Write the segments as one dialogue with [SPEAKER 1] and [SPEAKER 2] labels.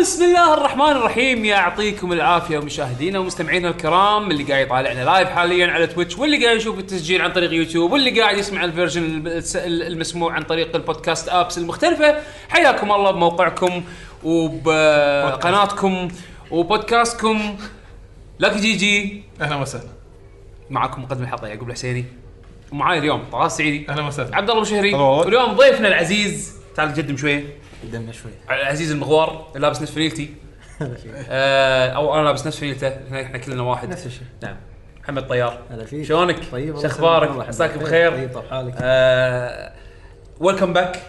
[SPEAKER 1] بسم الله الرحمن الرحيم يعطيكم العافيه مشاهدينا ومستمعينا الكرام اللي قاعد يطالعنا لايف حاليا على تويتش واللي قاعد يشوف التسجيل عن طريق يوتيوب واللي قاعد يسمع الفيرجن الس- المسموع عن طريق البودكاست ابس المختلفه حياكم الله بموقعكم وبقناتكم وبودكاستكم لك جي جي
[SPEAKER 2] اهلا وسهلا
[SPEAKER 1] معكم مقدم الحلقه يعقوب الحسيني ومعاي اليوم طه السعيدي
[SPEAKER 2] اهلا وسهلا
[SPEAKER 1] عبد الله أبو شهري
[SPEAKER 3] هلا والله.
[SPEAKER 1] واليوم ضيفنا العزيز تعال نقدم شويه
[SPEAKER 4] قدمنا شوي
[SPEAKER 1] عزيز المغوار لابس نفس فنيلتي آه، او انا لابس نفس فنيلته احنا إحنا كلنا واحد
[SPEAKER 4] نفس الشيء.
[SPEAKER 1] نعم محمد طيار
[SPEAKER 4] هلا فيك
[SPEAKER 1] شلونك؟
[SPEAKER 4] طيب
[SPEAKER 1] شو اخبارك؟ عساك بخير آه،
[SPEAKER 4] طيب طال حالك
[SPEAKER 1] ويلكم باك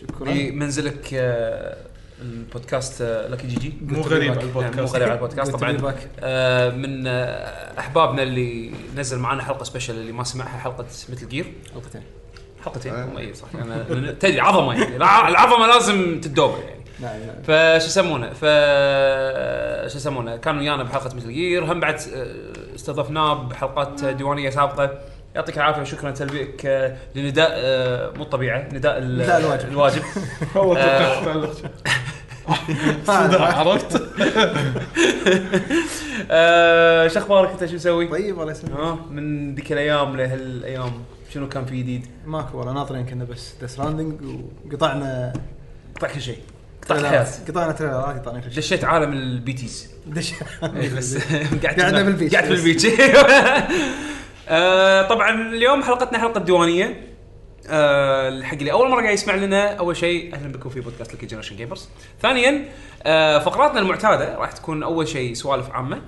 [SPEAKER 4] شكرا
[SPEAKER 1] لمنزلك آه، البودكاست آه، لك جي جي
[SPEAKER 2] مو غريب على البودكاست.
[SPEAKER 1] نعم، مو غريب على البودكاست
[SPEAKER 4] Good to be
[SPEAKER 1] طبعا
[SPEAKER 4] back.
[SPEAKER 1] آه، من آه، احبابنا اللي نزل معانا حلقه سبيشل اللي ما سمعها حلقه مثل جير
[SPEAKER 4] حلقتين
[SPEAKER 1] حلقتين هم اي صح انا لأن تدري عظمه يعني الع- العظمه لازم تدوب يعني
[SPEAKER 4] نعم نعم
[SPEAKER 1] فشو يسمونه ف شو يسمونه كانوا ويانا بحلقه مثل جير هم بعد آه، استضفناه بحلقات ديوانيه سابقه يعطيك العافيه شكرا تلبيك آه، لنداء آه، مو الطبيعه نداء ال-
[SPEAKER 4] نداء الواجب.
[SPEAKER 1] الواجب
[SPEAKER 2] والله
[SPEAKER 1] آه.
[SPEAKER 2] توقعت تعلق شيء. صدق عرفت
[SPEAKER 1] آه، شو اخبارك انت شو مسوي؟
[SPEAKER 4] طيب الله يسلمك
[SPEAKER 1] ها من ذيك الايام لهالايام شنو كان في جديد؟
[SPEAKER 4] ماكو والله ناطرين كنا بس ذا ستراندنج وقطعنا
[SPEAKER 1] قطع طيب، كل شيء قطع الحياه
[SPEAKER 4] تريلرات. قطعنا تريلرات قطعنا كل شيء
[SPEAKER 1] دشيت عالم البيتيز
[SPEAKER 4] دش
[SPEAKER 1] إيه، بس
[SPEAKER 4] قعدنا بالبيتش.
[SPEAKER 1] قعدت بالبيتش آه، طبعا اليوم حلقتنا حلقه ديوانيه آه، حق اللي اول مره قاعد يسمع لنا اول شيء اهلا بكم في بودكاست لك جنريشن جيمرز ثانيا آه، فقراتنا المعتاده راح تكون اول شيء سوالف عامه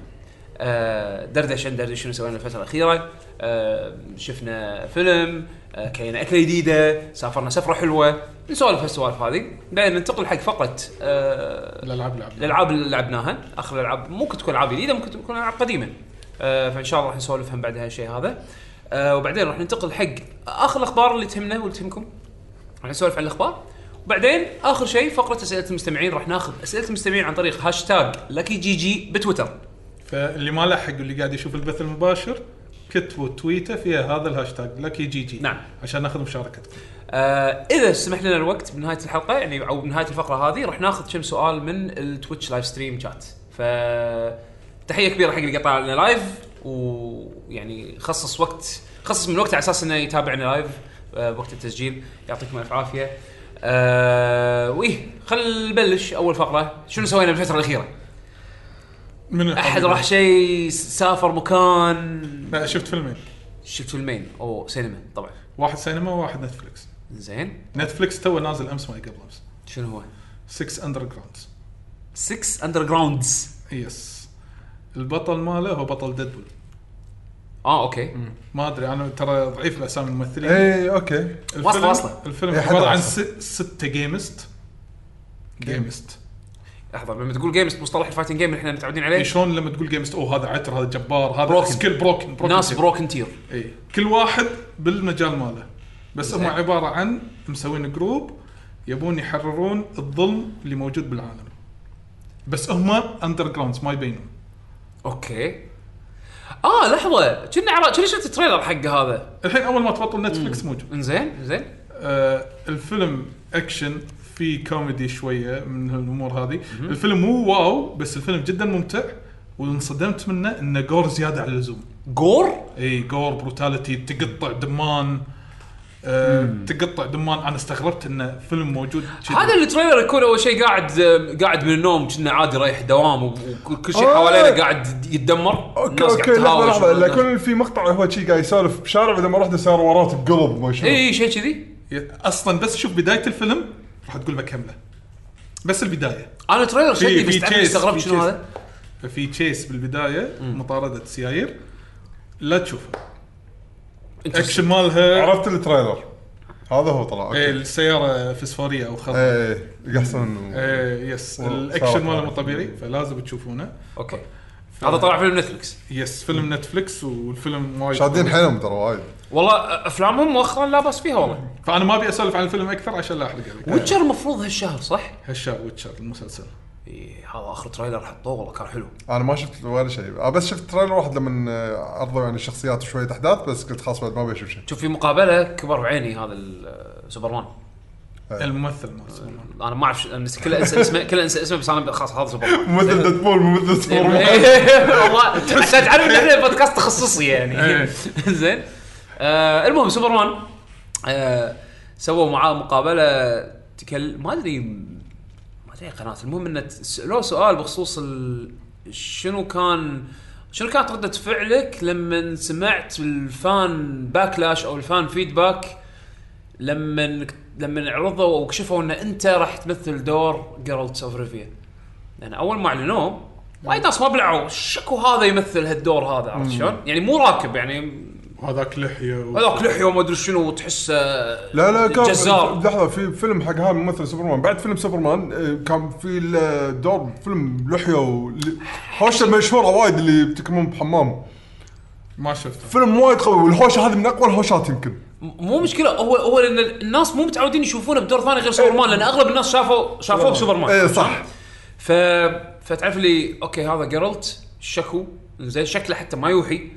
[SPEAKER 1] آه، دردشه ندردش شنو سوينا الفتره الاخيره آه، شفنا فيلم آه، كلينا اكله جديده سافرنا سفره حلوه نسولف هالسوالف هذه بعدين ننتقل حق فقره آه،
[SPEAKER 2] الالعاب لعب
[SPEAKER 1] الالعاب اللي لعبناها اخر الالعاب ممكن تكون العاب جديده ممكن تكون العاب قديمه آه فان شاء الله راح نسولف هم بعد هالشيء هذا آه وبعدين راح ننتقل حق اخر الاخبار اللي تهمنا واللي تهمكم راح نسولف عن الاخبار وبعدين اخر شيء فقره اسئله المستمعين راح ناخذ اسئله المستمعين عن طريق هاشتاج لكي جي جي بتويتر
[SPEAKER 2] فاللي ما لحق واللي قاعد يشوف البث المباشر كتبوا تويته فيها هذا الهاشتاج لكي جي جي
[SPEAKER 1] نعم.
[SPEAKER 2] عشان ناخذ مشاركتكم
[SPEAKER 1] آه اذا سمح لنا الوقت بنهايه الحلقه يعني او بنهايه الفقره هذه راح ناخذ كم سؤال من التويتش لايف ستريم شات ف تحيه كبيره حق اللي قطع لنا لايف ويعني خصص وقت خصص من وقته على اساس انه يتابعنا لايف آه بوقت التسجيل يعطيكم الف عافيه آه ويه خل نبلش اول فقره شنو سوينا بالفتره الاخيره
[SPEAKER 2] من
[SPEAKER 1] احد راح شيء سافر مكان
[SPEAKER 2] لا شفت فيلمين
[SPEAKER 1] شفت فيلمين او سينما طبعا
[SPEAKER 2] واحد سينما وواحد نتفلكس
[SPEAKER 1] زين
[SPEAKER 2] نتفلكس تو نازل امس ما قبل امس
[SPEAKER 1] شنو هو
[SPEAKER 2] 6 اندر جراوندز
[SPEAKER 1] 6 اندر جراوندز
[SPEAKER 2] يس البطل ماله هو بطل ديدبول
[SPEAKER 1] اه اوكي
[SPEAKER 2] ما ادري انا ترى ضعيف باسامي الممثلين
[SPEAKER 4] إيه.
[SPEAKER 3] اي اوكي
[SPEAKER 2] الفيلم
[SPEAKER 1] واصلة- واصلة.
[SPEAKER 2] الفيلم
[SPEAKER 3] إيه، حد
[SPEAKER 2] عباره عن
[SPEAKER 3] واصلة.
[SPEAKER 2] س- ستة جيمست جيمست
[SPEAKER 1] لحظه لما تقول جيمز مصطلح الفايتنج جيم اللي احنا متعودين عليه
[SPEAKER 2] إيه شلون لما تقول جيمست اوه هذا عتر هذا جبار هذا
[SPEAKER 1] بروكن.
[SPEAKER 2] سكيل بروكن, بروكن
[SPEAKER 1] ناس
[SPEAKER 2] تيم.
[SPEAKER 1] بروكن تير
[SPEAKER 2] اي إيه. كل واحد بالمجال ماله بس هم
[SPEAKER 1] زين.
[SPEAKER 2] عباره عن مسوين جروب يبون يحررون الظلم اللي موجود بالعالم بس هم اندر جراوندز ما يبينون
[SPEAKER 1] اوكي اه لحظه كنا عرا... كنا شفت التريلر حق هذا
[SPEAKER 2] الحين اول ما تبطل نتفلكس موجود
[SPEAKER 1] انزين انزين
[SPEAKER 2] آه الفيلم اكشن في كوميدي شويه من الامور هذه الفيلم مو واو بس الفيلم جدا ممتع وانصدمت منه انه جور زياده على اللزوم
[SPEAKER 1] جور
[SPEAKER 2] اي جور بروتاليتي تقطع دمان آه تقطع دمان انا استغربت انه فيلم موجود جداً.
[SPEAKER 1] هذا التريلر يكون اول شيء قاعد آه، قاعد من النوم كنا عادي رايح دوام وكل كل شيء
[SPEAKER 3] آه.
[SPEAKER 1] حوالينا قاعد يتدمر
[SPEAKER 3] اوكي اوكي لحظه لحظه لا يكون في مقطع هو شي قاعد يسولف بشارع بعدين ما رحت صار وراه بقلب ما شنو
[SPEAKER 2] إيه.
[SPEAKER 1] اي شيء كذي
[SPEAKER 2] اصلا بس شوف بدايه الفيلم راح تقول بكمله بس البدايه
[SPEAKER 1] انا التريلر
[SPEAKER 2] في-
[SPEAKER 1] شدني
[SPEAKER 2] في
[SPEAKER 1] بس تعرف
[SPEAKER 2] chase،
[SPEAKER 1] استغربت
[SPEAKER 2] في
[SPEAKER 1] شنو
[SPEAKER 2] chase.
[SPEAKER 1] هذا
[SPEAKER 2] ففي تشيس بالبدايه مطارده سيايير لا تشوفه اكشن مالها
[SPEAKER 3] عرفت التريلر هذا هو طلع
[SPEAKER 2] إيه،
[SPEAKER 3] اوكي
[SPEAKER 2] السياره فسفوريه او خضراء
[SPEAKER 3] ايه قحسن
[SPEAKER 2] إيه، يس
[SPEAKER 3] والله،
[SPEAKER 2] الاكشن
[SPEAKER 3] صارت
[SPEAKER 2] ماله مو
[SPEAKER 3] واحد.
[SPEAKER 2] طبيعي فلازم تشوفونه
[SPEAKER 1] اوكي
[SPEAKER 2] آه.
[SPEAKER 1] هذا طلع فيلم نتفلكس
[SPEAKER 2] يس فيلم نتفلكس والفيلم وايد
[SPEAKER 3] شادين
[SPEAKER 2] قوي.
[SPEAKER 3] حيلهم ترى وايد
[SPEAKER 1] والله آه، افلامهم مؤخرا لا باس فيها والله
[SPEAKER 2] فانا ما ابي اسولف عن الفيلم اكثر عشان لا احرق عليك
[SPEAKER 1] ويتشر المفروض هالشهر صح؟
[SPEAKER 2] هالشهر ويتشر المسلسل
[SPEAKER 1] إيه، هذا اخر تريلر حطوه والله كان حلو
[SPEAKER 3] انا ما شفت ولا شيء آه، بس شفت تريلر واحد لما آه، عرضوا يعني الشخصيات وشويه احداث بس قلت خلاص بعد ما بشوف شيء
[SPEAKER 1] شوف في مقابله كبر بعيني هذا ال- سوبرمان
[SPEAKER 2] الممثل ما اسمه
[SPEAKER 1] انا ما اعرف شو- آه، أنا كله انسى اسمه كله انسى اسمه بس انا خلاص هذا سوبر
[SPEAKER 2] إيه.
[SPEAKER 3] ممثل ديدبول ممثل سوبرمان
[SPEAKER 1] والله بس تعرف ان احنا بودكاست تخصصي يعني
[SPEAKER 2] إيه.
[SPEAKER 1] زين آه، المهم سوبرمان آه، سووا معاه مقابله تكل ما ادري ما ادري قناه المهم انه سالوه سؤال بخصوص ال... شنو كان شنو كانت ردة فعلك لما سمعت الفان باكلاش او الفان فيدباك لما لما عرضوا او كشفوا ان انت راح تمثل دور جيرالت اوف ريفيا لان اول ما اعلنوه وايد ناس ما بلعوا شكو هذا يمثل هالدور هذا عرفت شلون؟ يعني مو راكب يعني
[SPEAKER 2] وهذاك لحيه و-
[SPEAKER 1] هذاك لحيه وما ادري شنو وتحسه
[SPEAKER 3] لا لا
[SPEAKER 2] إيه.
[SPEAKER 3] كان
[SPEAKER 1] جزار
[SPEAKER 3] لحظه في فيلم حق هذا ممثل سوبرمان بعد فيلم سوبرمان آه، كان في ال- دور فيلم لحيه ول- هوشه مشهوره وايد اللي بتكمون بحمام
[SPEAKER 2] ما شفته
[SPEAKER 3] فيلم وايد قوي والهوشه هذه من اقوى الهوشات يمكن
[SPEAKER 1] م- مو مشكله هو هو لان الناس مو متعودين يشوفونه بدور ثاني غير سوبرمان لان اغلب الناس شافوا شافوه بسوبرمان
[SPEAKER 3] اي إيه، صح
[SPEAKER 1] ف فتعرف لي اوكي هذا جيرالت شكو زين شكله حتى ما يوحي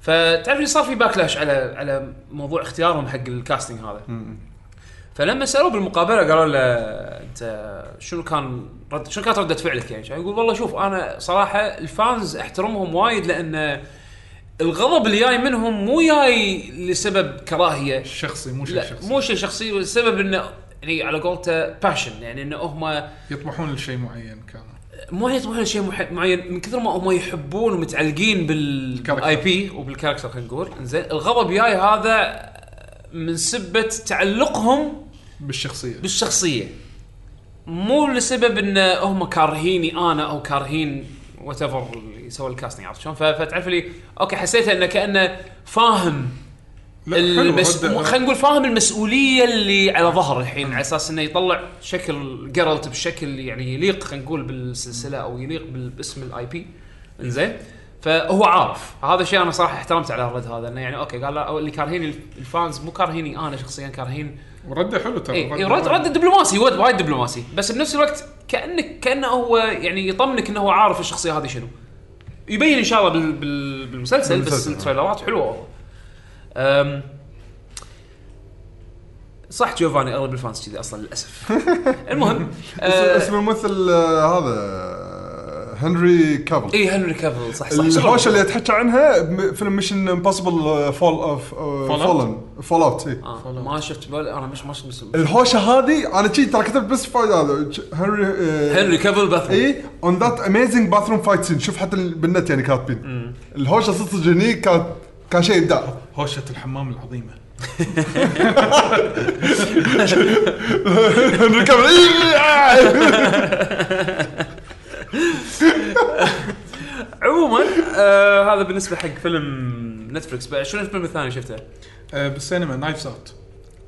[SPEAKER 1] فتعرف لي صار في باكلاش على على موضوع اختيارهم حق الكاستنج هذا فلما سالوه بالمقابله قالوا له انت شنو كان رد شنو كانت رده فعلك يعني كان يقول والله شوف انا صراحه الفانز احترمهم وايد لان الغضب اللي جاي منهم مو جاي لسبب كراهيه
[SPEAKER 2] شخصي مو شيء
[SPEAKER 1] لا
[SPEAKER 2] شخصي
[SPEAKER 1] مو شيء شخصي والسبب انه يعني على قولته باشن يعني انه هم
[SPEAKER 2] يطمحون لشيء معين كانوا
[SPEAKER 1] مو يطمحون شيء مح- معين من كثر ما هم يحبون ومتعلقين
[SPEAKER 2] الكاركتر.
[SPEAKER 1] بالاي بي وبالكاركتر خلينا نقول زين الغضب جاي هذا من سبه تعلقهم
[SPEAKER 2] بالشخصيه
[SPEAKER 1] بالشخصيه مو لسبب ان هم كارهيني انا او كارهين وات ايفر اللي سوى الكاستنج عرفت شلون ف- فتعرف لي اوكي حسيت انه كانه فاهم
[SPEAKER 2] لا، حلو،
[SPEAKER 1] المس...
[SPEAKER 2] رد-
[SPEAKER 1] خلينا نقول فاهم المسؤوليه اللي على ظهره الحين على اساس انه يطلع شكل جيرالت بشكل يعني يليق خلينا نقول بالسلسله او يليق بال- باسم الاي بي انزين فهو عارف هذا الشيء انا صراحه احترمت على الرد هذا انه يعني اوكي قال لا أو اللي كارهيني الف- الفانز مو كارهيني انا شخصيا كارهين
[SPEAKER 2] ورده حلو ترى
[SPEAKER 1] اي إي،
[SPEAKER 2] رده
[SPEAKER 1] إيه، رد
[SPEAKER 2] وايد.
[SPEAKER 1] رد دبلوماسي ود- وايد دبلوماسي بس بنفس الوقت كانك كانه هو يعني يطمنك انه هو عارف الشخصيه هذه شنو يبين ان شاء الله بال بال بالمسلسل بس
[SPEAKER 3] بالمسلسل.
[SPEAKER 1] التريلرات حلوه أم صح جوفاني اغلب الفانس كذي اصلا للاسف المهم
[SPEAKER 3] اسم-
[SPEAKER 1] آه،
[SPEAKER 3] اسم الممثل آه، هذا آه، هنري كافل
[SPEAKER 1] اي هنري كافل إيه، صح صح
[SPEAKER 3] الهوشه اللي يتحكى عنها بفيلم ميشن امبوسيبل فول اوف
[SPEAKER 2] Fallout؟
[SPEAKER 3] فولن فول اوت اي
[SPEAKER 1] آه، ما شفت بال- انا مش ما شفت
[SPEAKER 3] الهوشه إيه. هذه انا شي ترى كتبت بس فايد هذا هنري آه، إيه،
[SPEAKER 1] هنري كافل باث
[SPEAKER 3] اي اون ذات اميزنج باثروم فايت سين شوف حتى ال- بالنت يعني كاتبين الهوشه صدق هني كانت كان شيء ابداع
[SPEAKER 2] هوشه الحمام العظيمه
[SPEAKER 3] هنري كافل إيه، آه.
[SPEAKER 1] عموما آه هذا بالنسبه حق فيلم نتفلكس بقى شنو الفيلم الثاني شفته؟
[SPEAKER 2] آه، بالسينما نايفز اوت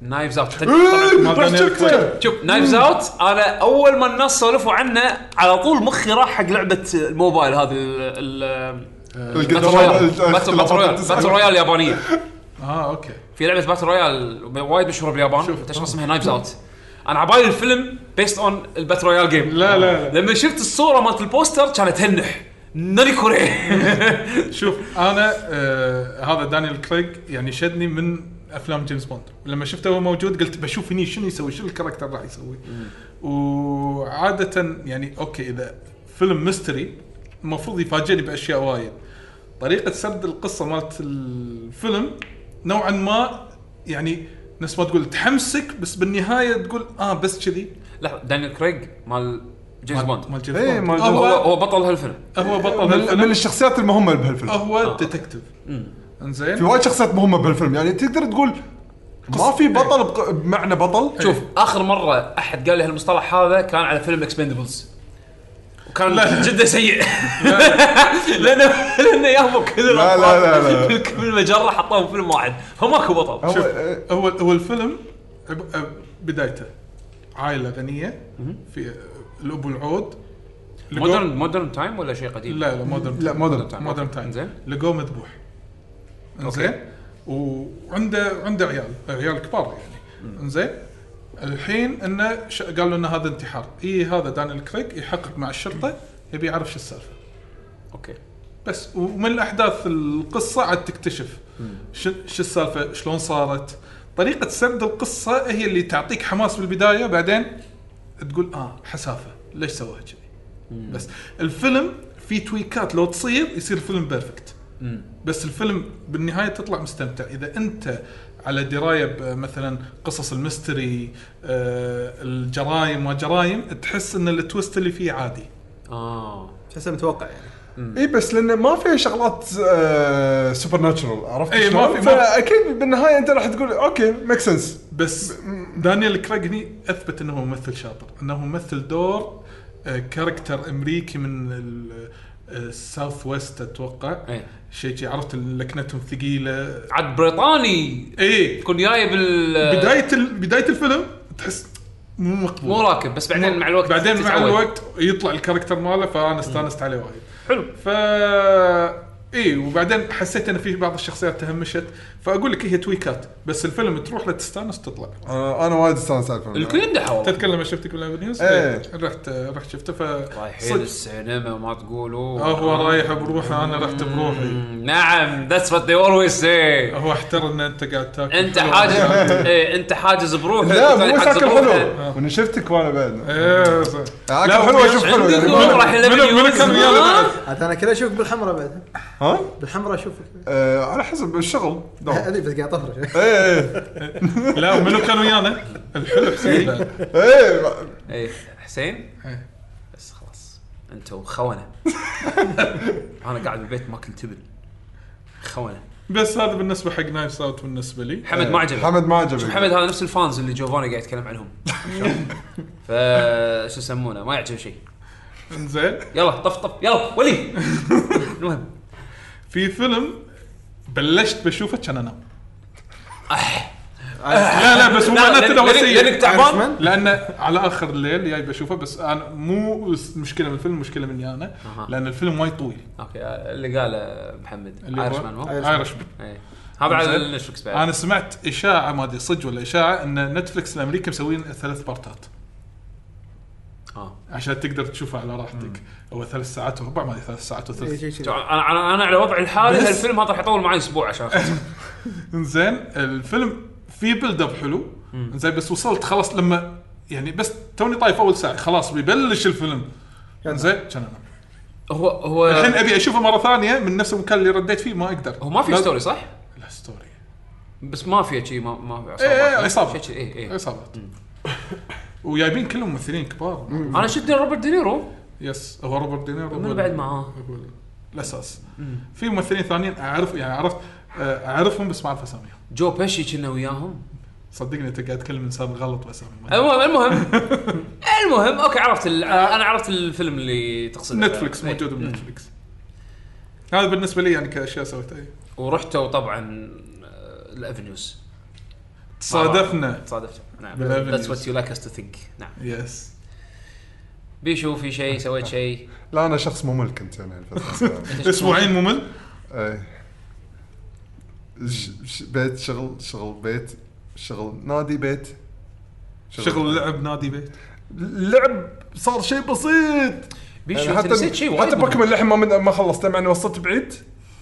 [SPEAKER 1] نايفز اوت
[SPEAKER 2] إيه، ما
[SPEAKER 3] راح
[SPEAKER 2] ظنيت
[SPEAKER 3] شفته.
[SPEAKER 1] شوف نايفز اوت انا اول ما الناس سولفوا عنه على طول مخي راح حق لعبه الموبايل هذه ال- ال- باتل
[SPEAKER 2] إيه،
[SPEAKER 1] رويال
[SPEAKER 3] القدرات-
[SPEAKER 1] باتل- باتل رويال باتل رويال اليابانيه
[SPEAKER 2] اه اوكي
[SPEAKER 1] في لعبه باتل رويال وايد مشهوره باليابان
[SPEAKER 2] شوف.
[SPEAKER 1] تشخص اسمها نايفز اوت انا عبالي الفيلم بيست اون الباتل رويال جيم
[SPEAKER 2] لا لا لا
[SPEAKER 1] لما شفت الصوره مالت البوستر كانت هنح ناري كوري
[SPEAKER 2] شوف انا آه هذا دانيال كريج يعني شدني من افلام جيمس بوند لما شفته هو موجود قلت بشوف هني شنو يسوي شنو الكاركتر راح يسوي وعاده يعني اوكي اذا فيلم ميستري المفروض يفاجئني باشياء وايد طريقه سرد القصه مالت الفيلم نوعا ما يعني نفس ما تقول تحمسك بس بالنهايه تقول اه بس كذي
[SPEAKER 1] لحظه دانيال كريج مال جيمس
[SPEAKER 2] مال-
[SPEAKER 1] بوند
[SPEAKER 2] مال جيمس
[SPEAKER 3] إيه،
[SPEAKER 2] بوند
[SPEAKER 3] مال
[SPEAKER 1] هو
[SPEAKER 2] هو
[SPEAKER 1] هو بطل هالفيلم
[SPEAKER 2] هو بطل
[SPEAKER 3] من من
[SPEAKER 2] الفيلم
[SPEAKER 3] الشخصيات المهمه بهالفيلم
[SPEAKER 2] هو ديتكتيف
[SPEAKER 3] في
[SPEAKER 2] انزين
[SPEAKER 3] وايد شخصيات مهمه بهالفيلم يعني تقدر تقول ما في بطل
[SPEAKER 2] إيه.
[SPEAKER 3] بق- بمعنى بطل
[SPEAKER 1] شوف اخر مره احد قال لي هالمصطلح هذا كان على فيلم اكسبندبلز وكان
[SPEAKER 2] لا.
[SPEAKER 1] جدا سيء لانه لانه يهبوا كل
[SPEAKER 3] لا، لا، لا، لا.
[SPEAKER 1] بالك- بالمجره حطوهم فيلم واحد هو ماكو بطل
[SPEAKER 3] هو
[SPEAKER 2] شوف
[SPEAKER 3] آه،
[SPEAKER 2] هو هو الفيلم عب- عب- بدايته عائله غنيه في الاب والعود لقوا-
[SPEAKER 1] مودرن مودرن تايم ولا شيء قديم؟
[SPEAKER 2] لا لا مودرن
[SPEAKER 3] لا مودرن
[SPEAKER 1] تايم.
[SPEAKER 2] مودرن تايم
[SPEAKER 1] زين.
[SPEAKER 2] لقوه مذبوح انزين وعنده عنده عيال عيال كبار يعني انزين الحين انه ش... قالوا انه هذا انتحار اي هذا دانيال كريك يحقق مع الشرطه يبي يعرف شو السالفه
[SPEAKER 1] اوكي
[SPEAKER 2] بس ومن احداث القصه عاد تكتشف شو شو السالفه شلون صارت طريقه سرد القصه هي اللي تعطيك حماس بالبدايه بعدين تقول اه حسافه ليش سواها كذي بس الفيلم في تويكات لو تصير يصير فيلم بيرفكت بس الفيلم بالنهايه تطلع مستمتع اذا انت على درايه مثلا قصص المستري آه، الجرايم وجرايم تحس ان التويست اللي فيه عادي
[SPEAKER 1] اه
[SPEAKER 4] تحسه متوقع يعني
[SPEAKER 3] اي إيه، بس لانه ما فيها شغلات آه سوبر ناتشرال عرفت؟
[SPEAKER 2] إي، إيه، ما
[SPEAKER 3] شلون؟
[SPEAKER 2] في- ما في.
[SPEAKER 3] فاكيد بالنهايه انت راح تقول اوكي ميك سنس
[SPEAKER 2] بس دانيال كريغ هني اثبت انه هو ممثل شاطر انه ممثل دور آه، كاركتر امريكي من آه، الساوث ويست اتوقع
[SPEAKER 1] إيه.
[SPEAKER 2] شيء شي عرفت لكنتهم ثقيله
[SPEAKER 1] عاد بريطاني
[SPEAKER 2] اي
[SPEAKER 1] يكون جاي بال
[SPEAKER 2] بدايه ال- بدايه الفيلم تحس مو مقبول
[SPEAKER 1] مو راكب بس بعدين مع الوقت
[SPEAKER 2] بعدين مع
[SPEAKER 1] تتعود.
[SPEAKER 2] الوقت يطلع الكاركتر ماله فانا استانست عليه وايد
[SPEAKER 1] حلو
[SPEAKER 2] ف اي وبعدين حسيت ان في بعض الشخصيات تهمشت فاقول لك هي تويكات بس الفيلم تروح له تستانس تطلع
[SPEAKER 3] انا انا وايد استانس على الفيلم
[SPEAKER 1] الكل يمدحه والله
[SPEAKER 2] تذكر لما شفتك باللايف نيوز؟ طيب،
[SPEAKER 3] إيه.
[SPEAKER 2] رحت رحت شفته ف
[SPEAKER 1] رايحين
[SPEAKER 2] صدق
[SPEAKER 1] السينما ما تقولوا
[SPEAKER 2] هو رايح بروحه انا رحت بروحي
[SPEAKER 1] مم، نعم ذاتس وات ذي اولويز سي
[SPEAKER 2] هو احتر ان انت قاعد تاكل
[SPEAKER 1] انت
[SPEAKER 2] حلو.
[SPEAKER 1] حاجز إيه، انت حاجز بروحك
[SPEAKER 3] لا
[SPEAKER 1] والثاني
[SPEAKER 3] مو
[SPEAKER 1] حاجز
[SPEAKER 3] شكل
[SPEAKER 1] بروحه.
[SPEAKER 3] حلو وانا شفتك وانا بعد
[SPEAKER 2] آه. إيه، صح.
[SPEAKER 3] اكل
[SPEAKER 2] لا،
[SPEAKER 3] حلو
[SPEAKER 2] وياك
[SPEAKER 3] اشوف حلو
[SPEAKER 1] عندك
[SPEAKER 3] يعني
[SPEAKER 1] والله
[SPEAKER 3] ما-
[SPEAKER 1] راح يلعب
[SPEAKER 2] منو- منو
[SPEAKER 1] نيوز،
[SPEAKER 2] كان ويانا
[SPEAKER 1] ها؟
[SPEAKER 2] بعد؟
[SPEAKER 4] عاد انا كذا اشوفك بالحمراء بعد
[SPEAKER 3] ها؟
[SPEAKER 4] بالحمراء اشوفك
[SPEAKER 3] آه، على حسب الشغل دوم. إيه،
[SPEAKER 4] ادري بس قاعد طفرش
[SPEAKER 3] ايه ايه
[SPEAKER 2] لا منو كان ويانا؟ الحلو حسين بعد.
[SPEAKER 3] ايه ما-
[SPEAKER 1] ايه حسين
[SPEAKER 2] إيه.
[SPEAKER 1] بس خلاص انتم خونه انا قاعد بالبيت ماكل تبن خونه
[SPEAKER 2] بس هذا بالنسبه حق نايف اوت بالنسبه لي
[SPEAKER 1] حمد ما عجبه
[SPEAKER 3] حمد ما عجبني
[SPEAKER 1] محمد هذا نفس الفانز اللي جوفاني قاعد يتكلم عنهم ف شو يسمونه ما يعجبه شيء
[SPEAKER 2] انزين
[SPEAKER 1] يلا طف طف يلا ولي المهم
[SPEAKER 2] في فيلم بلشت بشوفه كان انام
[SPEAKER 1] أح.
[SPEAKER 2] لا لا بس مو معناته انه هو
[SPEAKER 1] لأنك- لانك
[SPEAKER 2] سيء
[SPEAKER 1] تعبان
[SPEAKER 2] لان على اخر الليل جاي بشوفه بس انا مو مشكله من الفيلم مشكله مني انا
[SPEAKER 1] أها.
[SPEAKER 2] لان الفيلم وايد طويل
[SPEAKER 1] اوكي اللي قاله محمد
[SPEAKER 2] اللي هو
[SPEAKER 1] عارش مان هو
[SPEAKER 2] ايرش مان.
[SPEAKER 1] إيه. هذا على
[SPEAKER 2] إنزين.
[SPEAKER 1] نتفلكس بعد
[SPEAKER 2] انا سمعت اشاعه ما ادري صدق ولا اشاعه ان نتفلكس الامريكي مسوين ثلاث بارتات
[SPEAKER 1] آه.
[SPEAKER 2] عشان تقدر تشوفه على راحتك هو ثلاث ساعات وربع ما ادري ثلاث ساعات
[SPEAKER 4] إيه،
[SPEAKER 2] وثلث
[SPEAKER 1] شو- انا انا انا على وضعي الحالي
[SPEAKER 2] بس.
[SPEAKER 1] هالفيلم هذا راح يطول معي اسبوع عشان أخلصه.
[SPEAKER 2] انزين الفيلم فيه بيلد اب حلو انزين بس وصلت خلاص لما يعني بس توني طايف اول ساعه خلاص بيبلش الفيلم انزين كان انام
[SPEAKER 1] هو هو
[SPEAKER 2] الحين ابي اشوفه مره ثانيه من نفس المكان اللي رديت فيه ما اقدر
[SPEAKER 1] هو ما في
[SPEAKER 2] لا-
[SPEAKER 1] ستوري صح؟
[SPEAKER 2] لا ستوري
[SPEAKER 1] بس ما في شيء ما ما في
[SPEAKER 2] اي اي
[SPEAKER 1] شيء-
[SPEAKER 2] عصابات
[SPEAKER 1] شيء- اي اي
[SPEAKER 2] عصابات إيه، وجايبين كلهم ممثلين كبار
[SPEAKER 1] انا شفت روبرت دينيرو
[SPEAKER 2] يس هو روبرت دينيرو
[SPEAKER 1] من
[SPEAKER 2] هو
[SPEAKER 1] بعد
[SPEAKER 2] ال-
[SPEAKER 1] معاه؟
[SPEAKER 2] هو ال- الاساس في ممثلين ثانيين اعرف يعني عرفت آه، اعرفهم بس ما اعرف اساميهم
[SPEAKER 1] جو بيشي كنا وياهم
[SPEAKER 2] صدقني انت قاعد تكلم انسان غلط باسامي ما-
[SPEAKER 1] المهم المهم المهم اوكي عرفت ال- انا عرفت الفيلم اللي تقصده إيه.
[SPEAKER 2] نتفلكس
[SPEAKER 1] إي.
[SPEAKER 2] موجود بنتفلكس
[SPEAKER 1] إيه.
[SPEAKER 2] هذا بالنسبه لي يعني كاشياء سويتها إيه.
[SPEAKER 1] ورحتوا طبعا آه، الافنيوز
[SPEAKER 2] تصادفنا
[SPEAKER 1] تصادفت نعم
[SPEAKER 2] بالأفنيوز.
[SPEAKER 1] ذاتس وات يو لايك اس تو ثينك نعم
[SPEAKER 2] يس
[SPEAKER 1] بيشو في شيء سويت شيء
[SPEAKER 3] لا انا شخص ممل كنت يعني الفتره الأخيرة.
[SPEAKER 2] اسبوعين ممل
[SPEAKER 3] إيه. ش- ش- بيت شغل شغل بيت شغل نادي بيت
[SPEAKER 2] شغل لعب نادي بيت
[SPEAKER 3] لعب صار شيء بسيط
[SPEAKER 1] بيشو
[SPEAKER 3] يعني
[SPEAKER 1] انت نسيت شيء وايد
[SPEAKER 3] حتى
[SPEAKER 1] مهم. أيوة.
[SPEAKER 3] بوكيمون للحين ما من- ما خلصته مع اني وصلت بعيد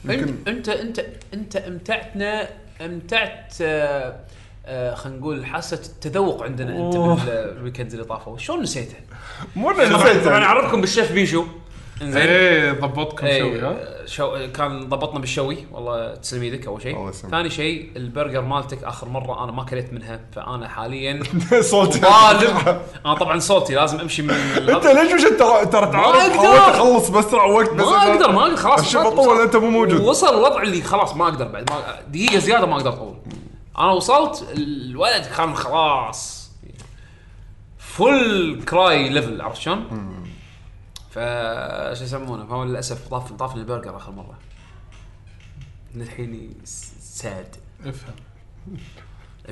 [SPEAKER 3] يمكن
[SPEAKER 1] انت انت انت انت امتعتنا امتعت آه، آه، خلينا نقول حاسه التذوق عندنا انت
[SPEAKER 2] أوه.
[SPEAKER 1] بالويكند اللي طافوا شلون نسيته؟
[SPEAKER 3] مو انا نسيت
[SPEAKER 1] انا
[SPEAKER 3] يعني.
[SPEAKER 1] اعرفكم بالشيف بيشو انزين
[SPEAKER 2] ايه ضبطكم
[SPEAKER 1] إيه،
[SPEAKER 2] شوي ها
[SPEAKER 1] شو كان ضبطنا بالشوي والله تسلم ايدك اول
[SPEAKER 3] الله
[SPEAKER 1] شيء
[SPEAKER 3] يسلمك.
[SPEAKER 1] ثاني شيء البرجر مالتك اخر مره انا ما كليت منها فانا حاليا
[SPEAKER 3] صوتي
[SPEAKER 1] غالب انا طبعا صوتي لازم امشي من
[SPEAKER 3] انت ليش مش انت ترى تعرف
[SPEAKER 1] أقدر.
[SPEAKER 3] حاولت اخلص باسرع وقت بس
[SPEAKER 1] ما
[SPEAKER 3] أنا-
[SPEAKER 1] اقدر ما اقدر خلاص
[SPEAKER 3] الشيء بطول انت مو موجود
[SPEAKER 1] وصل الوضع اللي خلاص ما اقدر بعد ما دقيقه زياده ما اقدر اطول انا وصلت الولد كان خلاص فل كراي ليفل عرفت شلون؟ ف شو يسمونه فهو للاسف طاف طافني البرجر اخر مره للحين ساد
[SPEAKER 2] افهم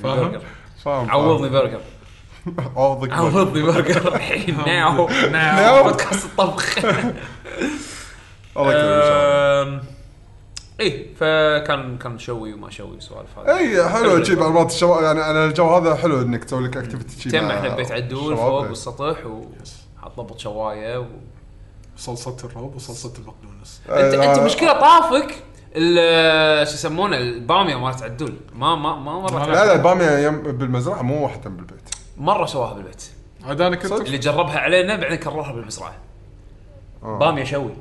[SPEAKER 2] فاهم؟
[SPEAKER 1] برجر
[SPEAKER 3] فاهم
[SPEAKER 1] عوضني برجر
[SPEAKER 3] عوضك برجر.
[SPEAKER 1] عوضني برجر الحين ناو
[SPEAKER 3] ناو.
[SPEAKER 1] بودكاست الطبخ
[SPEAKER 3] الله يكرمك إن شاء
[SPEAKER 1] آه.
[SPEAKER 3] الله.
[SPEAKER 1] أم، ايه فكان كان شوي وما شوي سوالف هذه
[SPEAKER 3] اي إيه، حلو شي بعض مرات الشباب يعني انا الجو هذا حلو انك تسوي لك اكتيفيتي شي
[SPEAKER 1] تجمع
[SPEAKER 3] مع
[SPEAKER 1] احنا ببيت عدول
[SPEAKER 3] الشباب.
[SPEAKER 1] فوق والسطح وحطبط شوايه و...
[SPEAKER 2] صلصه الروب وصلصه البقدونس
[SPEAKER 1] انت
[SPEAKER 3] آه،
[SPEAKER 1] انت مشكله طافك ال- شو يسمونه الباميه مالت عدول ما ما ما مره
[SPEAKER 3] لا لا باميه يم- بالمزرعه مو واحده بالبيت
[SPEAKER 1] مره سواها بالبيت
[SPEAKER 2] عاد انا كنت
[SPEAKER 1] اللي جربها علينا بعدين كررها بالمزرعه
[SPEAKER 3] آه.
[SPEAKER 1] باميه شوي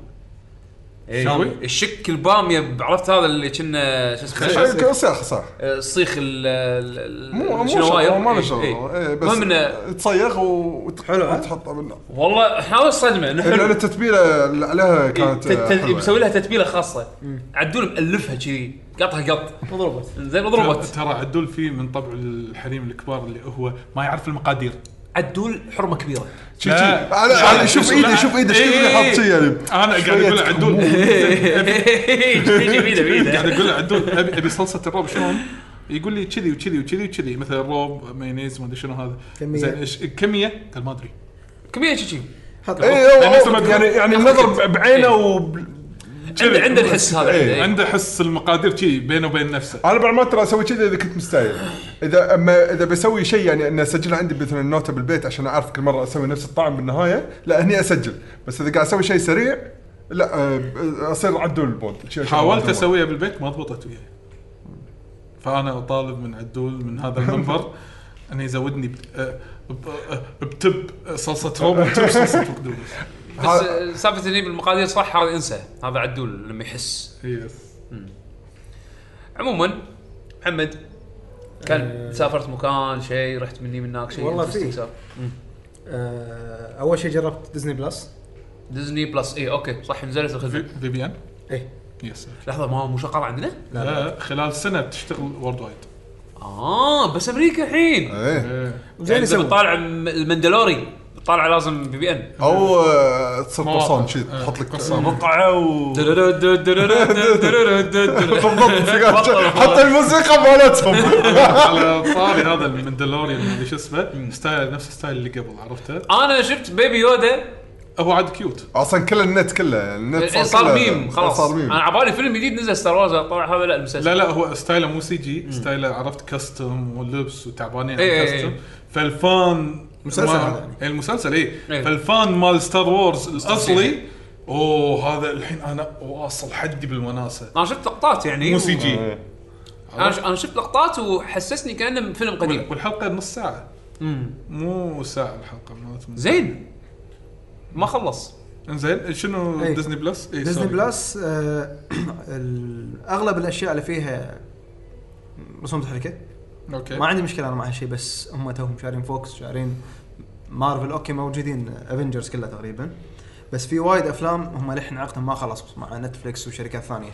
[SPEAKER 1] إيه،
[SPEAKER 2] شوي؟
[SPEAKER 1] الشك الباميه عرفت هذا اللي كنا شو اسمه
[SPEAKER 3] إيه، ك- صياخ صح
[SPEAKER 1] آه، الصيخ ال ال-
[SPEAKER 3] مو مو
[SPEAKER 1] شنو
[SPEAKER 3] شغله
[SPEAKER 1] واير؟
[SPEAKER 3] ما له
[SPEAKER 1] إيه،
[SPEAKER 3] شغله
[SPEAKER 1] إيه.
[SPEAKER 3] إيه، بس
[SPEAKER 1] المهم انه
[SPEAKER 3] تصيغ وت-
[SPEAKER 4] حلو، ها؟
[SPEAKER 3] وتحطه بالنار
[SPEAKER 1] والله احنا اول صدمه انه
[SPEAKER 3] لان
[SPEAKER 1] حلو إيه،
[SPEAKER 3] التتبيله اللي عليها كانت
[SPEAKER 1] تت- تت-
[SPEAKER 3] حلوة.
[SPEAKER 1] مسوي لها تتبيله خاصه عدول مألفها كذي قطها قط
[SPEAKER 4] وضربت
[SPEAKER 1] زين وضربت
[SPEAKER 2] ترى عدول فيه من طبع الحريم الكبار اللي هو ما يعرف المقادير
[SPEAKER 1] عدول حرمه كبيره
[SPEAKER 3] شي- شي.
[SPEAKER 2] لا.
[SPEAKER 3] انا
[SPEAKER 2] لا،
[SPEAKER 3] أنا- شوف
[SPEAKER 2] لا.
[SPEAKER 3] ايده شوف ايده شوف ايده
[SPEAKER 2] إيه،
[SPEAKER 3] حاط شي يعني
[SPEAKER 1] آه.
[SPEAKER 2] انا قاعد
[SPEAKER 3] شوية
[SPEAKER 2] اقول له عدول
[SPEAKER 1] تجي بيده
[SPEAKER 2] قاعد
[SPEAKER 3] يعني
[SPEAKER 1] بيده
[SPEAKER 2] اقول له عدول ابي ابي صلصه الروب شلون؟ يقول لي كذي وكذي وكذي وكذي مثلا روب مايونيز ما ادري شنو هذا
[SPEAKER 4] كمية.
[SPEAKER 2] زين ايش كميه؟ قال ما ادري
[SPEAKER 1] كبيره شي
[SPEAKER 4] حط
[SPEAKER 3] اي أو-
[SPEAKER 2] لأن مثل ما
[SPEAKER 3] أو-
[SPEAKER 2] تقول-
[SPEAKER 3] يعني يعني
[SPEAKER 1] ياخذ
[SPEAKER 3] النظر
[SPEAKER 1] وقت.
[SPEAKER 3] ب- بعينه
[SPEAKER 1] إيه.
[SPEAKER 3] وب...
[SPEAKER 1] عنده عنده الحس هذا
[SPEAKER 3] إيه.
[SPEAKER 1] عنده، إيه.
[SPEAKER 2] عنده حس المقادير كذي بينه وبين نفسه
[SPEAKER 3] انا بعد ما ترى اسوي كذا اذا كنت مستعجل اذا اما اذا بسوي شيء يعني ان اسجله عندي مثلا نوته بالبيت عشان اعرف كل مره اسوي نفس الطعم بالنهايه لا هني اسجل بس اذا قاعد اسوي شيء سريع لا أه، اصير عدول البود شي- شي-
[SPEAKER 2] حاولت
[SPEAKER 3] عدول.
[SPEAKER 2] اسويها بالبيت ما ضبطت وياي فانا اطالب من عدول من هذا المنبر انه يزودني ب- آه، ب- آه، بتب صلصه روب وتب صلصه بقدونس
[SPEAKER 1] بس آه، سالفه اني بالمقادير صح هذا انسى هذا عدول لما يحس
[SPEAKER 2] يس
[SPEAKER 1] عموما محمد كان سافرت مكان شيء رحت مني من هناك شيء
[SPEAKER 4] والله
[SPEAKER 1] interesting
[SPEAKER 4] في.
[SPEAKER 1] صار.
[SPEAKER 4] آه، اول شيء جربت ديزني بلس
[SPEAKER 1] ديزني بلس اي اوكي صح نزلت الخدمه
[SPEAKER 2] في- فيبيان
[SPEAKER 4] اي
[SPEAKER 2] يس
[SPEAKER 1] لحظه ما مو شغال عندنا؟
[SPEAKER 4] إيه. لا لا
[SPEAKER 2] آه، خلال سنه بتشتغل وورد وايد
[SPEAKER 1] اه بس امريكا الحين
[SPEAKER 3] ايه
[SPEAKER 2] إيه.
[SPEAKER 4] زين
[SPEAKER 1] يعني
[SPEAKER 4] يسوي
[SPEAKER 1] اذا بتطالع الم- المندلوري بتطالع لازم بي بي ان
[SPEAKER 3] او أه، تصير
[SPEAKER 2] مواقع.
[SPEAKER 3] قرصان شي
[SPEAKER 2] أه،
[SPEAKER 3] تحط لك
[SPEAKER 2] قرصان.
[SPEAKER 3] مقطعه و بالضبط حتى الموسيقى مالتهم
[SPEAKER 2] على طاري هذا المندلوريان اللي شو اسمه ستايل نفس الستايل اللي قبل عرفته
[SPEAKER 1] انا شفت بيبي يودا
[SPEAKER 2] هو عاد كيوت
[SPEAKER 3] اصلا كل النت كله النت
[SPEAKER 1] إيه، صار
[SPEAKER 3] كله-
[SPEAKER 1] ميم خلاص
[SPEAKER 3] صار ميم
[SPEAKER 1] انا عبالي فيلم جديد نزل ستار وورز طلع هذا لا المسلسل
[SPEAKER 2] لا لا هو ستايله مو سي جي ستايله عرفت كاستم ولبس وتعبانين
[SPEAKER 1] إيه
[SPEAKER 2] على
[SPEAKER 1] إيه
[SPEAKER 2] كاستم
[SPEAKER 1] إيه.
[SPEAKER 2] فالفان
[SPEAKER 4] مسلسل
[SPEAKER 2] ما-
[SPEAKER 4] هذا يعني.
[SPEAKER 2] إيه المسلسل اي
[SPEAKER 1] إيه. آه،
[SPEAKER 2] فالفان مال ستار وورز
[SPEAKER 1] صحيح.
[SPEAKER 2] الاصلي اوه هذا الحين انا واصل حدي بالوناسه
[SPEAKER 1] انا شفت لقطات يعني
[SPEAKER 2] مو سي جي
[SPEAKER 3] إيه.
[SPEAKER 1] انا ش- انا شفت لقطات وحسسني كانه فيلم قديم
[SPEAKER 2] والحلقه نص ساعه
[SPEAKER 1] مم.
[SPEAKER 2] مو ساعه الحلقه مالت
[SPEAKER 1] زين ما خلص
[SPEAKER 2] زين شنو
[SPEAKER 4] إيه.
[SPEAKER 2] ديزني بلس؟ إيه،
[SPEAKER 4] ديزني
[SPEAKER 2] سوري.
[SPEAKER 4] بلس آه، ال- اغلب الاشياء اللي فيها رسوم الحركه
[SPEAKER 2] اوكي
[SPEAKER 4] ما عندي مشكله انا مع هالشيء بس هم توهم شارين فوكس شارين مارفل اوكي موجودين افنجرز كلها تقريبا بس في وايد افلام هم للحين عقدهم ما خلص مع نتفلكس وشركات ثانيه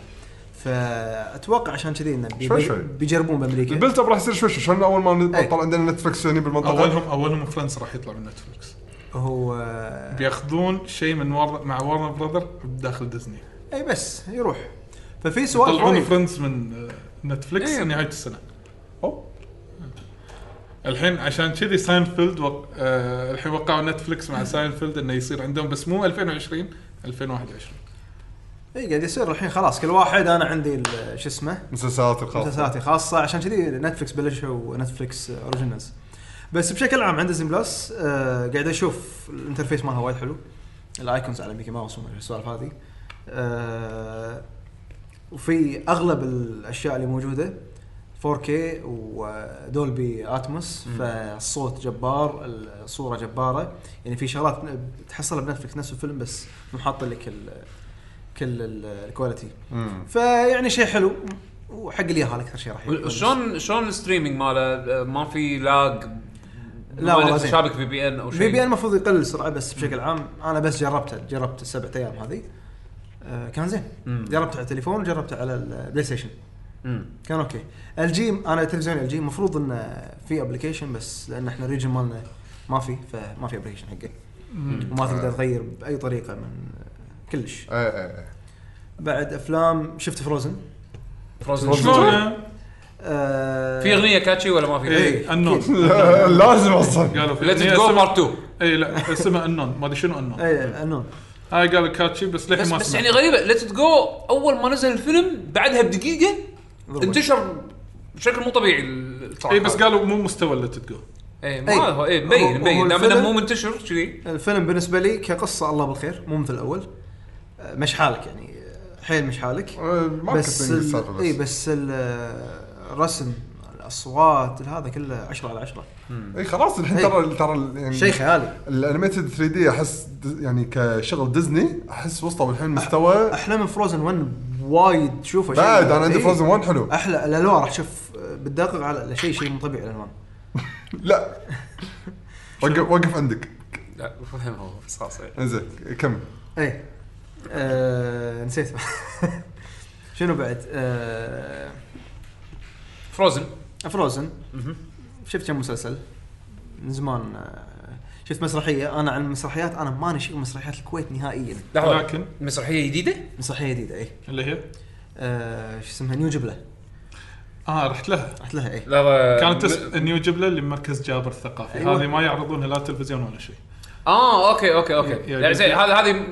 [SPEAKER 4] فاتوقع عشان كذي انه بي-
[SPEAKER 3] شوي شوي.
[SPEAKER 4] بيجربون بامريكا
[SPEAKER 3] البلت اب راح يصير شوي شوي عشان اول ما
[SPEAKER 4] إيه.
[SPEAKER 3] طلع عندنا نتفلكس هني بالمنطقه
[SPEAKER 2] اولهم اولهم فرنس راح يطلع من نتفلكس
[SPEAKER 4] هو
[SPEAKER 2] بياخذون شيء من وار... مع وارنر براذر داخل ديزني
[SPEAKER 4] اي بس يروح ففي سوالف
[SPEAKER 2] يطلعون
[SPEAKER 4] وايد.
[SPEAKER 2] فريندز من آه، نتفلكس
[SPEAKER 1] إيه.
[SPEAKER 2] نهايه السنه الحين عشان كذي ساينفيلد وق... آه الحين وقعوا نتفلكس
[SPEAKER 1] إيه.
[SPEAKER 2] مع ساينفيلد انه يصير عندهم بس مو 2020 2021
[SPEAKER 4] اي قاعد يصير الحين خلاص كل واحد انا عندي ال- شو اسمه
[SPEAKER 3] مسلسلات الخاصه
[SPEAKER 4] مسلسلاتي خاصه عشان كذي نتفلكس بلشوا نتفلكس اوريجينالز بس بشكل عام عند زين بلس آه قاعد اشوف الانترفيس مالها وايد حلو الايكونز على ميكي ماوس وما أدري السوالف هذه آه وفي اغلب الاشياء اللي موجوده 4K ودولبي اتموس فالصوت جبار الصوره جباره يعني في شغلات تحصلها بنتفلكس نفس الفيلم بس محط لك ال- كل ال- الكواليتي
[SPEAKER 3] مم.
[SPEAKER 4] فيعني شيء حلو وحق اليهال اكثر شيء راح يكون.
[SPEAKER 1] شلون شلون الستريمينج ماله آه، ما في لاج
[SPEAKER 4] لا والله زين.
[SPEAKER 1] شابك في بي ان او شيء
[SPEAKER 4] في بي ان المفروض يقل السرعه بس بشكل عام انا بس جربته جربت السبع ايام هذه آه كان زين
[SPEAKER 1] مم.
[SPEAKER 4] جربته على التليفون وجربته على البلاي ستيشن
[SPEAKER 1] مم.
[SPEAKER 4] كان اوكي الجي انا تلفزيون الجي المفروض انه في ابلكيشن بس لان احنا الريجن مالنا ما في فما في ابلكيشن حقه وما تقدر تغير باي طريقه من كلش
[SPEAKER 3] ايه ايه ايه
[SPEAKER 4] بعد افلام شفت فروزن
[SPEAKER 1] فروزن
[SPEAKER 3] فروزن.
[SPEAKER 1] شو؟
[SPEAKER 2] شلونه؟
[SPEAKER 4] آه
[SPEAKER 1] في اغنيه كاتشي ولا ما في؟
[SPEAKER 2] اي انون
[SPEAKER 3] لازم اصلا
[SPEAKER 2] إيه، قالوا في
[SPEAKER 1] ليت
[SPEAKER 2] أغنية
[SPEAKER 1] جو
[SPEAKER 2] اسمها-
[SPEAKER 1] بارت 2
[SPEAKER 2] اي لا اسمها انون ما ادري شنو انون
[SPEAKER 4] اي انون
[SPEAKER 2] هاي قالوا كاتشي بس للحين
[SPEAKER 1] إيه. بس
[SPEAKER 2] ما
[SPEAKER 1] بس
[SPEAKER 2] سمعت.
[SPEAKER 1] يعني غريبه ليت جو اول ما نزل الفيلم بعدها بدقيقه
[SPEAKER 4] ضربة.
[SPEAKER 1] انتشر بشكل مو طبيعي التراك
[SPEAKER 2] اي إيه، بس أيوه. قالوا مو مستوى ليت جو
[SPEAKER 1] اي
[SPEAKER 4] إي.
[SPEAKER 1] ما هو اي
[SPEAKER 4] هو-
[SPEAKER 1] مبين
[SPEAKER 4] هو
[SPEAKER 1] مبين دام انه
[SPEAKER 4] الفيلم-
[SPEAKER 1] مو منتشر كذي
[SPEAKER 4] الفيلم بالنسبه لي كقصه الله بالخير مو مثل الاول أه، مش حالك يعني أه، حيل مش حالك
[SPEAKER 3] آه، ماركتينج
[SPEAKER 4] بس
[SPEAKER 3] السالفه بس
[SPEAKER 4] اي بس ال- الرسم الاصوات هذا كله 10 على 10
[SPEAKER 3] اي خلاص الحين
[SPEAKER 4] إي.
[SPEAKER 3] ترى ترى يعني
[SPEAKER 4] شيء خيالي
[SPEAKER 3] الانيميتد 3 دي احس د- يعني كشغل ديزني احس وصلوا الحين مستوى
[SPEAKER 4] احلى من فروزن 1 وايد شوفه شيء-
[SPEAKER 3] بعد انا عندي
[SPEAKER 4] إي.
[SPEAKER 3] فروزن 1 حلو
[SPEAKER 4] احلى الالوان راح تشوف بتدقق على شيء شيء مو طبيعي الالوان
[SPEAKER 3] لا وقف وقف عندك
[SPEAKER 1] لا فهم هو بس خلاص يعني.
[SPEAKER 3] انزين كمل
[SPEAKER 4] اي آه نسيت شنو بعد؟ آه
[SPEAKER 1] فروزن
[SPEAKER 4] فروزن
[SPEAKER 1] مهم.
[SPEAKER 4] شفت كم مسلسل من زمان آه، شفت مسرحيه انا عن المسرحيات انا ماني شغل مسرحيات الكويت نهائيا
[SPEAKER 1] لحظه
[SPEAKER 2] ولكن-
[SPEAKER 1] مسرحيه جديده
[SPEAKER 4] مسرحيه جديده اي
[SPEAKER 2] اللي هي
[SPEAKER 4] إيه. آه، شو اسمها نيو جبله
[SPEAKER 2] اه رحت لها
[SPEAKER 4] رحت لها إيه. اي
[SPEAKER 1] لحظه
[SPEAKER 2] كانت اسم نيو جبله اللي بمركز جابر الثقافي
[SPEAKER 4] أيوة.
[SPEAKER 2] هذه ما يعرضونها لا تلفزيون ولا شيء
[SPEAKER 1] اه اوكي اوكي اوكي
[SPEAKER 2] يا-
[SPEAKER 1] لا
[SPEAKER 2] يا-
[SPEAKER 1] زين هذه هذه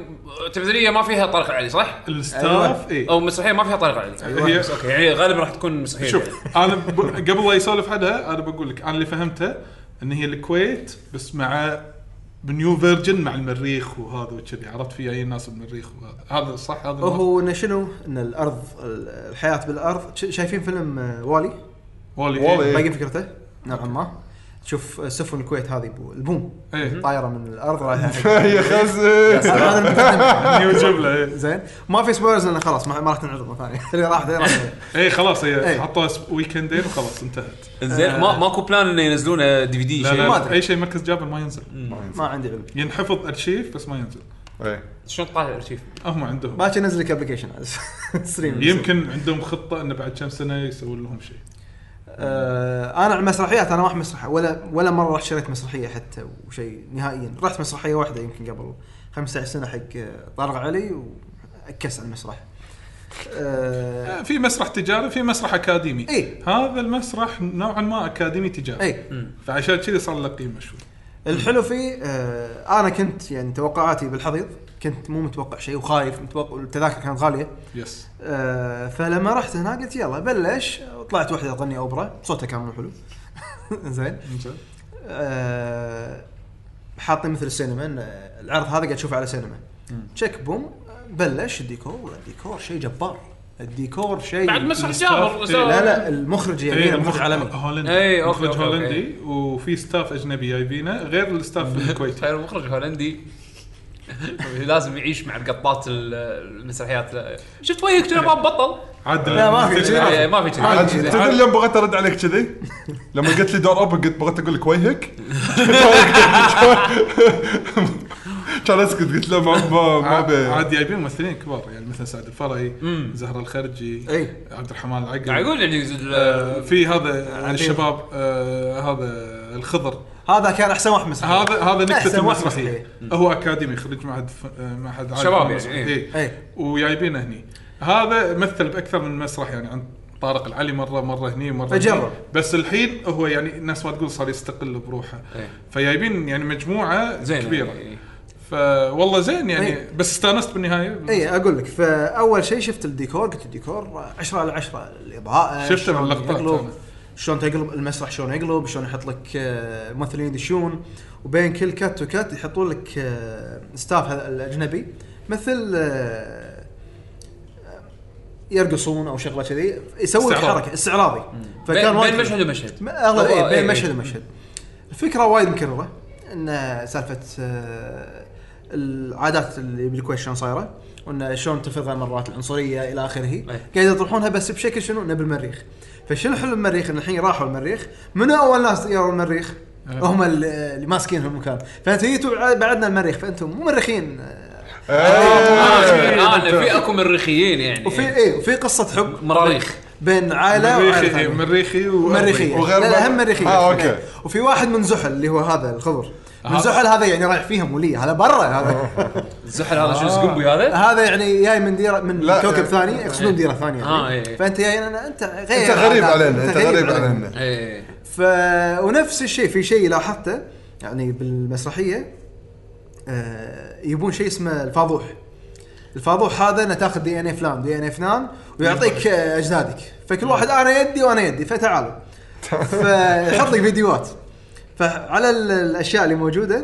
[SPEAKER 1] تلفزيونيه ما فيها طارق العلي صح؟
[SPEAKER 4] أيوة.
[SPEAKER 2] الستاف إيه. اي
[SPEAKER 1] او مسرحيه ما فيها طارق العلي
[SPEAKER 2] هي
[SPEAKER 1] بس اوكي يعني غالبا راح تكون مسرحيه يعني.
[SPEAKER 2] شوف انا ب... قبل لا يسولف حدا انا بقول لك انا اللي فهمته ان هي الكويت بس مع بنيو فيرجن مع المريخ وهذا وكذي عرفت في اي ناس بالمريخ وهذا هذا صح هذا الموضوع؟
[SPEAKER 4] هو انه شنو؟ ان الارض الحياه بالارض ش- شايفين فيلم آه، والي
[SPEAKER 2] والي
[SPEAKER 3] والي.
[SPEAKER 2] والي
[SPEAKER 4] باقي فكرته نوعا ما تشوف سفن الكويت هذه بو- البوم
[SPEAKER 2] ايه
[SPEAKER 4] طايره من الارض رايحه
[SPEAKER 3] يا خزي
[SPEAKER 4] هذا المتقدم.
[SPEAKER 2] نيو جبله ايه
[SPEAKER 4] زين ما في سبويلرز لانه خلاص ما ما راح تنعرض مره ثانيه اللي راح اللي راح
[SPEAKER 2] ايه خلاص
[SPEAKER 4] إيه.
[SPEAKER 2] ايه حطوها س- ويكندين إيه، وخلاص انتهت
[SPEAKER 1] زين ما ماكو بلان انه ينزلونه دي في دي
[SPEAKER 2] لا
[SPEAKER 1] شيء
[SPEAKER 4] ما
[SPEAKER 2] لا
[SPEAKER 4] أدري.
[SPEAKER 2] اي شيء مركز جابر ما ينزل
[SPEAKER 4] ما عندي علم
[SPEAKER 2] ينحفظ ارشيف بس ما ينزل
[SPEAKER 3] إيه.
[SPEAKER 1] شلون طالع الارشيف؟
[SPEAKER 2] هم عندهم
[SPEAKER 4] باكر انزل لك ابلكيشن ستريم
[SPEAKER 2] يمكن عندهم خطه انه بعد كم سنه يسوون لهم شيء
[SPEAKER 4] آه انا على المسرحيات انا ما اروح مسرحيه ولا ولا مره رحت شريت مسرحيه حتى وشيء نهائيا رحت مسرحيه واحده يمكن قبل 15 سنه حق آه، طارق علي وعكس على المسرح آه
[SPEAKER 2] آه، في مسرح تجاري في مسرح اكاديمي
[SPEAKER 4] إيه.
[SPEAKER 2] هذا المسرح نوعا ما اكاديمي تجاري
[SPEAKER 4] اي
[SPEAKER 2] فعشان كذي صار له قيمه شوي
[SPEAKER 4] إيه. الحلو فيه آه انا كنت يعني توقعاتي بالحضيض كنت مو متوقع شيء وخايف متوقع التذاكر كانت غاليه
[SPEAKER 2] يس
[SPEAKER 4] آه، فلما رحت هنا قلت يلا بلش طلعت واحده تغني اوبرا صوتها كان مو حلو زين
[SPEAKER 2] إنزين.
[SPEAKER 4] آه، حاطين مثل السينما إن العرض هذا قاعد تشوفه على سينما تشيك بوم بلش الديكور الديكور شيء جبار الديكور شيء
[SPEAKER 1] بعد مسرح
[SPEAKER 2] الستاف-
[SPEAKER 1] جابر
[SPEAKER 2] إيه.
[SPEAKER 1] سوى-
[SPEAKER 4] لا لا المخرج
[SPEAKER 2] إيه،
[SPEAKER 4] يعني المخرج عالمي
[SPEAKER 2] هولندي
[SPEAKER 1] إيه، أوكي،
[SPEAKER 2] مخرج
[SPEAKER 1] أوكي، أوكي.
[SPEAKER 2] هولندي وفي ستاف اجنبي جايبينه غير الستاف الكويتي
[SPEAKER 1] تخيل مخرج هولندي لازم يعيش مع القطات ال- المسرحيات شفت وجهك كذا ما بطل
[SPEAKER 2] عاد
[SPEAKER 4] لا، ما في شيء.
[SPEAKER 1] يعني ما في
[SPEAKER 3] عاد
[SPEAKER 1] كذي
[SPEAKER 3] تدري لما بغيت ارد عليك كذي؟ لما قلت لي دور اب قلت بغيت اقول لك وجهك كان اسكت قلت له ما ما ما
[SPEAKER 2] عاد-
[SPEAKER 3] بي
[SPEAKER 2] عاد جايبين ممثلين كبار يعني مثل سعد الفرعي زهره الخرجي
[SPEAKER 4] إيه.
[SPEAKER 2] عبد الرحمن العقل
[SPEAKER 1] قاعد اقول يعني
[SPEAKER 2] آه،
[SPEAKER 1] ال-
[SPEAKER 2] في هذا الشباب آه، هذا الخضر
[SPEAKER 4] هذا كان احسن واحد مسرحيه
[SPEAKER 2] هذا هذا نكته
[SPEAKER 4] أحسن واحد
[SPEAKER 2] المسرحيه هو اكاديمي خريج معهد ف- معهد عالي
[SPEAKER 1] شباب
[SPEAKER 2] في
[SPEAKER 1] يعني،
[SPEAKER 2] المسرح.
[SPEAKER 4] إيه.
[SPEAKER 2] إيه. وجايبينه هني هذا مثل باكثر من مسرح يعني عند طارق العلي مره مره هني مره هني.
[SPEAKER 4] فجرب.
[SPEAKER 2] بس الحين هو يعني الناس ما تقول صار يستقل بروحه
[SPEAKER 1] إيه.
[SPEAKER 2] فجايبين يعني مجموعه
[SPEAKER 1] زين
[SPEAKER 2] كبيره
[SPEAKER 1] يعني.
[SPEAKER 2] فوالله زين يعني
[SPEAKER 4] إيه.
[SPEAKER 2] بس استانست بالنهايه
[SPEAKER 4] اي اقول إيه، لك فاول شيء شفت الديكور قلت الديكور 10 على 10 الاضاءه
[SPEAKER 2] شفته
[SPEAKER 4] شلون
[SPEAKER 2] باللقطات
[SPEAKER 4] يقلب،
[SPEAKER 2] أنا.
[SPEAKER 4] شلون تقلب المسرح شلون يقلب شلون يحط لك آه، ممثلين يدشون وبين كل كات وكات يحطون لك آه، ستاف هذا الاجنبي مثل آه، يرقصون او شغله كذي يسوي لك
[SPEAKER 2] استعراض.
[SPEAKER 4] حركه استعراضي
[SPEAKER 1] بين
[SPEAKER 4] وايد
[SPEAKER 1] بين
[SPEAKER 4] حلو.
[SPEAKER 1] مشهد ومشهد
[SPEAKER 4] م- اغلب
[SPEAKER 1] هو-
[SPEAKER 4] إيه
[SPEAKER 1] إيه،
[SPEAKER 4] بين مشهد
[SPEAKER 1] إيه.
[SPEAKER 4] ومشهد الفكره وايد مكرره ان سالفه آه، العادات اللي بالكويت شلون صايره وان شلون تفرغ مرات العنصريه الى اخره قاعد يطرحونها بس بشكل شنو انه بالمريخ فشنو حلو المريخ ان الحين راحوا المريخ منو اول ناس يروا المريخ؟ هم اللي اللي ماسكين المكان فانت جيتوا بعد- بعدنا المريخ فانتم مو مريخين
[SPEAKER 3] إيه.
[SPEAKER 1] آه، أنا آه، في اكو مريخيين يعني
[SPEAKER 4] وفي ايه وفي قصه حب
[SPEAKER 1] مراريخ
[SPEAKER 4] بين عائله وعائلة
[SPEAKER 2] مريخي إيه،
[SPEAKER 4] ثانية.
[SPEAKER 2] مريخي وأرضي.
[SPEAKER 4] مريخيه
[SPEAKER 3] وغير
[SPEAKER 4] وغير لا,
[SPEAKER 3] مرة-
[SPEAKER 4] لا هم مريخيه
[SPEAKER 3] آه، أوكي.
[SPEAKER 4] إيه. وفي واحد من زحل اللي هو هذا الخضر من
[SPEAKER 2] آه.
[SPEAKER 4] زحل هذا يعني رايح فيها مولية هذا برا هذا
[SPEAKER 1] الزحل هذا شو زقنبي هذا؟
[SPEAKER 4] هذا يعني جاي من ديره من
[SPEAKER 3] لا،
[SPEAKER 4] كوكب
[SPEAKER 3] آه.
[SPEAKER 4] ثاني يقصدون ديره ثانيه
[SPEAKER 1] آه،
[SPEAKER 4] يعني.
[SPEAKER 1] إيه.
[SPEAKER 4] فانت جاي أنا- انت غير
[SPEAKER 3] انت غريب
[SPEAKER 4] هذا.
[SPEAKER 3] علينا انت غريب علينا
[SPEAKER 1] ايه
[SPEAKER 4] ف ونفس الشيء في شيء لاحظته يعني بالمسرحيه آه، يبون شيء اسمه الفاضوح الفاضوح هذا انه تاخذ دي ان اي فلان دي ان اي فلان ويعطيك آه، اجدادك فكل واحد انا يدي وانا يدي فتعالوا فيحط لك فيديوهات فعلى ال- الاشياء اللي موجوده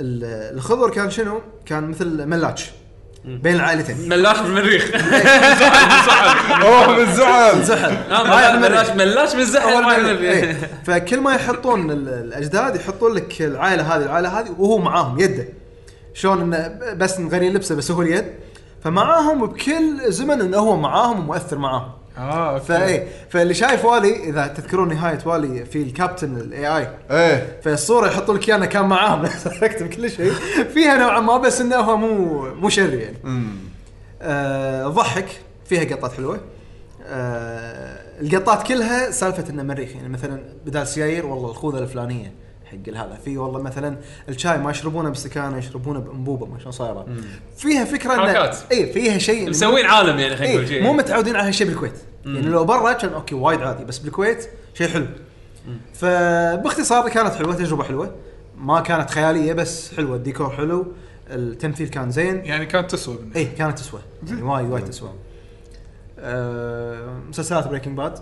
[SPEAKER 4] ال- الخضر كان شنو؟ كان مثل ملاج بين العائلتين
[SPEAKER 1] ملاش آه، بالمريخ
[SPEAKER 3] اوه من زعل
[SPEAKER 4] زحل
[SPEAKER 1] آه، ملاش ملاش بالزحل ما
[SPEAKER 4] إيه.
[SPEAKER 1] يعمل
[SPEAKER 4] فكل ما يحطون ال- الاجداد يحطون لك العائله هذه العائله هذه وهو معاهم يده شلون انه ب- بس مغيرين لبسه بس هو اليد فمعاهم بكل زمن انه هو معاهم ومؤثر معاهم
[SPEAKER 2] اه اوكي
[SPEAKER 4] فاي فاللي شايف والي اذا تذكرون نهايه والي في الكابتن الاي اي
[SPEAKER 3] ايه
[SPEAKER 4] فالصوره يحطوا لك اياها كان معاهم كتب كل شيء فيها نوعا ما بس انه هو مو مو شرير يعني آه، ضحك فيها قطات حلوه آه، القطات كلها سالفه انه مريخ يعني مثلا بدال سيايير والله الخوذه الفلانيه حق هذا في والله مثلا الشاي ما يشربونه بسكانه يشربونه بانبوبه ما شلون صايره فيها فكره
[SPEAKER 1] حركات.
[SPEAKER 4] اي فيها شيء إنه-
[SPEAKER 1] مسوين عالم يعني خلينا نقول
[SPEAKER 4] اي إيه. مو
[SPEAKER 1] شيء
[SPEAKER 4] متعودين على هالشيء بالكويت يعني لو برا كان اوكي وايد عادي بس بالكويت شيء حلو فباختصار كانت حلوه تجربه حلوه ما كانت خياليه بس حلوه الديكور حلو التمثيل كان زين
[SPEAKER 2] يعني كانت تسوى بالنسبة
[SPEAKER 4] اي كانت تسوى يعني وايد وايد تسوى آه، مسلسلات بريكنج باد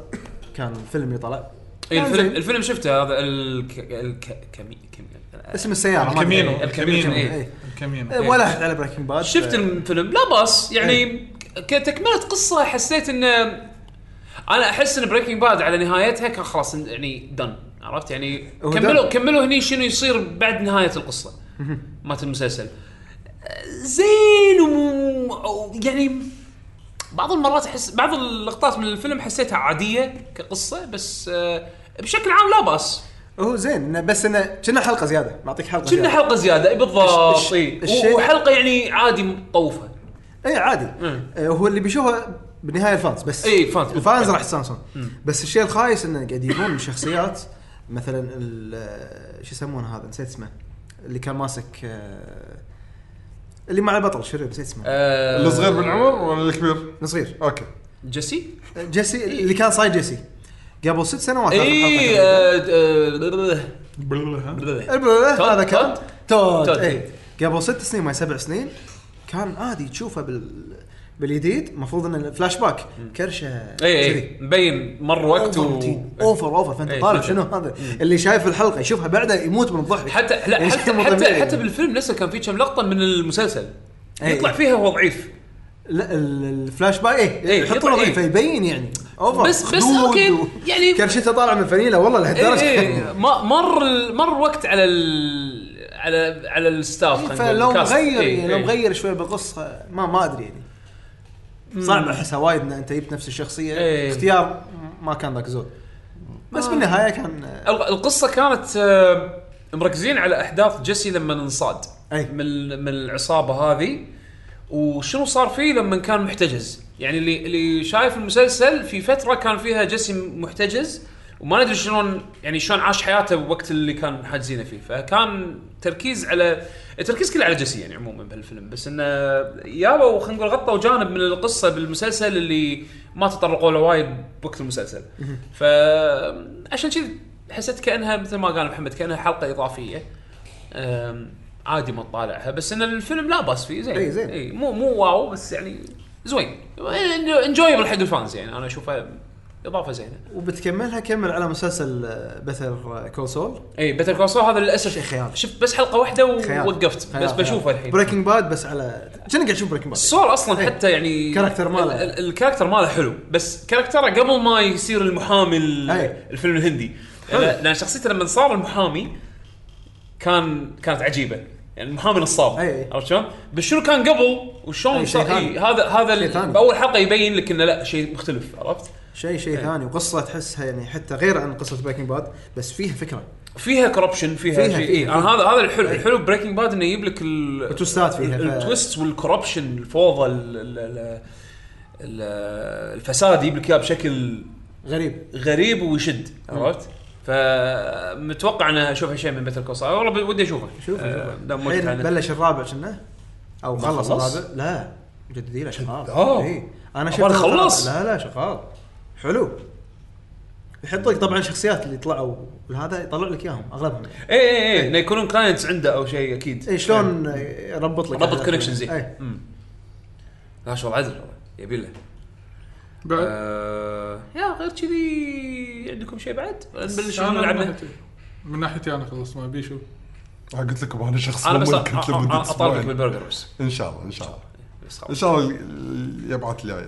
[SPEAKER 4] كان فيلم يطلع
[SPEAKER 1] إيه،
[SPEAKER 4] كان
[SPEAKER 1] الفيلم
[SPEAKER 4] زين.
[SPEAKER 1] الفيلم شفته هذا الك... الك... كمي... كمي...
[SPEAKER 4] اسم السياره ما أدري.
[SPEAKER 2] الكامينو
[SPEAKER 1] الكامينو،
[SPEAKER 2] الكامينو
[SPEAKER 1] إيه.
[SPEAKER 2] الكامينو
[SPEAKER 4] آه، ولا احد على بريكنج باد
[SPEAKER 1] شفت الفيلم لا باس يعني
[SPEAKER 4] إيه.
[SPEAKER 1] كتكمله قصه حسيت ان انا احس ان بريكنج باد على نهايتها كان خلاص يعني دن عرفت يعني
[SPEAKER 4] هو
[SPEAKER 1] كملوا
[SPEAKER 4] done.
[SPEAKER 1] كملوا هني شنو يصير بعد نهايه القصه مات المسلسل زين وم- أو يعني بعض المرات احس بعض اللقطات من الفيلم حسيتها عاديه كقصه بس آه، بشكل عام لا باس
[SPEAKER 4] هو زين إنه بس انه كنا حلقه زياده معطيك حلقه
[SPEAKER 1] كنا
[SPEAKER 4] زيادة.
[SPEAKER 1] حلقه زياده إي
[SPEAKER 4] الش-
[SPEAKER 1] بالضبط
[SPEAKER 4] الش-
[SPEAKER 1] إي.
[SPEAKER 4] الشيء-
[SPEAKER 1] و- وحلقه يعني عادي مطوفه
[SPEAKER 4] اي عادي
[SPEAKER 1] مم.
[SPEAKER 4] آه، هو اللي بيشوفه بالنهايه الفانز بس
[SPEAKER 1] إي، إيه. الفانز. إيه.
[SPEAKER 4] الفانز راح يستانسون بس الشيء الخايس انه قاعد يجيبون شخصيات مثلا ال- شو يسمونه هذا نسيت اسمه اللي كان ماسك آه، اللي مع البطل شو نسيت اسمه
[SPEAKER 1] آه،
[SPEAKER 3] الصغير بالعمر ولا الكبير؟
[SPEAKER 4] صغير
[SPEAKER 3] اوكي
[SPEAKER 1] جيسي
[SPEAKER 4] جيسي اللي كان صايد جيسي قبل ست سنوات آخر
[SPEAKER 1] اي
[SPEAKER 4] حلقة كانت.
[SPEAKER 1] آه،
[SPEAKER 4] البلولة
[SPEAKER 1] تود-
[SPEAKER 4] إيه، هذا كان
[SPEAKER 1] تود؟
[SPEAKER 4] تود
[SPEAKER 1] تود.
[SPEAKER 4] اي
[SPEAKER 1] إيه.
[SPEAKER 4] قبل ست سنين ما سبع سنين كان عادي تشوفه بال بالجديد المفروض انه الفلاش باك
[SPEAKER 1] إيه،
[SPEAKER 4] كرشه
[SPEAKER 1] اي مبين مر وقت و...
[SPEAKER 4] اوفر اوفر فانت
[SPEAKER 1] إيه،
[SPEAKER 4] طالع
[SPEAKER 1] فجأة.
[SPEAKER 4] شنو هذا اللي شايف الحلقه يشوفها بعدها يموت من الضحك
[SPEAKER 1] حتى لا
[SPEAKER 4] يعني
[SPEAKER 1] حتى
[SPEAKER 4] شيء مو
[SPEAKER 1] حتى,
[SPEAKER 4] طبيعي.
[SPEAKER 1] حتى بالفيلم نفسه كان في كم لقطه من المسلسل
[SPEAKER 4] إي.
[SPEAKER 1] يطلع فيها هو ضعيف
[SPEAKER 4] لا ال- الفلاش باك ايه
[SPEAKER 1] إيه،
[SPEAKER 4] يحطون
[SPEAKER 1] يطلع إيه.
[SPEAKER 4] إيه فيبين يعني اوفر
[SPEAKER 1] بس- بس
[SPEAKER 4] خدود
[SPEAKER 1] أوكي، إيه،
[SPEAKER 4] و-
[SPEAKER 1] يعني-
[SPEAKER 4] كرشته طالع من الفنيله والله لهالدرجه
[SPEAKER 1] إي، إي. ما مر مر وقت على ال... على على الستاف خلينا نقول،
[SPEAKER 4] إيه،
[SPEAKER 1] إيه،
[SPEAKER 4] فلو
[SPEAKER 1] الكاست.
[SPEAKER 4] مغير
[SPEAKER 1] إي،
[SPEAKER 4] يعني لو
[SPEAKER 1] إي.
[SPEAKER 4] مغير شوي بالقصه ما ما ادري يعني صعب احسها وايد ان انت جبت نفس الشخصيه
[SPEAKER 1] إيه. آه.
[SPEAKER 4] اختيار ما كان ذاك زود بس بالنهايه كان
[SPEAKER 1] الق- القصه كانت آه، مركزين على احداث جيسي لما انصاد
[SPEAKER 4] أي.
[SPEAKER 1] من من العصابه هذه وشنو صار فيه لما كان محتجز يعني اللي اللي شايف المسلسل في فتره كان فيها جيسي محتجز وما ندري شلون يعني شلون عاش حياته وقت اللي كان حاجزينه فيه فكان تركيز على التركيز كله على جيسي يعني عموما بهالفيلم بس انه يابا خلينا نقول غطوا جانب من القصه بالمسلسل اللي ما تطرقوا له وايد وقت المسلسل فعشان كذي حسيت كانها مثل ما قال محمد كانها حلقه اضافيه أم، عادي ما تطالعها بس ان الفيلم لا باس فيه زين
[SPEAKER 4] إي، زين.
[SPEAKER 1] اي مو مو واو بس يعني زوين انجويبل حق الفانز يعني انا اشوفها اضافه زينه
[SPEAKER 4] وبتكملها كمل على مسلسل آه، بثر كونسول
[SPEAKER 1] اي بيتر كونسول هذا للاسف
[SPEAKER 4] شيء خيال.
[SPEAKER 1] شفت بس حلقه واحده ووقفت بس بشوفه الحين
[SPEAKER 4] بريكنج باد بس على كنا قاعد نشوف بريكنج باد
[SPEAKER 1] الصور اصلا
[SPEAKER 4] إيه.
[SPEAKER 1] حتى يعني
[SPEAKER 4] كاركتر ماله.
[SPEAKER 1] ال- ال- الكاركتر ماله حلو بس كاركتره قبل ما يصير المحامي ال-
[SPEAKER 4] إيه.
[SPEAKER 1] الفيلم الهندي
[SPEAKER 4] حلو.
[SPEAKER 1] لأ- لان شخصيته لما صار المحامي كان كانت عجيبه يعني المحامي نصاب
[SPEAKER 4] إيه.
[SPEAKER 1] عرفت شلون؟ بس شنو كان قبل
[SPEAKER 4] إيه،
[SPEAKER 1] وشلون
[SPEAKER 4] شيء
[SPEAKER 1] صار
[SPEAKER 4] ثاني.
[SPEAKER 1] إيه هذا هذا
[SPEAKER 4] شيء
[SPEAKER 1] ال-
[SPEAKER 4] ثاني.
[SPEAKER 1] باول حلقه يبين لك انه لا شيء مختلف عرفت؟
[SPEAKER 4] شيء شيء
[SPEAKER 1] إيه.
[SPEAKER 4] ثاني وقصه تحسها يعني حتى غير عن قصه بريكنج باد بس فيها فكره
[SPEAKER 1] فيها كوربشن فيها,
[SPEAKER 4] فيها-
[SPEAKER 1] شيء
[SPEAKER 4] فيها.
[SPEAKER 1] إيه. انا هذا هذا الحلو الحلو بريكنج باد انه يجيب لك ال-
[SPEAKER 4] التويستات فيها، ف-
[SPEAKER 1] التويست والكوربشن الفوضى ال- ال- ال- ال- الفساد يجيب لك اياه بشكل
[SPEAKER 4] غريب
[SPEAKER 1] غريب ويشد عرفت؟ فمتوقع ان اشوف شيء من مثل كوسا والله ودي اشوفه
[SPEAKER 4] شوف
[SPEAKER 1] آه، لا مو
[SPEAKER 4] الحين
[SPEAKER 1] متحنك.
[SPEAKER 4] بلش الرابع كنا او
[SPEAKER 1] ما
[SPEAKER 4] خلص
[SPEAKER 1] خلص؟
[SPEAKER 4] الرابع لا مجددين له شغال إيه.
[SPEAKER 1] آه.
[SPEAKER 4] إي. انا
[SPEAKER 1] أبغى
[SPEAKER 4] شفت
[SPEAKER 1] نخلص.
[SPEAKER 4] لا لا شغال حلو يحط لك طبعا شخصيات اللي طلعوا هذا يطلع لك اياهم اغلبهم يعني.
[SPEAKER 1] اي اي اي انه إيه، يكونون كلاينتس عنده او شيء يعني، اكيد
[SPEAKER 4] اي إيه، شلون يربط لك
[SPEAKER 1] إيه.
[SPEAKER 4] إيه.
[SPEAKER 1] ربط كونكشن زين
[SPEAKER 4] إي.
[SPEAKER 1] أمم. لا شغل عدل والله، يبي له
[SPEAKER 2] بعد
[SPEAKER 1] آه، يا غير كذي عندكم شيء بعد؟ نبلش
[SPEAKER 2] أنا من
[SPEAKER 1] نلعب
[SPEAKER 2] ناحيتي- من ناحيتي انا خلصت ما ابي شو
[SPEAKER 3] أنا قلت لكم انا شخص
[SPEAKER 1] انا بس
[SPEAKER 3] ممل كنت لمدة
[SPEAKER 1] اطالبك
[SPEAKER 3] أسبوعين.
[SPEAKER 1] بالبرجر بس
[SPEAKER 3] ان شاء الله ان شاء الله
[SPEAKER 1] بس
[SPEAKER 3] ان
[SPEAKER 1] خلاص
[SPEAKER 3] شاء الله ال- يبعث لي يعني.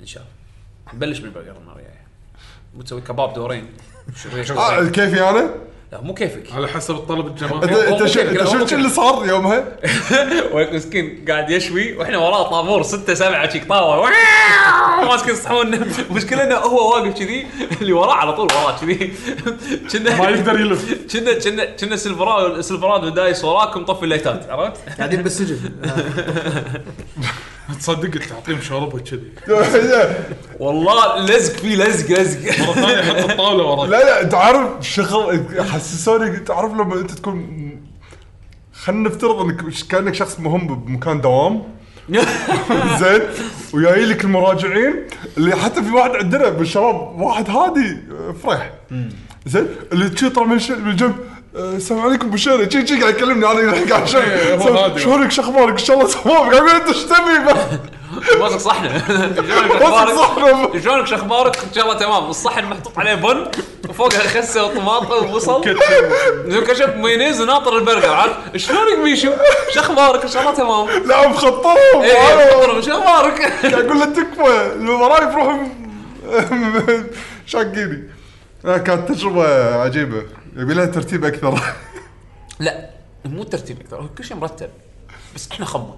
[SPEAKER 1] ان شاء الله نبلش بالبرجر المره الجايه وتسوي كباب دورين شريك
[SPEAKER 3] اه
[SPEAKER 1] دورين.
[SPEAKER 3] كيفي انا؟
[SPEAKER 1] لا مو كيفك
[SPEAKER 2] على حسب الطلب
[SPEAKER 3] انت
[SPEAKER 2] الجماهيري
[SPEAKER 1] هو
[SPEAKER 3] انت شو-
[SPEAKER 1] ممكن
[SPEAKER 3] انت
[SPEAKER 1] كده، هو
[SPEAKER 3] شفت شو اللي
[SPEAKER 1] ممكن.
[SPEAKER 3] صار يومها؟
[SPEAKER 1] وياك مسكين قاعد يشوي واحنا وراه طابور ستة سبعة شيك طاوله ماسكين الصحون المشكله انه هو واقف كذي اللي وراه على طول وراه كذي كنا
[SPEAKER 2] ما يقدر يلف
[SPEAKER 1] كنا كنا كنا سلفرادو سلفرادو دايس وراكم طفي الليتات عرفت؟
[SPEAKER 4] قاعدين بالسجن آه،
[SPEAKER 2] تصدق تعطيهم شوربه كذي
[SPEAKER 1] والله لزق فيه لزق لزق
[SPEAKER 2] مره ثانيه حط الطاوله ورا
[SPEAKER 3] لا لا تعرف شغل حسسوني تعرف لما انت تكون خلينا نفترض انك ش- كانك شخص مهم بمكان دوام زين وجاي لك المراجعين اللي حتى في واحد عندنا بالشباب واحد هادي آه، فرح زين اللي تشي طلع من ش- من الجنب آه، السلام عليكم بشير تشي تشي قاعد يكلمني انا قاعد
[SPEAKER 2] إيه، هو هادي.
[SPEAKER 3] شلونك شو اخبارك ان شاء الله تمام قاعد يقول انت ايش تبي
[SPEAKER 1] ماسك صحنه
[SPEAKER 2] إيه،
[SPEAKER 3] واثق صحنه.
[SPEAKER 1] شلونك شو اخبارك؟ ان شاء الله تمام الصحن محطوط عليه بن وفوقها خسه وطماطه وبصل كشف مايونيز وناطر البرجر عارف شلونك ميشو؟ شو اخبارك؟ ان شاء الله تمام
[SPEAKER 3] لا مخطرهم
[SPEAKER 2] إيه،
[SPEAKER 1] ايه
[SPEAKER 3] أنا-
[SPEAKER 1] شو اخبارك؟
[SPEAKER 3] قاعد اقول له تكفى اللي وراي بروحهم شاقيني آه، كانت تجربة عجيبة يبي لها ترتيب أكثر
[SPEAKER 1] لا مو ترتيب اكثر هو كل شيء مرتب بس احنا خمه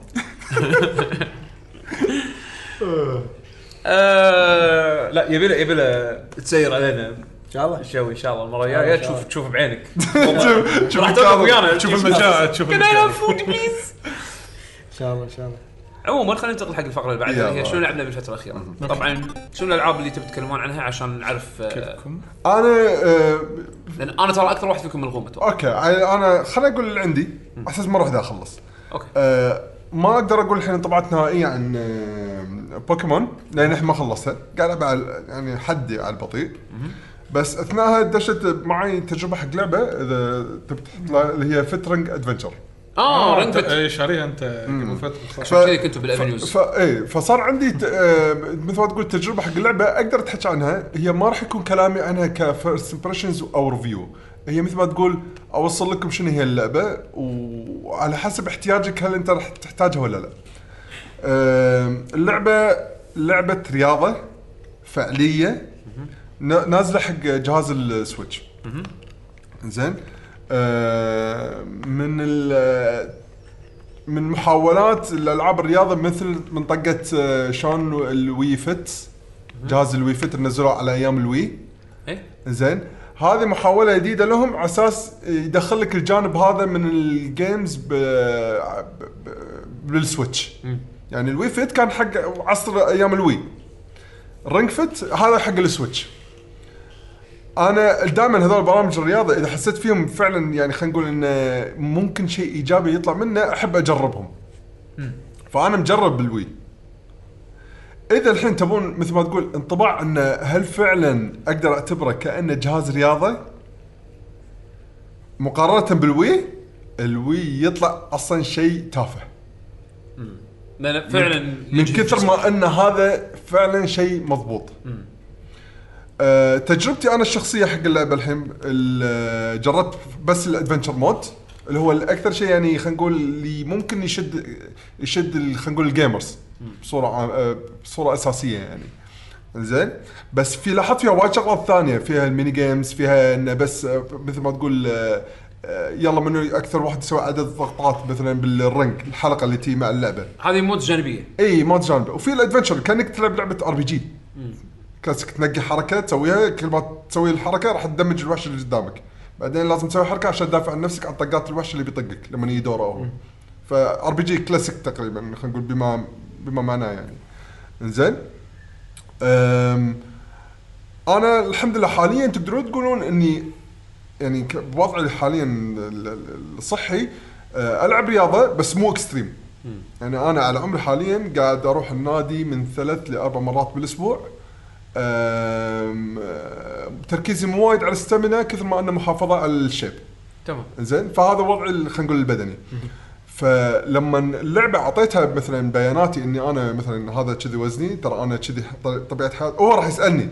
[SPEAKER 1] آه لا يبي له يبي له تسير علينا
[SPEAKER 4] ان شاء الله
[SPEAKER 1] شوي ان شاء الله المره الجايه تشوف تشوف بعينك
[SPEAKER 3] شوف- شوف
[SPEAKER 1] راح تقف ويانا
[SPEAKER 2] شوف المجاعه شوف
[SPEAKER 1] كان انا
[SPEAKER 2] المجاعة.
[SPEAKER 1] فود بليز
[SPEAKER 4] ان شء الله ان شاء الله
[SPEAKER 1] عموما خلينا ننتقل حق الفقره اللي بعدها اللي هي
[SPEAKER 3] يلا.
[SPEAKER 1] شنو لعبنا بالفتره الاخيره طبعا شنو الالعاب اللي تبي تتكلمون عنها عشان نعرف آه،
[SPEAKER 2] كيفكم؟
[SPEAKER 3] أنا آه،
[SPEAKER 1] لان انا ترى اكثر واحد فيكم ملغوم اتوقع
[SPEAKER 3] أوكي أنا- أنا خليني أقول اللي عندي على أساس ما أروح دا أخلص
[SPEAKER 1] اوكي
[SPEAKER 3] آه، ما اقدر اقول الحين طبعت نهائيه عن آه، بوكيمون لان احنا ما خلصتها قاعد ألعب على- يعني حدي على البطيء بس اثناءها دشت معي تجربه حق لعبه اذا تبي تحط لها- اللي هي فترنج ادفنتشر
[SPEAKER 1] اه رينج
[SPEAKER 2] انت
[SPEAKER 1] فيت
[SPEAKER 2] اي آه، إيه، شاريها انت قبل فتره صح؟
[SPEAKER 1] عشان كذا كنتوا بالافنيوز
[SPEAKER 3] آه، طيب. ف... ايه فصار عندي ت... آه، مثل ما تقول تجربه حق اللعبه اقدر اتحكى عنها هي ما راح يكون كلامي عنها كفيرست امبريشنز او ريفيو هي مثل ما تقول اوصل لكم شنو هي اللعبه وعلى حسب احتياجك هل انت راح تحتاجها ولا لا. آم، اللعبه لعبه رياضه فعليه نا- نازله حق جهاز السويتش. زين آه، من ال- من محاولات الالعاب الرياضه مثل منطقه آه، شلون الوي فت جهاز الوي فت اللي نزلوه على ايام الوي
[SPEAKER 1] إيه؟
[SPEAKER 3] زين هذه محاوله جديده لهم على اساس يدخل لك الجانب هذا من الجيمز ب... ب... ب- بالسويتش يعني الوي فت كان حق عصر ايام الوي رينج فت هذا حق السويتش انا دائما هذول برامج الرياضه اذا حسيت فيهم فعلا يعني خلينا نقول انه ممكن شيء ايجابي يطلع منه احب اجربهم فانا مجرب بالوي اذا الحين تبون مثل ما تقول انطباع انه هل فعلا اقدر اعتبره كانه جهاز رياضه مقارنه بالوي الوي يطلع اصلا شيء تافه
[SPEAKER 1] لان فعلا
[SPEAKER 3] من كثر ما ان هذا فعلا شيء مضبوط أه تجربتي انا الشخصيه حق اللعبه الحين ال- آه، جربت بس الادفنتشر مود اللي هو الاكثر شيء يعني خلينا نقول اللي ممكن يشد يشد ال- خلينا نقول الجيمرز بصوره عام- آه، بصوره اساسيه يعني زين بس في لاحظت فيها وايد شغلات ثانيه فيها الميني جيمز فيها انه بس آه، مثل ما تقول آه، آه، يلا منو اكثر واحد يسوي عدد ضغطات مثلا بالرنك الحلقه اللي تي مع اللعبه
[SPEAKER 1] هذه مود جانبيه
[SPEAKER 3] اي مود جانبه وفي الادفنشر كانك تلعب لعبه ار بي جي كلاسيك تنقي حركه تسويها كل ما تسوي الحركه راح تدمج الوحش اللي قدامك بعدين لازم تسوي حركه عشان تدافع عن نفسك عن طقات الوحش اللي بيطقك لما يجي دوره هو فار بي جي كلاسيك تقريبا خلينا نقول بما بما معناه يعني زين انا الحمد لله حاليا تقدرون تقولون اني يعني ك- بوضعي حاليا ال- ال- الصحي آه، العب رياضه بس مو اكستريم يعني انا على عمري حاليا قاعد اروح النادي من ثلاث لاربع مرات بالاسبوع آم، آه، تركيزي مو وايد على الستامينا كثر ما انه محافظه على الشيب
[SPEAKER 1] تمام
[SPEAKER 3] زين فهذا وضع ال- خلينا نقول البدني فلما اللعبه اعطيتها مثلا بياناتي اني انا مثلا هذا كذي وزني ترى انا كذي ح- طبيعه حياتي هو راح يسالني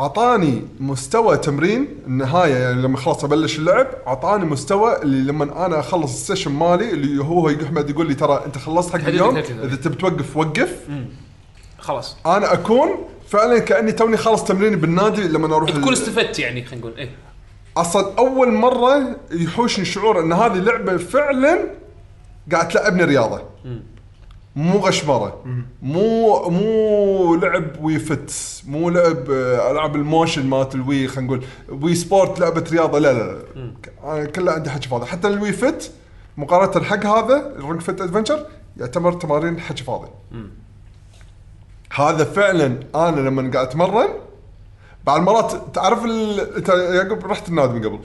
[SPEAKER 3] اعطاني مستوى تمرين النهايه يعني لما خلاص ابلش اللعب اعطاني مستوى اللي لما انا اخلص السيشن مالي اللي هو احمد يقول لي ترى انت خلصت حق
[SPEAKER 1] تحدد
[SPEAKER 3] اليوم
[SPEAKER 1] لك كذا.
[SPEAKER 3] اذا تبي توقف وقف
[SPEAKER 1] خلاص
[SPEAKER 3] انا اكون فعلا كاني توني خلص تمريني بالنادي لما اروح
[SPEAKER 1] تكون
[SPEAKER 3] ال-
[SPEAKER 1] استفدت يعني خلينا نقول ايه
[SPEAKER 3] اصلا اول مره يحوشني شعور ان هذه لعبه فعلا قاعد تلعبني رياضه مو غشمره مو مو لعب وي فت مو لعب آه، العاب الموشن مالت الوي خلينا نقول وي سبورت لعبه رياضه لا لا لا أنا كله عندي حكي فاضي حتى الوي فت مقارنه حق هذا الرينج فت ادفنشر يعتبر تمارين حكي فاضي هذا فعلا انا لما قاعد اتمرن بعد مرات تعرف ال... انت يعقوب رحت النادي من قبل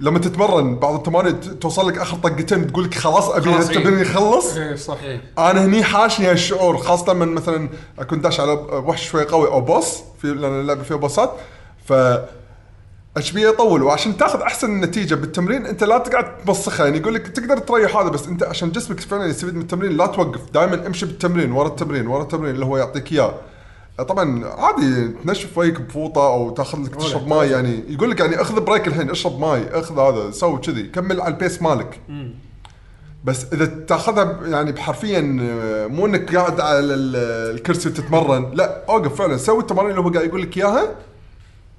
[SPEAKER 3] لما تتمرن بعض التمارين ت- توصل لك اخر طقتين تقول لك خلاص ابي
[SPEAKER 1] خلاص، إيه.
[SPEAKER 3] التمرين يخلص
[SPEAKER 2] ايه صح
[SPEAKER 1] ايه
[SPEAKER 3] انا هني حاشني هالشعور خاصه من مثلا اكون داش على وحش شوي قوي او بوس في لان اللعبه فيها بوسات ف اشبيه يطول وعشان تاخذ احسن نتيجه بالتمرين انت لا تقعد تمسخها يعني يقول لك تقدر تريح هذا بس انت عشان جسمك فعلا يستفيد من التمرين لا توقف دائما امشي بالتمرين ورا التمرين ورا التمرين اللي هو يعطيك اياه طبعا عادي تنشف وجهك بفوطه او تاخذ لك تشرب ماي يعني يقول لك يعني اخذ بريك الحين اشرب ماي اخذ هذا سوي كذي كمل على البيس مالك بس اذا تاخذها ب- يعني بحرفيا آه، مو انك قاعد على ال- الكرسي وتتمرن لا اوقف فعلا سوي التمارين اللي هو قاعد يقول لك اياها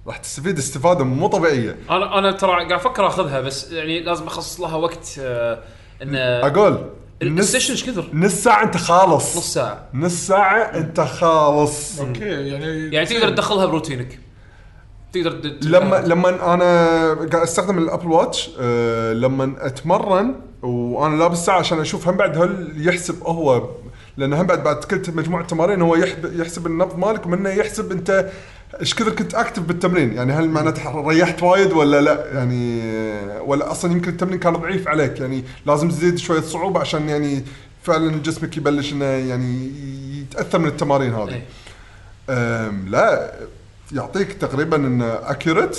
[SPEAKER 3] راح تستفيد استفاده مو طبيعيه
[SPEAKER 1] انا انا ترى قاعد افكر اخذها بس يعني لازم اخصص لها وقت آه ان
[SPEAKER 3] اقول
[SPEAKER 1] السيشن
[SPEAKER 3] نص
[SPEAKER 1] ايش كثر؟
[SPEAKER 3] نص ساعه انت خالص
[SPEAKER 1] نص ساعه
[SPEAKER 3] نص ساعه انت خالص
[SPEAKER 2] اوكي يعني
[SPEAKER 1] يعني تقدر تدخلها بروتينك تقدر تد-
[SPEAKER 3] لما لما انا قاعد استخدم الابل واتش آه، لما اتمرن وانا لابس ساعه عشان اشوف هم بعد هل يحسب هو لان هم بعد بعد كل مجموعه تمارين هو يحب يحسب النبض مالك ومنه يحسب انت ايش كثر كنت اكتف بالتمرين يعني هل معناته ريحت وايد ولا لا يعني آه، ولا اصلا يمكن التمرين كان ضعيف عليك يعني لازم تزيد شويه صعوبه عشان يعني فعلا جسمك يبلش انه يعني يتاثر من التمارين هذه
[SPEAKER 1] إيه.
[SPEAKER 3] أم، لا يعطيك تقريبا ان اكيوريت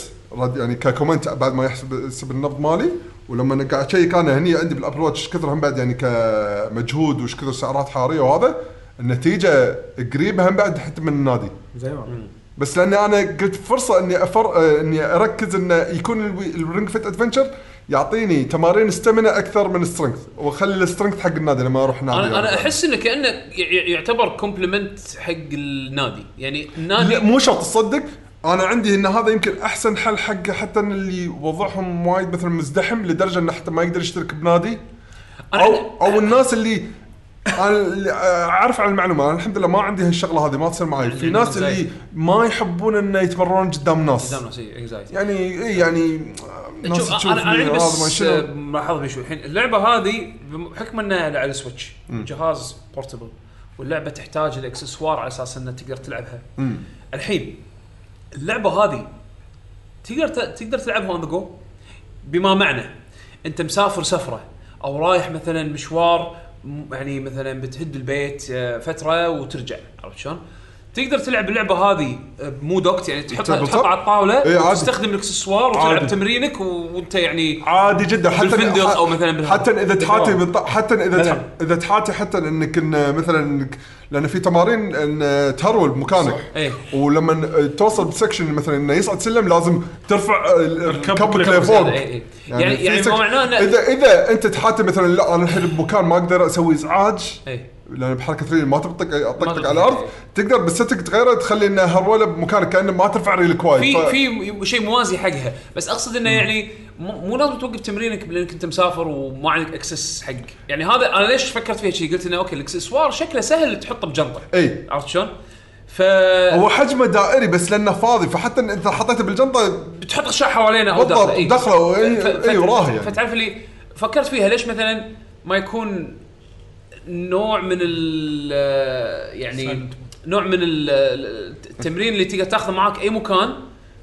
[SPEAKER 3] يعني ككومنت بعد ما يحسب يحسب النبض مالي ولما أنا قاعد اشيك انا هني عندي بالابل واتش ايش كثر هم بعد يعني كمجهود وايش كثر سعرات حراريه وهذا النتيجه قريبه هم بعد حتى من النادي
[SPEAKER 4] زي ما
[SPEAKER 3] بس لاني انا قلت فرصه اني افر آه، اني اركز انه يكون الوي- الرينج فيت ادفنشر يعطيني تمارين استمنة اكثر من سترينث واخلي السترينث حق النادي لما اروح النادي
[SPEAKER 1] انا انا
[SPEAKER 3] يعني.
[SPEAKER 1] احس انه كانه ي- يعتبر كومبلمنت حق النادي يعني النادي
[SPEAKER 3] لا مو شرط تصدق انا عندي ان هذا يمكن احسن حل حق حتى إن اللي وضعهم وايد مثلا مزدحم لدرجه انه حتى ما يقدر يشترك بنادي
[SPEAKER 1] أنا-
[SPEAKER 3] او او الناس اللي انا اللي اعرف عن المعلومه انا الحمد لله ما عندي هالشغله هذه ما تصير معي
[SPEAKER 1] يعني
[SPEAKER 3] في ناس اللي ما يحبون انه يتمرون قدام ناس
[SPEAKER 1] قدام ناس انكزايتي
[SPEAKER 3] يعني إيه يعني ناس
[SPEAKER 1] شوف انا انا عندي
[SPEAKER 3] هذا ما
[SPEAKER 1] بس
[SPEAKER 3] شنو.
[SPEAKER 1] آه، ملاحظه بشو الحين اللعبه هذه بحكم انها على السويتش جهاز بورتبل واللعبه تحتاج الاكسسوار على اساس انها تقدر تلعبها
[SPEAKER 3] مم.
[SPEAKER 1] الحين اللعبه هذه تقدر ت- تقدر تلعبها اون ذا جو بما معنى انت مسافر سفره او رايح مثلا مشوار م- يعني مثلا بتهد البيت آه، فتره وترجع عرفت شلون؟ تقدر تلعب اللعبه هذه آه، بمود وقت يعني تحطها
[SPEAKER 3] بالتابل
[SPEAKER 1] تحطها
[SPEAKER 3] توب؟
[SPEAKER 1] على الطاوله
[SPEAKER 3] إيه، عادي.
[SPEAKER 1] وتستخدم الاكسسوار وتلعب
[SPEAKER 3] عادي.
[SPEAKER 1] تمرينك و- وانت يعني
[SPEAKER 3] عادي جدا حتى
[SPEAKER 1] بالفندق أو مثلاً بال-
[SPEAKER 3] حتى اذا تحاتي
[SPEAKER 1] بالدوام.
[SPEAKER 3] بالط... حتى اذا
[SPEAKER 1] مثلاً.
[SPEAKER 3] تح... اذا تحاتي حتى انك إن مثلا إنك- لان في تمارين ان تهرول بمكانك
[SPEAKER 1] إيه.
[SPEAKER 3] ولما توصل بسكشن مثلا انه يصعد سلم لازم ترفع ركبك
[SPEAKER 2] ركبك
[SPEAKER 3] لفوق
[SPEAKER 1] إيه، إيه. يعني
[SPEAKER 3] في
[SPEAKER 1] يعني
[SPEAKER 3] سكشن-
[SPEAKER 1] ما معناه انه
[SPEAKER 3] اذا اذا انت تحاتي مثلا لا انا الحين بمكان ما اقدر اسوي ازعاج
[SPEAKER 1] إيه.
[SPEAKER 3] لان بحركه رجلي ما تبطق
[SPEAKER 1] تبطق،
[SPEAKER 3] اطقطق على الارض
[SPEAKER 1] إيه.
[SPEAKER 3] تقدر بالستك تغيره تخلي انه هروله بمكانك كانه ما ترفع رجلك وايد طيب.
[SPEAKER 1] في
[SPEAKER 3] ف-
[SPEAKER 1] في م- شيء موازي حقها بس اقصد انه يعني مو مو لازم توقف تمرينك لانك انت مسافر وما عندك اكسس حق يعني هذا انا ليش فكرت فيها شيء قلت انه اوكي الاكسسوار شكله سهل تحطه بجنطه
[SPEAKER 3] إي.
[SPEAKER 1] عرفت شلون؟ ف
[SPEAKER 3] هو حجمه دائري بس لانه فاضي فحتى إن انت حطيته بالجنطه
[SPEAKER 1] بتحط اشياء حوالينا او
[SPEAKER 3] بالضبط،
[SPEAKER 1] إي.
[SPEAKER 3] دخلة و- إي-
[SPEAKER 1] ف- ف-
[SPEAKER 3] إي، وراه يعني.
[SPEAKER 1] فتعرف اللي فكرت فيها ليش مثلا ما يكون نوع من ال يعني نوع من ال- التمرين اللي تقدر تاخذه معاك اي مكان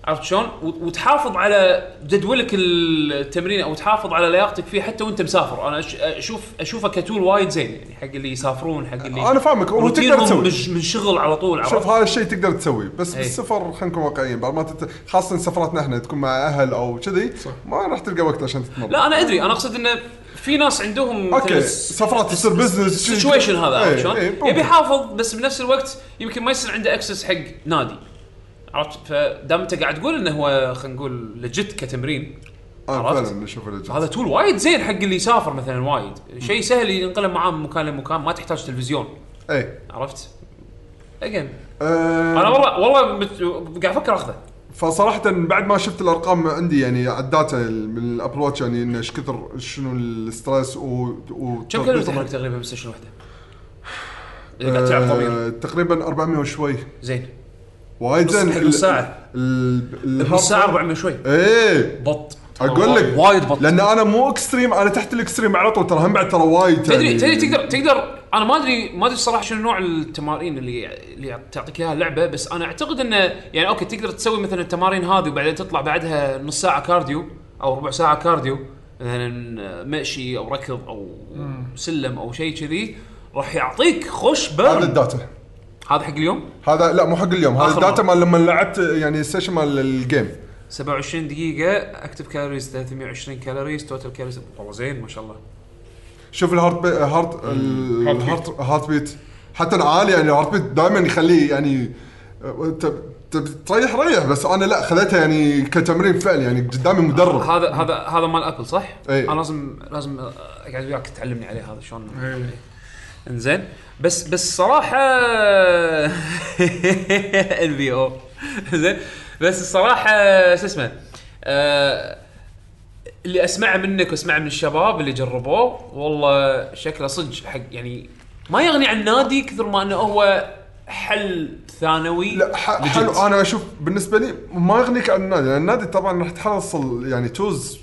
[SPEAKER 1] عرفت شلون؟ و- وتحافظ على جدولك التمرين او تحافظ على لياقتك فيه حتى وانت مسافر، انا أش- اشوف اشوفه كتول وايد زين يعني حق اللي يسافرون حق اللي
[SPEAKER 3] أنا فاهمك، هو تقدر
[SPEAKER 1] روتينهم
[SPEAKER 3] تسوي.
[SPEAKER 1] مش- من شغل على طول عرفت؟
[SPEAKER 3] شوف هذا الشيء تقدر تسويه بس
[SPEAKER 1] إيه.
[SPEAKER 3] بالسفر خلينا نكون واقعيين بعد ما تت... خاصه سفراتنا احنا تكون مع اهل او كذي ما راح تلقى وقت عشان تتمرن
[SPEAKER 1] لا انا ادري انا اقصد انه في ناس عندهم
[SPEAKER 3] اوكي سفرات تصير بزنس شيء-
[SPEAKER 1] سيتويشن هذا
[SPEAKER 3] إيه،
[SPEAKER 1] عرفت شلون؟
[SPEAKER 3] إيه،
[SPEAKER 1] يبي
[SPEAKER 3] ممكن.
[SPEAKER 1] يحافظ بس بنفس الوقت يمكن ما يصير عنده اكسس حق نادي عرفت فدام انت قاعد تقول انه هو خلينا نقول لجت كتمرين
[SPEAKER 3] اه
[SPEAKER 1] عرفت؟
[SPEAKER 3] فعلا نشوف
[SPEAKER 1] هذا
[SPEAKER 3] الرجال
[SPEAKER 1] تول وايد زين حق اللي يسافر مثلا وايد شيء سهل ينقلب معاه من مكان لمكان ما تحتاج تلفزيون
[SPEAKER 3] اي
[SPEAKER 1] عرفت؟ اجين
[SPEAKER 3] إيه، آه،
[SPEAKER 1] انا والله والله مت- قاعد افكر اخذه
[SPEAKER 3] فصراحة بعد ما شفت الارقام عندي يعني عداته من الابل واتش يعني انه ايش كثر شنو الستريس و, و...
[SPEAKER 1] كم كلمة
[SPEAKER 3] يعني.
[SPEAKER 1] حق تقريبا بلاي ستيشن واحدة؟ اذا قاعد تلعب طويل
[SPEAKER 3] آه، تقريبا 400 وشوي
[SPEAKER 1] زين
[SPEAKER 3] وايد
[SPEAKER 1] نص-
[SPEAKER 3] زين
[SPEAKER 1] نص ساعة. نص ساعة 400 شوي
[SPEAKER 3] ايه
[SPEAKER 1] بط
[SPEAKER 3] اقول لك
[SPEAKER 1] وايد بط
[SPEAKER 3] لان انا مو اكستريم انا تحت الاكستريم على طول ترى هم بعد ترى وايد
[SPEAKER 1] تدري
[SPEAKER 3] يعني-
[SPEAKER 1] تدري تقدر تقدر انا ما ادري ما ادري الصراحه شنو نوع التمارين اللي اللي تعطيك اياها اللعبه بس انا اعتقد انه يعني اوكي تقدر تسوي مثلا التمارين هذه وبعدين تطلع بعدها نص ساعه كارديو او ربع ساعه كارديو مثلا مشي او ركض او سلم او شيء كذي راح يعطيك خوش
[SPEAKER 3] هذا
[SPEAKER 1] بيرن
[SPEAKER 3] الداتا
[SPEAKER 1] هذا حق اليوم
[SPEAKER 3] هذا لا مو حق اليوم هذا
[SPEAKER 1] آخر
[SPEAKER 3] الداتا
[SPEAKER 1] مرة.
[SPEAKER 3] مال لما لعبت يعني السيشن مال الجيم
[SPEAKER 1] 27 دقيقة اكتف كالوريز 320 كالوريز توتال كالوريز والله زين ما شاء الله
[SPEAKER 3] شوف الهارت بي هارت الهارت هارت بيت حتى أنا عالي يعني الهارت بيت دائما يخليه يعني أه، تب- تب- تريح ريح بس انا لا خذيتها يعني كتمرين فعل يعني قدامي مدرب
[SPEAKER 1] هذا هذا هذا مال ابل صح؟
[SPEAKER 3] إي.
[SPEAKER 1] انا لازم لازم اقعد وياك تعلمني عليه هذا شلون
[SPEAKER 2] إي.
[SPEAKER 1] انزين بس بس صراحة ال بي او زين بس الصراحة شو اسمه آه، اللي اسمعه منك واسمعه من الشباب اللي جربوه والله شكله صدق حق يعني ما يغني عن نادي كثر ما انه هو حل ثانوي
[SPEAKER 3] لا ح-
[SPEAKER 1] legit.
[SPEAKER 3] حلو انا اشوف بالنسبه لي ما يغنيك عن النادي لان يعني النادي طبعا راح تحصل يعني تشوز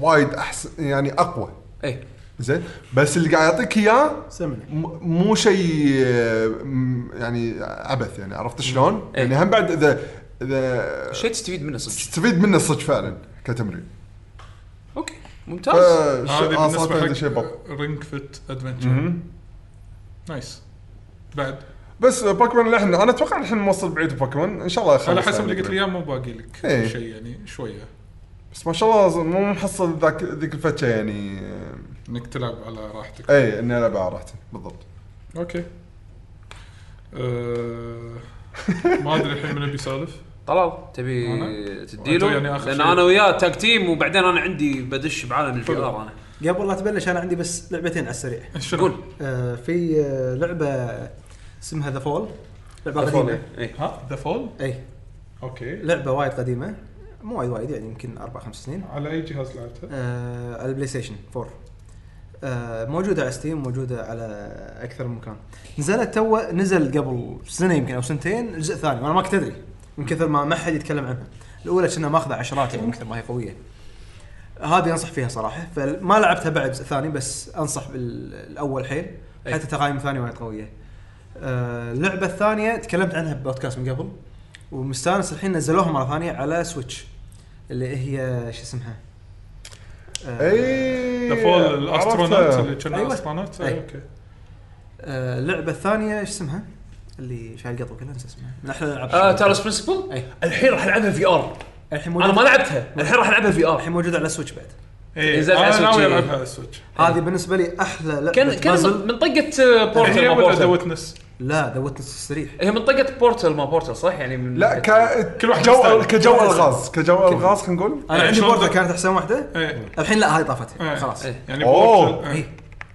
[SPEAKER 3] وايد احسن يعني اقوى
[SPEAKER 1] ايه
[SPEAKER 3] زين بس اللي قاعد يعطيك اياه
[SPEAKER 4] سمنه
[SPEAKER 3] م- مو شيء آه، م- يعني عبث يعني عرفت شلون؟
[SPEAKER 1] إيه.
[SPEAKER 3] يعني هم بعد اذا اذا
[SPEAKER 1] شيء تستفيد منه صدق
[SPEAKER 3] تستفيد منه صدق فعلا كتمرين
[SPEAKER 1] اوكي ممتاز
[SPEAKER 3] فش-
[SPEAKER 2] هذا
[SPEAKER 3] آه، صراحة
[SPEAKER 2] بالنسبه
[SPEAKER 3] عندي شيء بط
[SPEAKER 2] حق رينج فيت ادفنتشر نايس بعد
[SPEAKER 3] بس آه، بوكيمون الحين انا اتوقع الحين موصل بعيد بوكيمون ان شاء الله يخلص
[SPEAKER 2] على حسب
[SPEAKER 3] يعني
[SPEAKER 2] اللي قلت لي
[SPEAKER 3] قريب.
[SPEAKER 2] اياه مو باقي لك
[SPEAKER 3] إيه.
[SPEAKER 2] شيء يعني شويه
[SPEAKER 3] بس ما شاء الله ز- مو محصل ذاك ذيك الفتشه يعني آه،
[SPEAKER 2] انك تلعب على راحتك
[SPEAKER 3] اي اني العب على راحتي بالضبط
[SPEAKER 2] اوكي أه... ما ادري الحين من بيسالف
[SPEAKER 1] طلال تبي
[SPEAKER 2] أنا؟
[SPEAKER 1] تديله
[SPEAKER 2] وأنت يعني آخر
[SPEAKER 1] لان
[SPEAKER 2] شيء.
[SPEAKER 1] انا وياه تاج تيم وبعدين انا عندي بدش بعالم الفي ار انا
[SPEAKER 4] قبل لا تبلش انا عندي بس لعبتين على السريع
[SPEAKER 2] شنو؟
[SPEAKER 1] قول
[SPEAKER 4] آه، في آه، لعبه اسمها ذا فول لعبه قديمه
[SPEAKER 1] ايه
[SPEAKER 2] ها ذا فول
[SPEAKER 4] اي
[SPEAKER 2] اوكي
[SPEAKER 4] لعبه وايد قديمه مو وايد وايد يعني يمكن اربع خمس سنين
[SPEAKER 2] على اي جهاز لعبتها؟
[SPEAKER 4] آه، على البلاي ستيشن 4 آه، موجوده على ستيم موجوده على اكثر من مكان نزلت تو نزل قبل سنه يمكن او سنتين الجزء الثاني وانا ما كنت ادري من كثر ما ما حد يتكلم عنها الاولى كنا ماخذه عشرات يعني من كثر ما هي قويه هذه انصح فيها صراحه فما لعبتها بعد الجزء الثاني بس انصح بالاول حيل
[SPEAKER 1] أي.
[SPEAKER 4] حتى تقايم ثانيه وايد قويه آه، اللعبه الثانيه تكلمت عنها ببودكاست من قبل ومستانس الحين نزلوها مره ثانيه على سويتش اللي هي شو اسمها؟ آه،
[SPEAKER 3] اي
[SPEAKER 2] ذا فول الاسترونوت
[SPEAKER 3] عرفتها.
[SPEAKER 2] اللي كان
[SPEAKER 4] أيوة.
[SPEAKER 2] استرونوت
[SPEAKER 4] أي.
[SPEAKER 2] اوكي
[SPEAKER 4] آه، اللعبه الثانيه شو اسمها؟ اللي شايل قطو كله نسى اسمها من احلى الالعاب
[SPEAKER 1] آه تارس برنسبل
[SPEAKER 4] إيه.
[SPEAKER 1] الحين راح العبها في ار
[SPEAKER 4] الحين
[SPEAKER 1] انا
[SPEAKER 4] موجوده
[SPEAKER 1] ما لعبتها الحين راح العبها في
[SPEAKER 4] الحين
[SPEAKER 1] ار
[SPEAKER 4] موجوده على سويتش بعد
[SPEAKER 2] اي
[SPEAKER 1] نزلت على
[SPEAKER 2] انا إيه، ناوي
[SPEAKER 1] سويتش.
[SPEAKER 2] العبها على السويتش
[SPEAKER 4] هذه بالنسبه لي احلى لعبه
[SPEAKER 1] كان كان من-
[SPEAKER 4] بازل
[SPEAKER 1] من طقه بورتل
[SPEAKER 2] هي
[SPEAKER 1] ما
[SPEAKER 2] ولا
[SPEAKER 1] بورتل
[SPEAKER 2] ذا ويتنس
[SPEAKER 4] لا ذا ويتنس الصريح
[SPEAKER 1] هي من طقه بورتل ما بورتل صح يعني من
[SPEAKER 3] لا ك
[SPEAKER 2] كل واحد
[SPEAKER 3] جو
[SPEAKER 2] يستاهل.
[SPEAKER 3] كجو الغاز كجو الغاز خلينا نقول
[SPEAKER 4] انا
[SPEAKER 2] إيه،
[SPEAKER 4] عندي
[SPEAKER 2] شلون
[SPEAKER 4] بورتل
[SPEAKER 2] ذا-
[SPEAKER 4] كانت احسن واحده
[SPEAKER 2] اي
[SPEAKER 4] الحين لا هاي طافت
[SPEAKER 2] إيه.
[SPEAKER 4] خلاص
[SPEAKER 1] إيه.
[SPEAKER 2] يعني
[SPEAKER 3] أوه.
[SPEAKER 2] بورتل
[SPEAKER 4] اي
[SPEAKER 2] إيه.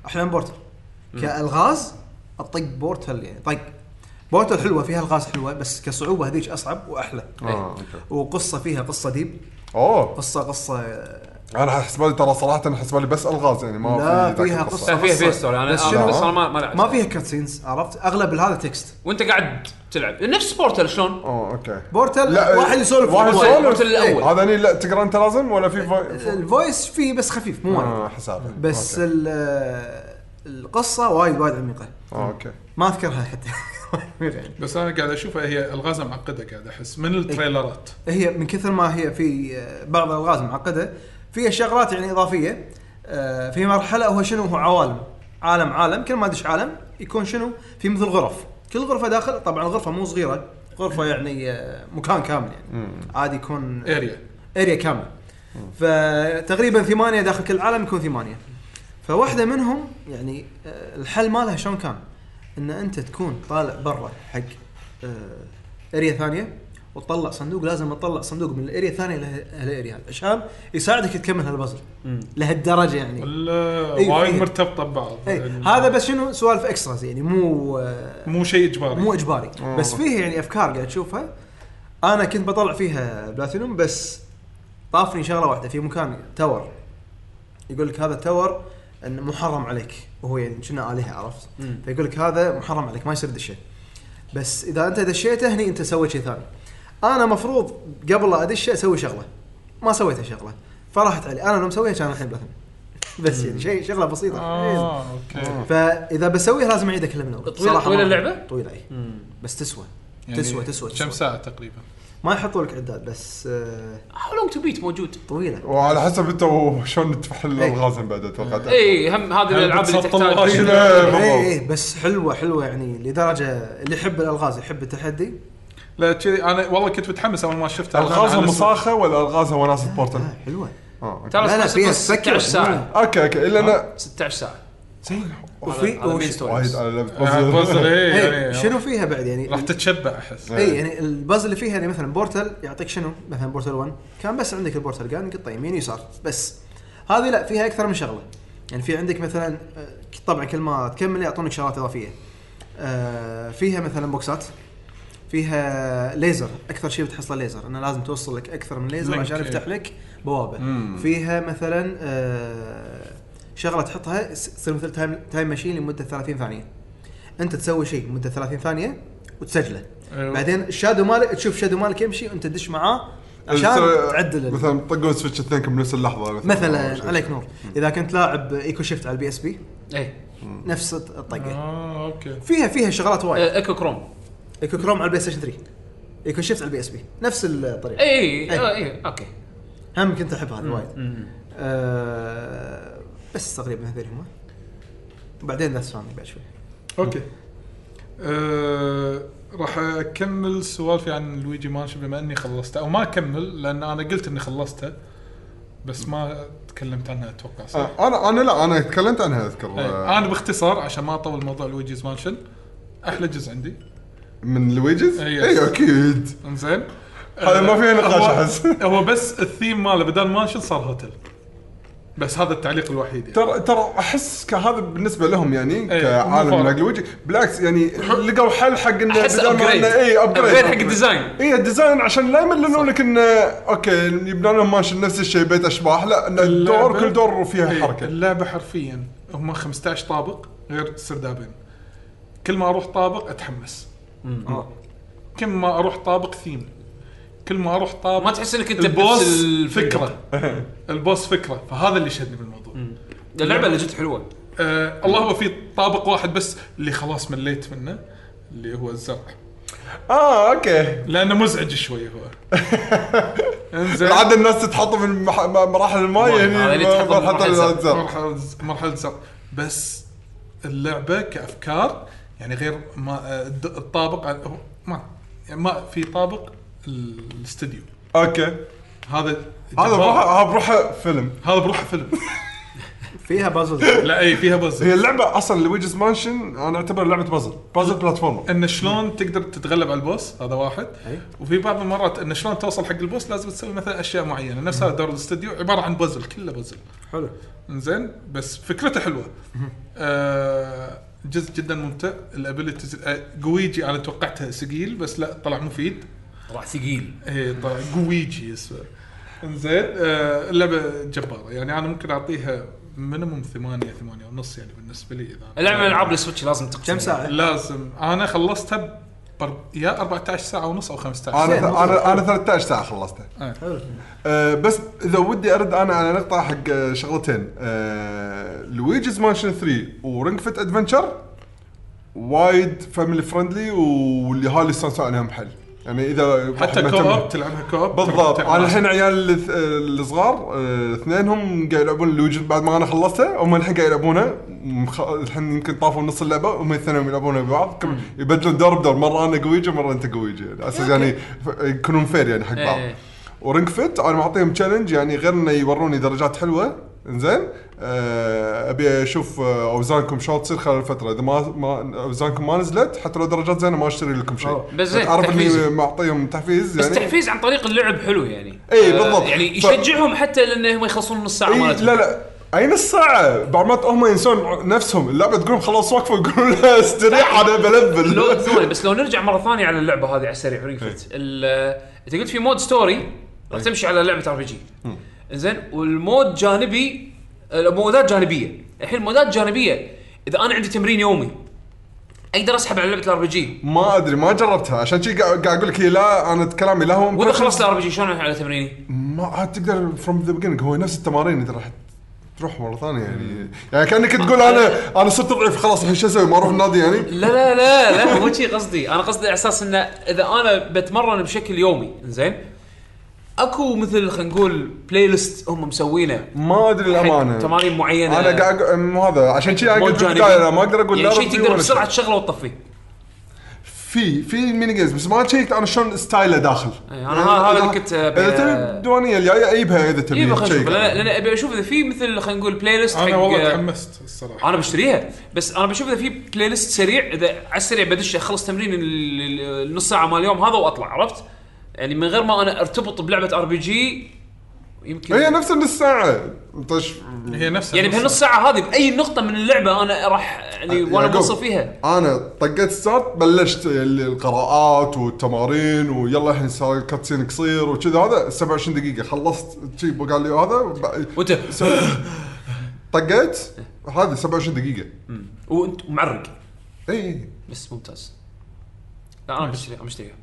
[SPEAKER 4] احلى من بورتل كالغاز الطق بورتل يعني طق بورتل حلوه فيها الغاز حلوه بس كصعوبه هذيك اصعب واحلى
[SPEAKER 3] آه، أوكي.
[SPEAKER 4] وقصه فيها قصه ديب
[SPEAKER 3] اوه
[SPEAKER 4] قصه قصه آه،
[SPEAKER 3] انا حسب لي ترى صراحه حسب لي بس الغاز يعني ما
[SPEAKER 4] لا،
[SPEAKER 3] في ذاك
[SPEAKER 4] فيها
[SPEAKER 3] القصة.
[SPEAKER 1] لا، فيها فيها
[SPEAKER 4] بس-
[SPEAKER 1] ستوري انا
[SPEAKER 4] بس
[SPEAKER 1] بس,
[SPEAKER 4] شنو-
[SPEAKER 1] بس انا ما ما لعبت
[SPEAKER 4] ما فيها كاتسينز عرفت اغلب هذا تكست
[SPEAKER 1] وانت قاعد تلعب نفس بورتل شلون؟
[SPEAKER 3] اوه اوكي
[SPEAKER 4] بورتل
[SPEAKER 3] لا
[SPEAKER 4] واحد يسولف
[SPEAKER 3] واحد
[SPEAKER 4] بالموبايل.
[SPEAKER 1] يسولف.
[SPEAKER 3] سولف
[SPEAKER 1] البورتل الأول.
[SPEAKER 3] هذا اللي لا تقرا انت لازم ولا في فو...
[SPEAKER 4] الفويس فيه بس خفيف مو وايد
[SPEAKER 3] آه، حسابه
[SPEAKER 4] بس
[SPEAKER 3] اوكي,
[SPEAKER 4] ال- آه، القصه وايد وايد عميقه
[SPEAKER 3] آه، أوكي.
[SPEAKER 4] ما اذكرها حتى عميقة يعني.
[SPEAKER 2] بس انا قاعد اشوفها هي الغازها معقده قاعد احس
[SPEAKER 4] إيه.
[SPEAKER 2] من التريلرات
[SPEAKER 4] هي من كثر ما هي في آه، بعض الالغاز معقده فيها شغلات يعني اضافيه آه، في مرحله هو شنو هو عوالم عالم عالم كل ما ادش عالم يكون شنو في مثل غرف كل غرفه داخل طبعا الغرفه مو صغيره غرفه يعني آه، مكان كامل يعني عادي يكون
[SPEAKER 2] اريا
[SPEAKER 4] اريا كامله فتقريبا ثمانيه داخل كل العالم يكون ثمانيه فواحده منهم يعني آه، الحل مالها شلون كان؟ ان انت تكون طالع برا حق آه، اريا ثانيه وتطلع صندوق لازم تطلع صندوق من الاريا الثانيه لهالاريا هذا عشان يساعدك تكمل هالبازل لهالدرجه يعني
[SPEAKER 2] ولا
[SPEAKER 4] إيه،
[SPEAKER 2] وايد
[SPEAKER 4] فيه.
[SPEAKER 2] مرتبطه ببعض
[SPEAKER 4] اي
[SPEAKER 2] يعني
[SPEAKER 4] هذا بس شنو سوالف اكستراز يعني مو
[SPEAKER 2] مو شيء اجباري
[SPEAKER 4] مو اجباري
[SPEAKER 1] آه.
[SPEAKER 4] بس فيه يعني افكار قاعد تشوفها انا كنت بطلع فيها بلاتينوم بس طافني شغله واحده في مكان تاور يقول لك هذا التاور انه محرم عليك وهو يعني كنا الهه عرفت
[SPEAKER 1] مم.
[SPEAKER 4] فيقول لك هذا محرم عليك ما يصير دشه بس اذا انت دشيته هني انت سويت شيء ثاني انا مفروض قبل لا ادشه اسوي شغله ما سويت شغله فراحت علي انا لو مسويها كان الحين بلاتينوم بس يعني شيء شغله بسيطه إيه.
[SPEAKER 2] اه
[SPEAKER 4] آه.
[SPEAKER 2] اوكي
[SPEAKER 4] فاذا بسويها لازم اعيد اكلها من اول
[SPEAKER 1] آه. طويلة-
[SPEAKER 4] صراحة
[SPEAKER 1] طويلة
[SPEAKER 4] ما-
[SPEAKER 1] اللعبة؟
[SPEAKER 4] طويله اي بس تسوى تسوى تسوى
[SPEAKER 2] يعني كم
[SPEAKER 4] تسوى.
[SPEAKER 2] ساعه تقريبا
[SPEAKER 4] ما يحطوا لك عداد بس آه،
[SPEAKER 1] هاو لونج تو بيت موجود
[SPEAKER 2] طيب،
[SPEAKER 4] طويله
[SPEAKER 3] وعلى حسب انت وشلون تفحل
[SPEAKER 4] إيه.
[SPEAKER 3] الالغاز من بعد اتوقع
[SPEAKER 1] اي هم هذه الالعاب اللي
[SPEAKER 2] بتسطل
[SPEAKER 1] تحتاج
[SPEAKER 2] وايد.
[SPEAKER 3] إيه، بالضبط.
[SPEAKER 4] اي اي بس حلوه حلوه يعني لدرجه اللي يحب الالغاز يحب التحدي
[SPEAKER 2] لا كذي انا والله كنت متحمس اول ما شفتها
[SPEAKER 3] الغازها
[SPEAKER 2] أنا- أنا-
[SPEAKER 3] مصاخه ولا الغازها وناسه
[SPEAKER 2] طيب.
[SPEAKER 3] بورتل؟
[SPEAKER 4] آه، حلوه
[SPEAKER 3] اه اوكي
[SPEAKER 1] ترى
[SPEAKER 4] لا، لا، فيها
[SPEAKER 1] 16
[SPEAKER 4] سكر.
[SPEAKER 1] ساعه
[SPEAKER 3] اوكي اوكي الا
[SPEAKER 4] آه.
[SPEAKER 3] انا
[SPEAKER 1] 16 ساعه
[SPEAKER 3] زين
[SPEAKER 4] وفي
[SPEAKER 1] هذا مين
[SPEAKER 4] وش-
[SPEAKER 1] ستوري.
[SPEAKER 3] وايد انا لعبت
[SPEAKER 2] آه، بازل
[SPEAKER 3] بازل.
[SPEAKER 2] إيه،
[SPEAKER 4] إيه،
[SPEAKER 2] يعني
[SPEAKER 4] شنو فيها بعد يعني
[SPEAKER 2] راح تتشبع احس
[SPEAKER 4] اي يعني البازل اللي فيها يعني مثلا بورتل يعطيك شنو مثلا بورتل 1 كان بس عندك البورتل قان قطه يمين يسار بس هذه لا فيها اكثر من شغله يعني في عندك مثلا آه، طبعا كل ما تكمل يعطونك شغلات اضافيه آه، فيها مثلا بوكسات فيها ليزر اكثر شيء بتحصله ليزر انه لازم توصل لك اكثر من ليزر
[SPEAKER 2] لينك،
[SPEAKER 4] عشان
[SPEAKER 2] إيه.
[SPEAKER 4] يفتح لك بوابه
[SPEAKER 3] مم.
[SPEAKER 4] فيها مثلا آه، شغله تحطها س- تصير مثل تايم تايم ماشين لمده 30 ثانيه انت تسوي شيء مده 30 ثانيه وتسجله
[SPEAKER 2] أيوة.
[SPEAKER 4] بعدين الشادو مالك تشوف شادو مالك يمشي وانت تدش معاه عشان
[SPEAKER 3] مثلا-
[SPEAKER 4] تعدل ال-
[SPEAKER 3] مثلا طقون سويتش اثنينكم بنفس اللحظه أو شيء.
[SPEAKER 4] مثلا عليك نور اذا كنت لاعب ايكو شيفت على البي اس بي
[SPEAKER 1] اي
[SPEAKER 4] نفس الطقه
[SPEAKER 2] اه اوكي
[SPEAKER 4] فيها فيها شغلات وايد
[SPEAKER 1] ايكو كروم
[SPEAKER 4] ايكو كروم على البلاي ستيشن 3 ايكو شيفت على البي اس بي نفس الطريقه
[SPEAKER 1] اي اي
[SPEAKER 4] إيه.
[SPEAKER 1] آه، اي اوكي
[SPEAKER 4] هم كنت احب هذا وايد آه، بس تقريبا هذول هم وبعدين ذا ستراندنج بعد شوي
[SPEAKER 2] اوكي أه راح اكمل سوالفي عن لويجي مانشن بما اني خلصته او ما اكمل لان انا قلت اني خلصته بس ما تكلمت عنها اتوقع صح؟
[SPEAKER 3] آه، انا انا لا انا تكلمت عنها اذكر
[SPEAKER 2] أي.
[SPEAKER 3] آه،
[SPEAKER 2] انا باختصار عشان ما اطول موضوع لويجيز مانشن احلى جزء عندي
[SPEAKER 3] من إيه، لويجز؟
[SPEAKER 2] أي.
[SPEAKER 3] اي اكيد
[SPEAKER 2] انزين
[SPEAKER 3] هذا ما فيه نقاش
[SPEAKER 2] هو-
[SPEAKER 3] أحس.
[SPEAKER 2] هو بس الثيم ماله بدل مانشن صار هوتل بس هذا التعليق الوحيد يعني.
[SPEAKER 3] ترى ترى احس كهذا بالنسبه لهم يعني
[SPEAKER 2] إيه،
[SPEAKER 3] كعالم
[SPEAKER 2] مفارق.
[SPEAKER 3] حق لويجي بالعكس يعني لقوا حل حق انه
[SPEAKER 1] احس
[SPEAKER 3] بدل ما إيه،
[SPEAKER 1] ابجريد
[SPEAKER 3] انه اي
[SPEAKER 1] ابجريد
[SPEAKER 3] ابجريد
[SPEAKER 1] حق الديزاين
[SPEAKER 3] اي الديزاين إيه، عشان لا يملون لك انه اوكي يبنون لهم ماشي نفس الشيء بيت اشباح لا انه الدور
[SPEAKER 2] اللعبة-
[SPEAKER 3] كل دور فيها
[SPEAKER 2] إيه،
[SPEAKER 3] حركه
[SPEAKER 2] اللعبه حرفيا هم 15 طابق غير سردابين كل ما اروح طابق اتحمس
[SPEAKER 4] آه.
[SPEAKER 2] كل ما اروح طابق ثيم كل ما اروح طابق
[SPEAKER 1] ما تحس إنك أنت بنفس
[SPEAKER 2] البوس
[SPEAKER 1] الفريق.
[SPEAKER 2] فكره البوس فكره فهذا اللي شدني بالموضوع
[SPEAKER 1] اللعبه اللي جت حلوه
[SPEAKER 2] آه الله هو في طابق واحد بس اللي خلاص مليت منه اللي هو الزرع
[SPEAKER 3] اه اوكي
[SPEAKER 2] لانه مزعج شوي هو انزين
[SPEAKER 3] عاد الناس تتحط من مح- م- مراحل يعني الماي
[SPEAKER 1] الماي،
[SPEAKER 3] هني
[SPEAKER 1] هذا اللي
[SPEAKER 3] م-
[SPEAKER 1] يتحط
[SPEAKER 3] مرحله
[SPEAKER 1] بمراحل الزرع.
[SPEAKER 3] الزرع
[SPEAKER 2] مرحله ز- مرحله زرع بس اللعبه كافكار يعني غير ما الد- الطابق عن- هو ما يعني ما في طابق ال- الاستديو
[SPEAKER 3] اوكي
[SPEAKER 2] هذا
[SPEAKER 3] هذا
[SPEAKER 2] جبار.
[SPEAKER 3] بروحه هذا بروحه فيلم
[SPEAKER 2] هذا بروحه فيلم
[SPEAKER 4] فيها بازل
[SPEAKER 2] لا اي فيها بز
[SPEAKER 3] هي اللعبه اصلا لويجز مانشن انا اعتبر لعبه بازل بازل بلاتفورمر
[SPEAKER 2] ان شلون تقدر تتغلب على البوس هذا واحد
[SPEAKER 4] أي.
[SPEAKER 2] وفي بعض المرات ان شلون توصل حق البوس لازم تسوي مثلا اشياء معينه نفس هذا دور الاستديو عباره عن بازل كله بازل
[SPEAKER 4] حلو
[SPEAKER 2] انزين بس فكرته حلوه آه جزء جدا ممتع آه، الابيلتيز جويجي انا توقعته ثقيل بس لا طلع مفيد
[SPEAKER 1] راح ثقيل
[SPEAKER 2] اي طلع جويجي اسمه انزين آه اللعبه جباره يعني انا ممكن اعطيها مينيموم ثمانية ثمانية ونص يعني بالنسبه لي اذا أنا-
[SPEAKER 1] اللعبه من العاب السويتش لازم تقسم
[SPEAKER 4] كم ساعه؟
[SPEAKER 2] لازم انا خلصتها بر... يا 14 ساعه ونص او 15
[SPEAKER 3] انا
[SPEAKER 2] ساعه
[SPEAKER 4] زين، مفروض.
[SPEAKER 3] انا انا 13 ساعه خلصته
[SPEAKER 4] حلو
[SPEAKER 3] أه، بس اذا ودي ارد انا على نقطه حق أه، شغلتين أه، لويجز مانشن 3 ورينج فيت ادفنتشر وايد فاميلي فرندلي واللي هالي استانسوا عليهم حل يعني اذا
[SPEAKER 2] حتى
[SPEAKER 3] واحد
[SPEAKER 2] كوب
[SPEAKER 3] مهتم-
[SPEAKER 2] تلعبها كوب
[SPEAKER 3] بالضبط
[SPEAKER 2] تلعبها
[SPEAKER 3] انا الحين عيال الث- الصغار أه، اثنينهم قاعد يلعبون لويجز بعد ما انا خلصته هم الحين قاعد يلعبونه مخ- الحين يمكن طافوا نص اللعبه هم الاثنين يلعبونه ببعض كم- يبدلون دور بدور مره انا قويجي مره انت قويجي على اساس يعني ف- يكونون فير يعني حق بعض
[SPEAKER 1] إيه.
[SPEAKER 3] ورينج فيت انا معطيهم تشالنج يعني غير انه يوروني درجات حلوه انزين آه، ابي اشوف آه، اوزانكم شلون تصير خلال الفتره اذا ما ما اوزانكم ما نزلت حتى لو درجات زينه ما اشتري لكم شيء
[SPEAKER 1] بس زين،
[SPEAKER 3] اعرف
[SPEAKER 1] تحفيز.
[SPEAKER 3] اني معطيهم تحفيز
[SPEAKER 1] بس
[SPEAKER 3] يعني
[SPEAKER 1] تحفيز عن طريق اللعب حلو يعني
[SPEAKER 3] إي،
[SPEAKER 1] آه،
[SPEAKER 3] بالضبط.
[SPEAKER 1] يعني
[SPEAKER 3] ف-
[SPEAKER 1] يشجعهم حتى لان هم يخلصون نص ساعه
[SPEAKER 3] اي
[SPEAKER 1] مالتهم
[SPEAKER 3] إيه، لا لا اي نص ساعة بعض المرات هم ينسون نفسهم اللعبة تقولهم خلاص وقفوا يقولون لا استريح انا
[SPEAKER 1] لو
[SPEAKER 3] بلبل
[SPEAKER 1] ثواني بس لو نرجع مره ثانيه على اللعبه هذه على السريع
[SPEAKER 3] إيه.
[SPEAKER 1] ريفت ال- انت قلت في مود ستوري راح تمشي على لعبه ار بي جي زين والمود جانبي المودات جانبيه الحين المودات جانبيه اذا انا عندي تمرين يومي اقدر اسحب على لعبه الار بي جي
[SPEAKER 3] ما ادري ما جربتها عشان شي قاعد قاعد اقول لك هي لا انا كلامي لا هو
[SPEAKER 1] واذا خلصت الار بي جي شلون أروح على تمريني؟
[SPEAKER 3] ما عاد تقدر فروم ذا بيجننج هو نفس التمارين اذا راح تروح مرة ثانية يعني يعني كانك تقول انا انا صرت ضعيف خلاص الحين شو اسوي ما اروح النادي يعني
[SPEAKER 1] لا لا لا لا مو شي قصدي انا قصدي على اساس انه اذا انا بتمرن بشكل يومي زين اكو مثل خلينا نقول بلاي ليست هم مسوينه
[SPEAKER 3] ما ادري
[SPEAKER 1] حق
[SPEAKER 3] الامانة
[SPEAKER 1] تمارين معينه
[SPEAKER 3] انا قاعد أقول- مو هذا عشان شي انا
[SPEAKER 1] مود
[SPEAKER 3] قلت في
[SPEAKER 1] جانبي.
[SPEAKER 3] البداية لا، ما اقدر اقول لا
[SPEAKER 1] يعني شيء
[SPEAKER 3] رفضي
[SPEAKER 1] تقدر
[SPEAKER 3] ولا
[SPEAKER 1] بسرعه تشغله وتطفيه
[SPEAKER 3] في في ميني جيمز بس ما شيكت انا شلون ستايله داخل
[SPEAKER 1] أي، إيه، أنا ه- هذا اللي كنت أبي-
[SPEAKER 3] اذا تبي الديوانيه الجايه اجيبها اذا تبي
[SPEAKER 1] اي إيه، خلينا
[SPEAKER 3] تشيك.
[SPEAKER 1] نشوف لان لأن ابي اشوف اذا في مثل خلينا نقول بلاي ليست
[SPEAKER 2] انا والله
[SPEAKER 1] حق
[SPEAKER 2] تحمست الصراحه
[SPEAKER 1] انا بشتريها بس انا بشوف اذا في بلاي ليست سريع اذا على السريع بدش اخلص تمرين ال- ال- النص ساعه مال اليوم هذا واطلع عرفت؟ يعني من غير ما انا ارتبط بلعبه ار بي جي يمكن
[SPEAKER 3] هي نفس النص ساعه طش
[SPEAKER 2] هي نفسها
[SPEAKER 1] يعني بهالنص ساعه هذه باي نقطه من اللعبه انا راح يعني
[SPEAKER 2] آه،
[SPEAKER 1] وانا
[SPEAKER 3] يعقوب،
[SPEAKER 1] منصف فيها
[SPEAKER 3] انا طقيت ستارت بلشت ال- القراءات والتمارين ويلا الحين صار كاتسين قصير وكذا هذا 27 دقيقه خلصت شي قال لي هذا ب-
[SPEAKER 1] وانت
[SPEAKER 3] طقيت هذه 27 دقيقه
[SPEAKER 1] وانت معرق
[SPEAKER 3] اي
[SPEAKER 1] بس ممتاز لا انا بشتريها انا بشتريها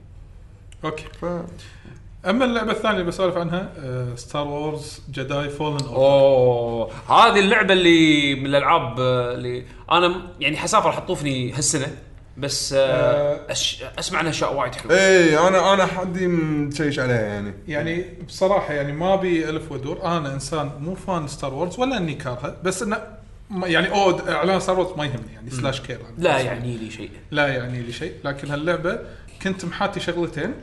[SPEAKER 2] اوكي
[SPEAKER 3] ف
[SPEAKER 2] اما اللعبه الثانيه اللي بسولف عنها آه، ستار وورز جداي فولن اوردر
[SPEAKER 1] اوه هذه اللعبه اللي من الالعاب آه، اللي انا م- يعني حسافه راح تطوفني هالسنه بس آه، أش... اسمع عنها اشياء وايد حلوه
[SPEAKER 3] اي انا انا إيه، حدي متشيش عليها يعني
[SPEAKER 2] يعني بصراحه يعني ما ابي الف ودور انا انسان مو فان ستار وورز ولا اني كارهه بس انه ما- يعني او اعلان ستار وورز ما يهمني يعني سلاش كير أنا.
[SPEAKER 1] لا يعني لي شيء
[SPEAKER 2] لا يعني لي شيء لكن هاللعبه كنت محاتي شغلتين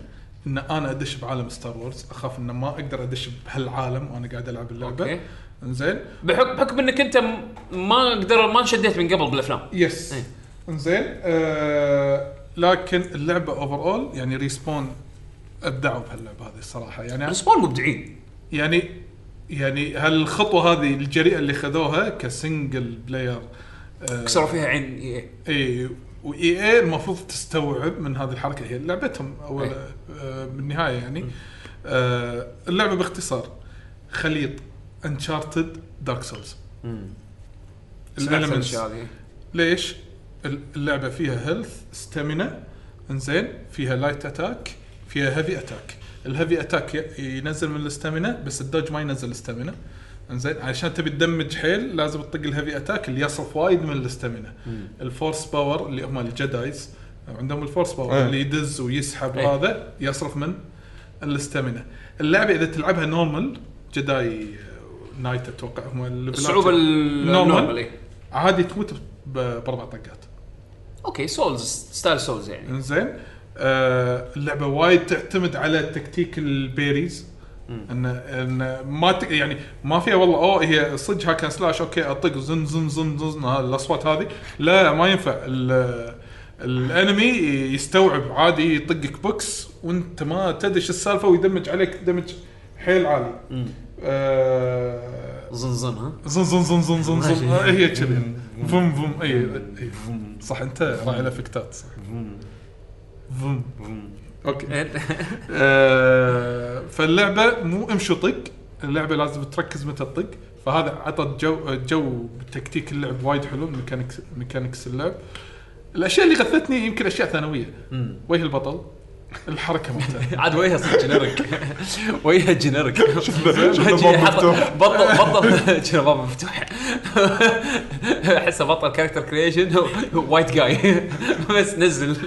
[SPEAKER 2] ان انا ادش بعالم ستار وورز اخاف ان ما اقدر ادش بهالعالم وانا قاعد العب اللعبه
[SPEAKER 1] أوكي.
[SPEAKER 2] انزين
[SPEAKER 1] بحكم بحكم انك انت م- ما قدر ما شديت من قبل بالافلام
[SPEAKER 2] يس
[SPEAKER 1] إيه.
[SPEAKER 2] انزين آه لكن اللعبه اوفر اول يعني ريسبون ابدعوا بهاللعبه هذه الصراحه يعني
[SPEAKER 1] ريسبون مبدعين
[SPEAKER 2] يعني يعني هالخطوه هذه الجريئه اللي خذوها كسنجل بلاير آه
[SPEAKER 1] كسروا فيها عين إيه. اي اي
[SPEAKER 2] اي واي اي المفروض تستوعب من هذه الحركه هي لعبتهم اول
[SPEAKER 1] إيه.
[SPEAKER 2] آه بالنهايه يعني آه اللعبه باختصار خليط انشارتد دارك سولز
[SPEAKER 1] سمعت الاشياء هذه
[SPEAKER 2] ليش؟ ال- اللعبه فيها هيلث ستامينا انزين فيها لايت اتاك فيها هيفي اتاك الهيفي اتاك ي- ينزل من الستامينا بس الدوج ما ينزل الستامينا انزين عشان تبي تدمج حيل لازم تطق الهيفي اتاك اللي يصرف وايد من الستامينا الفورس باور اللي هم الجدايز عندهم الفورس باور
[SPEAKER 3] إيه.
[SPEAKER 2] اللي يدز ويسحب
[SPEAKER 1] إيه.
[SPEAKER 2] هذا يصرف من الاستامينا اللعبه اذا تلعبها نورمال جداي نايت اتوقع هم الليفلات-
[SPEAKER 1] الصعوبه ال- النورمال إيه.
[SPEAKER 2] نورمال
[SPEAKER 1] إي.
[SPEAKER 2] عادي تموت ب- باربع طقات
[SPEAKER 1] اوكي سولز ستايل سولز يعني
[SPEAKER 2] انزين آه اللعبه وايد تعتمد على تكتيك البيريز ان ان ما ت... يعني ما فيها والله اوه هي صدق هاك أند سلاش اوكي اطق زن زن زن زن ها- الاصوات هذه لا ما ينفع ال... الانمي يستوعب عادي يطقك بوكس وانت ما تدري شو السالفه ويدمج عليك دمج حيل عالي آه...
[SPEAKER 1] زنزن ها
[SPEAKER 2] زن زن زن زن زن زن آه، هي كذي فم فم اي إي. صح انت راعي الافكتات صح فم اوكي
[SPEAKER 1] إيه؟
[SPEAKER 2] آه، فاللعبه مو امشي طق اللعبه لازم تركز متى تطق فهذا عطى جو جو تكتيك اللعب وايد حلو ميكانكس ميكانكس اللعب الاشياء اللي غثتني يمكن اشياء ثانويه وجه البطل الحركه مالته
[SPEAKER 1] عاد وجهها صدق جنرك وجهها جنرك
[SPEAKER 3] شفنا باب مفتوح.
[SPEAKER 1] بطل بطل شنو باب مفتوح احسه بطل كاركتر كريشن وايت جاي بس نزل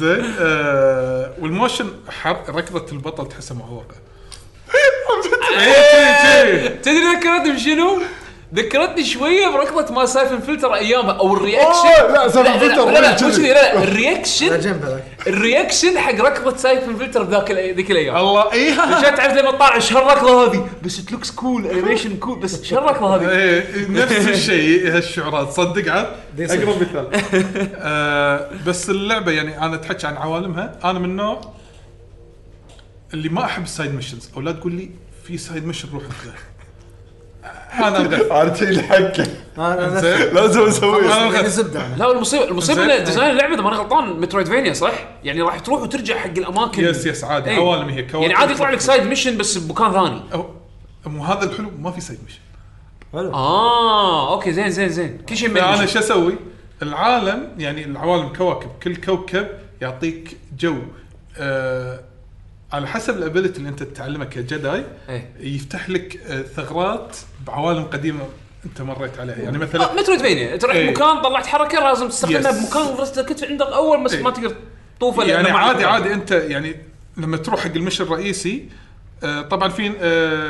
[SPEAKER 2] زين آه، والموشن حر- ركضه البطل تحسها معوقه
[SPEAKER 1] إيه، تدري ذكرتني بشنو؟ ذكرتني شويه بركضه ما سايفن فلتر ايامها او
[SPEAKER 3] أوه،
[SPEAKER 1] الرياكشن
[SPEAKER 3] لا، سايفن فلتر
[SPEAKER 1] لا لا
[SPEAKER 3] كذي.
[SPEAKER 1] مو كذي، لا لا
[SPEAKER 4] لا
[SPEAKER 1] الرياكشن
[SPEAKER 4] جنب هذاك
[SPEAKER 1] الرياكشن حق ركضه سايفن فلتر بذاك الأي- ذيك الايام
[SPEAKER 2] الله ايها
[SPEAKER 1] عشان تعرف لما تطالع ايش هالركضه هذه بس ات لوكس كول انيميشن كول بس ايش هالركضه هذه
[SPEAKER 2] ايه نفس الشيء إيه هالشعورات صدق عاد
[SPEAKER 4] دي صدق.
[SPEAKER 2] اقرب مثال آه، بس اللعبه يعني انا اتحكى عن عوالمها انا من النوع اللي ما احب السايد ميشنز او لا تقول لي في سايد ميشن روح آه، انت انا انغث
[SPEAKER 3] عرفت شيء حقه
[SPEAKER 4] انا أنا
[SPEAKER 2] زين.
[SPEAKER 4] نفس-
[SPEAKER 3] لازم اسويه
[SPEAKER 2] أنا
[SPEAKER 4] يعني
[SPEAKER 2] أخذ-
[SPEAKER 4] زبده انا
[SPEAKER 1] لا المصيبه المصيبه
[SPEAKER 2] زين.
[SPEAKER 1] ان ديزاين اللعبه اذا ماني غلطان مترويدفينيا صح؟ يعني راح تروح وترجع حق الاماكن
[SPEAKER 2] يس يس عادي
[SPEAKER 1] إيه.
[SPEAKER 2] عوالم هي كواكب.
[SPEAKER 1] يعني عادي يطلع لك سايد ميشن بس بمكان ثاني
[SPEAKER 2] أو- مو هذا الحلو ما في سايد ميشن
[SPEAKER 4] حلو
[SPEAKER 1] اه اوكي زين زين زين كل شيء
[SPEAKER 2] لا، انا
[SPEAKER 1] مبني.
[SPEAKER 2] يعني شو اسوي؟ العالم يعني العوالم كواكب كل كوكب يعطيك جو آه على حسب الابيلتي اللي انت تتعلمها كجداي
[SPEAKER 1] إيه.
[SPEAKER 2] يفتح لك آه ثغرات بعوالم قديمه انت مريت عليها يعني
[SPEAKER 1] آه،
[SPEAKER 2] مثلا
[SPEAKER 1] مترويدفينيا انت رحت
[SPEAKER 2] إيه.
[SPEAKER 1] مكان طلعت حركه لازم تستخدمها
[SPEAKER 2] يس.
[SPEAKER 1] بمكان غرزة الكتف عندك اول بس
[SPEAKER 2] إيه.
[SPEAKER 1] ما تقدر تطوفه لأنه
[SPEAKER 2] يعني
[SPEAKER 1] ما عندك
[SPEAKER 2] عادي
[SPEAKER 1] وقت.
[SPEAKER 2] عادي انت يعني لما تروح حق المشن الرئيسي آه طبعا في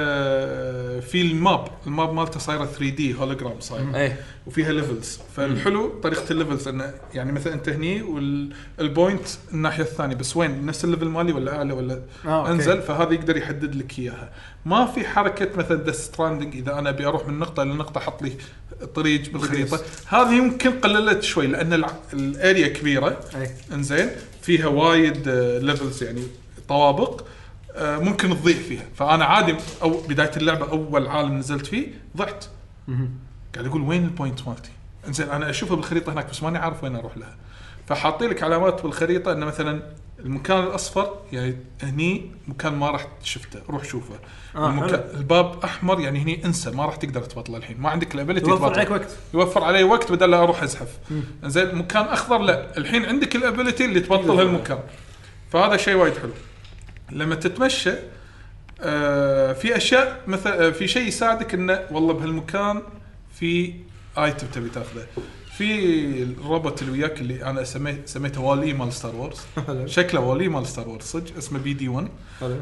[SPEAKER 2] آه في الماب الماب مالته صايره 3 دي هولوجرام صاير
[SPEAKER 1] ايه
[SPEAKER 2] وفيها ليفلز فالحلو طريقه الليفلز انه يعني مثلا انت هني والبوينت الناحيه الثانيه بس وين نفس الليفل مالي ولا اعلى ولا
[SPEAKER 4] آه، أوكي.
[SPEAKER 2] انزل فهذا يقدر يحدد لك اياها ما في حركه مثلا ذا ستراندنج اذا انا ابي اروح من نقطه لنقطه حط لي طريق بالخريطه هذه يمكن قللت شوي لان الع- الاريا كبيره
[SPEAKER 4] أي.
[SPEAKER 2] انزين فيها وايد ليفلز يعني طوابق آه، ممكن تضيع فيها فانا عادي او بدايه اللعبه اول عالم نزلت فيه ضعت قاعد اقول وين البوينت مالتي؟ انزين انا اشوفها بالخريطه هناك بس ماني عارف وين اروح لها. فحاطين لك علامات بالخريطه انه مثلا المكان الاصفر يعني هني مكان ما راح شفته روح شوفه.
[SPEAKER 4] آه،
[SPEAKER 2] المكان
[SPEAKER 4] حلو.
[SPEAKER 2] الباب احمر يعني هني انسى ما راح تقدر تبطله الحين ما عندك الابيلتي
[SPEAKER 4] يوفر عليك وقت.
[SPEAKER 2] يوفر علي وقت بدل لا اروح ازحف. انزين مكان اخضر لا الحين عندك الابيلتي اللي تبطل هالمكان. فهذا شيء وايد حلو. لما تتمشى آه، في اشياء مثلا في شيء يساعدك انه والله بهالمكان في ايتم تبي تاخذه في الروبوت اللي وياك اللي انا سميت سميته والي مال ستار وورز
[SPEAKER 4] حلو.
[SPEAKER 2] شكله والي مال ستار وورز صدق اسمه بي دي 1
[SPEAKER 4] حلو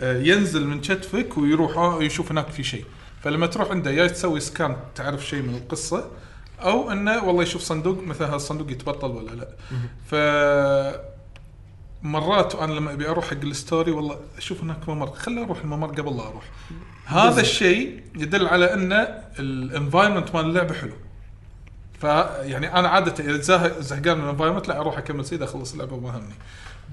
[SPEAKER 2] آه، ينزل من كتفك ويروح آه، يشوف هناك في شيء فلما تروح عنده يا تسوي سكان تعرف شيء من القصه او انه والله يشوف صندوق مثلا هذا الصندوق يتبطل ولا لا ف مرات انا لما ابي اروح حق الستوري والله اشوف هناك ممر خليني اروح الممر قبل لا اروح هذا الشيء يدل على ان الانفايرمنت مال اللعبه حلو يعني فيعني انا عاده اذا زه- زهقان من الانفايرمنت لا اروح اكمل سيد اخلص اللعبه وما همني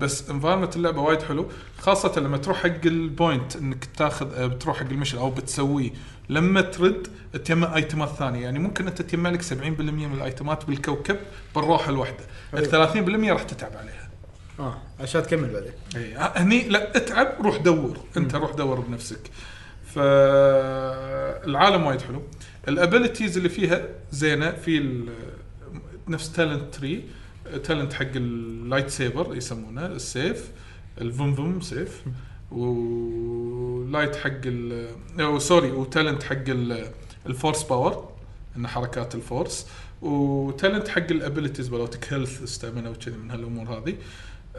[SPEAKER 2] بس انفايرمنت اللعبه وايد حلو خاصه لما تروح حق البوينت انك تاخذ آه، بتروح حق المشن او بتسويه لما ترد تجمع ايتمات ثانيه يعني ممكن انت تجمع لك 70% من الايتمات بالكوكب بالروحه الواحده ال 30% راح تتعب عليها
[SPEAKER 4] اه عشان تكمل بعدين
[SPEAKER 2] اي إيه، هني لا اتعب روح دور انت روح دور بنفسك فالعالم وايد حلو الابيلتيز اللي فيها زينه في ال- نفس تالنت تري تالنت حق اللايت سيفر يسمونه السيف الفمفم سيف ولايت حق ال أو سوري وتالنت حق ال- الفورس باور ان حركات الفورس وتالنت حق الابيلتيز مالتك هيلث استامنا وكذي من هالامور هذه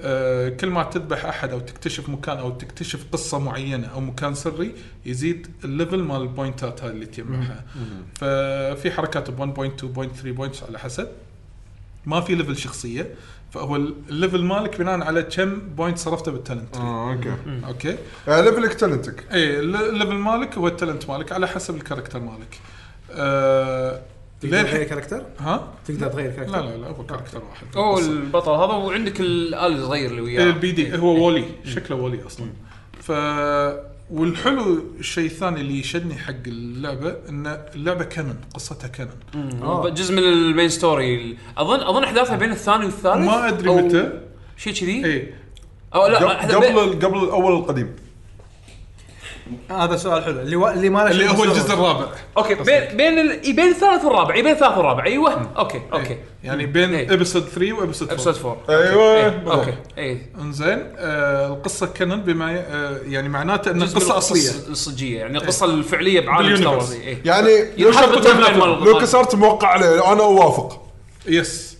[SPEAKER 2] آه، كل ما تذبح احد او تكتشف مكان او تكتشف قصه معينه او مكان سري يزيد الليفل مال البوينتات هاي اللي تجمعها ففي حركات ب 1 بوينت 2 بوينت 3 بوينتس على حسب ما في ليفل شخصيه فهو الليفل مالك بناء على كم بوينت صرفته بالتالنت
[SPEAKER 3] اه اوكي
[SPEAKER 2] اوكي
[SPEAKER 3] آه، ليفلك تالنتك
[SPEAKER 2] اي الليفل إيه، مالك هو التالنت مالك على حسب الكاركتر مالك آه
[SPEAKER 4] تقدر تغير
[SPEAKER 2] للحين
[SPEAKER 4] كاركتر
[SPEAKER 2] ها
[SPEAKER 4] تقدر تغير
[SPEAKER 2] لا
[SPEAKER 4] كاركتر
[SPEAKER 2] لا لا هو كاركتر واحد
[SPEAKER 1] هو
[SPEAKER 2] قصة.
[SPEAKER 1] البطل هذا وعندك الال الصغير اللي وياه
[SPEAKER 2] إيه، البي دي هو ولي
[SPEAKER 1] Mm.
[SPEAKER 2] شكله ولي اصلا ف والحلو الشيء الثاني اللي يشدني حق اللعبه ان اللعبه كنن قصتها كنن
[SPEAKER 4] آه.
[SPEAKER 1] جزء من المين ستوري اظن اظن احداثها بين الثاني والثالث
[SPEAKER 2] ما ادري
[SPEAKER 1] أو
[SPEAKER 2] متى إيه.
[SPEAKER 1] شيء كذي
[SPEAKER 2] اي
[SPEAKER 1] او لا
[SPEAKER 3] قبل
[SPEAKER 1] أحداث بين-
[SPEAKER 3] قبل- قبل الاول القديم
[SPEAKER 4] آه، هذا سؤال حلو اللي و... اللي ما له شغل
[SPEAKER 2] اللي هو
[SPEAKER 4] بالسوالف.
[SPEAKER 2] الجزء الرابع
[SPEAKER 1] اوكي بين بين ال... إي بين الثالث والرابع إي بين الثالث والرابع ايوه اوكي اوكي
[SPEAKER 2] إيه. يعني بين
[SPEAKER 1] إيه.
[SPEAKER 2] ابيسود 3 وابيسود
[SPEAKER 1] ابسود
[SPEAKER 2] 4
[SPEAKER 1] 4
[SPEAKER 3] ايوه
[SPEAKER 1] إيه. اوكي اي
[SPEAKER 2] انزين آه القصه كنن بما ي- آه يعني معناته ان القصه اصليه
[SPEAKER 1] الصجيه يعني القصه الفعليه بعالم ستار
[SPEAKER 2] باليونيفرس.
[SPEAKER 1] وورز إيه.
[SPEAKER 3] يعني لو
[SPEAKER 1] ينحط
[SPEAKER 3] شرط
[SPEAKER 1] بالتايم لاين مال البطل.
[SPEAKER 3] لو كسرت موقع عليه انا اوافق
[SPEAKER 2] يس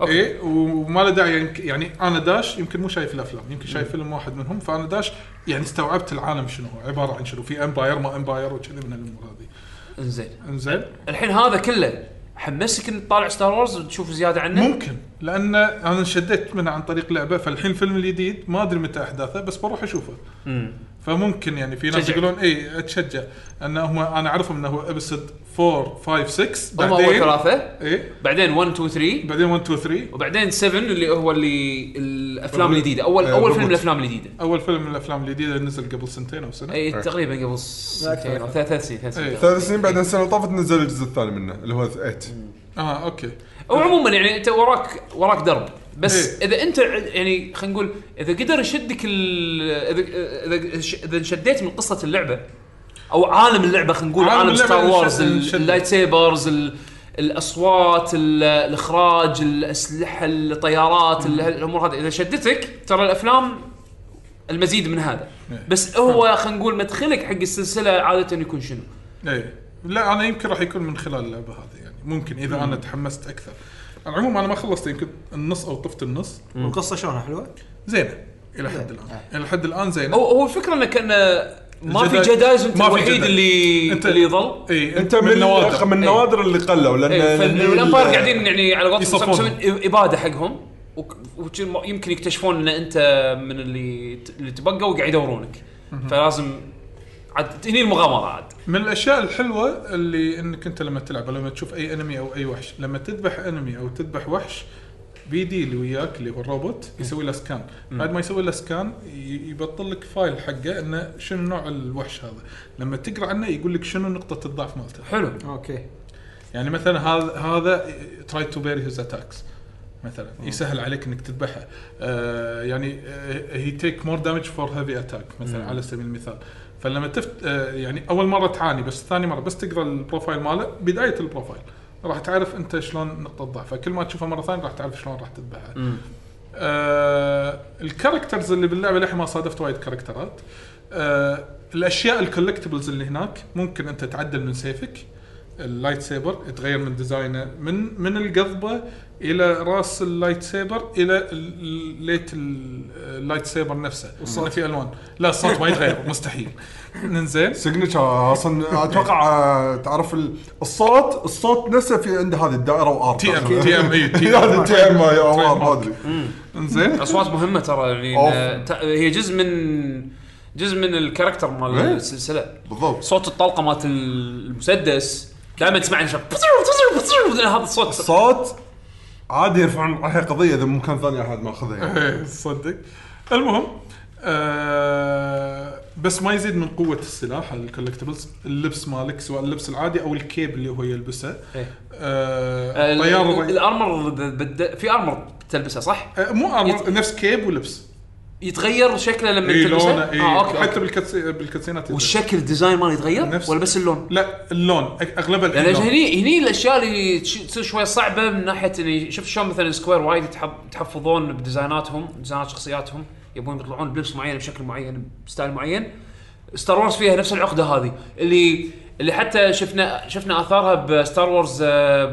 [SPEAKER 1] أوكي.
[SPEAKER 2] اي إيه. وما له داعي يمك- يعني انا داش يمكن مو شايف الافلام يمكن
[SPEAKER 1] Mm.
[SPEAKER 2] شايف فيلم واحد منهم فانا داش يعني استوعبت العالم شنو هو عباره عن شنو في امباير ما امباير وكذي من الامور هذه
[SPEAKER 1] انزين
[SPEAKER 2] انزين
[SPEAKER 1] الحين هذا كله حمسك ان تطالع ستار وورز وتشوف زياده عنه
[SPEAKER 2] ممكن لان انا انشدت منها عن طريق لعبه فالحين الفيلم الجديد ما ادري متى احداثه بس بروح اشوفه
[SPEAKER 1] مم.
[SPEAKER 2] فممكن يعني في ناس
[SPEAKER 1] تشجع.
[SPEAKER 2] يقولون اي اتشجع ان هم انا اعرفهم انه هو ابسود 4 5 6
[SPEAKER 1] هم اول
[SPEAKER 2] بعدين
[SPEAKER 1] ثلاثه
[SPEAKER 2] اي
[SPEAKER 1] بعدين 1 2 3
[SPEAKER 2] بعدين 1 2 3
[SPEAKER 1] وبعدين 7 اللي هو اللي الافلام
[SPEAKER 2] بالضبط.
[SPEAKER 1] الجديده اول
[SPEAKER 3] آه،
[SPEAKER 1] اول
[SPEAKER 3] بالضبط.
[SPEAKER 1] فيلم الافلام الجديده
[SPEAKER 2] اول فيلم من الافلام الجديده اللي نزل قبل سنتين او سنه
[SPEAKER 1] اي
[SPEAKER 3] إيه.
[SPEAKER 1] تقريبا قبل
[SPEAKER 4] أكثر،
[SPEAKER 1] سنتين او
[SPEAKER 4] أكثر.
[SPEAKER 1] ثلاث ثلاث سنين ثلاث سنين
[SPEAKER 2] إيه.
[SPEAKER 3] ثلاث سنين بعد السنه اللي طافت نزل الجزء الثاني منه اللي هو 8
[SPEAKER 2] اه اوكي
[SPEAKER 1] او عموما يعني انت وراك وراك درب بس
[SPEAKER 2] إيه.
[SPEAKER 1] اذا انت ع- يعني خلينا نقول اذا قدر يشدك ال- اذا اذا ش- اذا انشديت من قصه اللعبه او عالم اللعبه خلينا نقول
[SPEAKER 2] عالم
[SPEAKER 1] عالم
[SPEAKER 2] اللعبة
[SPEAKER 1] ستار
[SPEAKER 2] انشد-
[SPEAKER 1] وورز ال-
[SPEAKER 2] انشد.
[SPEAKER 1] اللايت سيبرز ال- الاصوات ال- الاخراج الاسلحه الطيارات ال- الامور هذه اذا شدتك ترى الافلام المزيد من هذا
[SPEAKER 2] إيه.
[SPEAKER 1] بس هو خلينا نقول مدخلك حق السلسله عاده يكون شنو؟
[SPEAKER 2] اي إيه. لا انا يمكن راح يكون من خلال اللعبه هذه يعني ممكن اذا انا تحمست اكثر على العموم انا ما خلصت يمكن النص او طفت النص
[SPEAKER 4] والقصه شلونها حلوه؟
[SPEAKER 2] زينه الى حد
[SPEAKER 4] زين.
[SPEAKER 2] الان الى حد الان زينه
[SPEAKER 1] آه. هو هو الفكره انه كان ما في
[SPEAKER 2] الجدايز-
[SPEAKER 1] جدايز انت
[SPEAKER 2] ما في
[SPEAKER 1] الوحيد
[SPEAKER 2] جدايز.
[SPEAKER 1] اللي
[SPEAKER 2] أنت-
[SPEAKER 1] اللي يظل
[SPEAKER 2] اي
[SPEAKER 3] انت من النوادر من النوادر اللي قلوا لان
[SPEAKER 1] إيه،
[SPEAKER 3] لأن ال-
[SPEAKER 1] فالامباير قاعدين يعني على قولتهم
[SPEAKER 2] يصفون.
[SPEAKER 1] يسوون اباده حقهم وك- وش- يمكن يكتشفون ان انت من اللي ت- اللي تبقى وقاعد يدورونك فلازم عاد هني المغامره عاد
[SPEAKER 2] من الاشياء الحلوه اللي انك انت لما تلعب لما تشوف اي انمي او اي وحش لما تذبح انمي او تذبح وحش بي دي اللي وياك اللي هو الروبوت يسوي له سكان بعد ما يسوي له سكان ي- يبطل لك فايل حقه انه شنو نوع الوحش هذا لما تقرا عنه يقول لك شنو نقطه الضعف مالته
[SPEAKER 1] حلو
[SPEAKER 4] اوكي
[SPEAKER 2] يعني مثلا هذا هذا تراي تو بيري هيز اتاكس مثلا يسهل عليك انك تذبحه آه يعني هي تيك مور دامج فور هيفي اتاك مثلا على سبيل المثال فلما تفت آه يعني اول مره تعاني بس ثاني مره بس تقرا البروفايل ماله بدايه البروفايل راح تعرف انت شلون نقطه ضعفه كل ما تشوفه مره ثانيه راح تعرف شلون راح تذبحه آه الكاركترز اللي باللعبه للحين ما صادفت وايد كاركترات آه الاشياء الكولكتبلز اللي هناك ممكن انت تعدل من سيفك اللايت سيبر يتغير من ديزاينه من من القضبه الى راس اللايت سيبر الى ال- ال- ليت ال- اللايت سيبر نفسه وصار في الوان لا الصوت ما يتغير مستحيل انزين
[SPEAKER 3] سيجنتشر اصلا اتوقع آه، تعرف ال- الصوت الصوت نفسه في عنده هذه الدائره وارت
[SPEAKER 2] تي ام تي ام اي تي
[SPEAKER 3] هذا
[SPEAKER 2] ام
[SPEAKER 3] تي ام يا عمر آه، ما ادري
[SPEAKER 2] انزين
[SPEAKER 1] اصوات مهمه ترى يعني
[SPEAKER 3] أوف.
[SPEAKER 1] آه، ت- هي جزء من جزء من الكاركتر مال
[SPEAKER 3] إيه.
[SPEAKER 1] السلسله
[SPEAKER 3] بالضبط
[SPEAKER 1] صوت الطلقه مالت المسدس دائما تسمع إنه شب- هذا الصوت
[SPEAKER 3] الصوت عادي يرفعون عليها قضيه اذا مكان ثاني احد ماخذها يعني
[SPEAKER 2] إيه، تصدق المهم آه بس ما يزيد من قوه السلاح الكولكتبلز اللبس مالك سواء اللبس العادي او الكيب اللي هو يلبسه
[SPEAKER 1] إيه.
[SPEAKER 2] آه
[SPEAKER 1] ال-
[SPEAKER 2] الطياره الري-
[SPEAKER 1] الارمر ب- بد- في ارمر تلبسه صح؟
[SPEAKER 2] آه مو
[SPEAKER 1] يت-
[SPEAKER 2] أرمر نفس كيب ولبس
[SPEAKER 1] يتغير شكله لما
[SPEAKER 2] اي
[SPEAKER 1] تلبسه؟
[SPEAKER 2] إيه، لونه اي
[SPEAKER 1] اه اوكي
[SPEAKER 2] حتى إيه،
[SPEAKER 1] اوكي
[SPEAKER 2] بالكتسي- بالكاتسينات يتغير.
[SPEAKER 1] والشكل الديزاين ماله يتغير
[SPEAKER 2] نفس-
[SPEAKER 1] ولا بس اللون؟
[SPEAKER 2] لا اللون أك- اغلبها الحين
[SPEAKER 1] لان
[SPEAKER 2] لون.
[SPEAKER 1] هني هني الاشياء اللي تش- تصير شوي صعبه من ناحيه اني شفت شلون مثلا سكوير وايد يتحف- يتحفظون بديزايناتهم ديزاينات شخصياتهم يبون يطلعون بلبس معين بشكل معين بستايل معين ستار وورز فيها نفس العقده هذه اللي اللي حتى شفنا شفنا اثارها بستار وورز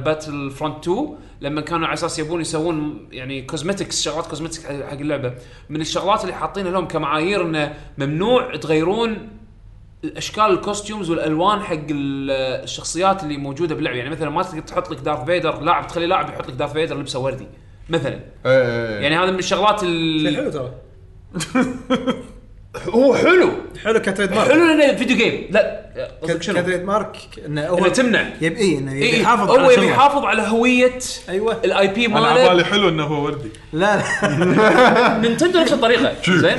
[SPEAKER 1] باتل فرونت 2 آه، لما كانوا على اساس يبون يسوون يعني كوزمتكس شغلات كوزمتكس حق حق اللعبه من الشغلات اللي حاطينها لهم كمعايير انه ممنوع تغيرون الاشكال الكوستيومز والالوان حق ال- الشخصيات اللي موجوده باللعبه يعني مثلا ما تقدر تحط لك دارث فيدر لاعب تخلي لاعب يحط لك دارث فيدر لبسه وردي مثلا
[SPEAKER 3] إيه.
[SPEAKER 1] يعني هذا من الشغلات ال...
[SPEAKER 4] حلو ترى
[SPEAKER 1] هو حلو
[SPEAKER 4] حلو كتريد مارك
[SPEAKER 1] حلو لانه فيديو جيم لا قصدك
[SPEAKER 4] ك-
[SPEAKER 1] شنو؟
[SPEAKER 4] كتريد مارك انه هو
[SPEAKER 1] انه تمنع
[SPEAKER 4] يبي إيه، انه يبي
[SPEAKER 1] إيه،
[SPEAKER 4] يحافظ على
[SPEAKER 1] هو يبي
[SPEAKER 4] شغله.
[SPEAKER 1] يحافظ على هويه
[SPEAKER 4] ايوه
[SPEAKER 1] الاي بي
[SPEAKER 2] انا على بالي
[SPEAKER 1] ماله
[SPEAKER 2] حلو انه هو وردي
[SPEAKER 4] لا لا
[SPEAKER 1] نينتندو نفس الطريقه زين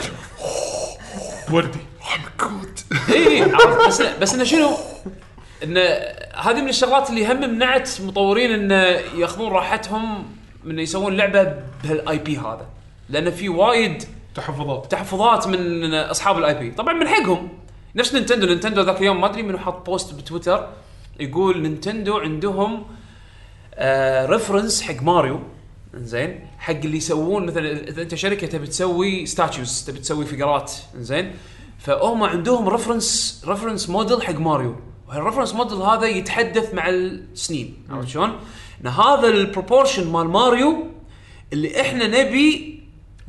[SPEAKER 2] وردي
[SPEAKER 1] اي إيه، عرفت بس بس انه شنو؟ انه هذه من الشغلات اللي هم منعت مطورين انه ياخذون راحتهم من إنه يسوون لعبه بهالاي بي هذا لان في وايد
[SPEAKER 2] تحفظات
[SPEAKER 1] تحفظات من اصحاب الاي بي طبعا من حقهم نفس نينتندو نينتندو ذاك اليوم ما ادري منو حط بوست بتويتر يقول نينتندو عندهم آه ريفرنس حق ماريو زين حق اللي يسوون مثلا اذا انت شركه تبي تسوي ستاتشوز تبي تسوي فقرات زين فهم عندهم ريفرنس ريفرنس موديل حق ماريو وهالريفرنس موديل هذا يتحدث مع السنين عرفت شلون؟ ان هذا البروبورشن مال ماريو اللي احنا نبي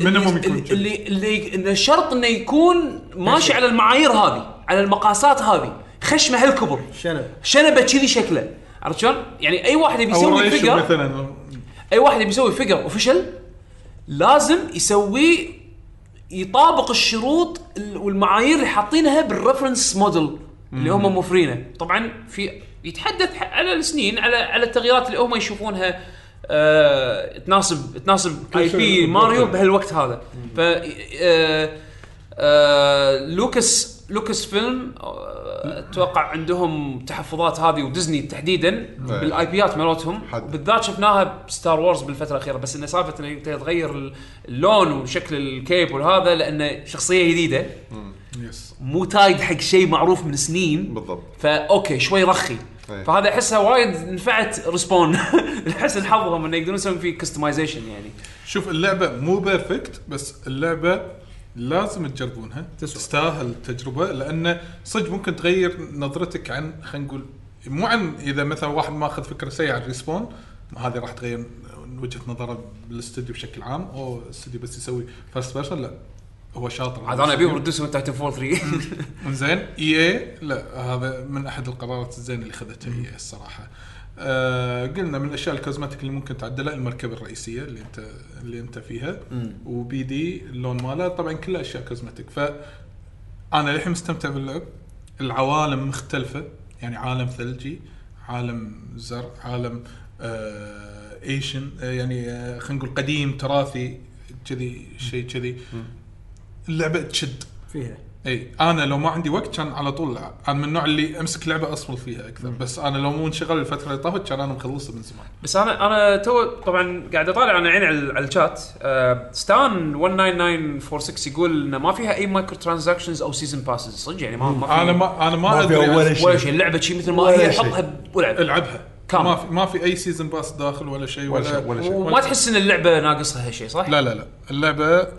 [SPEAKER 2] minimum
[SPEAKER 1] اللي
[SPEAKER 2] يكون كذي.
[SPEAKER 1] اللي اللي انه شرط انه يكون ماشي على المعايير هذه على المقاسات هذه خشمه هالكبر
[SPEAKER 4] شنب
[SPEAKER 1] شنبه كذي شكله عرفت شلون؟ يعني اي واحد يبي
[SPEAKER 2] او
[SPEAKER 1] يسوي
[SPEAKER 2] ريشو
[SPEAKER 1] فيجر
[SPEAKER 2] مثلا
[SPEAKER 1] اي واحد يبي يسوي فيجر اوفيشال لازم يسويه يطابق الشروط ال- والمعايير اللي حاطينها بالرفرنس موديل اللي هم موفرينه طبعا في يتحدث ح- على السنين على على التغييرات اللي هم يشوفونها آه تناسب تناسب اي بي
[SPEAKER 2] شيء
[SPEAKER 1] ماريو
[SPEAKER 2] بالوقت.
[SPEAKER 1] بهالوقت هذا ف آه آه لوكس لوكس فيلم آه، اتوقع عندهم تحفظات هذه وديزني تحديدا بالاي بيات مالتهم
[SPEAKER 3] حد.
[SPEAKER 1] بالذات شفناها بستار وورز بالفتره الاخيره بس ان سالفه انه تغير اللون وشكل الكيب والهذا لانه شخصيه جديده
[SPEAKER 2] يس
[SPEAKER 1] مو تايد حق شيء معروف من سنين
[SPEAKER 3] بالضبط إيه.
[SPEAKER 1] فاوكي شوي رخي
[SPEAKER 3] أي.
[SPEAKER 1] فهذا احسها وايد نفعت ريسبون احس إن حظهم انه يقدرون يسوون فيه كستمايزيشن يعني
[SPEAKER 2] شوف اللعبه مو بيرفكت بس اللعبه لازم تجربونها تستاهل التجربه لان صدق ممكن تغير نظرتك عن خلينا نقول مو عن اذا مثلا واحد ماخذ فكره سيئه عن ريسبون هذه راح تغير وجهه نظره بالاستوديو بشكل عام او الاستوديو بس يسوي فيرست بيرسون لا هو شاطر
[SPEAKER 1] عاد انا ابيهم يردسون تايتن فول 3
[SPEAKER 2] زين اي اي لا هذا من احد القرارات الزينه اللي خذتها اي اي الصراحه آه قلنا من الاشياء الكوزماتيك اللي ممكن تعدلها المركبه الرئيسيه اللي انت اللي انت فيها وبي دي اللون ماله طبعا كلها اشياء كوزماتيك ف انا للحين مستمتع باللعب العوالم مختلفه يعني عالم ثلجي عالم زرع عالم آه ايشن آه يعني آه خلينا نقول قديم تراثي كذي شيء كذي اللعبه تشد
[SPEAKER 4] فيها
[SPEAKER 2] اي انا لو ما عندي وقت كان على طول انا من النوع اللي امسك لعبه اصفل فيها اكثر بس انا لو مو انشغل الفتره اللي طافت كان انا مخلصها من زمان
[SPEAKER 1] بس انا انا تو طبعا قاعد اطالع انا عيني على على الشات آه، ستان 19946 يقول انه ما فيها اي مايكرو ترانزاكشنز او سيزون باسز صدق يعني ما ما في
[SPEAKER 2] انا ما انا ما,
[SPEAKER 3] ما
[SPEAKER 2] ادري
[SPEAKER 3] فيها
[SPEAKER 2] عن-
[SPEAKER 3] ولا شيء.
[SPEAKER 1] ولا شيء اللعبه شيء مثل ما
[SPEAKER 3] ولا
[SPEAKER 1] هي
[SPEAKER 3] شيء.
[SPEAKER 1] حطها والعب
[SPEAKER 2] العبها
[SPEAKER 1] كامل.
[SPEAKER 2] ما في ما في اي سيزون باس داخل ولا شيء
[SPEAKER 3] ولا
[SPEAKER 2] ولا,
[SPEAKER 3] شيء، ولا شيء.
[SPEAKER 1] وما تحس ان اللعبه ناقصها شيء صح؟
[SPEAKER 2] لا لا لا اللعبه آه،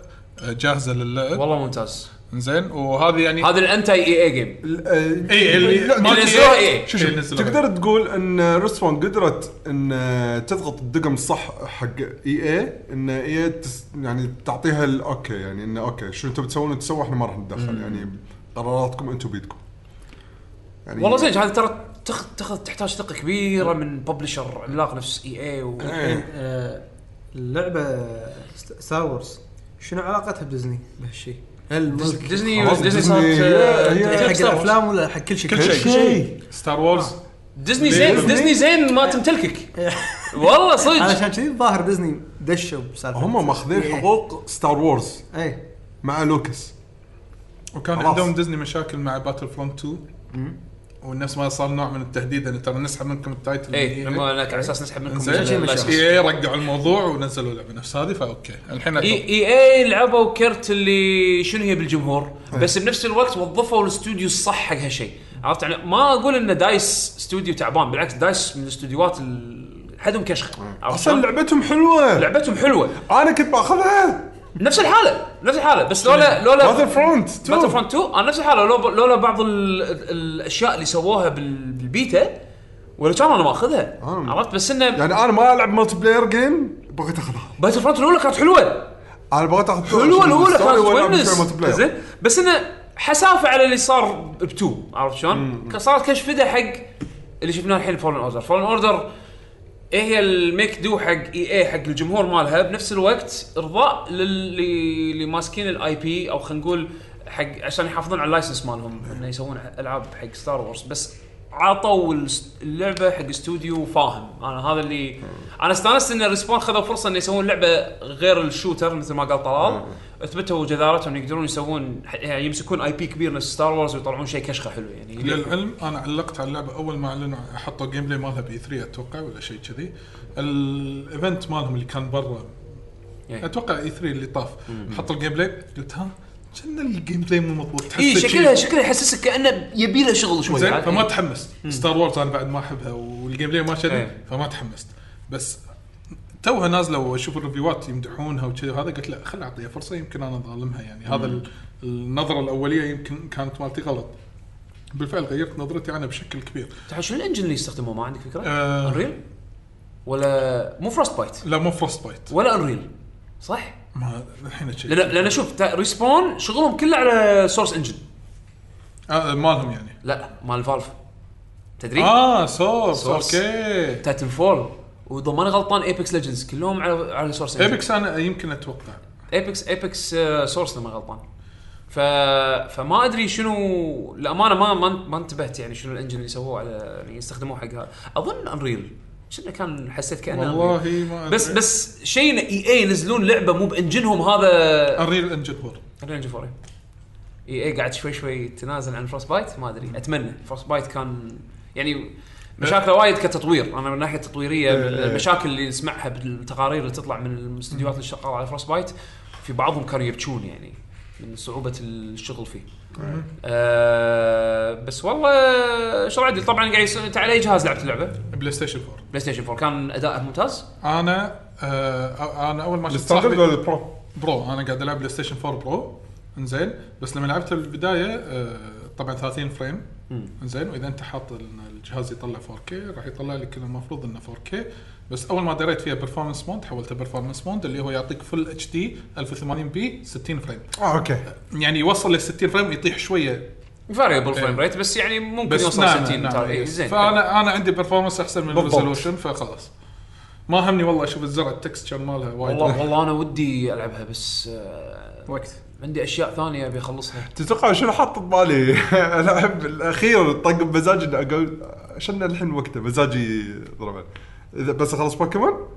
[SPEAKER 2] جاهزه للعب
[SPEAKER 1] والله ممتاز
[SPEAKER 2] زين وهذه يعني
[SPEAKER 1] هذا الانتي اي اي جيم
[SPEAKER 2] اي
[SPEAKER 3] اي
[SPEAKER 2] اللي ما
[SPEAKER 1] اللي
[SPEAKER 2] في-
[SPEAKER 1] نزلوها إيه.
[SPEAKER 3] شو
[SPEAKER 2] اللي
[SPEAKER 3] شو
[SPEAKER 2] نزلوها.
[SPEAKER 3] تقدر تقول ان رسبون قدرت ان تضغط الدقم الصح حق إيه؟ اي اي ان اي تس يعني تعطيها الاوكي يعني انه اوكي شو انتم بتسوون تسووا احنا ما راح نتدخل يعني قراراتكم انتم بيدكم يعني
[SPEAKER 1] والله زين هذا ترى تخ- تخ- تحتاج ثقه كبيره من ببلشر عملاق نفس اي اي و...
[SPEAKER 3] إيه.
[SPEAKER 4] آه، اللعبه ستار وورز شنو علاقتها بديزني بهالشيء؟ هل ملك-
[SPEAKER 1] ديزني
[SPEAKER 3] خلاص
[SPEAKER 1] ديزني
[SPEAKER 3] ديزني
[SPEAKER 1] صارت
[SPEAKER 3] هي- هي-
[SPEAKER 1] آه،
[SPEAKER 4] حق
[SPEAKER 1] Star Wars.
[SPEAKER 4] الافلام ولا حق كل شيء؟
[SPEAKER 2] كل شيء.
[SPEAKER 3] شيء. آه.
[SPEAKER 2] ستار وورز
[SPEAKER 1] ديزني زين
[SPEAKER 2] ديزني.
[SPEAKER 1] ديزني زين ما تمتلكك والله صدق
[SPEAKER 4] علشان كذي الظاهر ديزني دشوا إيه. بسالفه
[SPEAKER 3] هم
[SPEAKER 1] إيه.
[SPEAKER 3] ماخذين حقوق ستار وورز
[SPEAKER 4] اي
[SPEAKER 3] مع لوكس
[SPEAKER 2] وكان
[SPEAKER 3] خلاص.
[SPEAKER 2] عندهم ديزني مشاكل مع باتل فرونت 2 والنفس ما صار نوع من التهديد ان ترى نسحب منكم التايتل
[SPEAKER 3] إيه،
[SPEAKER 1] اي
[SPEAKER 2] من EA.
[SPEAKER 1] لما إيه، أنا على اساس نسحب منكم
[SPEAKER 2] زين
[SPEAKER 1] اللايسنس.
[SPEAKER 2] اي رجعوا الموضوع ونزلوا لعبه نفس هذه فاوكي الحين
[SPEAKER 1] اي اي اي لعبوا كرت اللي شنو هي بالجمهور
[SPEAKER 3] إيه.
[SPEAKER 1] بس بنفس الوقت وظفوا الاستوديو الصح حق هالشيء عرفت يعني ما اقول ان دايس استوديو تعبان بالعكس دايس من الاستوديوهات ال- حدهم كشخ عرفت
[SPEAKER 3] اصلا
[SPEAKER 1] شلون؟
[SPEAKER 3] لعبتهم حلوه
[SPEAKER 1] لعبتهم حلوه
[SPEAKER 3] انا كنت باخذها
[SPEAKER 1] نفس الحاله نفس الحاله بس
[SPEAKER 3] إيه.
[SPEAKER 1] لولا لولا
[SPEAKER 3] باتل فرونت
[SPEAKER 1] باتل فرونت 2 انا نفس الحاله لو- لولا بعض ال- ال- الاشياء اللي سووها بال- بالبيتا ولا كان انا ماخذها
[SPEAKER 3] آه.
[SPEAKER 1] عرفت بس انه
[SPEAKER 3] يعني انا ما العب ملتي بلاير جيم بغيت اخذها
[SPEAKER 1] باتل فرونت الاولى كانت حلوه
[SPEAKER 3] انا بغيت اخذ
[SPEAKER 1] حلوه الاولى كانت
[SPEAKER 3] وينس
[SPEAKER 1] ويمنس زين بس انه حسافه على اللي صار بتو عرفت شلون؟ صارت كشف فدا حق اللي شفناه الحين فولن اوردر، فولن اوردر ايه هي الميك دو حق اي اي حق الجمهور مالها بنفس الوقت ارضاء للي اللي ماسكين الاي بي او خلينا نقول حق عشان يحافظون على اللايسنس مالهم انه يسوون العاب حق ستار وورز بس عطوا الس- اللعبه حق استوديو فاهم انا هذا اللي انا استانست ان ريسبون خذوا فرصه ان يسوون لعبه غير الشوتر مثل ما قال طلال اثبتوا جدارتهم يقدرون يسوون يعني يمسكون اي بي كبير نفس ستار وورز ويطلعون شيء كشخه حلو يعني
[SPEAKER 2] للعلم انا علقت على اللعبه اول ما اعلنوا حطوا جيم بلاي مالها باي 3 اتوقع ولا شيء كذي الايفنت مالهم اللي كان برا
[SPEAKER 1] إيه.
[SPEAKER 2] اتوقع اي 3 اللي طاف حطوا الجيم بلاي قلت ها كان الجيم بلاي مو مضبوط تحس
[SPEAKER 1] اي
[SPEAKER 2] شي-
[SPEAKER 1] إيه، شكلها شكلها يحسسك كانه يبي له شغل شوي
[SPEAKER 2] زين
[SPEAKER 1] عاد.
[SPEAKER 2] فما تحمست ستار وورز انا بعد ما احبها والجيم بلاي ما شدني
[SPEAKER 1] إيه.
[SPEAKER 2] فما تحمست بس توها نازله واشوف الريفيوات يمدحونها وكذي وهذا قلت لا خل اعطيها فرصه يمكن انا ظالمها يعني هذا ال- النظره الاوليه يمكن كانت مالتي غلط بالفعل غيرت نظرتي عنها بشكل كبير
[SPEAKER 1] تعال شنو الانجن اللي يستخدموه ما عندك فكره؟
[SPEAKER 2] آه.
[SPEAKER 1] انريل؟ ولا مو فروست بايت
[SPEAKER 2] لا مو فروست بايت
[SPEAKER 1] ولا انريل صح؟
[SPEAKER 2] ما الحين شيء
[SPEAKER 1] لان لان شوف تا- ريسبون شغلهم كله على سورس انجن
[SPEAKER 2] آه مالهم يعني
[SPEAKER 1] لا مال فالف تدري؟
[SPEAKER 2] اه سورس
[SPEAKER 1] سورس.
[SPEAKER 2] اوكي
[SPEAKER 1] تايتن فول واذا ماني غلطان ايبكس ليجندز كلهم على على سورس
[SPEAKER 2] ايبكس انا يمكن اتوقع
[SPEAKER 1] ايبكس ايبكس آه، سورس لما غلطان ف... فما ادري شنو الامانه ما ما, ما انتبهت يعني شنو الانجن اللي سووه على يعني استخدموه حق هذا اظن انريل شنو كان حسيت كانه
[SPEAKER 2] والله
[SPEAKER 1] Unreal.
[SPEAKER 2] ما أدري.
[SPEAKER 1] بس بس شيء ان اي اي ينزلون لعبه مو بانجنهم هذا
[SPEAKER 2] انريل انجن 4
[SPEAKER 1] انريل انجن 4 اي اي قاعد شوي شوي تنازل عن فروست بايت ما ادري اتمنى فروست بايت كان يعني مشاكله وايد كتطوير انا من ناحيه تطويريه
[SPEAKER 3] إيه.
[SPEAKER 1] المشاكل اللي نسمعها بالتقارير اللي تطلع من الاستديوهات اللي شغاله على فروست بايت في بعضهم كانوا يبكون يعني من صعوبه الشغل فيه. آه بس والله شو عدل طبعا قاعد يس- انت على اي جهاز لعبت اللعبه؟
[SPEAKER 2] بلاي ستيشن 4
[SPEAKER 1] بلاي ستيشن 4 كان اداءه ممتاز؟
[SPEAKER 2] انا آه انا اول ما شفت
[SPEAKER 3] الستاندرد
[SPEAKER 2] صاحبي
[SPEAKER 3] ولا البرو؟
[SPEAKER 2] برو انا قاعد العب بلاي ستيشن 4 برو انزين بس لما لعبته بالبدايه آه طبعا 30 فريم
[SPEAKER 1] مم.
[SPEAKER 2] انزين واذا انت حاط ان الجهاز يطلع 4K راح يطلع لك إنه المفروض انه 4K بس اول ما دريت فيها برفورمانس مود حولتها برفورمانس مود اللي هو يعطيك فل اتش دي 1080 بي 60 فريم
[SPEAKER 3] اه اوكي
[SPEAKER 2] يعني يوصل لل 60 فريم يطيح شويه
[SPEAKER 1] فاريبل
[SPEAKER 2] إيه.
[SPEAKER 1] فريم ريت بس يعني ممكن
[SPEAKER 2] بس نعم،
[SPEAKER 1] يوصل 60 ترى، إيه، زين
[SPEAKER 2] فانا انا عندي برفورمانس احسن من
[SPEAKER 3] بالضبط.
[SPEAKER 2] الريزولوشن فخلاص ما همني والله اشوف الزرع التكستشر مالها وايد
[SPEAKER 1] والله والله انا ودي العبها بس آه،
[SPEAKER 4] وقت
[SPEAKER 1] عندي اشياء ثانيه ابي اخلصها
[SPEAKER 3] تتوقع شنو حاط ببالي؟ انا احب الاخير طق بمزاجي إني اقول عشان الحين وقته مزاجي ضربان اذا بس اخلص بوكيمون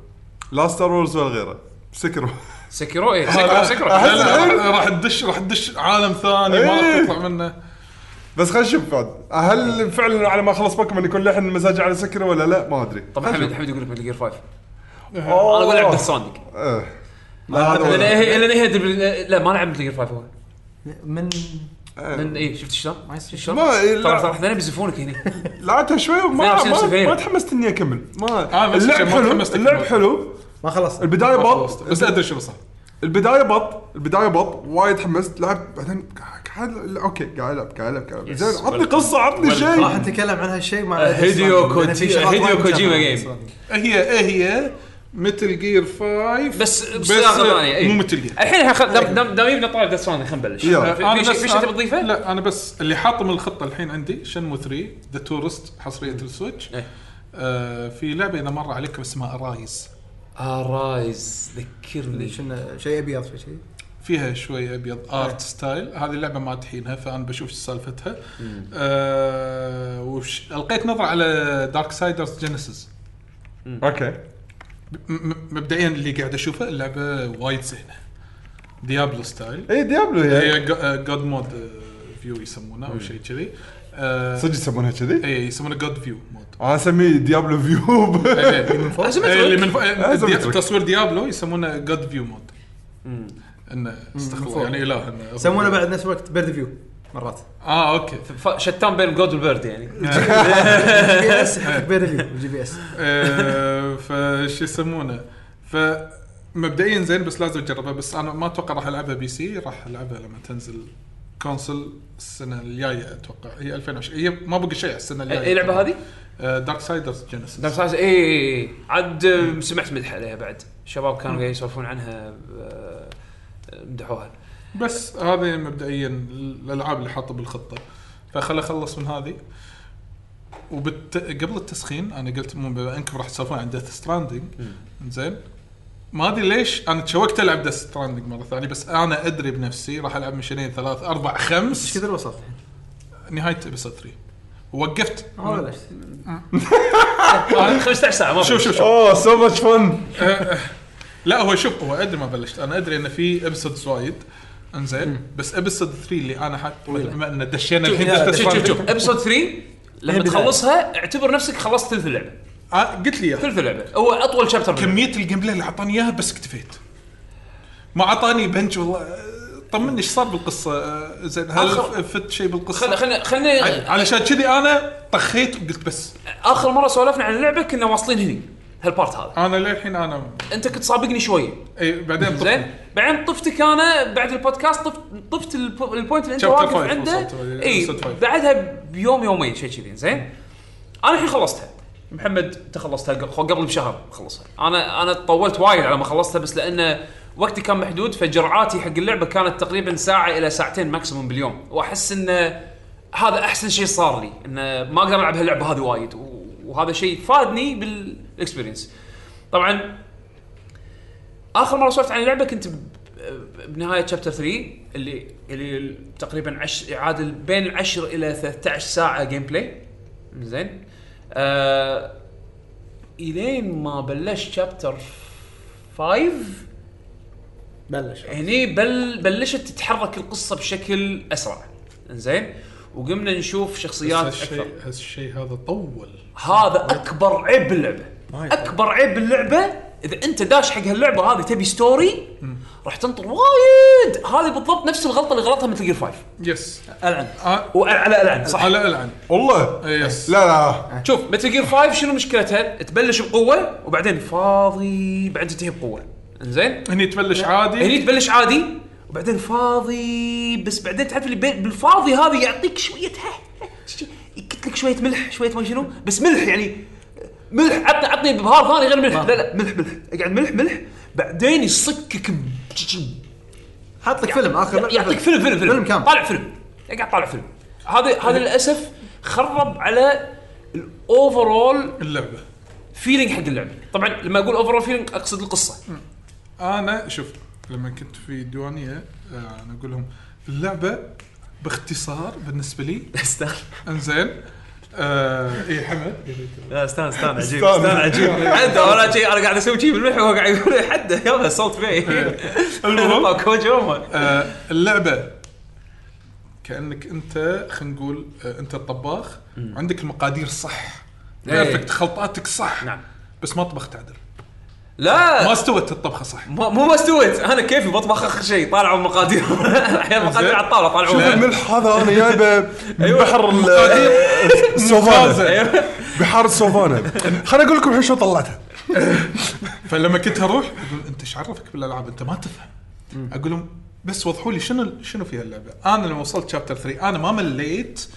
[SPEAKER 3] لا ستار وورز ولا غيره سكروا
[SPEAKER 1] سكيرو ايه سكيرو
[SPEAKER 2] لا،
[SPEAKER 1] سكيرو
[SPEAKER 3] أحس
[SPEAKER 2] لا، لا،
[SPEAKER 3] الحين-
[SPEAKER 2] راح تدش راح تدش عالم ثاني ما راح
[SPEAKER 3] إيه.
[SPEAKER 2] تطلع منه
[SPEAKER 3] بس خلينا نشوف بعد هل فعلا على ما اخلص بوكيمون يكون لحن مزاجي على سكروا ولا لا ما ادري
[SPEAKER 1] طبعا حمد حمد طيب، يقول لك مثل جير 5
[SPEAKER 3] انا
[SPEAKER 1] انا اقول لعب سونيك
[SPEAKER 3] لا هذا
[SPEAKER 1] لان
[SPEAKER 3] ولا.
[SPEAKER 1] هي لأن هي دبل- لا ما لعب مثل جير 5 هو
[SPEAKER 4] من
[SPEAKER 1] لأن ايه شفت شلون؟
[SPEAKER 4] ما
[SPEAKER 1] شفت
[SPEAKER 4] يصير.
[SPEAKER 1] شلون؟
[SPEAKER 3] ما- إيه، لا.
[SPEAKER 1] ترى ترى احنا بيزفونك هنا
[SPEAKER 3] لعبتها شوي وما
[SPEAKER 1] 22
[SPEAKER 3] ما,
[SPEAKER 1] سفير.
[SPEAKER 3] ما تحمست اني اكمل
[SPEAKER 2] آه،
[SPEAKER 3] ما
[SPEAKER 2] بس
[SPEAKER 3] اللعب
[SPEAKER 2] عشان ما
[SPEAKER 3] حلو
[SPEAKER 2] تحمست
[SPEAKER 3] اللعب
[SPEAKER 2] أكمل.
[SPEAKER 3] حلو
[SPEAKER 4] ما خلصت
[SPEAKER 1] إيه،
[SPEAKER 3] البدايه
[SPEAKER 2] ما
[SPEAKER 3] بط
[SPEAKER 2] خلصت بس ادري شنو صار
[SPEAKER 3] البدايه بط البدايه بط وايد حمست لعبت بعدين قاعد لا، اوكي قاعد العب قاعد العب قاعد العب
[SPEAKER 1] Yes.
[SPEAKER 3] زين عطني قصه عطني
[SPEAKER 1] Well-
[SPEAKER 4] راح
[SPEAKER 3] شيء
[SPEAKER 4] نتكلم عن هالشيء مع
[SPEAKER 1] آه، هيديو
[SPEAKER 4] لأن في
[SPEAKER 1] كوجي-
[SPEAKER 4] شغلات وايد
[SPEAKER 1] هيديو
[SPEAKER 4] متشابهة
[SPEAKER 1] كوجيما
[SPEAKER 4] مع
[SPEAKER 1] جيم.
[SPEAKER 4] سونيك.
[SPEAKER 2] هي إيه هي مثل جير 5
[SPEAKER 1] بس بصياغه ثانيه إيه.
[SPEAKER 2] مو آه، مثل جير
[SPEAKER 1] الحين إحنا خل- دام- دام دام جبنا طاري ديث سونيك خلينا نبلش
[SPEAKER 3] يلا.
[SPEAKER 1] في- في شيء- في شيء تبي تضيفه؟
[SPEAKER 2] لا انا بس اللي حاطه من الخطه الحين عندي شنمو 3 ذا تورست حصريه السويتش
[SPEAKER 1] إيه.
[SPEAKER 2] آه في لعبه اذا مر عليكم اسمها ارايز
[SPEAKER 1] ارايز ذكرني
[SPEAKER 4] شنو شيء ابيض في شيء
[SPEAKER 2] فيها شوي ابيض
[SPEAKER 1] إيه.
[SPEAKER 2] ارت ستايل هذه اللعبه ما تحينها فانا بشوف ايش سالفتها آه وش القيت نظره على دارك سايدرز جينيسيس
[SPEAKER 3] اوكي
[SPEAKER 2] م- م- مبدئيا اللي قاعد اشوفه اللعبه وايد زينه ديابلو ستايل
[SPEAKER 3] اي إيه، ديابلو هي
[SPEAKER 2] هي جود مود فيو يسمونه او شيء كذي آه،
[SPEAKER 3] صدق يسمونها كذي؟
[SPEAKER 2] اي يسمونه جود فيو مود
[SPEAKER 3] انا اسميه ديابلو فيو
[SPEAKER 2] إيه، اللي من فوق
[SPEAKER 1] أسمترك.
[SPEAKER 2] إيه، اللي من فوق إيه،
[SPEAKER 3] أسمترك.
[SPEAKER 2] دياب- تصوير ديابلو يسمونه جود فيو مود انه استغفر الله،
[SPEAKER 4] فوق.
[SPEAKER 2] يعني اله إنه-
[SPEAKER 4] يسمونه بعد نفس الوقت بيرد فيو مرات
[SPEAKER 2] اه اوكي
[SPEAKER 1] ف- شتان بين الجود والبرد يعني
[SPEAKER 4] جي بي اس يحطك بيرد فيو جي بي اس
[SPEAKER 2] آه، فش يسمونه ف مبدئيا زين بس لازم اجربها بس انا ما اتوقع راح العبها بي سي راح العبها لما تنزل كونسل السنه الجايه اتوقع هي 2020 هي ما بقى شيء آه، على السنه الجايه
[SPEAKER 1] اي لعبه إيه، هذه؟
[SPEAKER 2] دارك سايدرز جينيسيس
[SPEAKER 1] دارك سايز اي إيه، عاد آه، سمعت مدح عليها بعد الشباب كانوا قاعدين يسولفون عنها آه، آه، مدحوها
[SPEAKER 2] بس هذه مبدئيا الالعاب اللي حاطه بالخطه فخل اخلص من هذه وبت... قبل التسخين انا قلت مو بما انكم راح تسولفون عن ديث ستراندنج زين ما ادري ليش انا تشوقت العب ديث ستراندنج مره ثانيه بس انا ادري بنفسي راح العب مشينين ثلاث اربع
[SPEAKER 4] ايش
[SPEAKER 2] خمس
[SPEAKER 4] كثر وصلت الحين؟
[SPEAKER 2] نهايه ابيسود 3 وقفت
[SPEAKER 4] ما
[SPEAKER 1] آه.
[SPEAKER 4] بلشت
[SPEAKER 1] 15 ساعه ما
[SPEAKER 2] شوف شوف شوف
[SPEAKER 3] اوه سو ماتش فن
[SPEAKER 2] لا هو شوف هو ادري ما بلشت انا ادري ان في ابيسودز وايد انزين بس ابيسود 3 اللي انا حاط بما ان دشينا الحين
[SPEAKER 4] لا،
[SPEAKER 2] Death
[SPEAKER 4] شوف،
[SPEAKER 1] شوف
[SPEAKER 2] Stranding.
[SPEAKER 1] شوف شوف ابسود 3 لما
[SPEAKER 4] بداية.
[SPEAKER 1] تخلصها اعتبر نفسك خلصت ثلث اللعبه
[SPEAKER 2] آه، قلت لي إياها.
[SPEAKER 1] ثلث اللعبه هو اطول شابتر باللعبة.
[SPEAKER 2] كميه الجيم بلاي اللي اعطاني اياها بس اكتفيت ما اعطاني بنج والله آه، طمني ايش صار بالقصه آه، زين هل
[SPEAKER 1] آخر-
[SPEAKER 2] فت شيء بالقصه
[SPEAKER 1] خل خلنا خلنا
[SPEAKER 2] عل- علشان كذي انا طخيت وقلت بس
[SPEAKER 1] اخر مره سولفنا عن اللعبه كنا واصلين هني هالبارت هذا
[SPEAKER 2] انا للحين انا
[SPEAKER 1] انت كنت سابقني شويه
[SPEAKER 2] اي بعدين طفت.
[SPEAKER 1] زين بعدين طفتك انا بعد البودكاست طفت طفت الب- البوينت اللي انت
[SPEAKER 2] Chapter
[SPEAKER 1] واقف
[SPEAKER 2] five
[SPEAKER 1] عنده
[SPEAKER 2] وصلت ولا-
[SPEAKER 1] اي
[SPEAKER 2] وصلت five.
[SPEAKER 1] بعدها بيوم يومين شيء كذي زين انا الحين خلصتها محمد انت خلصتها ق- قبل بشهر خلصها انا انا طولت وايد على ما خلصتها بس لانه وقتي كان محدود فجرعاتي حق اللعبه كانت تقريبا ساعه الى ساعتين ماكسيموم باليوم واحس انه هذا احسن شيء صار لي انه ما اقدر العب هاللعبه هذه وايد و- وهذا شيء فادني بالاكسبيرينس طبعا اخر مره سولفت عن اللعبه كنت ب- ب- بنهايه شابتر 3 اللي اللي تقريبا عش يعادل بين 10 الى 13 ساعه جيم بلاي زين آه الين ما بلشت شابتر 5
[SPEAKER 4] بلش
[SPEAKER 1] هني بل بلشت تتحرك القصه بشكل اسرع زين وقمنا نشوف شخصيات اكثر
[SPEAKER 2] هالشيء هالشيء هذا طول
[SPEAKER 1] هذا اكبر عيب باللعبه
[SPEAKER 4] ما يطول.
[SPEAKER 1] اكبر عيب باللعبه اذا انت داش حق هاللعبه هذه تبي ستوري راح تنطر وايد هذه بالضبط نفس الغلطه اللي غلطها مثل جير 5
[SPEAKER 2] يس
[SPEAKER 4] العن
[SPEAKER 2] آه،
[SPEAKER 1] وعلى العن صح
[SPEAKER 2] على العن
[SPEAKER 3] والله
[SPEAKER 2] يس
[SPEAKER 3] لا لا
[SPEAKER 1] شوف متل جير 5 شنو مشكلتها؟ تبلش بقوه وبعدين فاضي بعدين تنتهي بقوه زين
[SPEAKER 2] هني تبلش عادي
[SPEAKER 1] هني تبلش يعني عادي وبعدين فاضي بس بعدين تعرف اللي بين- بالفاضي هذا يعطيك شويه ها- ها- شي- يكت لك شويه ملح شويه ما شنو بس ملح يعني ملح عطني عطني بهار ثاني غير ملح لا لا ملح ملح اقعد ملح ملح بعدين يصكك ب-
[SPEAKER 4] حط لك فيلم اخر لعبة
[SPEAKER 1] يعطيك فيلم فيلم فيلم
[SPEAKER 4] فيلم كامل
[SPEAKER 1] طالع فيلم اقعد طالع فيلم هذا هذا للاسف خرب على الاوفرول
[SPEAKER 2] اللعبه
[SPEAKER 1] فيلينج حق اللعبه طبعا لما اقول اوفرول فيلينج اقصد القصه
[SPEAKER 2] انا شوف لما كنت في ديوانيه آه، انا اقول لهم اللعبه باختصار بالنسبه لي
[SPEAKER 1] استنى
[SPEAKER 2] انزين آه اي حمد
[SPEAKER 1] لا استنى استنى عجيب
[SPEAKER 3] استنى.
[SPEAKER 1] استنى عجيب حدا ولا شيء انا قاعد اسوي شيء بالملح وهو قاعد يقول لي حدا يلا صوت فيه
[SPEAKER 2] المهم.
[SPEAKER 1] ما كوج يومه.
[SPEAKER 2] آه، اللعبه كانك انت خلينا نقول آه، انت الطباخ وعندك المقادير صح
[SPEAKER 1] إيه.
[SPEAKER 2] بيرفكت خلطاتك صح
[SPEAKER 1] نعم.
[SPEAKER 2] بس ما طبخت عدل ما
[SPEAKER 1] لا
[SPEAKER 2] استوت الطبخه صح
[SPEAKER 1] ما- مو ما استويت انا كيفي بطبخ اخر شيء طالعوا المقادير احيانا المقادير على الطاوله
[SPEAKER 3] شوف
[SPEAKER 1] طالعوا
[SPEAKER 3] الملح هذا انا جايبه من
[SPEAKER 1] أيوة.
[SPEAKER 3] بحر ال-
[SPEAKER 2] مقادير
[SPEAKER 1] إيه.
[SPEAKER 3] السوفانا
[SPEAKER 2] ممتازة.
[SPEAKER 3] بحر السوفانا خليني اقول لكم الحين شو طلعتها
[SPEAKER 2] فلما كنت اروح اقول انت ايش عرفك بالالعاب انت ما تفهم اقول لهم بس وضحوا لي شنو شنو فيها اللعبه انا لما وصلت شابتر 3 انا ما مليت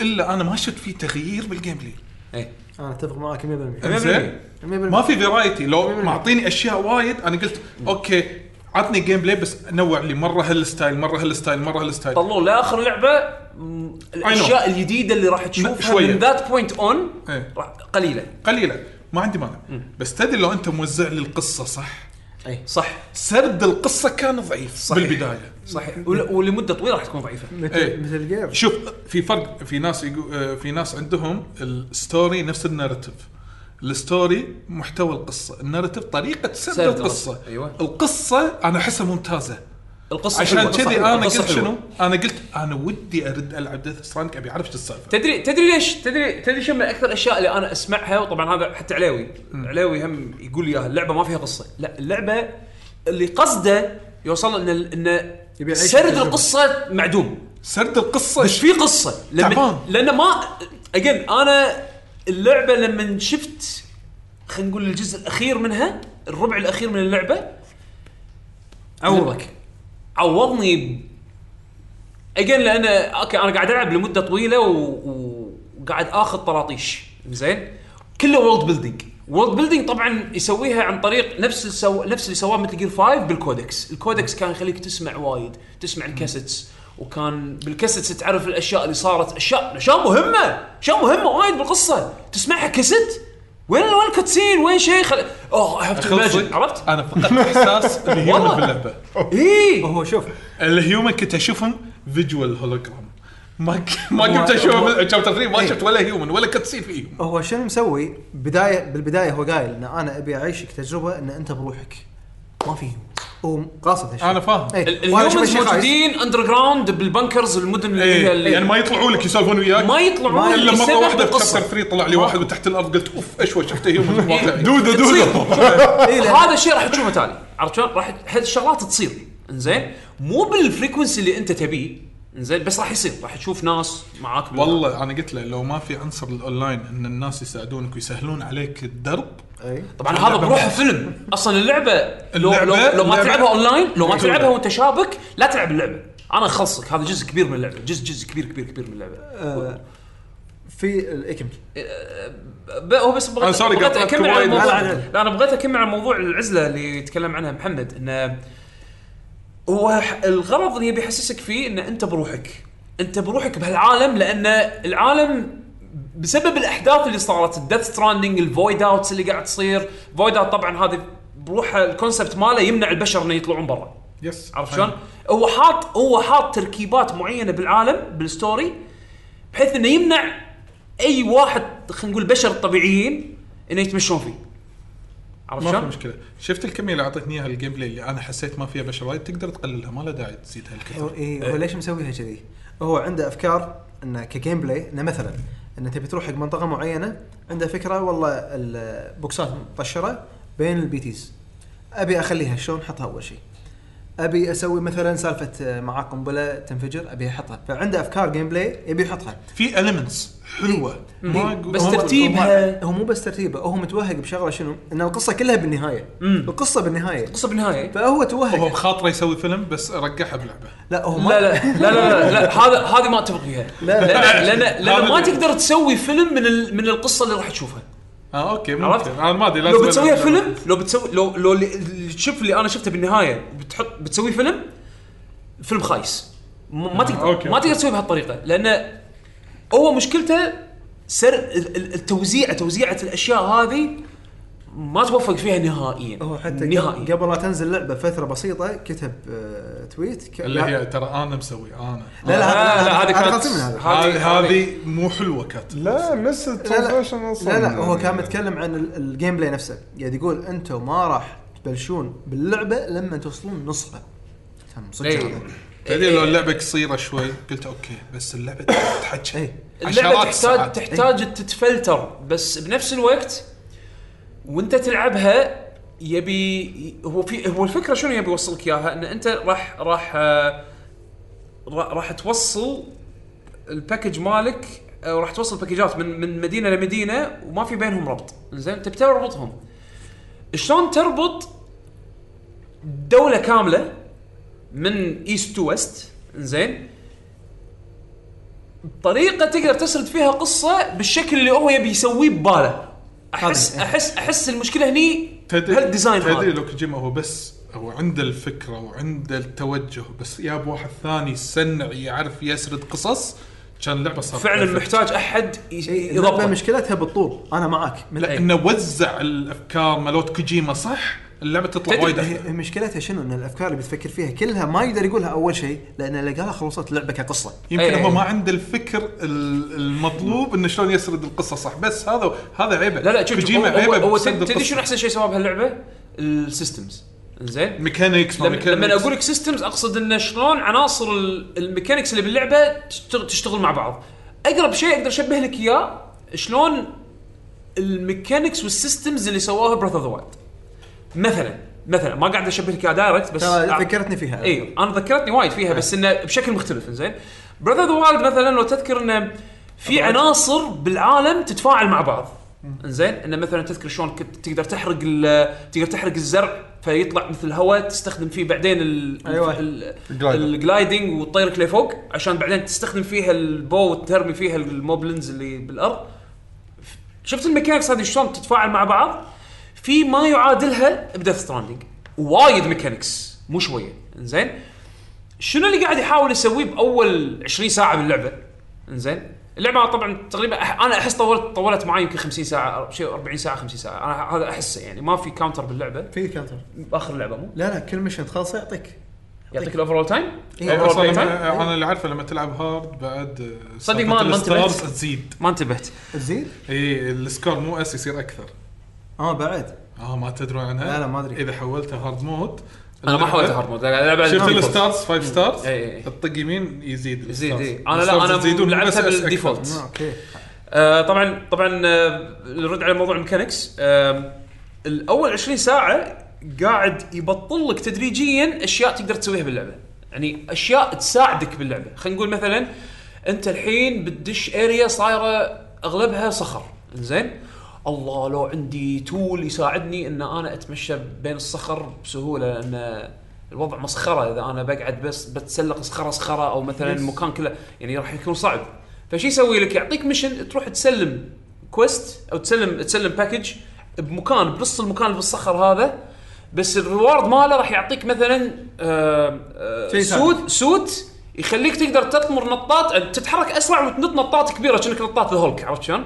[SPEAKER 2] الا انا ما شفت فيه تغيير بالجيم بلاي
[SPEAKER 1] إيه.
[SPEAKER 4] انا اتفق معك 100%
[SPEAKER 2] زين
[SPEAKER 4] 100%
[SPEAKER 2] ما في فرايتي لو معطيني اشياء وايد انا قلت اوكي عطني جيم بلاي بس نوع لي مره هالستايل مره هالستايل مره هالستايل
[SPEAKER 1] طلعوا لاخر لعبه م، الاشياء الجديده اللي راح تشوفها
[SPEAKER 2] شوية.
[SPEAKER 1] من ذات بوينت اون
[SPEAKER 2] إيه.
[SPEAKER 1] قليله
[SPEAKER 2] قليله ما عندي مانع بس تدري لو انت موزع لي القصه صح
[SPEAKER 4] إيه.
[SPEAKER 1] صح
[SPEAKER 2] سرد القصه كان ضعيف صحيح. بالبدايه
[SPEAKER 1] صحيح ول- ولمده طويله راح تكون ضعيفه
[SPEAKER 2] إيه.
[SPEAKER 4] مثل مثل جير
[SPEAKER 2] شوف في فرق في ناس يقو... آه، في ناس عندهم الستوري نفس النارتيف الستوري محتوى القصه النارتيف طريقه سرد
[SPEAKER 1] سرد
[SPEAKER 2] القصه
[SPEAKER 1] أيوة.
[SPEAKER 2] القصه انا احسها ممتازه
[SPEAKER 1] القصه
[SPEAKER 2] عشان
[SPEAKER 1] حلوة.
[SPEAKER 2] كذي
[SPEAKER 1] صحيح.
[SPEAKER 2] انا
[SPEAKER 1] القصة
[SPEAKER 2] قلت
[SPEAKER 1] حلوة.
[SPEAKER 2] شنو؟ انا قلت انا ودي ارد العب ديث ستراندنج ابي اعرف شو السالفه
[SPEAKER 1] تدري تدري ليش تدري تدري شو من اكثر الاشياء اللي انا اسمعها وطبعا هذا حتى علاوي علاوي هم يقول لي اياها اللعبه ما فيها قصه لا اللعبه اللي قصده يوصل ان ال- ان
[SPEAKER 4] يبي يعيش
[SPEAKER 1] سرد
[SPEAKER 4] التجربة.
[SPEAKER 1] القصه معدوم
[SPEAKER 2] سرد القصه
[SPEAKER 1] مش في قصه
[SPEAKER 2] تعبان.
[SPEAKER 1] لما لان ما اجين انا اللعبه لما شفت خلينا نقول الجزء الاخير منها الربع الاخير من اللعبه عوضك عوضني ب- اجين لان اوكي انا قاعد العب لمده طويله و... و- وقاعد اخذ طراطيش زين كله وورلد بيلدينج وورلد بيلدينج طبعا يسويها عن طريق نفس السو... نفس اللي سواه مثل جير 5 بالكودكس الكودكس كان يخليك تسمع وايد تسمع الكاسيتس وكان بالكاسيتس تعرف الاشياء اللي صارت اشياء اشياء مهمه اشياء مهمه وايد بالقصه تسمعها كاسيت وين وين الكاتسين وين شيء خل... اوه I have to imagine.
[SPEAKER 2] أخلصك،
[SPEAKER 1] عرفت؟
[SPEAKER 2] انا فقدت احساس الهيومن
[SPEAKER 1] والله.
[SPEAKER 2] باللعبه
[SPEAKER 1] ايه
[SPEAKER 4] هو شوف
[SPEAKER 2] الهيومن كنت اشوفهم فيجوال هولوجرام ما ك- ما كنت اشوفهم شابتر 3 ما
[SPEAKER 4] إيه.
[SPEAKER 2] شفت ولا هيومن ولا كتسين فيهم
[SPEAKER 4] هو شنو مسوي بدايه بالبدايه هو قايل ان انا ابي اعيشك تجربه ان انت بروحك ما في هو قاصد هالشيء
[SPEAKER 2] أنا فاهم.
[SPEAKER 4] إيه.
[SPEAKER 1] ال-
[SPEAKER 4] وأنا شفت
[SPEAKER 1] الهيومنز
[SPEAKER 4] شيء خايس.
[SPEAKER 1] موجودين اندر جراوند بالبنكرز المدن اللي هي
[SPEAKER 2] إيه.
[SPEAKER 1] اللي
[SPEAKER 2] يعني ما يطلعوا لك يسولفون وياك
[SPEAKER 1] ما يطلعون
[SPEAKER 4] ما-
[SPEAKER 2] الا
[SPEAKER 1] لسبب
[SPEAKER 2] مره واحده في
[SPEAKER 1] بالقصة.
[SPEAKER 2] شابتر 3 طلع لي واحد من تحت الارض قلت اوف اشوى شفته هيومن
[SPEAKER 1] إيه.
[SPEAKER 2] واقعي
[SPEAKER 3] دودة دودة
[SPEAKER 1] تصير.
[SPEAKER 4] إيه، لأن-
[SPEAKER 1] هذا الشيء راح تشوفه تالي عرفت شلون؟ راح هذه الشغلات تصير انزين مو بالفريكونسي اللي انت تبيه انزين بس راح يصير راح تشوف ناس معاك بالله.
[SPEAKER 2] والله انا قلت له لو ما في عنصر الاونلاين ان الناس يساعدونك ويسهلون عليك الدرب
[SPEAKER 4] اي
[SPEAKER 1] طبعا هذا بروحه فيلم اصلا اللعبه لو لو,
[SPEAKER 2] اللعبة-
[SPEAKER 1] لو ما
[SPEAKER 2] اللعبة-
[SPEAKER 1] تلعبها اونلاين لو ما
[SPEAKER 2] مكتوبة.
[SPEAKER 1] تلعبها وانت شابك لا تلعب اللعبه انا اخلصك هذا جزء كبير من اللعبه جزء جزء كبير كبير كبير من اللعبه
[SPEAKER 4] في الاكمل
[SPEAKER 1] ب- هو بس
[SPEAKER 2] أنا
[SPEAKER 1] بغيت,
[SPEAKER 2] سوري
[SPEAKER 1] بغيت
[SPEAKER 2] قاطعتك
[SPEAKER 1] اكمل على
[SPEAKER 2] وايد.
[SPEAKER 1] الموضوع
[SPEAKER 4] لا، لا، لا.
[SPEAKER 1] لا انا بغيت اكمل على موضوع العزله اللي تكلم عنها محمد انه هو ح- الغرض اللي يبي يحسسك فيه ان انت بروحك انت بروحك بهالعالم لان العالم بسبب الاحداث اللي صارت الديث ستراندنج الفويد اوتس اللي قاعد تصير فويد اوت طبعا هذا بروحه الكونسبت ماله يمنع البشر انه يطلعون برا
[SPEAKER 2] يس
[SPEAKER 1] عرفت شلون؟ هو حاط هو حاط تركيبات معينه بالعالم بالستوري بحيث انه يمنع اي واحد خلينا نقول بشر طبيعيين انه يتمشون فيه. عرفت
[SPEAKER 2] ما في
[SPEAKER 1] شلون؟
[SPEAKER 2] مشكله شفت الكميه اللي اعطتني اياها الجيم بلاي اللي انا حسيت ما فيها بشر وايد تقدر تقللها ما لها داعي تزيدها
[SPEAKER 4] هو
[SPEAKER 2] الكثر
[SPEAKER 4] إيه هو ليش مسويها كذي؟ هو عنده افكار انه كجيم بلاي انه مثلا انه تبي تروح حق منطقه معينه عنده فكره والله البوكسات مطشره بين البيتيز ابي اخليها شلون احطها اول شيء ابي اسوي مثلا سالفه آه، معاه قنبله تنفجر ابي احطها فعنده افكار جيم بلاي يبي يحطها
[SPEAKER 2] في المنتس حلوه ما
[SPEAKER 4] إيه.
[SPEAKER 2] أقول-
[SPEAKER 1] بس
[SPEAKER 2] هم-
[SPEAKER 1] ترتيب.
[SPEAKER 2] هم-
[SPEAKER 1] ترتيبها.
[SPEAKER 4] هو مو بس ترتيبه هو متوهق بشغله شنو؟ ان القصه كلها بالنهايه
[SPEAKER 1] مم.
[SPEAKER 4] القصه بالنهايه
[SPEAKER 1] قصه بالنهايه
[SPEAKER 4] فهو
[SPEAKER 2] هو
[SPEAKER 4] توهق
[SPEAKER 2] بخاطره يسوي فيلم بس رقعها بلعبه
[SPEAKER 4] لا هو ما
[SPEAKER 1] لا لا لا لا, لا, لا هذا هذه ما اتفق فيها
[SPEAKER 4] لا، لا.
[SPEAKER 1] لان لان, لأن ما
[SPEAKER 2] هذا-
[SPEAKER 1] تقدر تسوي فيلم من ال- من القصه اللي راح تشوفها
[SPEAKER 2] اه اوكي
[SPEAKER 1] عرفت؟
[SPEAKER 2] ممكن انا ما ادري
[SPEAKER 1] لو
[SPEAKER 2] لازم-
[SPEAKER 1] بتسويها
[SPEAKER 2] لازم-
[SPEAKER 1] فيلم لو بتسوي لو لو اللي- اللي تشوف اللي انا شفته بالنهايه بتحط بتسوي فيلم فيلم خايس م- ما تقدر
[SPEAKER 2] آه، أوكي،
[SPEAKER 1] ما
[SPEAKER 2] أوكي.
[SPEAKER 1] تقدر تسويه بهالطريقه لان هو مشكلته سر ال- ال- التوزيع توزيعه الاشياء هذه ما توفق فيها نهائيا
[SPEAKER 4] هو حتى
[SPEAKER 1] نهائيا
[SPEAKER 4] نهائي. قبل لا تنزل لعبه فتره بسيطه كتب آه، تويت ك...
[SPEAKER 2] اللي هي ترى انا مسوي انا
[SPEAKER 4] لا لا
[SPEAKER 1] آه، لا، هذه
[SPEAKER 4] هذا
[SPEAKER 1] كانت-
[SPEAKER 4] هذا خلصين من هذا
[SPEAKER 1] هذه-
[SPEAKER 2] هذه هذه مو حلوه كانت
[SPEAKER 3] لا مس
[SPEAKER 4] يعني. لا لا
[SPEAKER 3] الترانزيشن اصلا
[SPEAKER 4] لا لا هو كان متكلم عن ال- الجيم بلاي نفسه قاعد يقول انتم ما راح تبلشون باللعبه لما توصلون نصها كان صدق
[SPEAKER 1] إيه.
[SPEAKER 4] هذا.
[SPEAKER 2] بعدين لو اللعبه قصيره شوي قلت اوكي بس اللعبه تحكي
[SPEAKER 4] إيه.
[SPEAKER 1] اللعبه
[SPEAKER 2] عشرات
[SPEAKER 1] تحتاج
[SPEAKER 2] الساعات.
[SPEAKER 1] تحتاج تتفلتر بس بنفس الوقت وانت تلعبها يبي هو في هو الفكره شنو يبي يوصلك اياها ان انت راح راح آه، را- راح توصل الباكج مالك آه، راح توصل باكجات من من مدينه لمدينه وما في بينهم ربط زين تبي تربطهم شلون تربط دوله كامله من ايست تو ويست زين طريقه تقدر تسرد فيها قصه بالشكل اللي هو يبي يسويه بباله احس
[SPEAKER 4] هذه-
[SPEAKER 1] احس احس المشكله هني هالديزاين
[SPEAKER 2] تدري
[SPEAKER 1] هذا
[SPEAKER 2] لو كوجيما هو بس هو عنده الفكره وعنده التوجه بس ياب واحد ثاني سنع يعرف يسرد قصص كان اللعبه صارت
[SPEAKER 1] فعلا
[SPEAKER 2] perfect.
[SPEAKER 1] محتاج احد
[SPEAKER 4] إيه،
[SPEAKER 1] ي-
[SPEAKER 4] اللعبه
[SPEAKER 1] يضبطه
[SPEAKER 4] مشكلتها بالطول انا معاك
[SPEAKER 2] لا
[SPEAKER 1] إيه.
[SPEAKER 2] انه وزع الافكار مالوت كوجيما صح اللعبه تطلع
[SPEAKER 1] تدري- إيه.
[SPEAKER 2] وايد
[SPEAKER 4] هي
[SPEAKER 2] أحلى.
[SPEAKER 4] هي مشكلتها شنو ان الافكار اللي بتفكر فيها كلها ما يقدر يقولها اول شيء لان لقاها خلصت اللعبه كقصه
[SPEAKER 2] يمكن
[SPEAKER 1] إيه.
[SPEAKER 2] هو ما عنده الفكر ال- المطلوب انه شلون يسرد القصه صح بس هذا هذا عيبه
[SPEAKER 1] لا لا شوف شوف، هو,
[SPEAKER 2] كوجيما
[SPEAKER 1] هو,
[SPEAKER 2] عيبه
[SPEAKER 1] هو
[SPEAKER 2] بسرد
[SPEAKER 1] تدري شنو
[SPEAKER 2] القصة.
[SPEAKER 1] احسن شيء سواه بهاللعبه؟ السيستمز زين
[SPEAKER 2] ميكانيكس ما
[SPEAKER 1] لما, لما
[SPEAKER 2] ميكانيكس.
[SPEAKER 1] اقول لك سيستمز اقصد انه شلون عناصر ال- الميكانكس اللي باللعبه تشتغل, تشتغل مع بعض اقرب شيء اقدر اشبه لك اياه شلون الميكانكس والسيستمز اللي سواها براذر اوف ذا وايلد مثلا مثلا ما قاعد اشبه لك اياها دايركت بس
[SPEAKER 4] ترى
[SPEAKER 1] أع-
[SPEAKER 4] ذكرتني فيها
[SPEAKER 1] اي انا إيه، ذكرتني وايد فيها بس انه بشكل مختلف زين براذر ذا وايلد مثلا لو تذكر انه في عناصر بالعالم تتفاعل مع بعض زين انه مثلا تذكر شلون كنت تقدر تحرق ال- تقدر تحرق الزرع فيطلع مثل هواء تستخدم فيه بعدين ال-
[SPEAKER 4] أيوة.
[SPEAKER 1] ال-
[SPEAKER 3] الجلايدر.
[SPEAKER 1] الجلايدنج وتطيرك لفوق عشان بعدين تستخدم فيها البو وترمي فيها الموبلنز اللي بالارض شفت الميكانكس هذه شلون تتفاعل مع بعض في ما يعادلها بديث ستراندنج وايد ميكانكس مو شويه زين شنو اللي قاعد يحاول يسويه باول 20 ساعه باللعبه زين اللعبه طبعا تقريبا أح- انا احس طولت طولت معي يمكن 50 ساعه أو شيء 40 ساعه 50 ساعه انا هذا احسه يعني ما في كاونتر باللعبه
[SPEAKER 4] في كانتر
[SPEAKER 1] باخر اللعبه مو
[SPEAKER 4] لا لا كل مشن تخلصه يعطيك
[SPEAKER 1] يعطيك الاوفرول تايم
[SPEAKER 4] إيه،
[SPEAKER 2] أو
[SPEAKER 1] أوفرول
[SPEAKER 2] اصلا
[SPEAKER 1] بلاي تايم
[SPEAKER 2] لما انا اللي عارفه لما تلعب هارد بعد
[SPEAKER 1] صدق ما- ما انتبهت.
[SPEAKER 2] الستارز تزيد
[SPEAKER 1] ما انتبهت
[SPEAKER 4] تزيد
[SPEAKER 2] اي السكور مو اس يصير اكثر
[SPEAKER 4] اه بعد
[SPEAKER 2] اه ما تدرون عنها
[SPEAKER 4] لا، لا، ما أدري.
[SPEAKER 2] اذا حولتها هارد مود
[SPEAKER 1] انا ما
[SPEAKER 2] اللعبة-
[SPEAKER 1] حاولت هارد مود أنا ألعب على
[SPEAKER 2] شفت
[SPEAKER 1] الديفولت.
[SPEAKER 2] الستارز 5 ستارز
[SPEAKER 1] إي، إي، إي.
[SPEAKER 2] تطق يمين يزيد
[SPEAKER 1] يزيد،
[SPEAKER 2] الستارز.
[SPEAKER 1] إي. أنا لا،
[SPEAKER 2] الستارز
[SPEAKER 1] أنا
[SPEAKER 2] يزيدون،
[SPEAKER 1] لعبتها
[SPEAKER 2] بس أس أكثر.
[SPEAKER 1] بالديفولت.
[SPEAKER 4] آه، اوكي
[SPEAKER 1] آه، طبعا طبعا آه، الرد على موضوع الميكانكس آه، الاول 20 ساعه قاعد يبطل لك تدريجيا اشياء تقدر تسويها باللعبه يعني اشياء تساعدك باللعبه خلينا نقول مثلا انت الحين بتدش اريا صايره اغلبها صخر زين الله لو عندي تول يساعدني ان انا اتمشى بين الصخر بسهوله لان الوضع مسخره اذا انا بقعد بس بتسلق صخره صخره او مثلا المكان كله يعني راح يكون صعب فشو يسوي لك يعطيك ميشن تروح تسلم كويست او تسلم تسلم باكج بمكان بنص المكان بالصخر هذا بس الريوارد ماله راح يعطيك مثلا آه آه
[SPEAKER 4] شيء ثاني.
[SPEAKER 1] سوت سوت يخليك تقدر تطمر نطاط تتحرك اسرع وتنط نطات كبيره كأنك نطاط الهولك عرفت شلون؟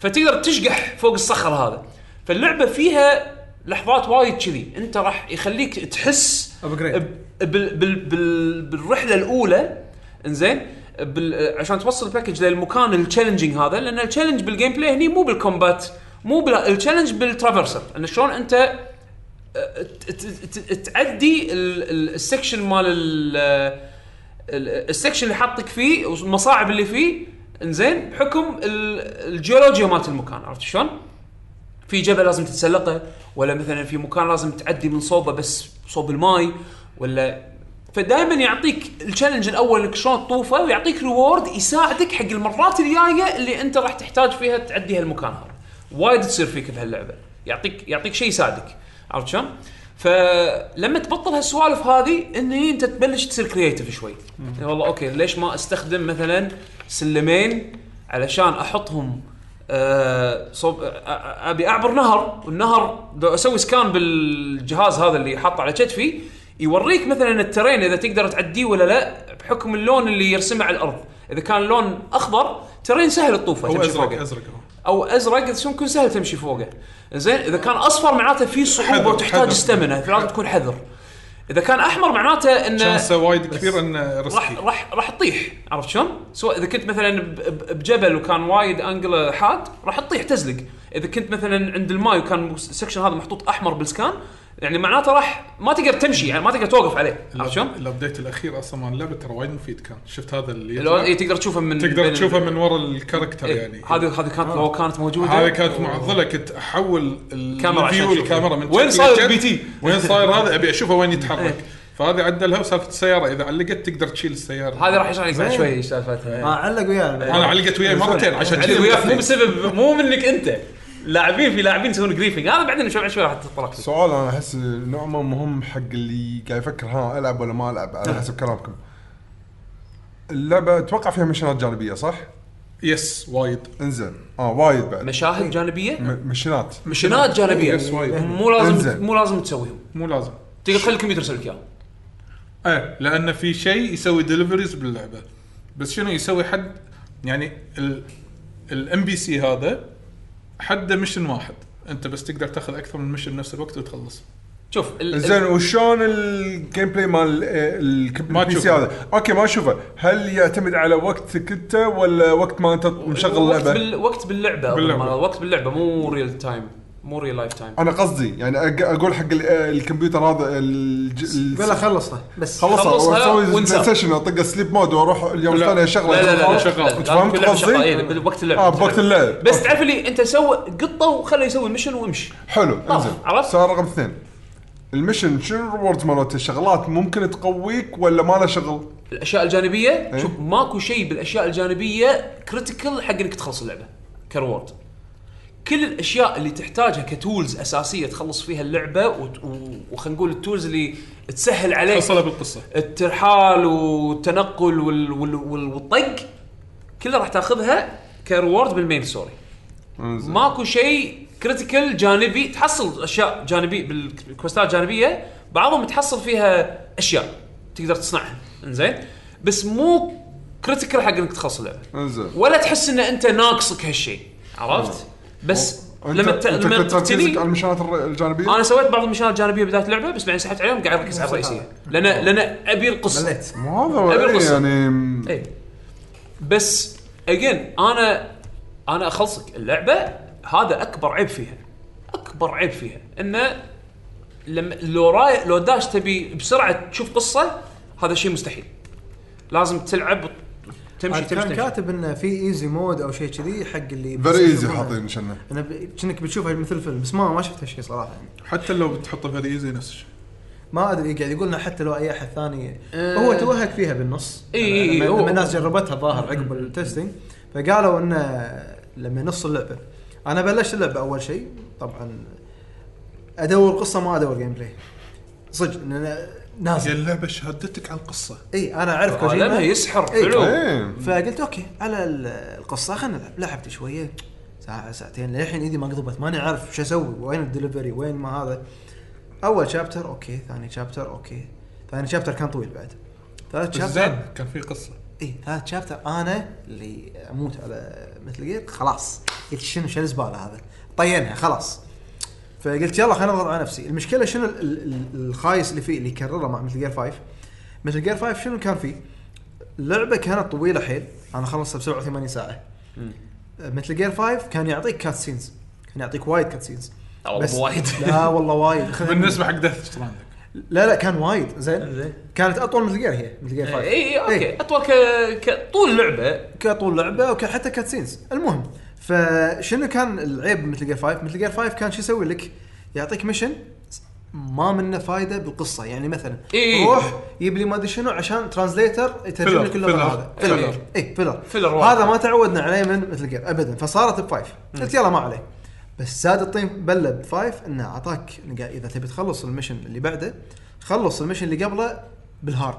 [SPEAKER 1] فتقدر تشقح فوق الصخر هذا فاللعبه فيها لحظات وايد كذي انت راح يخليك تحس
[SPEAKER 4] Upgrade.
[SPEAKER 1] ب- بال بال بال بالرحله الاولى انزين بال عشان توصل الباكج للمكان التشالنجينج هذا لان التشالنج بالجيم بلاي هني مو بالكومبات مو بال- التشالنج بالترافرسر ان شلون انت ت- ت- ت- تعدي ال- ال- السكشن مال ال- ال- السكشن اللي حاطك فيه والمصاعب اللي فيه انزين بحكم ال- الجيولوجيا مالت المكان عرفت شلون؟ في جبل لازم تتسلقه ولا مثلا في مكان لازم تعدي من صوبه بس صوب الماي ولا فدائما يعطيك التشالنج الاول انك شلون تطوفه ويعطيك ريورد يساعدك حق المرات الجايه اللي انت راح تحتاج فيها تعدي هالمكان هذا وايد تصير فيك بهاللعبه يعطيك يعطيك شيء يساعدك عرفت شلون؟ فلما تبطل هالسوالف هذه ان هي انت تبلش تصير كرييتيف شوي يعني والله اوكي ليش ما استخدم مثلا سلمين علشان احطهم آه، صوب آه، آه، ابي اعبر نهر والنهر لو اسوي سكان بالجهاز هذا اللي حاطه على كتفي يوريك مثلا الترين اذا تقدر تعديه ولا لا بحكم اللون اللي يرسمه على الارض اذا كان لون اخضر ترين سهل الطوفه
[SPEAKER 2] هو
[SPEAKER 1] تمشي
[SPEAKER 2] ازرق
[SPEAKER 1] فوقه.
[SPEAKER 2] ازرق هو
[SPEAKER 1] او ازرق يكون سهل تمشي فوقه زين اذا كان اصفر معناته في صعوبه
[SPEAKER 2] حذر،
[SPEAKER 1] وتحتاج
[SPEAKER 2] حذر.
[SPEAKER 1] استمنه فلازم تكون حذر اذا كان احمر معناته انه
[SPEAKER 2] شانسه وايد كبير انه
[SPEAKER 1] راح
[SPEAKER 2] ريسكي
[SPEAKER 1] راح راح تطيح عرفت شلون؟ سواء اذا كنت مثلا ب- ب- بجبل وكان وايد انجله حاد راح تطيح تزلق، اذا كنت مثلا عند الماي وكان السكشن هذا محطوط احمر بالسكان يعني معناته راح ما تقدر تمشي يعني ما تقدر توقف عليه عرفت شلون؟
[SPEAKER 2] الابديت الاخير اصلا مال اللعبه ترى وايد مفيد كان شفت هذا اللي
[SPEAKER 1] لو
[SPEAKER 2] يطلع؟
[SPEAKER 1] إيه تقدر تشوفه من
[SPEAKER 2] تقدر
[SPEAKER 1] بين-
[SPEAKER 2] تشوفه من ورا الكاركتر
[SPEAKER 1] إيه،
[SPEAKER 2] يعني
[SPEAKER 1] هذه هذه كانت لو كانت موجوده
[SPEAKER 2] هذا كانت معضله كنت احول
[SPEAKER 1] كاميرا
[SPEAKER 2] الكاميرا
[SPEAKER 1] عشان
[SPEAKER 2] فيو
[SPEAKER 1] أشوفه.
[SPEAKER 2] الكاميرا من
[SPEAKER 1] وين
[SPEAKER 2] جهة
[SPEAKER 1] صاير
[SPEAKER 2] لجهة.
[SPEAKER 1] البي تي؟
[SPEAKER 2] وين صاير هذا ابي اشوفه وين
[SPEAKER 1] إيه.
[SPEAKER 2] يتحرك فهذه عدلها وسالفه السياره اذا علقت تقدر تشيل السياره
[SPEAKER 1] هذا راح يشرح لك بعد شوي ايش سالفتها
[SPEAKER 4] اه علق وياه
[SPEAKER 2] انا علقت وياي مرتين عشان
[SPEAKER 1] عندي
[SPEAKER 2] كذي
[SPEAKER 1] وياك مو
[SPEAKER 2] مثلي.
[SPEAKER 1] بسبب مو منك انت لاعبين في لاعبين يسوون جريفنج هذا بعدين شوي شوي راح تطلع
[SPEAKER 3] سؤال انا احس نوع ما مهم حق اللي قاعد يفكر ها العب ولا ما العب على حسب كلامكم اللعبه اتوقع فيها مشينات جانبيه صح؟
[SPEAKER 2] يس وايد
[SPEAKER 3] انزين اه وايد بعد
[SPEAKER 1] مشاهد جانبيه
[SPEAKER 3] م- مشينات
[SPEAKER 1] مشينات جانبيه
[SPEAKER 2] يس وايد
[SPEAKER 1] مو لازم
[SPEAKER 3] انزين.
[SPEAKER 1] مو لازم تسويهم
[SPEAKER 2] مو لازم
[SPEAKER 1] تقدر تخلي الكمبيوتر يسوي لك اياهم
[SPEAKER 2] ايه لان في شيء يسوي دليفريز باللعبه بس شنو يسوي حد يعني الام بي سي هذا حده مشن واحد انت بس تقدر تاخذ اكثر من مشن بنفس الوقت وتخلص
[SPEAKER 1] شوف ال-
[SPEAKER 3] زين
[SPEAKER 1] ال-
[SPEAKER 3] وشلون الجيم بلاي مال
[SPEAKER 2] ما
[SPEAKER 3] البي سي
[SPEAKER 2] تشوفه.
[SPEAKER 3] هذا؟ اوكي ما اشوفه، هل يعتمد على وقتك انت ولا وقت ما انت مشغل
[SPEAKER 1] وقت
[SPEAKER 3] اللعبه؟
[SPEAKER 1] بال- وقت باللعبه
[SPEAKER 2] باللعبة.
[SPEAKER 1] باللعبه وقت باللعبه مو ريل تايم مو ريل لايف تايم
[SPEAKER 3] انا قصدي يعني أق- اقول حق ال- الكمبيوتر هذا الج- ال-
[SPEAKER 4] بلا خلصته بس
[SPEAKER 1] خلصها
[SPEAKER 3] خلصها
[SPEAKER 1] وانسى.
[SPEAKER 3] اسوي سيشن اطق سليب مود واروح اليوم
[SPEAKER 2] لا.
[SPEAKER 3] الثاني شغله
[SPEAKER 1] لا لا لا
[SPEAKER 2] شغال.
[SPEAKER 1] لا، لا،
[SPEAKER 3] أنت
[SPEAKER 1] لازم
[SPEAKER 3] فهمت
[SPEAKER 1] كل لعبة
[SPEAKER 3] قصدي؟
[SPEAKER 1] شغالة، إيه، بال- وقت اللعبه
[SPEAKER 3] اه بوقت اللعب
[SPEAKER 1] بس تعرف اللي انت سوى قطه وخله يسوي المشن وامشي
[SPEAKER 3] حلو
[SPEAKER 1] آه، خلاص،
[SPEAKER 3] انزين
[SPEAKER 1] عرفت؟
[SPEAKER 3] سؤال رقم اثنين المشن شنو الريوردز مالته الشغلات ممكن تقويك ولا ما لها شغل؟
[SPEAKER 1] الاشياء الجانبيه شوف ماكو شيء بالاشياء الجانبيه كريتيكال حق انك تخلص اللعبه كرورد كل الاشياء اللي تحتاجها كتولز اساسيه تخلص فيها اللعبه وت- و- وخلينا نقول التولز اللي تسهل عليك
[SPEAKER 2] خلصها بالقصه
[SPEAKER 1] الترحال والتنقل وال وال وال والطق كلها راح تاخذها كريورد بالمين ستوري
[SPEAKER 3] انزين
[SPEAKER 1] ماكو شيء كريتيكال جانبي تحصل اشياء جانبيه بالكوستات جانبيه بعضهم تحصل فيها اشياء تقدر تصنعها انزين بس مو كريتيكال حق انك تخلص اللعبه
[SPEAKER 3] انزين
[SPEAKER 1] ولا تحس ان انت ناقصك هالشيء عرفت بس لما
[SPEAKER 3] آه. أنت-
[SPEAKER 1] ت-
[SPEAKER 3] أنت
[SPEAKER 1] لما
[SPEAKER 3] كنت تركيزك
[SPEAKER 1] تقتني
[SPEAKER 3] على المشانات الر- الجانبيه؟
[SPEAKER 1] انا سويت بعض المشاريع الجانبيه بدايه اللعبه بس بعدين سحبت عليهم قاعد اركز على الرئيسيه لان لان ابي القصه
[SPEAKER 4] مليت
[SPEAKER 3] مو هذا هو،
[SPEAKER 1] أبي
[SPEAKER 3] إيه،
[SPEAKER 1] القصة.
[SPEAKER 3] يعني م-
[SPEAKER 1] اي بس اجين انا انا اخلصك اللعبه هذا اكبر عيب فيها اكبر عيب فيها انه لما لو راي لو داش تبي بسرعه تشوف قصه هذا شيء مستحيل لازم تلعب تمشي
[SPEAKER 4] عاد
[SPEAKER 1] تمشي,
[SPEAKER 4] كان
[SPEAKER 1] تمشي.
[SPEAKER 4] كاتب انه في ايزي مود او شيء كذي حق اللي
[SPEAKER 3] فيري ايزي حاطين شنه
[SPEAKER 4] انا ب- كأنك بتشوفها مثل فيلم بس ما ما شفت هالشيء صراحه يعني
[SPEAKER 2] حتى لو بتحطه في ايزي نفس الشيء
[SPEAKER 4] ما ادري قاعد يقول لنا حتى لو اي احد ثاني
[SPEAKER 1] أه.
[SPEAKER 4] هو توهق فيها بالنص يعني
[SPEAKER 1] إي إي إي،
[SPEAKER 4] لما-
[SPEAKER 1] هو-
[SPEAKER 4] لما الناس جربتها الظاهر عقب التستنج فقالوا انه لما نص اللعبه انا بلشت اللعبه اول شيء طبعا ادور قصه ما ادور جيم بلاي صدق إن أنا
[SPEAKER 2] هي
[SPEAKER 4] نازل
[SPEAKER 2] اللعبه شهدتك على القصه
[SPEAKER 4] اي انا اعرف
[SPEAKER 1] عالمها
[SPEAKER 4] كوجيما إيه، طيب.
[SPEAKER 1] يسحر
[SPEAKER 4] إي.
[SPEAKER 1] حلو
[SPEAKER 3] ايه
[SPEAKER 4] فقلت اوكي على ال- القصه خلينا نلعب لعبت شويه ساعه ساعتين للحين ايدي ما قضبت ماني عارف شو اسوي وين الدليفري وين ما هذا اول شابتر اوكي ثاني شابتر اوكي ثاني شابتر كان طويل بعد ثلاث
[SPEAKER 2] بس
[SPEAKER 4] شابتر
[SPEAKER 2] زين كان في قصه
[SPEAKER 4] اي ثلاث شابتر انا اللي اموت على مثل جير خلاص قلت شنو شنو الزباله هذا طينها خلاص فقلت يلا خلينا نضغط على نفسي المشكله شنو ال- ال- الخايس اللي فيه اللي يكرره مع مثل جير 5 مثل جير 5 شنو كان فيه اللعبه كانت طويله حيل انا خلصتها ب 87 ساعه مثل جير 5 كان يعطيك كات سينز كان يعطيك وايد كات سينز
[SPEAKER 1] لا والله وايد.
[SPEAKER 4] لا والله وايد خذ-
[SPEAKER 2] بالنسبه حق ديث ستراندنج
[SPEAKER 4] لا لا كان وايد زين
[SPEAKER 1] زين.
[SPEAKER 4] كانت اطول مثل جير هي مثل جير 5
[SPEAKER 1] اي اي اوكي
[SPEAKER 4] إيه.
[SPEAKER 1] اطول إيه، ك- ك- طول لعبه
[SPEAKER 4] كطول لعبه وكان حتى كاتسينز المهم فشنو كان العيب مثل جير 5 مثل جير 5 كان شو يسوي لك يعطيك ميشن ما منه فايده بالقصه يعني مثلا
[SPEAKER 1] إي.
[SPEAKER 4] روح يجيب لي ما ادري شنو عشان ترانزليتر يترجم
[SPEAKER 2] فيلر،
[SPEAKER 4] لك اللغه
[SPEAKER 2] فيلر،
[SPEAKER 4] هذا
[SPEAKER 1] فيلر.
[SPEAKER 4] فيلر اي فيلر
[SPEAKER 1] فيلر واحد.
[SPEAKER 4] هذا ما تعودنا عليه من مثل جير ابدا فصارت بفايف قلت يلا ما عليه بس زاد الطين بله بفايف انه اعطاك إنه قا- اذا تبي تخلص المشن اللي بعده خلص المشن اللي قبله بالهارد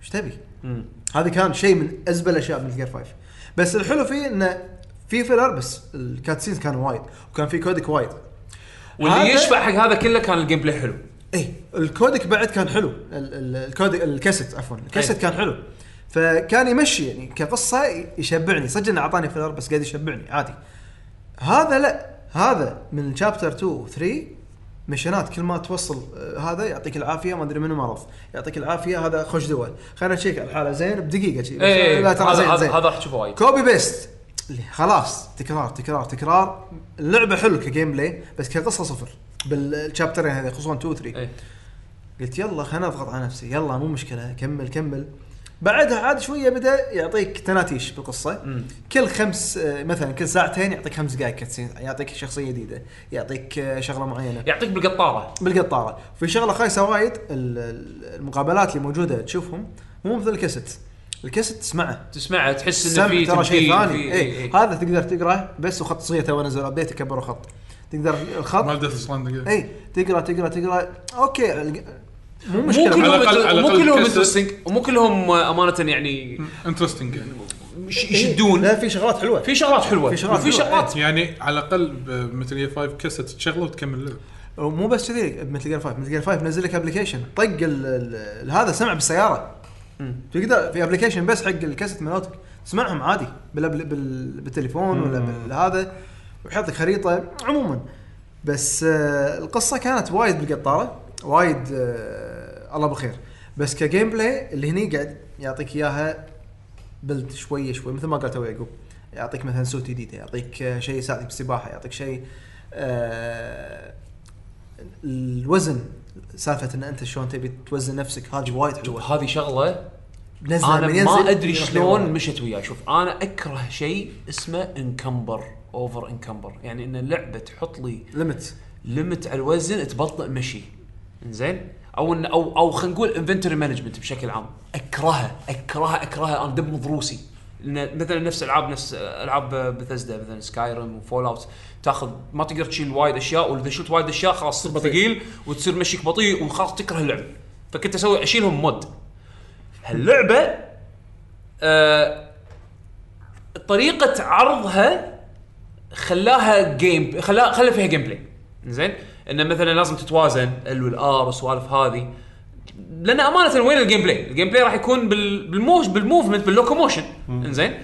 [SPEAKER 4] ايش تبي؟ هذا كان شيء من ازبل اشياء من جير 5 بس الحلو فيه انه في فيلر بس الكاتسينز كانوا وايد وكان في كودك وايد هذا-
[SPEAKER 1] واللي يشبع حق هذا كله كان الجيم بلاي حلو
[SPEAKER 4] اي إيه، الكودك بعد كان حلو ال- ال- الكودك الكاسيت عفوا الكاسيت
[SPEAKER 1] أي.
[SPEAKER 4] كان حلو فكان يمشي يعني كقصه ي- يشبعني صدق انه اعطاني فيلر بس قاعد يشبعني عادي هذا لا هذا من شابتر 2 و 3 مشينات كل ما توصل آه، هذا يعطيك العافيه ما ادري منو مرض يعطيك العافيه هذا خوش دواء خلينا نشيك على الحاله زين بدقيقه شي.
[SPEAKER 1] اي
[SPEAKER 4] لا ترى
[SPEAKER 1] إيه، هذا
[SPEAKER 4] زين
[SPEAKER 1] هذا
[SPEAKER 4] زين
[SPEAKER 1] هذا راح تشوفه وايد
[SPEAKER 4] كوبي بيست اللي خلاص تكرار تكرار تكرار اللعبه حلو كجيم بلاي بس كقصه صفر بالشابترين هذه خصوصا 2 و 3
[SPEAKER 1] إيه.
[SPEAKER 4] قلت يلا خليني اضغط على نفسي يلا مو مشكله كمل كمل بعدها عاد شويه بدا يعطيك تناتيش بالقصه
[SPEAKER 1] مم.
[SPEAKER 4] كل خمس آه، مثلا كل ساعتين يعطيك خمس دقائق كاتسين يعطيك شخصيه جديده يعطيك آه، شغله معينه
[SPEAKER 1] يعطيك بالقطاره
[SPEAKER 4] بالقطاره في شغله خايسه وايد ال- ال- المقابلات اللي موجوده تشوفهم مو مثل الكاسيت الكاسيت تسمعه
[SPEAKER 1] تسمعه تحس انه
[SPEAKER 4] السمع
[SPEAKER 1] في
[SPEAKER 4] ترى شيء
[SPEAKER 1] تمثيل،
[SPEAKER 4] ثاني
[SPEAKER 1] في- إيه.
[SPEAKER 4] اي هذا تقدر تقراه بس وخط صغير تو نزل ابديت كبروا خط تقدر الخط إيه،
[SPEAKER 2] مال إيه. ديث ستراندنج
[SPEAKER 1] إيه.
[SPEAKER 4] اي تقرا تقرا تقرا اوكي مو
[SPEAKER 1] مو
[SPEAKER 4] مشكله
[SPEAKER 2] على
[SPEAKER 1] كلهم
[SPEAKER 2] الأقل- على
[SPEAKER 1] مو
[SPEAKER 2] الأقل
[SPEAKER 1] كلهم
[SPEAKER 2] كسر.
[SPEAKER 1] انترستنج ومو كلهم آه، امانه يعني
[SPEAKER 2] انترستنج يعني
[SPEAKER 1] يش-
[SPEAKER 4] لا
[SPEAKER 1] يشدون
[SPEAKER 4] في شغلات حلوه
[SPEAKER 1] في شغلات حلوه
[SPEAKER 4] إيه. في شغلات
[SPEAKER 1] وفي
[SPEAKER 4] حلوة،
[SPEAKER 1] شغلات
[SPEAKER 2] يعني على الاقل مثل اي 5 كاسه تشغله وتكمل لعب
[SPEAKER 4] مو بس كذي مثل جير 5 مثل جير 5 نزل لك ابلكيشن طق ال- ال- ال- هذا سمع بالسياره تقدر في ابلكيشن بس حق الكاسيت مالتك تسمعهم عادي بال بال بالتليفون ولا بالهذا ويحط لك خريطه عموما بس آه القصه كانت وايد بالقطاره وايد آه الله بالخير بس كجيم بلاي اللي هني قاعد يعطيك اياها بلد شويه شوي مثل ما قال تو يعقوب يعطيك مثلا سوت جديده يعطيك آه، شيء يساعدك بالسباحه يعطيك شيء آه الوزن سالفه ان انت شلون تبي توزن نفسك هذه وايد حلوه
[SPEAKER 1] هذه شغله
[SPEAKER 4] إيه. نزل
[SPEAKER 1] انا
[SPEAKER 4] من ينزل
[SPEAKER 1] ما ادري
[SPEAKER 4] يروح
[SPEAKER 1] شلون
[SPEAKER 4] لورا.
[SPEAKER 1] مشت وياي شوف انا اكره شيء اسمه انكمبر اوفر انكمبر يعني ان اللعبه تحط لي
[SPEAKER 4] ليمت
[SPEAKER 1] ليمت على الوزن تبطئ مشي زين او إن او او خلينا نقول انفنتوري مانجمنت بشكل عام اكرهها اكرهها اكرهها انا دب ضروسي لان مثلا نفس العاب نفس العاب بثزدا مثلا سكاي ريم وفول اوت تاخذ ما تقدر تشيل وايد اشياء واذا شلت وايد اشياء خلاص تصير ثقيل وتصير مشيك بطيء وخلاص تكره اللعب فكنت اسوي اشيلهم مود هاللعبه آه طريقه عرضها خلاها جيم خلا خلى فيها جيم بلاي زين انه مثلا لازم تتوازن ال والار والسوالف هذه لان امانه وين الجيم بلاي؟ الجيم بلاي راح يكون بال- بالموش بالموفمنت باللوكوموشن زين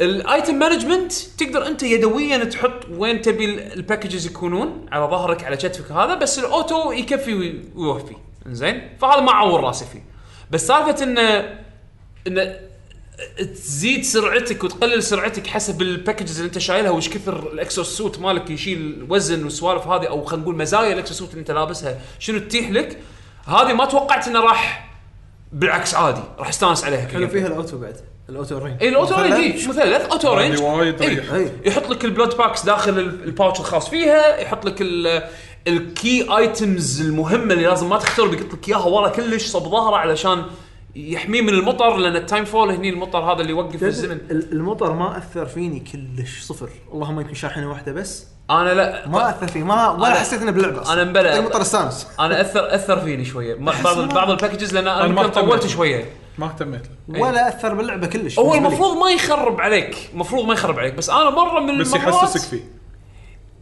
[SPEAKER 1] الايتم مانجمنت تقدر انت يدويا تحط وين تبي ال- الباكجز يكونون على ظهرك على كتفك هذا بس الاوتو يكفي وي- ويوفي زين فهذا ما اعور راسي فيه بس سالفه انه انه تزيد سرعتك وتقلل سرعتك حسب الباكجز اللي انت شايلها وش كثر الاكسوسوت مالك يشيل وزن والسوالف هذه او خلينا نقول مزايا الاكسوسوت اللي انت لابسها شنو تتيح لك هذه ما توقعت انه راح بالعكس عادي راح استانس عليها
[SPEAKER 4] حلو فيها الاوتو بعد الاوتو رينج
[SPEAKER 1] اي الاوتو إيه، رينج إي، مثلث اوتو رينج
[SPEAKER 2] هذه وايد
[SPEAKER 1] إي،
[SPEAKER 2] ريحة.
[SPEAKER 4] إي.
[SPEAKER 1] يحط لك البلود باكس داخل ال- الباوتش الخاص فيها يحط لك ال- الكي ايتمز المهمه اللي لازم ما تختار بيقط لك اياها ورا كلش صب ظهره علشان يحميه من المطر لان التايم فول هني المطر هذا اللي يوقف الزمن
[SPEAKER 4] المطر ما اثر فيني كلش صفر اللهم يمكن شاحنه واحده بس
[SPEAKER 1] انا لا
[SPEAKER 4] ما اثر فيني ما ولا
[SPEAKER 1] أه. أنا-
[SPEAKER 4] حسيت انه باللعبه أصلاً.
[SPEAKER 1] أنا مبلى.
[SPEAKER 4] طيب مطر استانس
[SPEAKER 1] انا اثر اثر فيني شويه ما- بعض
[SPEAKER 4] أحس-
[SPEAKER 1] بعض الباكجز لان انا
[SPEAKER 2] أنا ما
[SPEAKER 1] يمكن طولت
[SPEAKER 2] اهتميت.
[SPEAKER 1] شويه
[SPEAKER 2] ما اهتميت له
[SPEAKER 4] ولا اثر باللعبه كلش
[SPEAKER 1] إيه. هو
[SPEAKER 4] بالنسبة لي.
[SPEAKER 1] المفروض ما يخرب عليك المفروض ما يخرب عليك بس انا مره من
[SPEAKER 2] بس
[SPEAKER 1] المرات
[SPEAKER 2] يحسسك فيه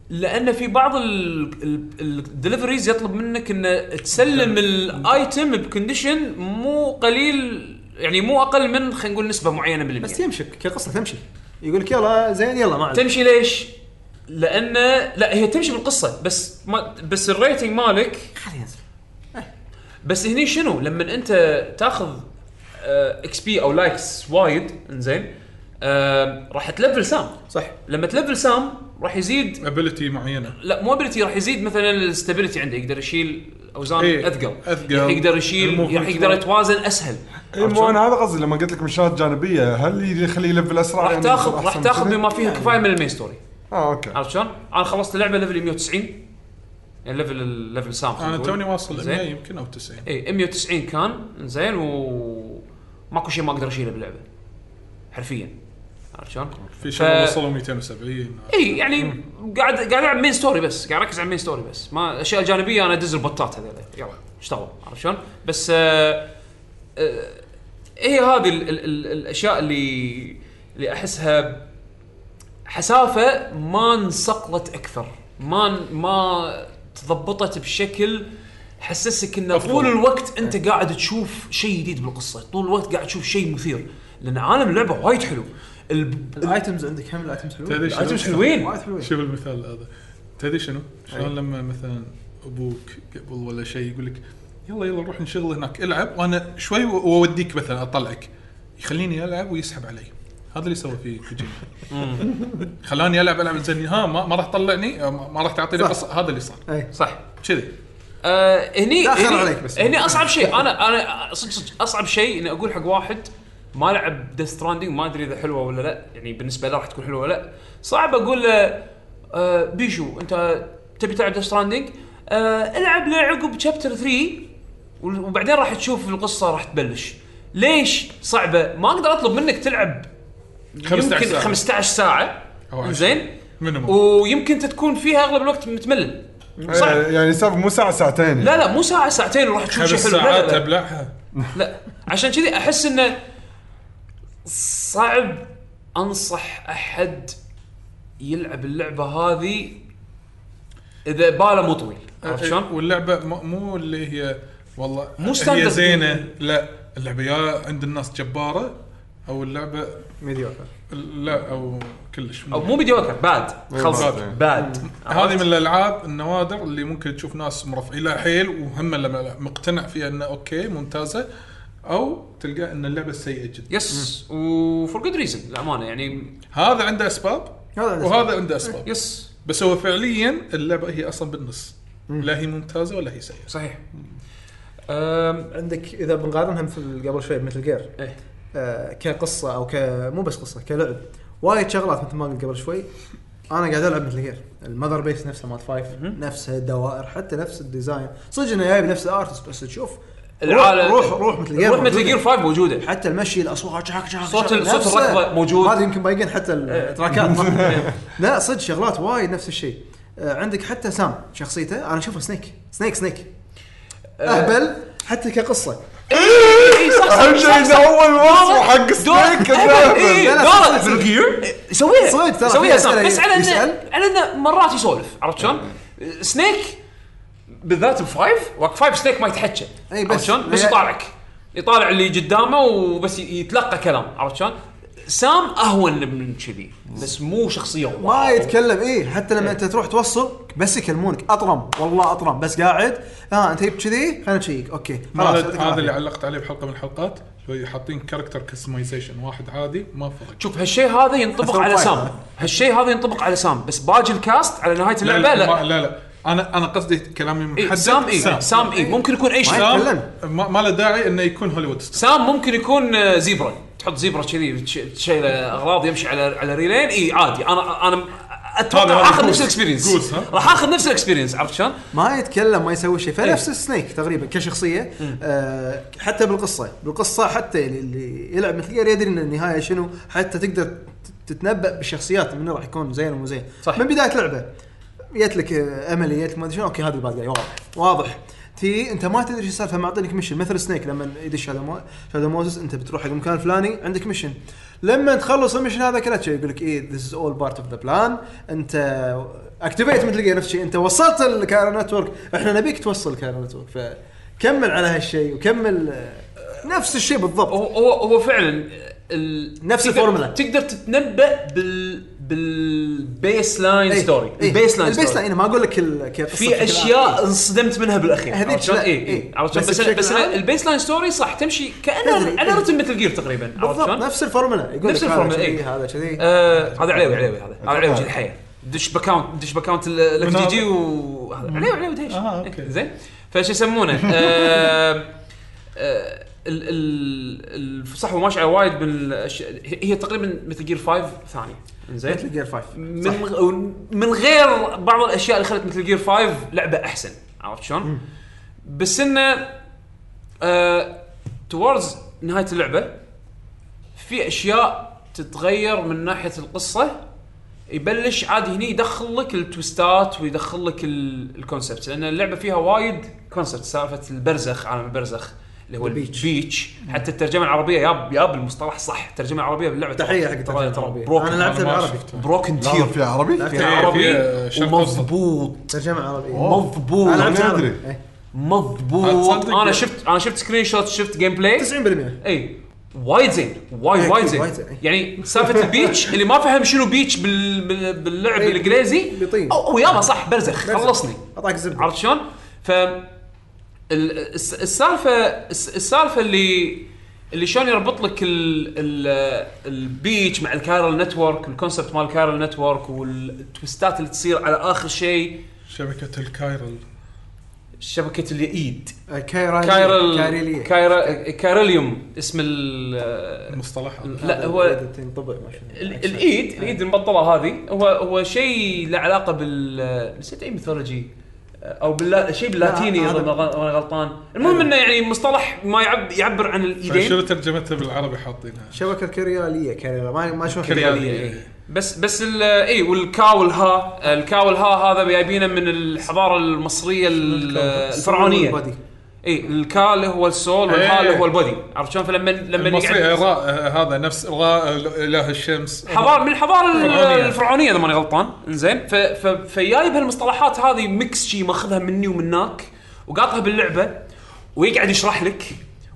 [SPEAKER 1] لان في بعض الدليفريز يطلب منك ان تسلم الايتم بكونديشن مو قليل يعني مو اقل من خلينا نقول نسبه معينه بالمية
[SPEAKER 4] بس يعني يمشك كقصه تمشي يقول لك يلا زين يلا ما عليك
[SPEAKER 1] تمشي ليش؟ لان لا هي تمشي بالقصه بس ما بس الريتنج مالك
[SPEAKER 4] خليه ينزل
[SPEAKER 1] بس هني شنو لما آه، انت تاخذ اكس بي او لايكس وايد انزين آه، راح تلفل سام
[SPEAKER 4] صح
[SPEAKER 1] لما تلفل سام راح يزيد
[SPEAKER 2] ابيلتي معينه
[SPEAKER 1] لا مو ابيلتي راح يزيد مثلا الستابيلتي عنده يقدر يشيل اوزان
[SPEAKER 2] إيه،
[SPEAKER 1] اثقل
[SPEAKER 2] أثقل.
[SPEAKER 1] راح يعني يقدر يشيل
[SPEAKER 2] الموفمنت
[SPEAKER 1] راح يقدر
[SPEAKER 2] مال.
[SPEAKER 1] يتوازن اسهل
[SPEAKER 3] إيه، مو انا هذا قصدي لما قلت لك من شغلات جانبيه هل اللي يخليه يلفل اسرع
[SPEAKER 1] راح
[SPEAKER 3] يعني
[SPEAKER 1] تاخذ
[SPEAKER 3] يصير
[SPEAKER 1] راح
[SPEAKER 3] أحسن
[SPEAKER 1] تاخذ
[SPEAKER 3] من
[SPEAKER 1] بما
[SPEAKER 3] كذي؟
[SPEAKER 1] فيها
[SPEAKER 2] يعني.
[SPEAKER 1] كفايه من المين ستوري
[SPEAKER 3] اه اوكي
[SPEAKER 1] عرفت شلون؟ انا خلصت اللعبه ليفل 190 يعني ليفل الليفل سام خلينا
[SPEAKER 2] انا
[SPEAKER 1] نقول.
[SPEAKER 2] توني واصل 100
[SPEAKER 1] زين إيه،
[SPEAKER 2] يمكن او 90
[SPEAKER 1] اي 190 كان زين و ماكو شيء ما اقدر اشيله باللعبه حرفيا عرفت شلون؟
[SPEAKER 2] في
[SPEAKER 1] ف-
[SPEAKER 2] شغله وصلوا 270
[SPEAKER 1] اي يعني قاعد قاعد العب مين ستوري بس قاعد اركز على مين ستوري بس ما الاشياء الجانبيه انا ادز البطات هذول يلا اشتغلوا عرفت شلون؟ بس آه آه هي هذه ال ال ال الاشياء اللي اللي احسها حسافه ما انصقلت اكثر ما ما تضبطت بشكل حسسك انه
[SPEAKER 2] أفضل.
[SPEAKER 1] طول الوقت انت قاعد تشوف شيء جديد بالقصه طول الوقت قاعد تشوف شيء مثير لان عالم اللعبه وايد حلو الب-
[SPEAKER 4] الايتمز عندك هم الايتمز حلوين
[SPEAKER 2] تدري
[SPEAKER 1] الايتمز
[SPEAKER 2] شنو؟
[SPEAKER 1] حلوين
[SPEAKER 4] وايد حلوين
[SPEAKER 2] شوف المثال هذا تدري شنو؟ شلون لما مثلا ابوك قبل ولا شيء يقول لك يلا يلا نروح نشغل هناك العب وانا شوي واوديك مثلا اطلعك يخليني العب ويسحب علي هذا اللي سوى فيه كوجيما خلاني العب العب زين ها ما, ما راح تطلعني آه، ما ما راح تعطيني
[SPEAKER 4] صح.
[SPEAKER 2] قصه هذا اللي صار
[SPEAKER 4] اي
[SPEAKER 1] صح
[SPEAKER 2] كذي
[SPEAKER 1] آه، هني
[SPEAKER 4] داخل
[SPEAKER 1] هني-
[SPEAKER 4] عليك بس.
[SPEAKER 1] هني اصعب شيء انا انا صدق صدق اصعب شيء اني اقول حق واحد ما لعب ديث ستراندنج ما ادري اذا حلوه ولا لا يعني بالنسبه له راح تكون حلوه ولا لا صعب اقول له آه بيشو انت تبي تلعب ديث ستراندنج آه العب له عقب شابتر 3 وال- وبعدين راح تشوف القصه راح تبلش ليش صعبه ما اقدر اطلب منك تلعب
[SPEAKER 2] 15
[SPEAKER 1] يمكن
[SPEAKER 2] ساعة.
[SPEAKER 1] 15 ساعه
[SPEAKER 2] أو عشرة.
[SPEAKER 1] زين
[SPEAKER 2] مينيموم.
[SPEAKER 1] ويمكن أنت تكون فيها اغلب الوقت متملل صح
[SPEAKER 3] إيه، يعني سالفه مو ساعه ساعتين يعني.
[SPEAKER 1] لا لا مو ساعه ساعتين وراح تشوف شيء
[SPEAKER 2] خمس
[SPEAKER 1] حلو لا,
[SPEAKER 2] ساعات
[SPEAKER 1] لا, لا,
[SPEAKER 2] ابلعها
[SPEAKER 1] لا عشان كذي احس انه صعب انصح احد يلعب اللعبه هذه اذا باله مو طويل عرفت شلون؟
[SPEAKER 2] واللعبه م- إيه. مو اللي هي والله
[SPEAKER 1] مو
[SPEAKER 2] هي
[SPEAKER 1] standard. يعني.
[SPEAKER 2] زينه لا اللعبه يا عند الناس جباره او اللعبه
[SPEAKER 4] ميديوكر
[SPEAKER 2] لا او كلش
[SPEAKER 1] او مو ميديوكر باد خلص
[SPEAKER 2] باد.
[SPEAKER 1] باد
[SPEAKER 2] هذه من الالعاب النوادر اللي ممكن تشوف ناس مرفعين لها حيل وهم لما مقتنع فيها انه اوكي ممتازه او تلقى ان اللعبه سيئه جدا
[SPEAKER 1] يس وفور جود ريزن للامانه يعني
[SPEAKER 2] هذا عنده اسباب
[SPEAKER 4] هذا عنده
[SPEAKER 2] وهذا عنده اسباب
[SPEAKER 1] يس
[SPEAKER 2] بس هو فعليا اللعبه هي اصلا بالنص لا هي ممتازه ولا هي سيئه
[SPEAKER 1] صحيح أم،
[SPEAKER 4] عندك اذا بنقارنها مثل قبل شوي مثل جير
[SPEAKER 1] إيه.
[SPEAKER 4] آه كقصه او ك مو بس قصه كلعب وايد شغلات مثل ما قلت قبل شوي انا قاعد العب مثل جير المذر بيس نفسها مالت فايف نفسها الدوائر حتى نفس الديزاين صدق انه جايب نفس الارتست بس تشوف
[SPEAKER 1] العالم
[SPEAKER 4] روح روح مثل جير
[SPEAKER 1] روح مثل جير 5 موجوده
[SPEAKER 4] حتى المشي الاصوات شاك شاك
[SPEAKER 1] صوت
[SPEAKER 4] شاك،
[SPEAKER 1] ال- صوت
[SPEAKER 4] نفسه.
[SPEAKER 1] الركضة موجود. إيه،
[SPEAKER 4] ما ادري يمكن بايقين حتى التراكات لا صدق شغلات وايد نفس الشيء آه، عندك حتى سام شخصيته انا اشوفه سنيك سنيك سنيك
[SPEAKER 1] آه.
[SPEAKER 4] اهبل حتى كقصه
[SPEAKER 1] اي إيه، صح صح،
[SPEAKER 3] اهم
[SPEAKER 1] صح،
[SPEAKER 3] شيء
[SPEAKER 1] صح.
[SPEAKER 3] انه اول مصر حق
[SPEAKER 1] دور
[SPEAKER 3] سنيك
[SPEAKER 1] إيه،
[SPEAKER 4] لا، لا،
[SPEAKER 1] دور
[SPEAKER 4] صدق.
[SPEAKER 1] بالجير سويها
[SPEAKER 4] صدق، ترى
[SPEAKER 1] سويها
[SPEAKER 4] في أسئلة
[SPEAKER 1] صح بس على انه
[SPEAKER 4] يسأل.
[SPEAKER 1] على انه مرات يسولف عرفت شلون؟ سنيك بالذات بفايف وقت فايف سنيك ما يتحكى
[SPEAKER 4] إي، بس-
[SPEAKER 1] عرفت شلون؟ بس
[SPEAKER 4] هي-
[SPEAKER 1] يطالعك يطالع اللي قدامه وبس ي- يتلقى كلام عرفت شلون؟ سام اهون من كذي بس مو شخصيه
[SPEAKER 4] ما
[SPEAKER 1] واو.
[SPEAKER 4] يتكلم ايه حتى
[SPEAKER 1] إيه.
[SPEAKER 4] لما انت تروح توصل بس يكلمونك اطرم والله اطرم بس قاعد ها انت جبت كذي خلينا نشيك اوكي خلاص
[SPEAKER 2] هذا
[SPEAKER 4] يعطيك
[SPEAKER 2] هذا اللي
[SPEAKER 4] العافية.
[SPEAKER 2] علقت عليه بحلقه من الحلقات اللي هو حاطين كاركتر كستمايزيشن واحد عادي ما فرق
[SPEAKER 1] شوف هالشيء هذا ينطبق
[SPEAKER 4] أثر
[SPEAKER 1] على
[SPEAKER 4] فايف.
[SPEAKER 1] سام هالشيء هذا ينطبق على سام بس باجي الكاست على نهايه اللعبه لا,
[SPEAKER 2] ما- لا لا انا انا قصدي كلامي محدد
[SPEAKER 1] إي، يعني سام اي سام اي ممكن يكون اي شيء
[SPEAKER 4] ما يتكلم.
[SPEAKER 2] ما, ما له داعي انه يكون هوليوود ستار.
[SPEAKER 1] سام ممكن يكون آه، زيبرا تحط زيبرا كذي تش- تشيله اغراض يمشي على على ريلين اي عادي انا انا
[SPEAKER 2] هذا-
[SPEAKER 1] اتوقع
[SPEAKER 2] هذا
[SPEAKER 1] اخذ
[SPEAKER 2] جوز.
[SPEAKER 1] نفس الاكسبيرينس
[SPEAKER 2] جوز، ها؟
[SPEAKER 1] راح اخذ نفس الاكسبيرينس عرفت شلون؟
[SPEAKER 4] ما يتكلم ما يسوي شيء فنفس سنيك تقريبا كشخصيه آه حتى بالقصه بالقصه حتى يعني اللي يلعب مثل جير يدري ان النهايه شنو حتى تقدر ت- تتنبا بالشخصيات من راح يكون زين ومو زين
[SPEAKER 1] صح.
[SPEAKER 4] من بدايه لعبه جت لك آه، املي جت لك ما ادري شنو اوكي هذا الباد جاي واضح واضح تي انت ما تدري شو السالفه معطينك ميشن مثل سنيك لما يدش شادو مو... شادو موزس انت بتروح حق المكان الفلاني عندك ميشن لما تخلص الميشن هذا كله شي يقول لك ايه ذيس از اول بارت اوف ذا بلان انت اكتيفيت مثل جير نفس الشيء انت وصلت الكارا نتورك احنا نبيك توصل الكارا نتورك فكمل على هالشيء وكمل آه، نفس الشيء بالضبط
[SPEAKER 1] هو هو هو فعلا ال...
[SPEAKER 4] نفس
[SPEAKER 1] تقدر-
[SPEAKER 4] الفورمولا.
[SPEAKER 1] تقدر تتنبا بال بالبيس لاين
[SPEAKER 4] إيه،
[SPEAKER 1] ستوري
[SPEAKER 4] إيه.
[SPEAKER 1] البيس لاين
[SPEAKER 4] البيس لاين
[SPEAKER 1] ستوري
[SPEAKER 4] أنا ما اقول لك ال- كقصة بشكل
[SPEAKER 1] في
[SPEAKER 4] عام.
[SPEAKER 1] اشياء انصدمت منها بالاخير
[SPEAKER 4] هذيك
[SPEAKER 1] عرفت شلون؟
[SPEAKER 4] لا،
[SPEAKER 1] اي اي
[SPEAKER 4] إيه.
[SPEAKER 1] عرفت شلون؟
[SPEAKER 4] بس
[SPEAKER 1] بس بس
[SPEAKER 4] بشكل عام-
[SPEAKER 1] البيس لاين ستوري صح تمشي
[SPEAKER 4] تدري،
[SPEAKER 1] كانه على
[SPEAKER 4] إيه.
[SPEAKER 1] رتم مثل جير تقريبا عرفت
[SPEAKER 4] بالضبط
[SPEAKER 1] شلون؟
[SPEAKER 4] نفس الفورمولا يقول
[SPEAKER 1] نفس
[SPEAKER 4] لك هذا
[SPEAKER 1] الفورمولا،
[SPEAKER 4] كذي
[SPEAKER 1] إيه.
[SPEAKER 4] هذا كذي
[SPEAKER 1] آه، هذا علاوي علاوي هذا هذا علاوي
[SPEAKER 3] أتوقع.
[SPEAKER 1] جيل الحياه دش باكاونت دش باكاونت الاف تي جي وهذا علاوي علاوي دهيش
[SPEAKER 2] آه، أوكي.
[SPEAKER 1] إيه، زين فشو يسمونه آه، آه، ال ال ال- صح هو ماشي على وايد من الأشياء- هي هي تقريبا مثل جير 5 ثانيه زين
[SPEAKER 4] مثل جير 5
[SPEAKER 1] من غ- من غير بعض الاشياء اللي خلت مثل جير 5 لعبه احسن عرفت شلون؟ بس آه، انه توردز نهايه اللعبه في اشياء تتغير من ناحيه القصه يبلش عاد هني يدخل لك التويستات ويدخل لك ال- الكونسبت لان اللعبه فيها وايد كونسبت سالفه البرزخ عالم البرزخ اللي هو
[SPEAKER 4] البيتش.
[SPEAKER 1] البيتش حتى الترجمه العربيه ياب ياب المصطلح صح الترجمه العربيه باللعبه
[SPEAKER 4] تحيه حق
[SPEAKER 1] ترى- ترى
[SPEAKER 4] انا
[SPEAKER 1] بروكن
[SPEAKER 2] أنا
[SPEAKER 4] لعبتها
[SPEAKER 2] ما
[SPEAKER 4] بالعربي
[SPEAKER 2] شفته.
[SPEAKER 1] بروكن
[SPEAKER 3] لا،
[SPEAKER 1] تير
[SPEAKER 3] في عربي؟
[SPEAKER 4] لا،
[SPEAKER 1] فيها
[SPEAKER 2] فيها-
[SPEAKER 1] عربي
[SPEAKER 2] فيها شرق
[SPEAKER 1] ومضبوط
[SPEAKER 4] ترجمه عربي
[SPEAKER 1] مضبوط
[SPEAKER 4] انا لعبتها
[SPEAKER 3] أدري.
[SPEAKER 4] عربي. إيه.
[SPEAKER 1] مضبوط
[SPEAKER 2] تصدق؟
[SPEAKER 1] انا شفت انا شفت سكرين شوت شفت جيم
[SPEAKER 4] إيه.
[SPEAKER 1] بلاي
[SPEAKER 4] 90%
[SPEAKER 1] اي وايد زين وايد
[SPEAKER 4] أكيد،
[SPEAKER 1] وايد زين
[SPEAKER 4] وايد زين، إي.
[SPEAKER 1] يعني سالفه البيتش اللي ما فهم شنو بيتش بال... بال... باللعب
[SPEAKER 4] إي،
[SPEAKER 1] الانجليزي
[SPEAKER 4] بيطين.
[SPEAKER 1] او أو يابا صح برزخ
[SPEAKER 4] برزخ.
[SPEAKER 1] خلصني
[SPEAKER 4] اعطاك زبده
[SPEAKER 1] عرفت شلون؟ ف ال- الس- السالفه الس- السالفه اللي اللي شلون يربط لك ال ال البيتش مع الكايرل نتورك الكونسبت مال الكايرل نتورك والتويستات اللي تصير على اخر شيء
[SPEAKER 2] شبكه الكايرل
[SPEAKER 1] شبكه اليد
[SPEAKER 4] آه، كايرال
[SPEAKER 1] كايرل
[SPEAKER 4] كايريلية.
[SPEAKER 1] كايرا كايرليوم اسم ال
[SPEAKER 2] المصطلح
[SPEAKER 1] لا هو
[SPEAKER 4] هذا تنطبع ما شاء الله. إيه.
[SPEAKER 1] ال- الايد الايد المبطله هذه هو هو شيء له علاقه بال نسيت اي ميثولوجي او باللا شيء باللاتيني
[SPEAKER 4] لا،
[SPEAKER 1] اذا
[SPEAKER 4] هذا-
[SPEAKER 1] ما غل- أنا غلطان المهم انه يعني مصطلح ما يعب يعبر عن
[SPEAKER 2] شنو
[SPEAKER 1] الايدين
[SPEAKER 2] ترجمتها بالعربي حاطينها
[SPEAKER 4] شبكه كرياليه كرياليه ما ما شلون
[SPEAKER 2] كريالية.
[SPEAKER 1] الريالية، إيه. بس بس ال- اي والكا والها الكا والها هذا جايبينه من الحضاره المصريه ال- الفرعونيه
[SPEAKER 4] البادي.
[SPEAKER 1] اي الكا اللي هو السول والها اللي
[SPEAKER 2] إيه.
[SPEAKER 1] هو البودي عرفت شلون فلما لما
[SPEAKER 2] المصري إيه،
[SPEAKER 1] يقعد-
[SPEAKER 2] راء هذا نفس راء اله الشمس
[SPEAKER 1] حضار من الحضاره ال-
[SPEAKER 2] الفرعونية.
[SPEAKER 1] الفرعونيه اذا ماني غلطان انزين ف- ف- فجايب هالمصطلحات هذه ميكس شي ماخذها مني ومناك وقاطها باللعبه ويقعد يشرح لك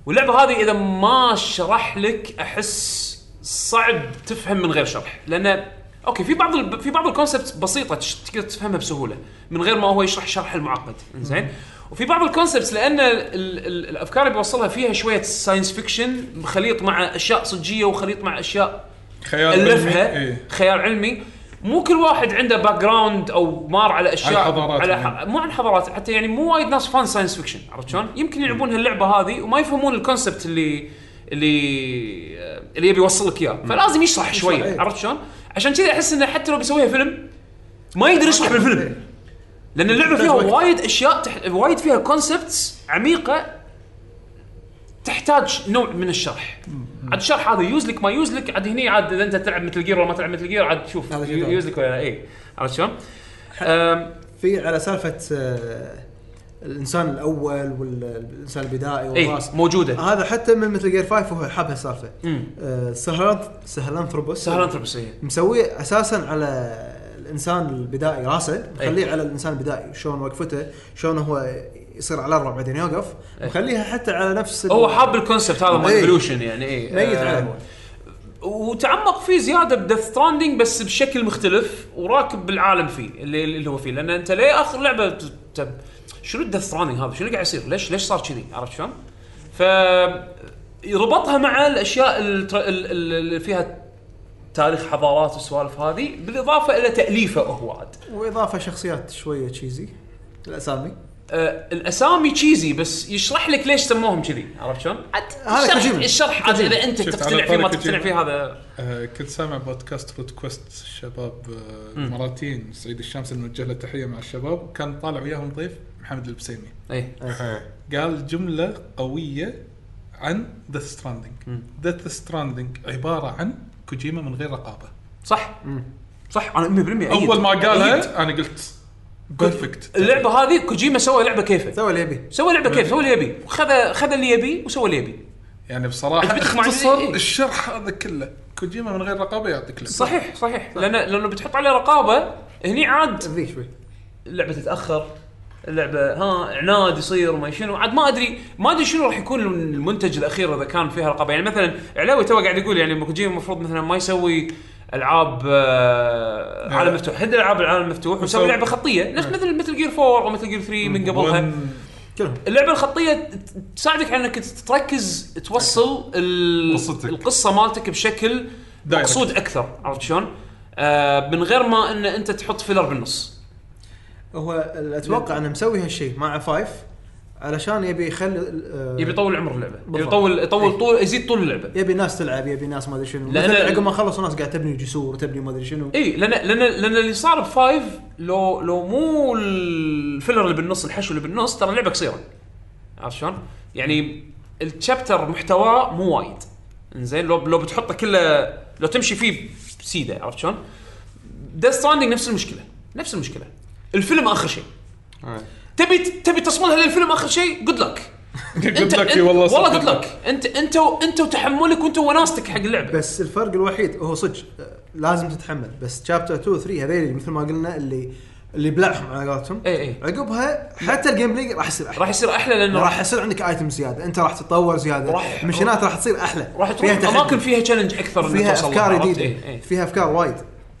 [SPEAKER 1] واللعبه هذه اذا ما شرح لك احس صعب تفهم من غير شرح لان اوكي في بعض ال- في بعض الكونسبت بسيطه تش- تقدر تفهمها بسهوله من غير ما هو يشرح شرح المعقد زين وفي بعض الكونسبتس لان ال ال الافكار اللي بيوصلها فيها شويه ساينس فيكشن خليط مع اشياء صجيه وخليط مع اشياء
[SPEAKER 2] خيال
[SPEAKER 1] الفها
[SPEAKER 2] علمي. إيه.
[SPEAKER 1] خيال علمي مو كل واحد عنده باك جراوند او مار على اشياء
[SPEAKER 2] على الحضارات
[SPEAKER 1] على ح...
[SPEAKER 2] يعني.
[SPEAKER 1] مو عن حضارات حتى يعني مو وايد ناس فان ساينس فيكشن عرفت شلون؟ يمكن يلعبون هاللعبه هذه وما يفهمون الكونسبت اللي اللي آه، اللي يبي يوصل لك اياه فلازم يشرح شويه
[SPEAKER 4] إيه.
[SPEAKER 1] عرفت شلون؟ عشان كذا احس انه حتى لو بيسويها فيلم ما يقدر يشرح بالفيلم
[SPEAKER 4] إيه.
[SPEAKER 1] لان اللعبه فيها
[SPEAKER 2] وقت.
[SPEAKER 1] وايد اشياء تح... وايد فيها كونسبتس عميقه تحتاج نوع من الشرح عاد الشرح هذا يوزلك ما يوزلك عاد هني عاد اذا انت تلعب مثل جير ولا ما تلعب مثل جير عاد تشوف
[SPEAKER 4] هذا شيء ثاني.
[SPEAKER 1] يوزلك ولا لا اي عرفت شلون؟ أم،
[SPEAKER 4] في على سالفه آه، الانسان الاول والانسان البدائي
[SPEAKER 1] اي
[SPEAKER 4] والراس
[SPEAKER 1] موجوده
[SPEAKER 4] هذا حتى من مثل جير 5 وهو حاب هالسالفه
[SPEAKER 1] امم
[SPEAKER 4] آه، سهلان سهلان ثروبوس
[SPEAKER 1] سهلان تربسيه
[SPEAKER 4] مسويه اساسا على الانسان البدائي راسه
[SPEAKER 1] إيه.
[SPEAKER 4] مخليه على الانسان البدائي شلون وقفته شلون هو يصير على الربع بعدين يوقف مخليها حتى على نفس ال-
[SPEAKER 1] إيه. هو حاب الكونسبت هذا مال
[SPEAKER 4] إي.
[SPEAKER 1] ايفولوشن يعني اي
[SPEAKER 4] إيه. ميت عليه هو.
[SPEAKER 1] وتعمق فيه زياده بديث ستراندنج بس بشكل مختلف وراكب بالعالم فيه اللي, اللي هو فيه لان انت ليه اخر لعبه ت- ت- شنو الديث ستراندنج هذا؟ شنو قاعد يصير؟ ليش ليش صار كذي؟ عرفت شلون؟ ف يربطها مع الاشياء التر- ال- ال- اللي فيها تاريخ حضارات والسوالف هذه بالاضافه الى تاليفه هو عاد.
[SPEAKER 4] واضافه شخصيات شويه تشيزي الاسامي
[SPEAKER 1] آه، الاسامي تشيزي بس يشرح لك ليش سموهم كذي عرفت شلون؟ عاد
[SPEAKER 4] هذا
[SPEAKER 1] الشرح-
[SPEAKER 4] كوجيما.
[SPEAKER 1] الشرح عاد اذا انت
[SPEAKER 2] شفت،
[SPEAKER 1] تقتنع
[SPEAKER 2] على
[SPEAKER 1] فيه ما
[SPEAKER 2] طاري
[SPEAKER 1] تقتنع فيه
[SPEAKER 2] كوجيما.
[SPEAKER 1] هذا
[SPEAKER 2] آه كنت سامع بودكاست رود كويست شباب آه،
[SPEAKER 1] مم.
[SPEAKER 2] اماراتيين من صعيد الشمس نوجه له تحيه مع الشباب كان طالع وياهم ضيف محمد البسيمي
[SPEAKER 1] اي
[SPEAKER 4] إيه.
[SPEAKER 2] قال جمله قويه عن ديث ستراندنج
[SPEAKER 1] مم.
[SPEAKER 2] ديث ستراندنج عباره عن كوجيما من غير رقابه
[SPEAKER 1] صح
[SPEAKER 4] مم.
[SPEAKER 1] صح انا 100% أيد.
[SPEAKER 2] اول ما
[SPEAKER 1] أيد.
[SPEAKER 2] قالها انا قلت بيرفكت
[SPEAKER 1] اللعبه هذه كوجيما سوى لعبه كيفه
[SPEAKER 4] سوى اللي يبي
[SPEAKER 1] سوى لعبه كيف سوى اللي يبي خذ خذ اللي يبي وسوى اللي يبي
[SPEAKER 2] يعني بصراحه
[SPEAKER 1] عجبتك مع-
[SPEAKER 2] اختصر
[SPEAKER 1] إيه.
[SPEAKER 2] الشرح هذا كله كوجيما من غير رقابه يعطيك لعبة.
[SPEAKER 1] صحيح صحيح لان لانه بتحط عليه رقابه هني عاد
[SPEAKER 4] ذي شوي
[SPEAKER 1] اللعبه تتاخر اللعبه ها عناد يصير ما شنو عاد ما ادري ما ادري شنو راح يكون المنتج الاخير اذا كان فيها رقابه يعني مثلا علاوي تو قاعد يقول يعني مكوجيما المفروض مثلا ما يسوي العاب آه، عالم مفتوح حد العاب العالم مفتوح ويسوي
[SPEAKER 2] نعم. وسوي- نعم.
[SPEAKER 1] لعبه خطيه نفس مثل مثل جير 4 او مثل جير 3 من قبلها
[SPEAKER 2] ون-
[SPEAKER 4] كلهم
[SPEAKER 1] اللعبه الخطيه ت- تساعدك على انك تركز توصل ال-
[SPEAKER 3] قصتك.
[SPEAKER 1] القصه مالتك بشكل
[SPEAKER 2] Direct.
[SPEAKER 1] مقصود اكثر عرفت شلون؟ آه من غير ما ان انت تحط فيلر بالنص
[SPEAKER 4] هو ال-
[SPEAKER 1] إيه.
[SPEAKER 4] اتوقع انه مسوي هالشيء مع فايف علشان يبي يخلي ال- آه،
[SPEAKER 1] يبي يطول عمر اللعبه يبي
[SPEAKER 4] بالضبط.
[SPEAKER 1] يطول يطول
[SPEAKER 4] إيه.
[SPEAKER 1] طول يزيد طول اللعبه
[SPEAKER 4] يبي ناس تلعب يبي ناس ما ادري شنو
[SPEAKER 1] لأن-
[SPEAKER 4] مثلا عقب ما خلص ناس قاعد تبني جسور تبني ما ادري شنو
[SPEAKER 1] اي لان لان لان اللي صار بفايف لو لو مو الفيلر اللي بالنص الحشو اللي بالنص ترى اللعبه قصيره عرفت شلون؟ يعني التشابتر محتواه مو وايد زين لو لو بتحطه كله لو تمشي فيه بسيده عرفت شلون؟ ذا ستراندنج نفس المشكله نفس المشكله الفيلم اخر شيء
[SPEAKER 2] آه.
[SPEAKER 1] تبي تبي تصميلها للفيلم اخر شيء جود لك
[SPEAKER 2] Good luck، إي والله صح،
[SPEAKER 1] والله جود
[SPEAKER 2] good
[SPEAKER 1] لك انت انت انت وتحملك وانت وناستك حق اللعبه
[SPEAKER 4] بس الفرق الوحيد هو صدق آه، لازم تتحمل بس شابتر 2 3 هذيل مثل ما قلنا اللي اللي بلعهم على قولتهم
[SPEAKER 1] اي اي
[SPEAKER 4] عقبها حتى الجيم بلاي راح يصير احلى
[SPEAKER 1] إيه، راح يصير احلى لانه
[SPEAKER 4] راح يصير عندك ايتم زياده انت راح تتطور زياده
[SPEAKER 1] راح-
[SPEAKER 4] مشينات راح تصير احلى
[SPEAKER 1] راح تروح
[SPEAKER 4] تحدي.
[SPEAKER 1] اماكن فيها تشالنج اكثر إنك
[SPEAKER 4] فيها
[SPEAKER 1] توصل لها،
[SPEAKER 4] افكار
[SPEAKER 1] عرفت؟
[SPEAKER 4] جديده
[SPEAKER 1] إيه، إيه.
[SPEAKER 4] فيها افكار وايد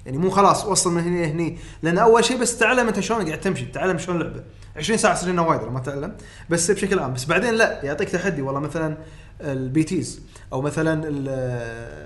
[SPEAKER 4] يعني مو خلاص وصل من هنا هني لان اول شيء بس تعلم انت شلون قاعد تمشي تعلم شلون اللعبه 20 ساعه يصير لنا وايد لو ما تعلم بس بشكل عام بس بعدين لا يعطيك تحدي والله مثلا البي تيز او مثلا ال-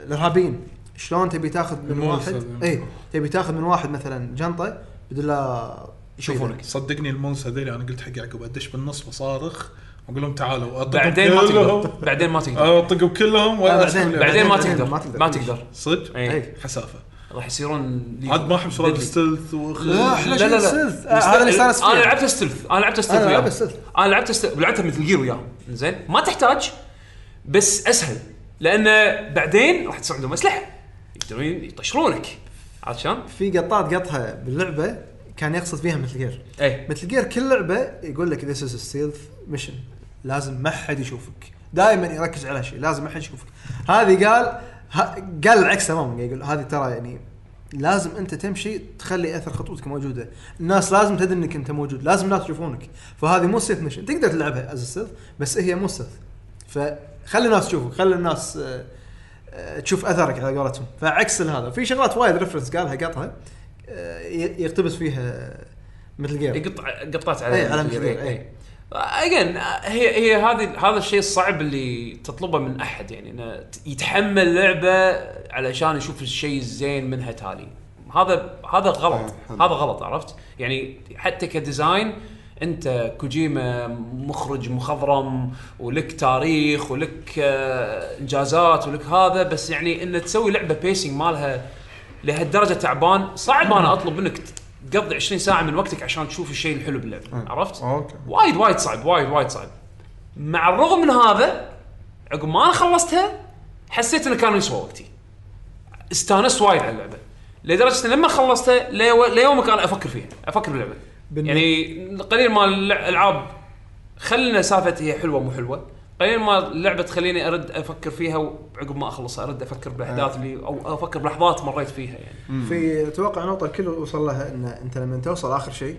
[SPEAKER 4] الارهابيين شلون تبي تاخذ من
[SPEAKER 2] الموصل،
[SPEAKER 4] واحد
[SPEAKER 2] يعني.
[SPEAKER 4] اي تبي تاخذ من واحد مثلا جنطه بدل لا
[SPEAKER 1] يشوفونك
[SPEAKER 2] صدقني المونس هذيل انا قلت حق يعقوب ادش بالنص وصارخ واقول لهم تعالوا اطقهم
[SPEAKER 1] بعدين ما تقدر
[SPEAKER 2] كلهم
[SPEAKER 1] بعدين ما تقدر
[SPEAKER 2] اطقهم كلهم
[SPEAKER 4] لا،
[SPEAKER 2] ولا
[SPEAKER 4] بعدين-
[SPEAKER 2] أسلم لهم.
[SPEAKER 1] بعدين ما
[SPEAKER 4] بعدين
[SPEAKER 1] تقدر
[SPEAKER 4] ما تقدر.
[SPEAKER 1] ما تقدر
[SPEAKER 2] صدق
[SPEAKER 1] اي
[SPEAKER 4] إيه.
[SPEAKER 2] حسافه
[SPEAKER 1] راح يصيرون لي-
[SPEAKER 2] عاد ما احب سوالف
[SPEAKER 1] deadly.
[SPEAKER 2] ستيلث وخ-
[SPEAKER 4] لا، أحلى
[SPEAKER 1] لا لا لا
[SPEAKER 4] السيلف. آه، هذا اللي صار
[SPEAKER 1] مست-
[SPEAKER 4] فيه.
[SPEAKER 1] انا لعبت ستلث انا لعبت ستلث
[SPEAKER 4] أنا لعبت
[SPEAKER 1] وياهم.
[SPEAKER 4] stealth.
[SPEAKER 1] انا لعبت ستلث لعبتها مثل جير وياهم زين ما تحتاج بس اسهل لان بعدين راح تصير عندهم اسلحه يقدرون يطشرونك عرفت شلون؟
[SPEAKER 4] في قطات قطها باللعبه كان يقصد فيها مثل جير
[SPEAKER 1] ايه
[SPEAKER 4] مثل جير كل لعبه يقول لك ذيس از ستيلث ميشن لازم ما حد يشوفك دائما يركز على شيء لازم ما حد يشوفك هذه قال ها قال العكس تماما يقول هذه ترى يعني لازم انت تمشي تخلي اثر خطوتك موجوده الناس لازم تدري انك انت موجود لازم الناس يشوفونك فهذه مو ستيلث ميشن تقدر تلعبها از ستيلث بس هي مو ستيلث فخلي الناس تشوفك خلي الناس آه، آه، تشوف اثرك على قولتهم فعكس هذا في شغلات وايد ريفرنس قالها قطها آه، ي- يقتبس فيها مثل جير
[SPEAKER 1] يقطع قطات
[SPEAKER 4] إيه،
[SPEAKER 1] على
[SPEAKER 4] على
[SPEAKER 1] مثل جير،
[SPEAKER 4] مثل جير،
[SPEAKER 1] إيه. اجين هي هي هذه هذا الشيء الصعب اللي تطلبه من احد يعني انه ت- يتحمل لعبه علشان يشوف الشيء الزين منها تالي هذا هذا غلط
[SPEAKER 3] آه، حلو.
[SPEAKER 1] هذا غلط عرفت يعني حتى كديزاين انت كوجيما مخرج مخضرم ولك تاريخ ولك آه، انجازات ولك هذا بس يعني ان تسوي لعبه بيسنج مالها لهالدرجه تعبان صعب انا اطلب منك تقضي 20 ساعه من وقتك عشان تشوف الشيء الحلو باللعبه عرفت؟
[SPEAKER 3] اوكي
[SPEAKER 1] وايد وايد صعب وايد وايد صعب مع الرغم من هذا عقب ما انا خلصتها حسيت انه كان يسوى وقتي استانست وايد على اللعبه لدرجه إن لما خلصتها ليو- ليومك انا افكر فيها افكر باللعبه
[SPEAKER 4] بالن-
[SPEAKER 1] يعني قليل ما اللع- الالعاب خلينا سالفه هي حلوه مو حلوه قليل ما اللعبه تخليني ارد افكر فيها وعقب ما اخلصها ارد افكر بالاحداث اللي او افكر بلحظات مريت فيها يعني
[SPEAKER 4] في اتوقع نقطة الكل وصل لها ان انت لما توصل اخر شيء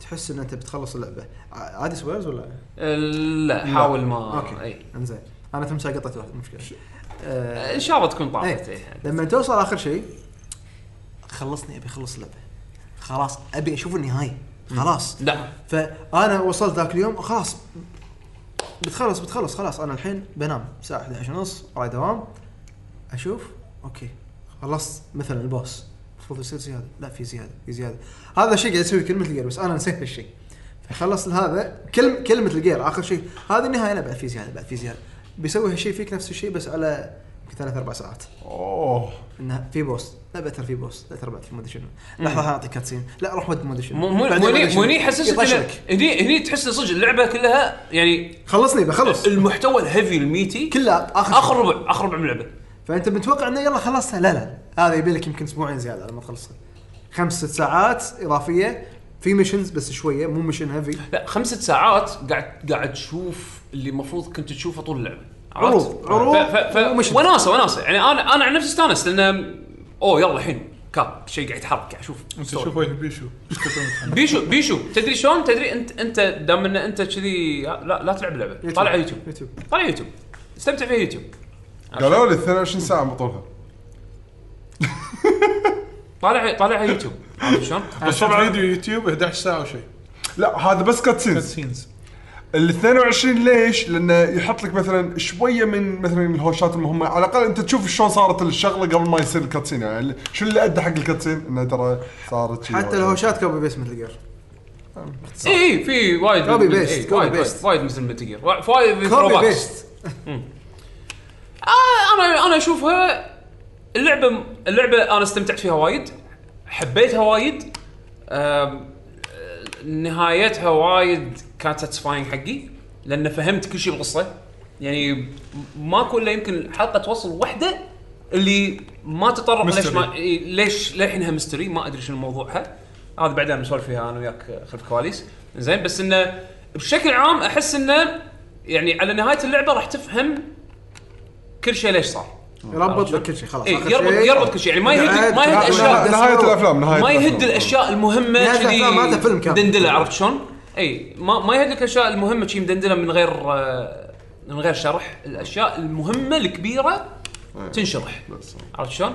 [SPEAKER 4] تحس ان انت بتخلص اللعبة ع- عادي سبويلرز ولا؟
[SPEAKER 1] أه، لا حاول ما
[SPEAKER 4] اوكي
[SPEAKER 1] اي
[SPEAKER 4] انزين انا تمسح قطعت واحدة مشكلة آه،
[SPEAKER 1] ان شاء الله تكون طافت
[SPEAKER 4] إيه.
[SPEAKER 1] إيه.
[SPEAKER 4] لما توصل اخر شيء خلصني ابي اخلص اللعبة خلاص ابي اشوف النهاية خلاص
[SPEAKER 1] لا
[SPEAKER 4] فانا وصلت ذاك اليوم خلاص بتخلص بتخلص خلاص انا الحين بنام الساعه 11 ونص راي دوام اشوف اوكي خلصت مثلا البوس المفروض يصير زياده لا في زياده في زياده هذا الشيء قاعد يسوي كلمه الجير بس انا نسيت هالشيء فخلص هذا كلم كلمه الجير اخر شيء هذه النهايه لا بعد في زياده بعد في زياده بيسوي هالشيء فيك نفس الشيء بس على يمكن ثلاث اربع ساعات
[SPEAKER 3] اوه
[SPEAKER 4] انه في بوس لا بتر في بوس لا تربع في مدري شنو لحظه ها اعطيك كاتسين لا روح مود مدري شنو
[SPEAKER 1] مو مو
[SPEAKER 4] بعدين
[SPEAKER 1] مو
[SPEAKER 4] مدري
[SPEAKER 1] هني-
[SPEAKER 4] شنو.
[SPEAKER 1] مو هني حسسك
[SPEAKER 4] يطشرك.
[SPEAKER 1] إن- هني هني تحس إن صدق اللعبه كلها يعني
[SPEAKER 4] خلصني بخلص
[SPEAKER 1] المحتوى الهيفي الميتي
[SPEAKER 4] كلها اخر
[SPEAKER 1] اخر
[SPEAKER 4] اخر
[SPEAKER 1] ربع اخر ربع من اللعبه
[SPEAKER 4] فانت متوقع انه يلا خلصها لا لا هذا يبي لك يمكن اسبوعين زياده على ما تخلصها خمس ست ساعات اضافيه في ميشنز بس شويه مو ميشن هيفي
[SPEAKER 1] لا خمسة ساعات قاعد قاعد تشوف اللي المفروض كنت تشوفه طول اللعبه
[SPEAKER 4] عروض، عروض
[SPEAKER 1] ف- ف- ف-
[SPEAKER 4] ومشت.
[SPEAKER 1] وناسه وناسه يعني انا انا عن نفسي استانست لانه اوه يلا الحين كاب شيء قاعد يتحرك اشوف
[SPEAKER 2] انت شوف وجه بيشو
[SPEAKER 1] بيشو بيشو تدري شلون تدري انت انت دام ان انت كذي لا لا تلعب لعبه
[SPEAKER 4] يوتيوب.
[SPEAKER 1] طالع يوتيوب
[SPEAKER 4] يوتيوب
[SPEAKER 1] طالع يوتيوب استمتع فيها يوتيوب
[SPEAKER 3] قالوا لي 22 ساعه بطولها
[SPEAKER 1] طالع طالع على يوتيوب عرفت شلون؟
[SPEAKER 2] بس طبعا فيديو يوتيوب 11 ساعه وشيء
[SPEAKER 1] إيه.
[SPEAKER 3] لا هذا بس كات سينز
[SPEAKER 2] سينز
[SPEAKER 3] ال 22 ليش؟ لانه يحط لك مثلا شويه من مثلا الهوشات المهمه على الاقل انت تشوف شلون صارت الشغله قبل ما يصير الكاتسين يعني شو اللي ادى حق الكاتسين انه ترى صارت شي
[SPEAKER 4] حتى الهوشات كوبي بيست مثل جير
[SPEAKER 1] اي اي إيه، في وايد
[SPEAKER 4] Copy
[SPEAKER 1] من-
[SPEAKER 4] paste،
[SPEAKER 1] إي،
[SPEAKER 4] copy
[SPEAKER 1] وايد وايد-
[SPEAKER 4] paste.
[SPEAKER 1] وايد مثل متل جير وايد في
[SPEAKER 4] كوبي
[SPEAKER 1] throwbacks.
[SPEAKER 4] بيست
[SPEAKER 1] آه، انا انا اشوفها اللعبه اللعبه انا استمتعت فيها وايد حبيتها وايد آم، آه، نهايتها وايد كانت ساتسفاينغ حقي لان فهمت كل شيء بالقصه يعني ماكو الا يمكن حلقه توصل واحده اللي ما تطرق ليش
[SPEAKER 2] ميستري.
[SPEAKER 1] ما إي، ليش للحينها مستري ما ادري شنو موضوعها هذا بعدين نسولف فيها انا وياك خلف الكواليس زين بس انه بشكل عام احس انه يعني على نهايه اللعبه راح تفهم كل شيء ليش صار
[SPEAKER 4] يربط لك كل شيء خلاص
[SPEAKER 1] آه، إيه،
[SPEAKER 4] آخر
[SPEAKER 1] يربط-
[SPEAKER 4] شيء.
[SPEAKER 1] يربط كل شيء، يعني ما يهد-
[SPEAKER 4] بعد-
[SPEAKER 1] ما يهد
[SPEAKER 4] بعد-
[SPEAKER 1] أشياء.
[SPEAKER 4] بعد-
[SPEAKER 3] نهايه الافلام نهايه
[SPEAKER 1] ما يهد
[SPEAKER 3] الأفلام.
[SPEAKER 1] الاشياء المهمه
[SPEAKER 4] نهاية
[SPEAKER 1] كذي
[SPEAKER 4] الأفلام هذا فيلم كامل.
[SPEAKER 1] مدندله عرفت شلون؟ اي ما ما يهد لك الاشياء المهمه كذي مدندله من غير آه، من غير شرح الاشياء المهمه الكبيره تنشرح
[SPEAKER 3] بس.
[SPEAKER 1] عرفت شلون؟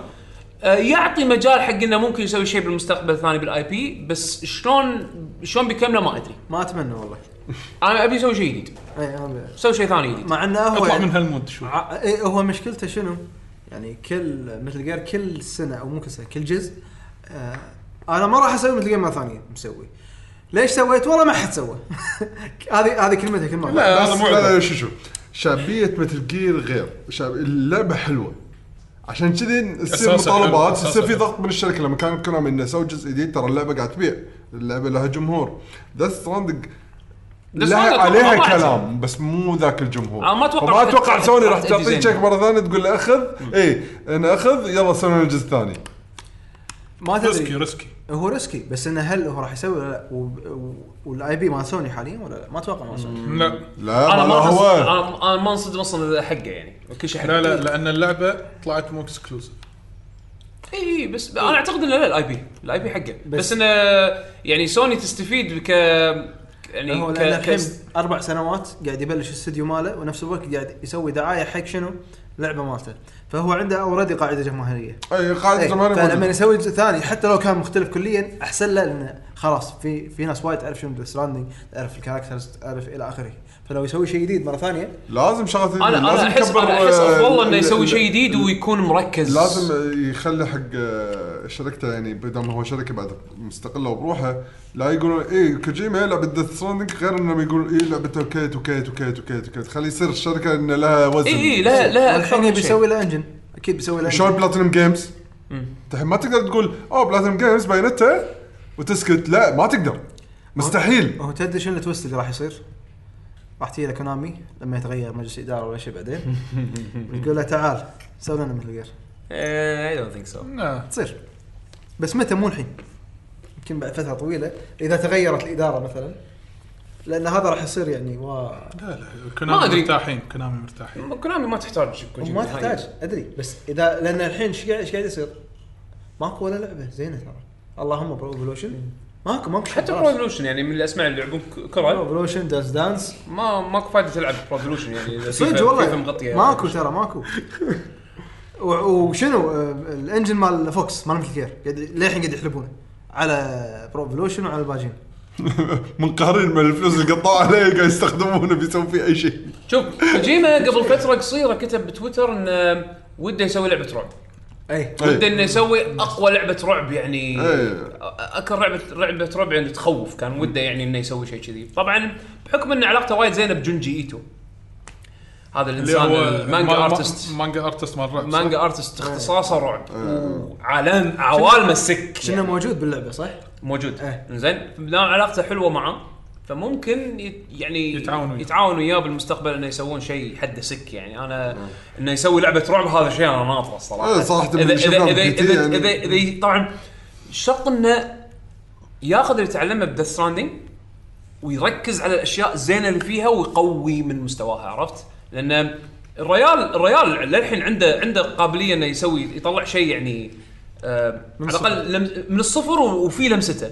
[SPEAKER 1] آه، يعطي مجال حق انه ممكن يسوي شيء بالمستقبل ثاني بالاي بي بس شلون شلون بيكمله ما ادري
[SPEAKER 4] ما اتمنى والله
[SPEAKER 1] انا ابي اسوي شيء جديد
[SPEAKER 4] إيه، أنا-
[SPEAKER 1] اسوي شيء ثاني جديد
[SPEAKER 4] مع انه هو
[SPEAKER 2] اطلع
[SPEAKER 4] يعني-
[SPEAKER 2] من هالمود شوي
[SPEAKER 4] ع- إيه هو مشكلته شنو؟ يعني كل مثل جير كل سنه او مو كل سنه كل جزء آه انا ما راح اسوي مثل جير مره ثانيه مسوي ليش سويت؟ والله ما حد سوى هذه هذه كلمته كلمه واحدة.
[SPEAKER 2] لا، هذا
[SPEAKER 3] بس-
[SPEAKER 2] مو
[SPEAKER 3] لا لا
[SPEAKER 2] عذر.
[SPEAKER 3] شو شو شعبيه مثل جير غير شعب اللعبه حلوه عشان كذي تصير
[SPEAKER 2] أساساً حلو،
[SPEAKER 3] مطالبات
[SPEAKER 2] أساساً
[SPEAKER 3] يصير في
[SPEAKER 2] حلو.
[SPEAKER 3] ضغط من الشركه لما كان كونامي انه سووا جزء جديد ترى اللعبه قاعد تبيع اللعبه لها جمهور ذا ستراندنج
[SPEAKER 1] بس ما
[SPEAKER 3] لها
[SPEAKER 1] أتوقع-
[SPEAKER 3] عليها
[SPEAKER 1] ما أتوقع.
[SPEAKER 3] كلام بس مو ذاك الجمهور
[SPEAKER 1] أنا ما أتوقع
[SPEAKER 3] ما
[SPEAKER 1] راح
[SPEAKER 3] اتوقع
[SPEAKER 1] تت-
[SPEAKER 3] سوني
[SPEAKER 1] راح
[SPEAKER 3] راح تعطيك
[SPEAKER 1] تديزاين.
[SPEAKER 3] شيك مره ثانيه تقول له اخذ اي انا اخذ يلا سوي لنا جزء ثاني
[SPEAKER 4] ما
[SPEAKER 2] ريسكي
[SPEAKER 4] تدري
[SPEAKER 2] ريسكي
[SPEAKER 4] هو ريسكي بس انه هل هو راح يسوي ولا لا و- و- والاي بي مال سوني حاليا ولا لا؟ ما اتوقع مال سوني
[SPEAKER 2] لا
[SPEAKER 3] لا
[SPEAKER 1] انا
[SPEAKER 3] ما
[SPEAKER 1] ما
[SPEAKER 3] هو
[SPEAKER 1] أنصدم- أنا- انا ما انصدم اصلا إذا حقه يعني كل شيء حقه
[SPEAKER 2] لا لا لان اللعبه طلعت مو اكسكلوسيف
[SPEAKER 1] اي اي إيه، بس انا اعتقد انه لا الاي بي الاي بي حقه بس,
[SPEAKER 4] بس-
[SPEAKER 1] انه يعني سوني تستفيد ك يعني
[SPEAKER 4] هو
[SPEAKER 1] ك...
[SPEAKER 4] لان الحين
[SPEAKER 1] كس-
[SPEAKER 4] اربع سنوات قاعد يبلش الاستوديو ماله ونفس الوقت قاعد يسوي دعايه حق شنو؟ لعبه مالته فهو عنده اوريدي قاعده جماهيريه
[SPEAKER 3] اي قاعده
[SPEAKER 4] إيه،
[SPEAKER 3] جمهوريه
[SPEAKER 4] فلما
[SPEAKER 3] موجودة.
[SPEAKER 4] يسوي جزء ثاني حتى لو كان مختلف كليا احسن له لانه خلاص في في ناس وايد تعرف شنو ذا ستراندنج تعرف الكاركترز تعرف الى اخره فلو يسوي شيء جديد مره ثانيه
[SPEAKER 3] لازم شغله
[SPEAKER 1] انا انا
[SPEAKER 3] لازم
[SPEAKER 1] احس
[SPEAKER 3] يكبر،
[SPEAKER 1] انا احس
[SPEAKER 3] آه،
[SPEAKER 1] افضل انه
[SPEAKER 3] ال-
[SPEAKER 1] يسوي
[SPEAKER 3] ال-
[SPEAKER 1] شيء جديد ويكون مركز
[SPEAKER 3] لازم يخلي حق آه، شركته يعني بدل هو شركه بعد مستقله وبروحها لا يقولون اي كوجيما يلعب ديث ستراندنج غير انهم يقولون إيه، اي لعبته كيت وكيت وكيت وكيت وكيت خلي يصير الشركه ان لها وزن
[SPEAKER 1] اي اي لها لها اكثر
[SPEAKER 4] الحين
[SPEAKER 1] من
[SPEAKER 4] يبي
[SPEAKER 1] شيء
[SPEAKER 4] يسوي له انجن اكيد بيسوي له
[SPEAKER 3] شلون
[SPEAKER 4] انجن
[SPEAKER 3] بلاتينم جيمز تحين ما تقدر تقول اوه بلاتينم جيمز باينته وتسكت لا ما تقدر مستحيل
[SPEAKER 4] هو تدري شنو التويست اللي راح يصير؟ راح تجي له كونامي لما يتغير مجلس اداره ولا شيء بعدين يقول له تعال سوي لنا مثل غير
[SPEAKER 1] اي دونت ثينك سو
[SPEAKER 2] لا
[SPEAKER 4] تصير بس متى مو الحين يمكن بعد فتره طويله اذا تغيرت الاداره مثلا لان هذا راح يصير يعني وا...
[SPEAKER 2] لا لا
[SPEAKER 1] ما
[SPEAKER 2] كونامي
[SPEAKER 1] أدري.
[SPEAKER 2] مرتاحين كونامي مرتاحين
[SPEAKER 1] كونامي ما تحتاج كوجيما
[SPEAKER 4] وما
[SPEAKER 1] نهائياً.
[SPEAKER 4] تحتاج ادري بس اذا لان الحين ايش قاعد ايش قاعد يصير؟ ماكو ولا لعبه زينه ترى اللهم برو ايفولوشن ماكو ماكو شيء
[SPEAKER 1] حتى
[SPEAKER 4] خلاص.
[SPEAKER 1] برو ايفولوشن يعني من اللي اسمع اللي يلعبون ك-
[SPEAKER 4] برو
[SPEAKER 1] كره
[SPEAKER 4] ايفولوشن دانس دانس
[SPEAKER 1] ما ماكو فائده تلعب برو ايفولوشن يعني إذا
[SPEAKER 4] صدق
[SPEAKER 1] فيفا- فيفا
[SPEAKER 4] والله
[SPEAKER 1] مغطيه
[SPEAKER 4] ماكو ترى ماكو و- وشنو آه، الانجن مال فوكس مال مثل كير قاعد للحين قاعد يحلبونه على برو ايفولوشن وعلى الباجين
[SPEAKER 3] منقهرين من الفلوس اللي قطعوا عليه قاعد يستخدمونه بيسوون فيه اي شيء
[SPEAKER 1] شوف كوجيما قبل فتره قصيره كتب بتويتر انه وده يسوي لعبه رعب
[SPEAKER 4] اي
[SPEAKER 1] وده انه يسوي اقوى لعبه رعب يعني
[SPEAKER 3] إيه.
[SPEAKER 1] اكثر لعبه لعبه رعب يعني تخوف كان وده يعني انه يسوي شيء كذي طبعا بحكم ان علاقته وايد زينه بجونجي ايتو هذا
[SPEAKER 2] اللي
[SPEAKER 1] الانسان
[SPEAKER 2] هو
[SPEAKER 1] المانجا
[SPEAKER 2] ما- ما-
[SPEAKER 1] ارتست
[SPEAKER 2] مانجا ارتست مال رعب صح؟
[SPEAKER 1] مانجا ارتست اختصاصه رعب وعالم عوالم السك
[SPEAKER 4] شنو
[SPEAKER 1] يعني
[SPEAKER 4] موجود باللعبه صح؟
[SPEAKER 1] موجود
[SPEAKER 4] إيه.
[SPEAKER 1] زين لا علاقته حلوه معه فممكن يت- يعني
[SPEAKER 2] يتعاونوا وياه.
[SPEAKER 1] يتعاون وياه بالمستقبل انه يسوون شيء حده سك يعني انا انه يسوي لعبه رعب هذا شيء انا ناطره الصراحه
[SPEAKER 3] إيه، صراحة من
[SPEAKER 1] اذا اذا
[SPEAKER 3] شفناهم
[SPEAKER 1] اذا
[SPEAKER 3] كتير
[SPEAKER 1] اذا,
[SPEAKER 3] يعني.
[SPEAKER 1] إذا, إذا طبعا شرط انه ياخذ اللي تعلمه بديث ستراندنج ويركز على الاشياء الزينه اللي فيها ويقوي من مستواها عرفت؟ لان الريال الريال للحين عنده عنده قابليه انه يسوي يطلع شيء يعني آه،
[SPEAKER 4] من
[SPEAKER 1] على الاقل لم- من الصفر و- وفي لمسته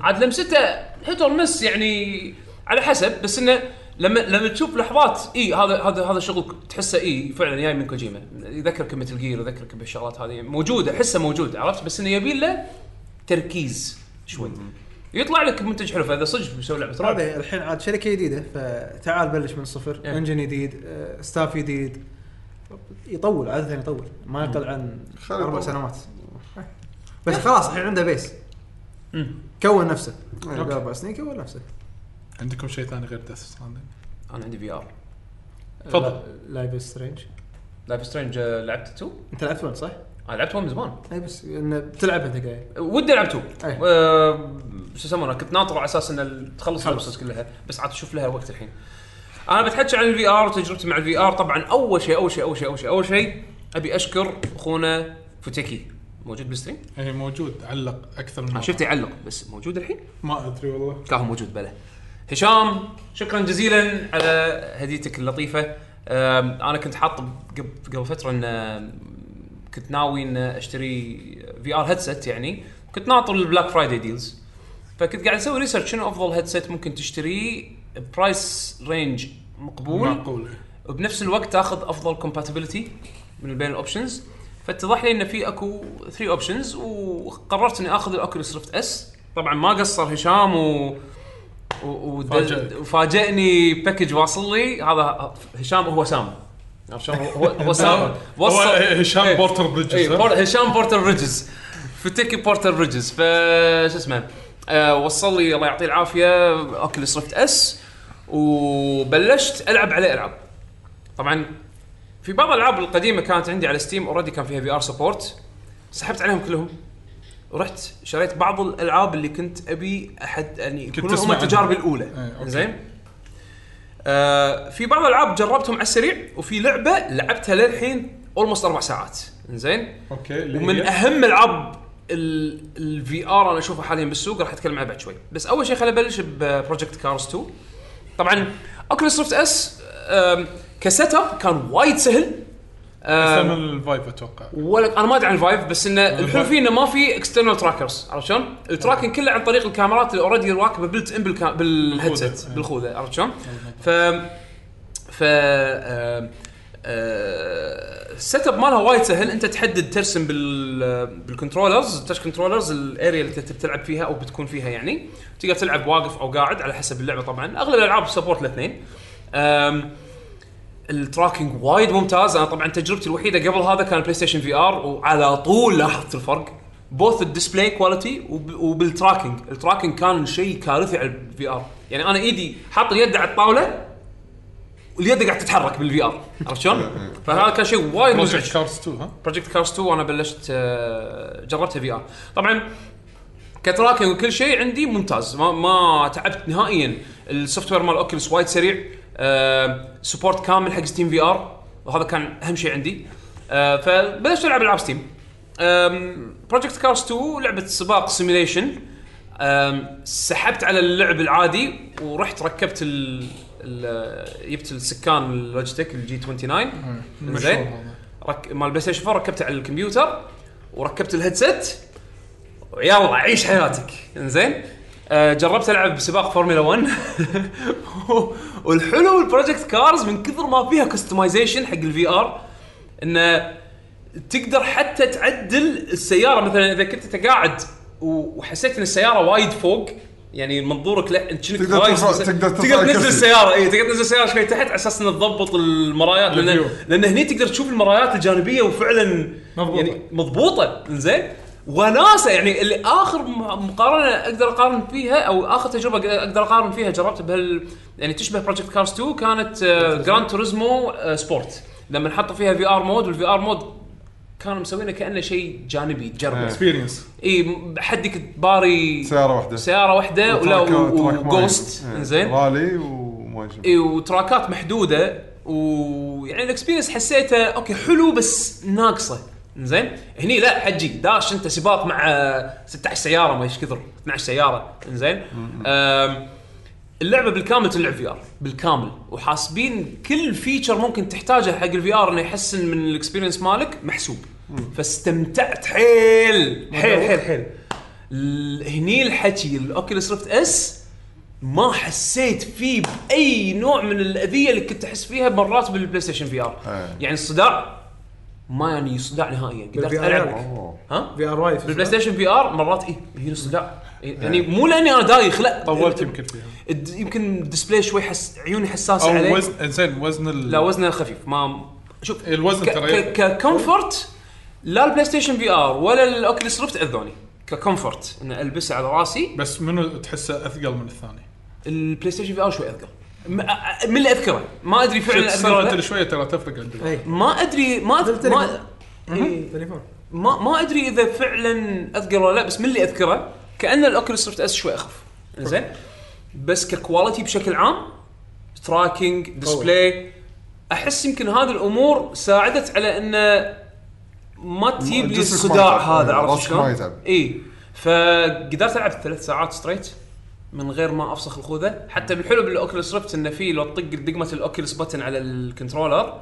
[SPEAKER 1] عاد لمسته هيت اور مس يعني على حسب بس انه لما لما تشوف لحظات اي هذا هذا هذا شغل تحسه اي فعلا جاي من كوجيما يذكرك مثل جير يذكرك بالشغلات هذه موجوده احسه موجود عرفت بس انه يبي له تركيز شوي يطلع لك منتج حلو فاذا صدق مسوي لعبه رعب
[SPEAKER 4] هذا الحين عاد شركه جديده فتعال بلش من الصفر
[SPEAKER 1] إيه.
[SPEAKER 4] انجن جديد آه، ستاف جديد يطول عاده يطول ما يقل عن
[SPEAKER 3] خلي
[SPEAKER 4] اربع
[SPEAKER 3] يطول.
[SPEAKER 4] سنوات بس خلاص الحين عنده بيس
[SPEAKER 1] إيه. مم.
[SPEAKER 4] كون نفسه
[SPEAKER 3] إيه.
[SPEAKER 4] قبل اربع سنين كون نفسه
[SPEAKER 2] عندكم شيء ثاني غير ديث ستراندنج
[SPEAKER 1] انا عندي في ار
[SPEAKER 2] تفضل.
[SPEAKER 4] لايف سترينج
[SPEAKER 1] لايف سترينج آه، لعبت 2
[SPEAKER 4] انت لعبت وين صح؟
[SPEAKER 1] انا لعبت 1 من زمان
[SPEAKER 4] اي بس انه بتلعب انت قاعد
[SPEAKER 1] ودي العب 2
[SPEAKER 4] أي.
[SPEAKER 1] آه، شو يسمونه كنت ناطر على اساس ان ال- تخلص
[SPEAKER 4] خلص.
[SPEAKER 1] القصص كلها بس عاد اشوف لها وقت الحين انا بتحكي عن الفي ار وتجربتي مع الفي ار طبعا اول شيء اول شيء اول شيء اول شيء اول شيء ابي اشكر اخونا فوتيكي موجود بالستريم
[SPEAKER 2] اي إيه، موجود علق اكثر من
[SPEAKER 1] انا
[SPEAKER 2] مرة.
[SPEAKER 1] شفته يعلق بس موجود الحين
[SPEAKER 2] ما ادري والله
[SPEAKER 1] كاهو موجود بلا هشام شكرا جزيلا على هديتك اللطيفه أم، انا كنت حاط قبل قبل فتره ان أم، كنت ناوي ان اشتري في ار هيدسيت يعني كنت ناطر البلاك فرايداي ديلز فكنت قاعد اسوي ريسيرش شنو افضل هيدسيت ممكن تشتريه برايس رينج مقبول
[SPEAKER 2] معقوله
[SPEAKER 1] وبنفس الوقت تاخذ افضل كومباتيبلتي من بين الاوبشنز فاتضح لي ان في اكو 3 اوبشنز وقررت اني اخذ الاوكيوليس ريفت اس طبعا ما قصر هشام و و- و-
[SPEAKER 2] فاجأك.
[SPEAKER 1] وفاجئني باكج واصل لي هذا هشام هو سام عرفت شلون؟ هو هو سام
[SPEAKER 2] هو
[SPEAKER 1] وصل
[SPEAKER 2] هشام
[SPEAKER 1] إيه.
[SPEAKER 2] بورتر بريدجز
[SPEAKER 1] إيه،
[SPEAKER 2] ها؟
[SPEAKER 1] بور- هشام بورتر بريدجز فتكي بورتر بريدجز ف شو اسمه آه، وصل لي الله يعطيه العافيه اوكل صرفت اس وبلشت العب عليه العاب طبعا في بعض الالعاب القديمه كانت عندي على ستيم اوريدي كان فيها في ار سبورت سحبت عليهم كلهم رحت شريت بعض الالعاب اللي كنت ابي احد يعني يكونون هم
[SPEAKER 2] تسمع عنها.
[SPEAKER 1] تجاربي الاولى
[SPEAKER 2] إيه، أوكي.
[SPEAKER 1] زين آه في بعض الالعاب جربتهم على السريع وفي لعبه لعبتها للحين اولموست اربع ساعات زين
[SPEAKER 2] اوكي اللي
[SPEAKER 1] ومن
[SPEAKER 2] هي-
[SPEAKER 1] اهم العاب الفي ار انا اشوفها حاليا بالسوق راح اتكلم عنها بعد شوي بس اول شيء خلينا نبلش ببروجكت كارز 2 طبعا اوكلس ريفت اس كسيت اب كان وايد سهل
[SPEAKER 2] أحسن
[SPEAKER 1] آم،
[SPEAKER 2] من الفايف اتوقع
[SPEAKER 1] ولا انا ما ادري عن الفايف بس انه الحلو فيه انه ما في اكسترنال تراكرز عرفت شلون؟ التراكن كله عن طريق الكاميرات اللي اوريدي راكبه بلت ان بالكا... بالهيدسيت
[SPEAKER 2] بالخوذة.
[SPEAKER 1] بالخوذه عرفت شلون؟ ف ف آم، آه، السيت اب مالها وايد سهل انت تحدد ترسم بال بالكنترولرز التاتش كنترولرز الاريا اللي انت بتلعب فيها او بتكون فيها يعني تقدر تلعب واقف او قاعد على حسب اللعبه طبعا اغلب الالعاب سبورت الاثنين أم، التراكنج وايد ممتاز انا طبعا تجربتي الوحيده قبل هذا كان بلاي ستيشن في ار وعلى طول لاحظت الفرق بوث الديسبلاي كواليتي وبالتراكنج التراكنج كان شيء كارثي على الفي ار يعني انا ايدي حاط اليد على الطاوله واليد قاعد تتحرك بالفي ار عرفت شلون؟ فهذا كان شيء وايد مزعج
[SPEAKER 2] بروجكت كارز 2 ها
[SPEAKER 1] بروجكت كارز 2 انا بلشت آه، جربتها في ار طبعا كتراكنج وكل شيء عندي ممتاز ما, ما تعبت نهائيا السوفت وير مال اوكيلس وايد سريع آه، سبورت كامل حق ستيم في ار وهذا كان اهم شيء عندي آه، فبلشت العب العاب ستيم بروجكت كارز 2 لعبه سباق سيميليشن سحبت على اللعب العادي ورحت ركبت ال ال- جبت السكان اللوجيتك الجي 29 زين
[SPEAKER 2] مشهور هذا.
[SPEAKER 1] رك... مال بلاي ستيشن 4 ركبته على الكمبيوتر وركبت الهيدسيت يلا عيش حياتك انزين آه جربت العب سباق فورمولا 1 والحلو البروجكت كارز من كثر ما فيها كستمايزيشن حق الفي ار انه تقدر حتى تعدل السياره مثلا اذا كنت انت قاعد و- وحسيت ان السياره وايد فوق يعني منظورك لا انت شنك
[SPEAKER 3] تقدر
[SPEAKER 1] رايح
[SPEAKER 3] ترفع-
[SPEAKER 1] بس-
[SPEAKER 3] تقدر ترفع
[SPEAKER 1] تقدر تنزل
[SPEAKER 3] الكرسي.
[SPEAKER 1] السياره اي إيه، تقدر تنزل السياره شوي تحت على اساس ان تضبط المرايات لان
[SPEAKER 2] الفيو.
[SPEAKER 1] لان هني تقدر تشوف المرايات الجانبيه وفعلا
[SPEAKER 2] مضبوطة.
[SPEAKER 1] يعني مضبوطه زين وناسه يعني اللي اخر م- مقارنه اقدر اقارن فيها او اخر تجربه أق- اقدر اقارن فيها جربت بهال يعني تشبه بروجكت كارز 2 كانت آه، جراند توريزمو سبورت آه، لما حطوا فيها في ار مود والفي ار مود كانوا مسوينه كانه شيء جانبي تجربه
[SPEAKER 2] اكسبيرينس
[SPEAKER 3] إيه.
[SPEAKER 1] اي حدك تباري
[SPEAKER 3] سياره واحده
[SPEAKER 1] سياره واحده ولا
[SPEAKER 3] وتراك- وتراك معين.
[SPEAKER 1] وجوست
[SPEAKER 3] إيه.
[SPEAKER 1] زين
[SPEAKER 3] رالي وما يشبه.
[SPEAKER 1] اي إيه، وتراكات محدوده ويعني الاكسبيرينس حسيته اوكي حلو بس ناقصه زين هني لا حجي داش انت سباق مع آه، 16 سياره ما ايش كثر 12 سياره زين اللعبه بالكامل تلعب في ار بالكامل وحاسبين كل فيتشر ممكن تحتاجه حق الفي ار انه يحسن من الاكسبيرينس مالك محسوب فاستمتعت حيل حيل حيل حيل ال- هني الحكي الاوكيوليس ريفت اس ما حسيت فيه باي نوع من الاذيه اللي كنت احس فيها مرات بالبلاي ستيشن في ار
[SPEAKER 3] إيه.
[SPEAKER 1] يعني الصداع ما يعني صداع نهائيا قدرت
[SPEAKER 4] بالVR
[SPEAKER 1] العب
[SPEAKER 3] أوه.
[SPEAKER 1] ها
[SPEAKER 4] في ار وايد
[SPEAKER 1] آه. بالبلاي ستيشن في ار مرات اي هي الصداع إيه، يعني مو لاني انا دايخ لا
[SPEAKER 2] طولت يمكن فيها
[SPEAKER 1] الد- يمكن الديسبلاي شوي حس عيوني حساسه عليه
[SPEAKER 2] او وزن انزين وزن ال...
[SPEAKER 1] لا وزنه خفيف ما شوف
[SPEAKER 2] الوزن
[SPEAKER 1] ك-
[SPEAKER 2] ترى إيه؟
[SPEAKER 1] ك- ككومفورت لا البلاي ستيشن في ار ولا الاوكيوليس ريفت اذوني ككومفورت ان البسه على راسي
[SPEAKER 2] بس منو تحسه اثقل من الثاني؟
[SPEAKER 1] البلاي ستيشن في ار شوي اثقل م- أ- أ- من اللي اذكره ما ادري فعلا اذكره ولا
[SPEAKER 2] صارت
[SPEAKER 1] لا.
[SPEAKER 2] شويه ترى تفرق عندك
[SPEAKER 4] اي
[SPEAKER 1] ما ادري ما أد- ما إيه.
[SPEAKER 4] تليفون
[SPEAKER 1] ما ما ادري اذا فعلا اذكر ولا لا بس من اللي اذكره كان الاوكيوليس ريفت اس شوي اخف زين بس ككواليتي بشكل عام سترايكنج ديسبلاي احس يمكن هذه الامور ساعدت على انه ما تجيب لي
[SPEAKER 3] جسمك ما
[SPEAKER 1] الصداع
[SPEAKER 3] يتعب.
[SPEAKER 1] هذا عرفت
[SPEAKER 3] راسك ما
[SPEAKER 1] شلون؟
[SPEAKER 3] يتعب.
[SPEAKER 1] اي فقدرت العب ثلاث ساعات ستريت من غير ما افسخ الخوذه حتى بالحلو بالاوكيوليس ريفت انه في لو تطق دقمه الاوكيوليس بتن على الكنترولر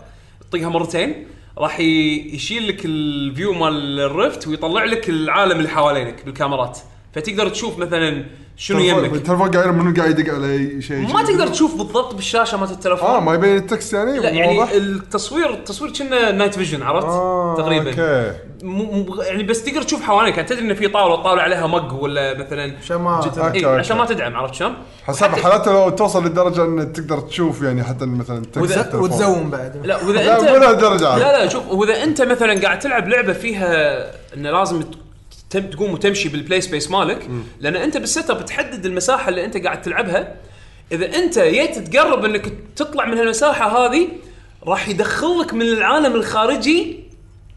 [SPEAKER 1] تطقها مرتين راح ي- يشيل لك الفيو مال الريفت ويطلع لك العالم اللي حوالينك بالكاميرات فتقدر تشوف مثلا شنو
[SPEAKER 3] تلفون-
[SPEAKER 1] يمك
[SPEAKER 3] التلفون قاعد منو قاعد يدق علي شيء
[SPEAKER 1] ما تقدر تشوف بالضبط بالشاشه مالت التلفون
[SPEAKER 3] اه ما يبين التكست يعني
[SPEAKER 1] لا يعني
[SPEAKER 3] واضح
[SPEAKER 1] التصوير التصوير كنا نايت فيجن عرفت؟
[SPEAKER 3] آه،
[SPEAKER 1] تقريبا
[SPEAKER 3] اوكي
[SPEAKER 1] مو مو- يعني بس تقدر تشوف حواليك يعني تدري ان في طاوله الطاوله عليها مج ولا مثلا
[SPEAKER 4] عشان ما
[SPEAKER 3] آه، أوكي،
[SPEAKER 1] إيه
[SPEAKER 3] أوكي.
[SPEAKER 1] عشان ما تدعم عرفت شلون؟
[SPEAKER 3] حسب حالته لو توصل لدرجه ان تقدر تشوف يعني حتى مثلا تكست التلفون.
[SPEAKER 4] وتزوم بعد
[SPEAKER 1] لا واذا
[SPEAKER 3] لا
[SPEAKER 1] انت
[SPEAKER 3] مو لهالدرجه عاد.
[SPEAKER 1] لا لا شوف واذا انت مثلا قاعد تلعب لعبه فيها انه لازم ت- تم- تقوم وتمشي بالبلاي سبيس مالك لان انت بالسيت اب تحدد المساحه اللي انت قاعد تلعبها اذا انت جيت تقرب انك تطلع من هالمساحه هذه راح يدخلك من العالم الخارجي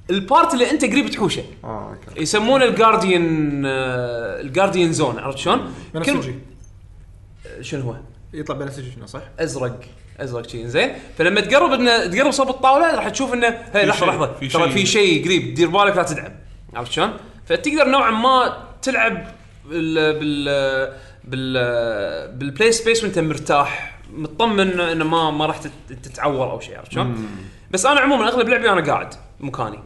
[SPEAKER 1] البارت اللي انت قريب تحوشه
[SPEAKER 3] اه اوكي
[SPEAKER 1] يسمونه الجارديان آه، الجارديان زون عرفت شلون؟
[SPEAKER 4] بنفسجي
[SPEAKER 1] شنو هو؟
[SPEAKER 4] يطلع بنفسجي شنو صح؟
[SPEAKER 1] ازرق ازرق شيء زين فلما تقرب انه تقرب صوب الطاوله راح تشوف انه هي لحظه
[SPEAKER 2] شيء-
[SPEAKER 1] لحظه
[SPEAKER 2] في
[SPEAKER 1] ترى
[SPEAKER 2] شيء.
[SPEAKER 1] في شيء قريب دير بالك لا تدعم عرفت شلون؟ فتقدر نوعا ما تلعب بال بال بال بالبلاي سبيس وانت مرتاح مطمن انه ما ما راح تت- تتعور او شيء عرفت شلون؟ بس انا عموما اغلب لعبي انا قاعد مكاني.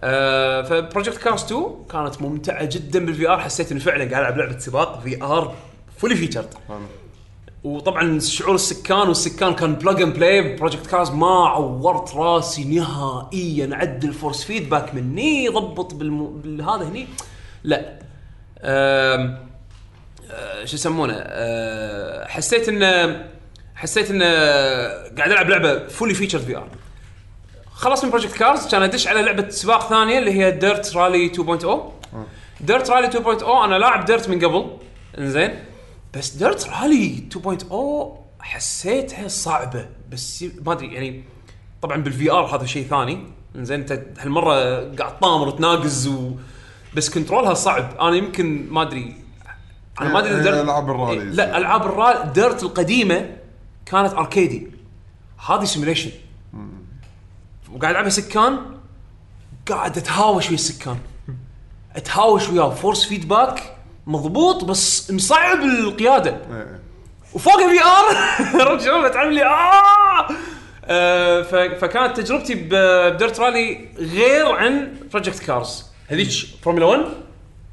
[SPEAKER 1] آه فبروجكت كارس 2 كانت ممتعه جدا بالفي ار حسيت اني فعلا قاعد العب لعبه سباق في ار فولي فيتشرد وطبعا شعور السكان والسكان كان بلاج اند بلاي بروجكت كارز ما عورت راسي نهائيا عدل فورس فيدباك مني ضبط بالمو... بالهذا هني لا أم... أه، شو يسمونه أه، حسيت انه حسيت انه قاعد العب لعبه فولي فيتشرد في ار خلص من بروجكت كارز كان ادش على لعبه سباق ثانيه اللي هي ديرت رالي
[SPEAKER 3] آه.
[SPEAKER 1] 2.0 ديرت رالي 2.0 انا لاعب ديرت من قبل انزين بس ديرت رالي 2.0 حسيتها صعبه بس ي- ما ادري يعني طبعا بالفي ار هذا شيء ثاني انزين انت هالمره قاعد طامر وتناقز و بس كنترولها صعب انا يمكن ما ادري انا ما ادري إذا
[SPEAKER 3] هي
[SPEAKER 1] Dirt-
[SPEAKER 3] ألعاب الرالي.
[SPEAKER 1] إيه، لا العاب الرالي ديرت القديمه كانت اركيدي هذه سيميليشن وقاعد العبها سكان قاعد اتهاوش ويا السكان اتهاوش وياه فورس فيدباك مضبوط بس مصعب القياده
[SPEAKER 3] إيه.
[SPEAKER 1] وفوق في ار عرفت شلون بتعمل لي آه! آه ف- فكانت تجربتي ب- بديرت رالي غير عن بروجكت كارز هذيك فورمولا 1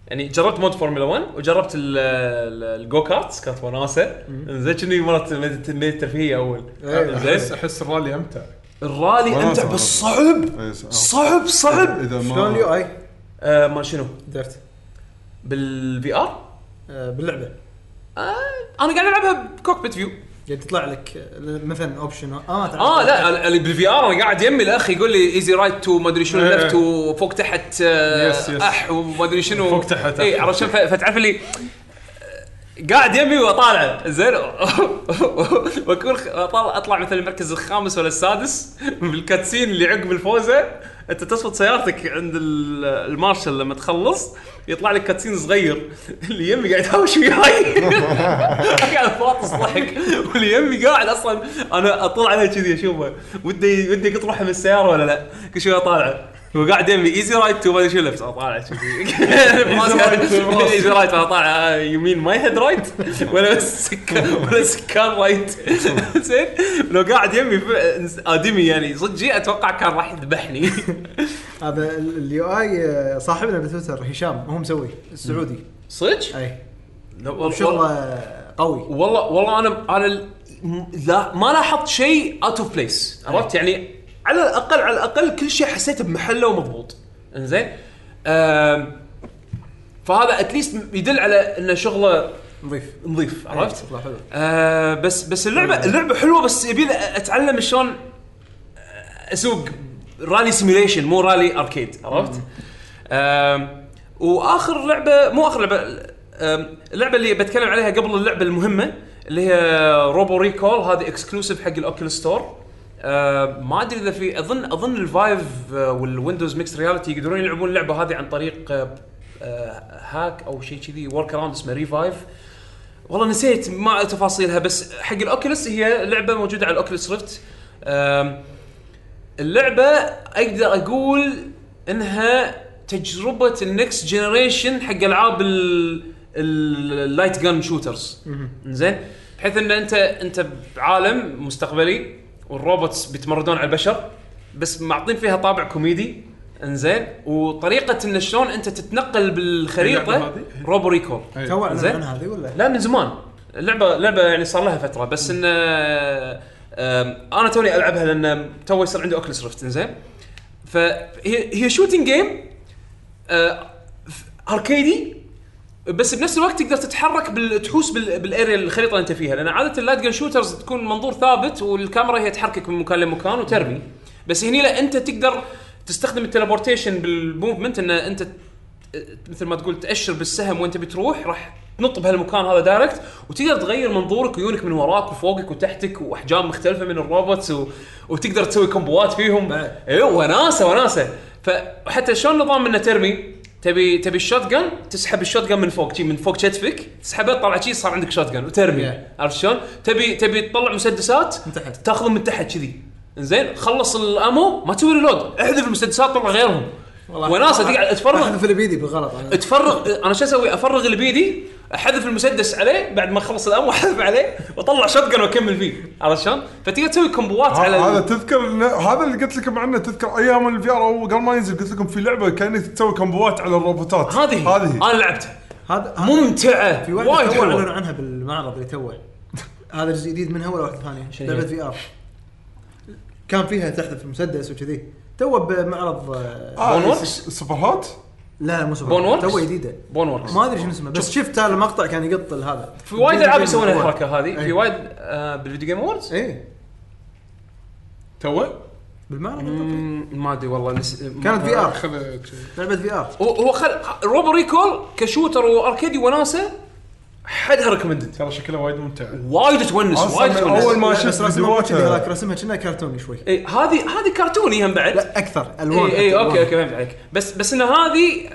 [SPEAKER 1] يعني جربت مود فورمولا 1 وجربت ال- ال- الجو كارتس كانت وناسه زين كني مرات ميدة الترفيه اول
[SPEAKER 2] احس
[SPEAKER 1] زين
[SPEAKER 2] احس الرالي امتع
[SPEAKER 1] الرالي
[SPEAKER 3] إيه. وناسة
[SPEAKER 1] امتع
[SPEAKER 3] مرة.
[SPEAKER 1] بس صعب
[SPEAKER 3] إيه، صح.
[SPEAKER 1] صعب صعب
[SPEAKER 3] اذا
[SPEAKER 4] شلون
[SPEAKER 3] ما
[SPEAKER 4] اليو اي
[SPEAKER 1] آه ما شنو
[SPEAKER 4] درفت
[SPEAKER 1] بالفي ار
[SPEAKER 4] آه، باللعبه
[SPEAKER 1] انا قاعد العبها بكوكبيت فيو
[SPEAKER 4] قاعد تطلع لك آه، مثلا اوبشن اه تعال.
[SPEAKER 1] اه لا اللي بالفي ار انا قاعد يمي الاخ يقول لي ايزي رايت تو ما ادري شنو
[SPEAKER 2] إيه.
[SPEAKER 1] لفت وفوق تحت آه،
[SPEAKER 2] يس، يس.
[SPEAKER 1] اح وما ادري شنو
[SPEAKER 2] فوق تحت،
[SPEAKER 1] اي
[SPEAKER 2] أح.
[SPEAKER 1] عرفت شلون ف- فتعرف اللي قاعد يمي واطالع زين واكون خ- أطلع, اطلع مثلا المركز الخامس ولا السادس بالكاتسين اللي عقب الفوزه انت تصفط سيارتك عند ال- المارشل لما تخلص يطلع لك كاتسين صغير اللي يمي قاعد يهاوش وياي قاعد فاطس ضحك واللي يمي قاعد اصلا انا اطلع عليه كذي اشوفه ودي ودي اقط روحه من السياره ولا لا كل شوي اطالعه هو قاعد يمي ايزي رايد تو ما ادري شو لفت اطالع
[SPEAKER 2] رايت.
[SPEAKER 1] ايزي رايد اطالع يمين ما يهد رايت ولا سكان ولا سكان رايت زين لو قاعد يمي ف- ادمي يعني صدقي اتوقع كان راح يذبحني
[SPEAKER 4] هذا اليو اي آه، صاحبنا بتويتر هشام هو مسوي السعودي
[SPEAKER 1] صدق؟
[SPEAKER 4] اي
[SPEAKER 1] لا، والله-
[SPEAKER 4] شغله آه، قوي
[SPEAKER 1] والله والله انا انا ال- لا ما لاحظت شيء اوت اوف بليس عرفت يعني على الاقل على الاقل كل شيء حسيته بمحله ومضبوط انزين آم، فهذا اتليست يدل على انه شغله
[SPEAKER 4] نظيف
[SPEAKER 1] نظيف عرفت؟
[SPEAKER 4] شغله حلوه
[SPEAKER 1] آه بس بس اللعبه اللعبه حلوه بس يبي اتعلم شلون اسوق رالي سيميليشن مو رالي اركيد عرفت؟ آم، واخر لعبه مو اخر لعبه آم، اللعبه اللي بتكلم عليها قبل اللعبه المهمه اللي هي روبو ريكول هذه اكسكلوسيف حق الاوكل ستور ما ادري اذا في اظن اظن الفايف آه، والويندوز ميكس رياليتي يقدرون يلعبون اللعبه هذه عن طريق آه، آه، هاك او شيء كذي ورك اراوند اسمه ريفايف والله نسيت ما تفاصيلها بس حق الاوكيلس هي لعبه موجوده على الاوكيلس ريفت أم، اللعبه اقدر اقول انها تجربه النكست جنريشن حق العاب اللايت جان شوترز زين بحيث ان انت انت بعالم مستقبلي والروبوتس بيتمردون على البشر بس معطين فيها طابع كوميدي انزين وطريقه ان شلون انت تتنقل
[SPEAKER 2] اللعبة
[SPEAKER 1] بالخريطه
[SPEAKER 2] هذه؟
[SPEAKER 1] روبو ريكول
[SPEAKER 2] أي.
[SPEAKER 4] تو
[SPEAKER 1] زين.
[SPEAKER 4] اعلن عن هذه ولا؟
[SPEAKER 1] لا من زمان اللعبه لعبه يعني صار لها فتره بس ان آم، انا توني العبها لان تو يصير عندي اوكلس ريفت زين فهي هي شوتنج جيم اركيدي بس بنفس الوقت تقدر تتحرك بال... تحوس بال... بالاريا الخريطه اللي انت فيها لان عاده اللاجن شوترز تكون منظور ثابت والكاميرا هي تحركك من مكان لمكان وترمي بس هني لا انت تقدر تستخدم التليبورتيشن بالموفمنت ان انت مثل ما تقول تاشر بالسهم وانت بتروح راح تنط بهالمكان هذا دايركت وتقدر تغير منظورك ويونك من وراك وفوقك وتحتك واحجام مختلفه من الروبوتس و... وتقدر تسوي كومبوات فيهم
[SPEAKER 4] بعد.
[SPEAKER 1] ايوه وناسه وناسه فحتى شلون نظام انه ترمي تبي تبي الشوت جن تسحب الشوت جن من فوق شي من فوق كتفك تسحبه طلع شي صار عندك شوت جن وترمي
[SPEAKER 4] Yeah.
[SPEAKER 1] عرفت شلون؟ تبي تبي تطلع مسدسات
[SPEAKER 4] إيه. من تحت.
[SPEAKER 1] تاخذهم من تحت كذي زين خلص الامو ما تسوي ريلود احذف المسدسات طلع غيرهم وناسه تقعد تفرغ
[SPEAKER 4] اخذ في البيدي بالغلط أنا.
[SPEAKER 1] تفرغ انا شو اسوي افرغ اللي بيدي احذف المسدس عليه بعد ما اخلص الامر احذف عليه واطلع شوت واكمل فيه عرفت شلون؟ فتقدر تسوي كومبوات على
[SPEAKER 3] آه، هذا
[SPEAKER 1] ال-
[SPEAKER 3] تذكر إنه- هذا اللي قلت لكم عنه تذكر ايام الفي ار قبل ما ينزل قلت لكم في لعبه كانك تسوي كمبوات على الروبوتات
[SPEAKER 1] هذه
[SPEAKER 3] هذه
[SPEAKER 1] هذه انا لعبتها
[SPEAKER 4] هذا هذا-
[SPEAKER 1] ممتعه
[SPEAKER 4] في
[SPEAKER 1] وايد
[SPEAKER 4] واحده تو
[SPEAKER 1] حلوه
[SPEAKER 4] اعلنوا عنها بالمعرض اللي توه هذا جزء جديد منها ولا واحده ثانيه؟
[SPEAKER 1] شنو هي؟
[SPEAKER 4] لعبه في ار كان فيها تحذف المسدس وكذي تو بمعرض آه،
[SPEAKER 3] آه،
[SPEAKER 1] بون ووركس؟
[SPEAKER 3] سوبر هات
[SPEAKER 4] لا لا مو سوبر
[SPEAKER 1] بون ووركس؟
[SPEAKER 4] تو جديده
[SPEAKER 1] بون وركس
[SPEAKER 4] ما ادري شنو اسمه بس شفت هذا المقطع كان يقط هذا
[SPEAKER 1] في وايد العاب يسوون الحركه هذه
[SPEAKER 4] أي.
[SPEAKER 1] في وايد آه، بالفيديو جيم اووردز
[SPEAKER 4] اي
[SPEAKER 2] تو
[SPEAKER 4] إيه، بالمعرض يقط.
[SPEAKER 1] ما ادري والله نس...
[SPEAKER 4] كانت في ار
[SPEAKER 2] خل
[SPEAKER 4] لعبه في ار
[SPEAKER 1] هو هو خل... روبو ريكول كشوتر واركيدي وناسه حدها ريكومندد
[SPEAKER 2] ترى شكلها وايد ممتع
[SPEAKER 1] وايد تونس
[SPEAKER 3] أصلاً
[SPEAKER 1] وايد
[SPEAKER 3] من
[SPEAKER 1] تونس
[SPEAKER 3] أول ما
[SPEAKER 4] لا،
[SPEAKER 3] شفت
[SPEAKER 4] بس رسمها
[SPEAKER 3] فيديوهاتها-
[SPEAKER 4] كذي، هذاك رسمها كأنها كرتوني شوي
[SPEAKER 1] إي، هذه هذه كرتوني هم بعد
[SPEAKER 4] لا اكثر الوان
[SPEAKER 1] اي اي
[SPEAKER 4] أكثر،
[SPEAKER 1] اوكي
[SPEAKER 4] ألوان.
[SPEAKER 1] اوكي إيه، فهمت عليك بس بس ان هذه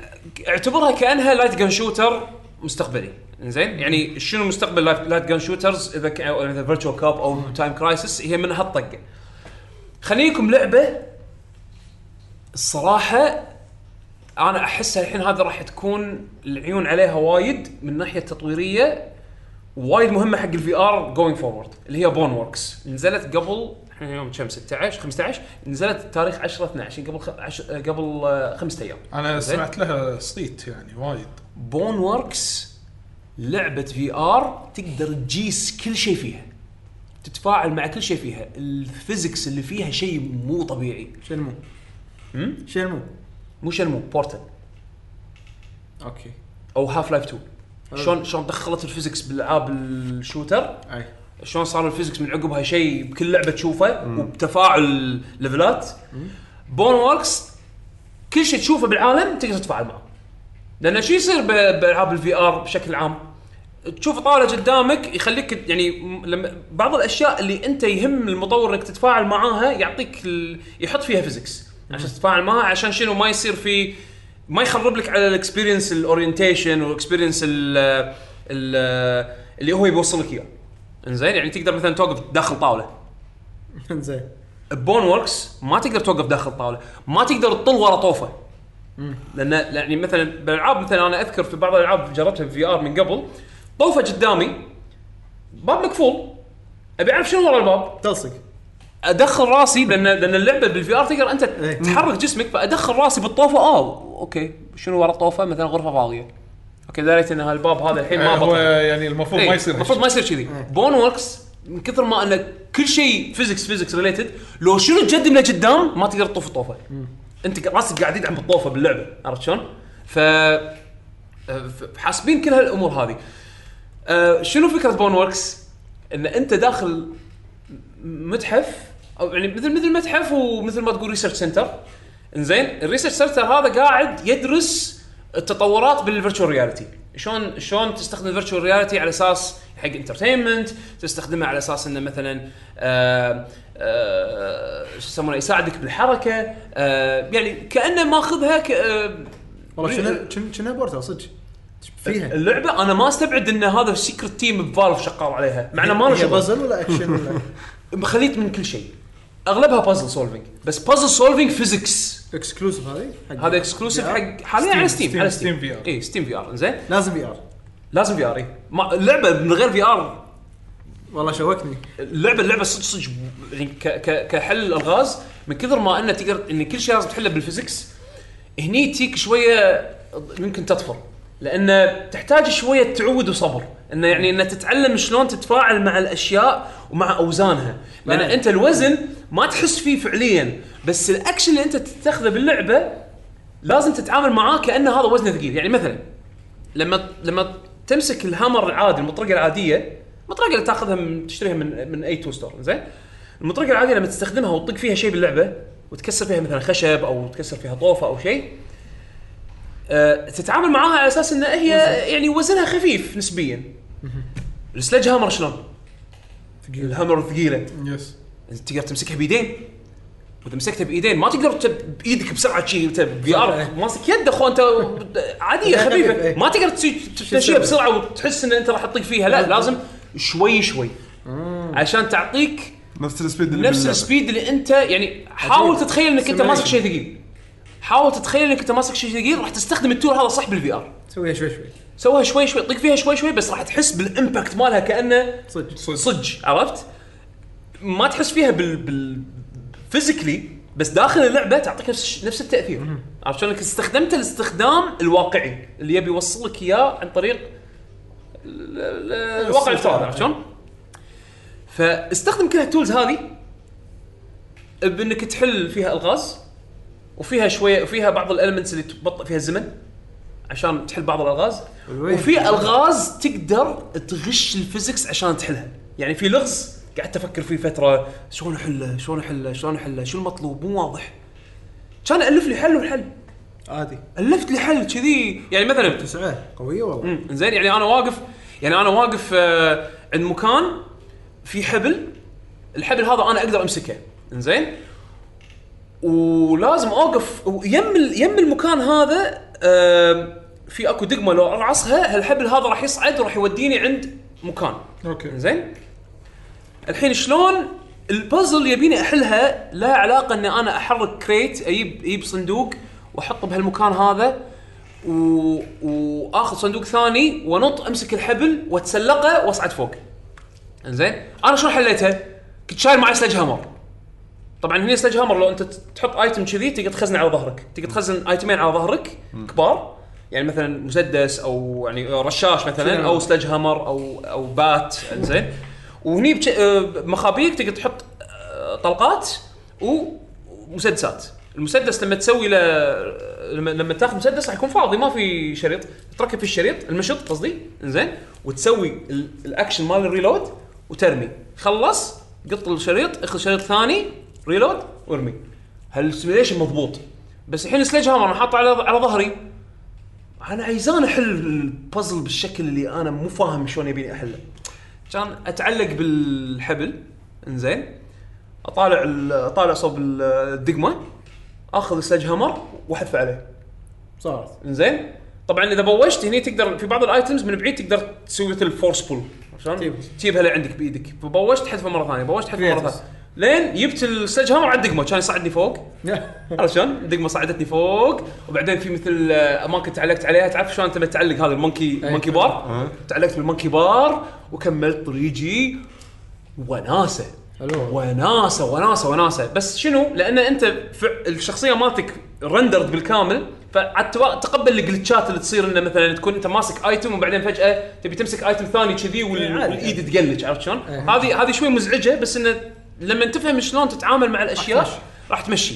[SPEAKER 1] اعتبرها كانها لايت جن شوتر مستقبلي زين يعني شنو مستقبل لايت جن شوترز اذا ك- أو اذا فيرتشوال كاب او تايم كرايسس هي من هالطقه خليكم لعبه الصراحه انا احسها الحين هذا راح تكون العيون عليها وايد من ناحيه تطويريه وايد مهمه حق الفي ار جوينج فورورد اللي هي بون وركس نزلت قبل احنا يوم كم 16 15 نزلت تاريخ 10 12 قبل خ... عش... قبل آه، خمسة ايام
[SPEAKER 2] انا
[SPEAKER 1] زين.
[SPEAKER 2] سمعت لها صيت يعني وايد
[SPEAKER 1] بون وركس لعبه في ار تقدر تجيس كل شيء فيها تتفاعل مع كل شيء فيها الفيزكس اللي فيها شيء مو طبيعي
[SPEAKER 4] شنمو
[SPEAKER 1] هم؟
[SPEAKER 4] شنمو
[SPEAKER 1] مو شنمو بورتل
[SPEAKER 4] اوكي
[SPEAKER 1] او هاف لايف 2 شلون شلون دخلت الفيزكس بالالعاب الشوتر
[SPEAKER 4] اي
[SPEAKER 1] شلون صار الفيزكس من عقبها شيء بكل لعبه تشوفه وبتفاعل ليفلات بون ووركس كل شيء تشوفه بالعالم تقدر تتفاعل معه لان شو يصير ب- بالعاب الفي ار بشكل عام تشوف طاوله قدامك يخليك يعني م- لما بعض الاشياء اللي انت يهم المطور انك تتفاعل معاها يعطيك ال... يحط فيها فيزكس عشان تتفاعل معها عشان شنو ما يصير في ما يخرب لك على الاكسبيرينس الاورينتيشن والاكسبيرينس ال- ال- اللي هو يبي يوصل لك اياه انزين يعني تقدر مثلا توقف داخل طاوله
[SPEAKER 4] زين
[SPEAKER 1] بون وركس ما تقدر توقف داخل طاوله ما تقدر تطل ورا طوفه لان يعني مثلا بالالعاب مثلا انا اذكر في بعض الالعاب جربتها في ار من قبل طوفه قدامي باب مقفول ابي اعرف شنو ورا الباب
[SPEAKER 4] تلصق
[SPEAKER 1] ادخل راسي لان لان اللعبه بالفي ار تقدر انت
[SPEAKER 4] إيه.
[SPEAKER 1] تحرك جسمك فادخل راسي بالطوفه اه اوكي شنو ورا الطوفه مثلا غرفه فاضيه اوكي دريت ان هالباب هذا الحين ما
[SPEAKER 2] هو
[SPEAKER 1] بطل إيه.
[SPEAKER 2] يعني المفروض ما يصير إيه.
[SPEAKER 1] المفروض ما يصير كذي بون وركس من كثر ما انه كل شيء فيزكس فيزكس ريليتد لو شنو تقدم لقدام ما تقدر تطوف الطوفه انت راسك قاعد يدعم الطوفه باللعبه عرفت شلون؟ ف ف- حاسبين كل هالامور هذه آه، شنو فكره بون وركس؟ ان انت داخل متحف او يعني مثل مثل متحف ومثل ما تقول ريسيرش سنتر انزين الريسيرش سنتر هذا قاعد يدرس التطورات بالفيرتشوال رياليتي شلون شلون تستخدم الفيرتشوال رياليتي على اساس حق انترتينمنت تستخدمه على اساس انه مثلا آه، آه، شو يسمونه يساعدك بالحركه آه، يعني كانه ماخذها ك- آه،
[SPEAKER 4] والله
[SPEAKER 1] إيه.
[SPEAKER 4] شنو- شنو شنو بورتال صدق فيها
[SPEAKER 1] اللعبه انا ما استبعد ان هذا السيكرت تيم بفالف شغال عليها مع انه ما له
[SPEAKER 4] هي
[SPEAKER 1] شغل
[SPEAKER 4] بازل ولا اكشن ولا
[SPEAKER 1] خليت من كل شيء اغلبها بازل سولفينج بس بازل سولفينج فيزكس
[SPEAKER 4] اكسكلوسيف هذه
[SPEAKER 1] هذا اكسكلوسيف حق حاليا على ستيم على إيه، ستيم
[SPEAKER 2] Steam VR.
[SPEAKER 1] اي ستيم في ار زين
[SPEAKER 4] لازم في ار
[SPEAKER 1] لازم في ار اللعبه من غير في ار
[SPEAKER 4] والله شوكني
[SPEAKER 1] اللعبه اللعبه صدق صدق يعني ك- ك- كحل الالغاز من كثر ما انه تقدر ان كل شيء لازم تحله بالفيزكس هني تيك شويه يمكن تطفر لان تحتاج شويه تعود وصبر انه يعني انه تتعلم شلون تتفاعل مع الاشياء ومع اوزانها لان
[SPEAKER 4] بعد.
[SPEAKER 1] انت الوزن ما تحس فيه فعليا بس الاكشن اللي انت تتخذه باللعبه لازم تتعامل معاه كانه هذا وزنه ثقيل يعني مثلا لما لما تمسك الهامر العادي المطرقه العاديه المطرقه اللي تاخذها من تشتريها من من اي تو ستور زين المطرقه العاديه لما تستخدمها وتطق فيها شيء باللعبه وتكسر فيها مثلا خشب او تكسر فيها طوفه او شيء أه تتعامل معاها على اساس ان هي يعني وزنها خفيف نسبيا السلج هامر شلون؟ الهامر ثقيله
[SPEAKER 2] يس
[SPEAKER 1] تقدر تمسكها بايدين واذا مسكتها بايدين ما تقدر ت- بايدك بسرعه شيء انت في ار ماسك يد اخو انت عاديه
[SPEAKER 4] خفيف،
[SPEAKER 1] خفيفه
[SPEAKER 4] إيه.
[SPEAKER 1] ما تقدر تسوي- تمشيها
[SPEAKER 4] تسوي؟
[SPEAKER 1] بسرعه وتحس ان انت راح تطق فيها لا لازم شوي شوي عشان تعطيك
[SPEAKER 3] نفس السبيد اللي
[SPEAKER 1] نفس
[SPEAKER 3] باللعبة.
[SPEAKER 1] السبيد اللي انت يعني حاول
[SPEAKER 4] عجيب.
[SPEAKER 1] تتخيل انك انت ماسك
[SPEAKER 4] Simulation.
[SPEAKER 1] شيء ثقيل حاول تتخيل انك انت ماسك شيء ثقيل راح تستخدم التول هذا صح بالفي ار
[SPEAKER 4] سويها شوي شوي
[SPEAKER 1] سوها شوي شوي طق فيها شوي شوي بس راح تحس بالامباكت مالها كانه
[SPEAKER 4] صدق
[SPEAKER 1] صج عرفت؟ ما تحس فيها بال بال فيزيكلي بس داخل اللعبه تعطيك نفس الش- نفس التاثير عرفت شلون؟ إنك استخدمت الاستخدام الواقعي اللي يبي يوصل لك اياه عن طريق ال- ال- الواقع الافتراضي عرفت شلون؟ فاستخدم كل هالتولز هذه بانك تحل فيها الغاز وفيها شويه وفيها بعض الالمنتس اللي تبطئ فيها الزمن عشان تحل بعض الالغاز
[SPEAKER 4] الوين.
[SPEAKER 1] وفي الغاز تقدر تغش الفيزكس عشان تحلها يعني في لغز قعدت افكر فيه فتره شلون احله شلون احله شلون احله شو المطلوب مو واضح كان الف لي حل والحل
[SPEAKER 4] عادي
[SPEAKER 1] الفت لي حل كذي يعني مثلا
[SPEAKER 4] تسعه قويه والله
[SPEAKER 1] مم. زين يعني انا واقف يعني انا واقف آه، عند مكان في حبل الحبل هذا انا اقدر امسكه زين ولازم اوقف ويم ال- يم المكان هذا آه، في اكو دقمه لو ارعصها هالحبل هذا راح يصعد وراح يوديني عند مكان
[SPEAKER 2] اوكي
[SPEAKER 1] زين الحين شلون البازل يبيني احلها لها علاقه ان انا احرك كريت اجيب اجيب صندوق واحطه بهالمكان هذا و... واخذ صندوق ثاني وانط امسك الحبل واتسلقه واصعد فوق زين انا شلون حليتها؟ كنت شايل معي سلج هامر طبعا هنا سلج هامر لو انت تحط ايتم كذي تقدر تخزنه على ظهرك تقدر تخزن ايتمين على ظهرك كبار يعني مثلا مسدس او يعني رشاش مثلا او سلج هامر او او بات زين وهني بش... آه، بمخابيك تقدر تحط آه، طلقات ومسدسات المسدس لما تسوي له لما لما تاخذ مسدس راح يكون فاضي ما في شريط تركب في الشريط المشط قصدي زين وتسوي ال- الاكشن مال الريلود وترمي خلص قط الشريط اخذ شريط ثاني ريلود وارمي هالسيميليشن مضبوط بس الحين سليج هامر انا حاطه على على ظهري انا عايزان احل البازل بالشكل اللي انا مو فاهم شلون يبيني احله كان اتعلق بالحبل انزين اطالع ال- اطالع صوب ال- الدقمه اخذ السلج هامر واحذف عليه
[SPEAKER 4] صارت
[SPEAKER 1] انزين طبعا اذا بوشت هني تقدر في بعض الايتمز من بعيد تقدر تسوي مثل فورس بول عشان
[SPEAKER 4] تجيب.
[SPEAKER 1] تجيبها لعندك بايدك فبوشت حذفه مره ثانيه بوشت حذفه مره
[SPEAKER 4] Creators.
[SPEAKER 1] ثانيه لين جبت السلج هامر على الدقمه كان يصعدني فوق عرفت شلون؟ الدقمه صعدتني فوق وبعدين في مثل آه، اماكن تعلقت عليها تعرف شلون انت متعلق هذا المونكي المونكي بار تعلقت بالمونكي بار وكملت طريقي وناسه
[SPEAKER 5] حلو.
[SPEAKER 1] وناسه وناسه وناسه بس شنو؟ لان انت فع- الشخصيه مالتك رندرد بالكامل فتقبل الجلتشات اللي تصير انه مثلا تكون انت ماسك ايتم وبعدين فجاه تبي تمسك ايتم ثاني كذي وال-
[SPEAKER 5] عادي.
[SPEAKER 1] والايد تقلج عرفت شلون؟ هذه هذه شوي مزعجه بس انه لما تفهم شلون تتعامل مع الاشياء راح تمشي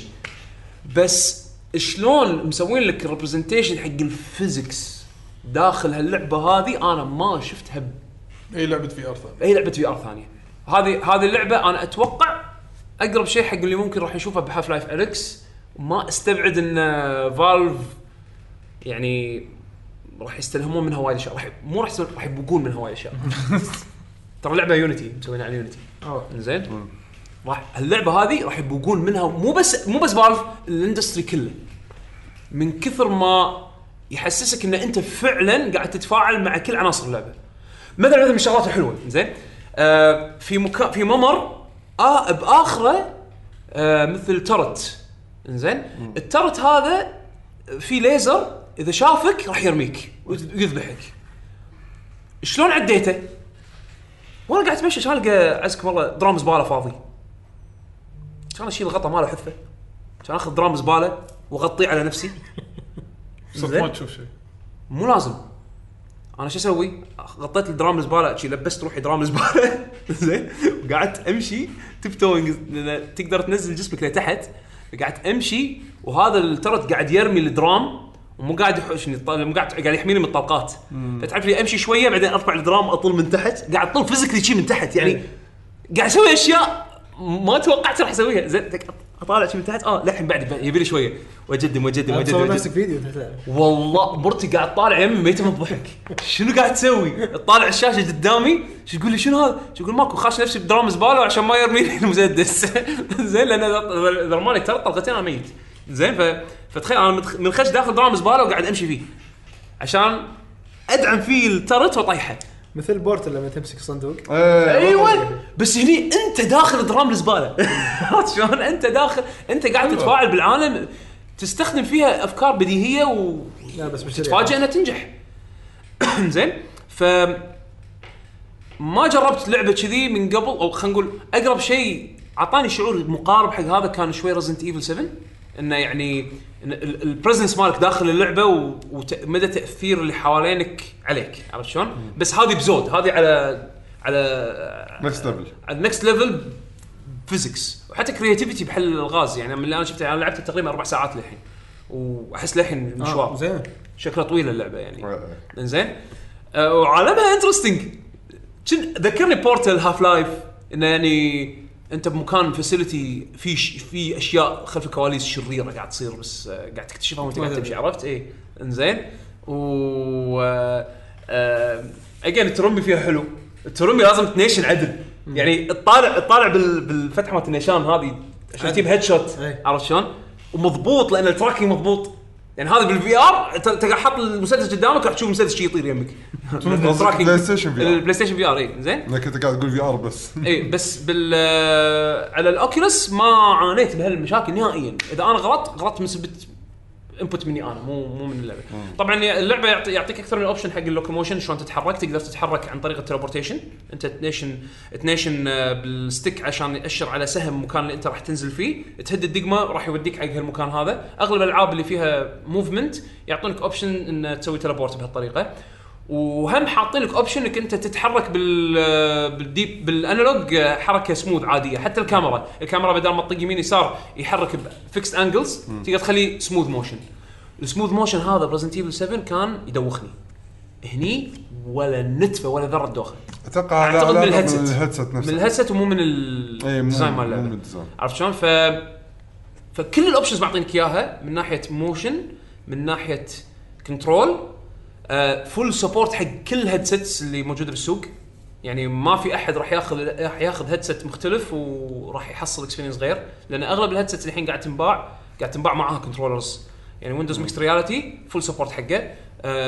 [SPEAKER 1] بس شلون مسوين لك الريبرزنتيشن حق الفيزكس داخل هاللعبه هذه انا ما شفتها ب-
[SPEAKER 2] اي لعبه إيه، في ار ثانيه
[SPEAKER 1] باي لعبه في ار ثانيه هذه هذه اللعبه انا اتوقع اقرب شيء حق اللي ممكن راح نشوفه بهاف لايف اليكس ما استبعد ان فالف يعني راح يستلهمون منها وايد اشياء راح مو راح يستلهم- راح يبقون منها وايد اشياء ترى لعبه يونيتي مسوينها على يونيتي زين راح اللعبه هذه راح يبوقون منها مو بس مو بس فالف الاندستري كله من كثر ما يحسسك ان انت فعلا قاعد تتفاعل مع كل عناصر اللعبه مثلا مثلا من الشغلات الحلوه زين آه في مكان في ممر آه باخره آه مثل ترت زين الترت هذا في ليزر اذا شافك راح يرميك ويذبحك شلون عديته؟ وانا قاعد اتمشى شلون القى عزكم والله درام زباله فاضي كان اشيل الغطا ماله حذفه كان اخذ درام زباله واغطيه على نفسي
[SPEAKER 2] صرت
[SPEAKER 1] زين.
[SPEAKER 2] ما تشوف شيء
[SPEAKER 1] مو لازم انا شو اسوي؟ غطيت الدرام زباله شي لبست روحي درام زباله زين وقعدت امشي تبتوينج لان تقدر تنزل جسمك لتحت قعدت امشي وهذا الترت قاعد يرمي الدرام ومو قاعد يحوشني الط- مو قاعد قاعد يحميني من الطلقات فتعرف لي امشي شويه بعدين ارفع الدرام اطل من تحت قاعد اطل فيزيكلي شي من تحت يعني قاعد اسوي اشياء ما توقعت راح اسويها زين اطالع شي من تحت اه للحين بعد يبي لي شويه واجدم واجدم واجدم
[SPEAKER 5] تصور
[SPEAKER 1] واجدم
[SPEAKER 5] نفسك فيديو انت تلعب.
[SPEAKER 1] والله مرتي قاعد طالع يمي ميته من الضحك شنو قاعد تسوي؟ طالع الشاشه قدامي شو تقول لي شنو هذا؟ شو تقول ماكو خاش نفسي بدرام زباله عشان ما يرميني المسدس زين لان إذا- اذا رماني ترى طلقتين انا ميت زين ف... فتخيل انا متخ- منخش داخل درام زباله وقاعد امشي فيه عشان ادعم فيه الترت وطيحه
[SPEAKER 5] مثل بورتل لما تمسك صندوق
[SPEAKER 3] إيه،
[SPEAKER 1] ايوه بس هني انت داخل درام الزباله عرفت شلون انت داخل انت قاعد تتفاعل بالعالم تستخدم فيها افكار بديهيه و
[SPEAKER 5] لا بس مش
[SPEAKER 1] تتفاجئ انها تنجح زين ف ما جربت لعبه كذي من قبل او خلينا نقول اقرب شيء اعطاني شعور مقارب حق هذا كان شوي رزنت ايفل 7 انه يعني البرزنس مالك داخل اللعبه و- ومدى تاثير اللي حوالينك عليك عرفت شلون؟ بس هذه بزود هذه على على
[SPEAKER 3] نفس ليفل
[SPEAKER 1] النكست ليفل فيزكس وحتى كرياتيفيتي بحل الالغاز يعني من اللي انا شفته انا لعبت تقريبا اربع ساعات للحين واحس للحين مشوار
[SPEAKER 4] آه، زين
[SPEAKER 1] شكلها طويله اللعبه يعني انزين آه، وعالمها انترستنج ذكرني بورتل هاف لايف انه يعني انت بمكان فاسيلتي في ش... في اشياء خلف الكواليس شريره قاعد تصير بس آه، قاعد تكتشفها وانت قاعد تمشي عرفت؟ اي انزين و اجين الترمي فيها حلو الترمي لازم تنيشن عدل يعني تطالع تطالع بال... بالفتحه مالت النيشان هذه عشان تجيب هيد شوت
[SPEAKER 4] إيه.
[SPEAKER 1] عرفت شلون؟ ومضبوط لان التراكنج مضبوط يعني هذا بالفي ار انت أنت قاعد حاط المسدس قدامك راح تشوف المسدس شي يطير يمك التراكنج-
[SPEAKER 3] بلاي ستيشن VR.
[SPEAKER 1] البلاي ستيشن في ار اي إيه، زين
[SPEAKER 3] انا كنت قاعد اقول في ار بس
[SPEAKER 1] اي إيه، بس بال آه، على الاوكيولس ما عانيت بهالمشاكل نهائيا اذا انا غلطت غلطت من سبه انبوت مني انا مو مو من اللعبه طبعا اللعبه يعطي يعطيك اكثر من اوبشن حق اللوكوموشن شلون تتحرك تقدر تتحرك عن طريق التليبورتيشن انت تنيشن تنيشن آه، بالستيك عشان ياشر على سهم المكان اللي انت راح تنزل فيه تهد الدقمه راح يوديك حق هالمكان هذا اغلب الالعاب اللي فيها موفمنت يعطونك اوبشن ان تسوي تليبورت بهالطريقه وهم حاطين لك اوبشن انك انت تتحرك بال بالديب بالانالوج حركه سموث عاديه حتى الكاميرا الكاميرا بدل ما تطق يمين يسار يحرك بفكس انجلز تقدر تخليه سموث موشن السموث موشن هذا برزنت ايفل 7 كان يدوخني هني ولا نتفه ولا ذره دوخه
[SPEAKER 3] اتوقع هذا
[SPEAKER 1] أعتقد من
[SPEAKER 3] علاقة
[SPEAKER 1] الهيدسيت.
[SPEAKER 3] من الهيدسيت
[SPEAKER 1] من
[SPEAKER 3] نفسه
[SPEAKER 1] الهيدسيت ومو من
[SPEAKER 3] إي، إيه، مو-
[SPEAKER 1] الديزاين مال
[SPEAKER 3] مو من
[SPEAKER 1] اللعبه
[SPEAKER 3] الديزاين.
[SPEAKER 1] عرفت شلون ف فكل الاوبشنز معطينك اياها من ناحيه موشن من ناحيه كنترول فول سبورت حق كل الهيدسيتس اللي موجوده بالسوق يعني ما في احد راح ياخذ راح ياخذ هيدسيت مختلف وراح يحصل اكسبيرينس غير لان اغلب الهيدسيتس الحين قاعد تنباع قاعد تنباع معاها كنترولرز يعني ويندوز ميكس رياليتي فول سبورت حقه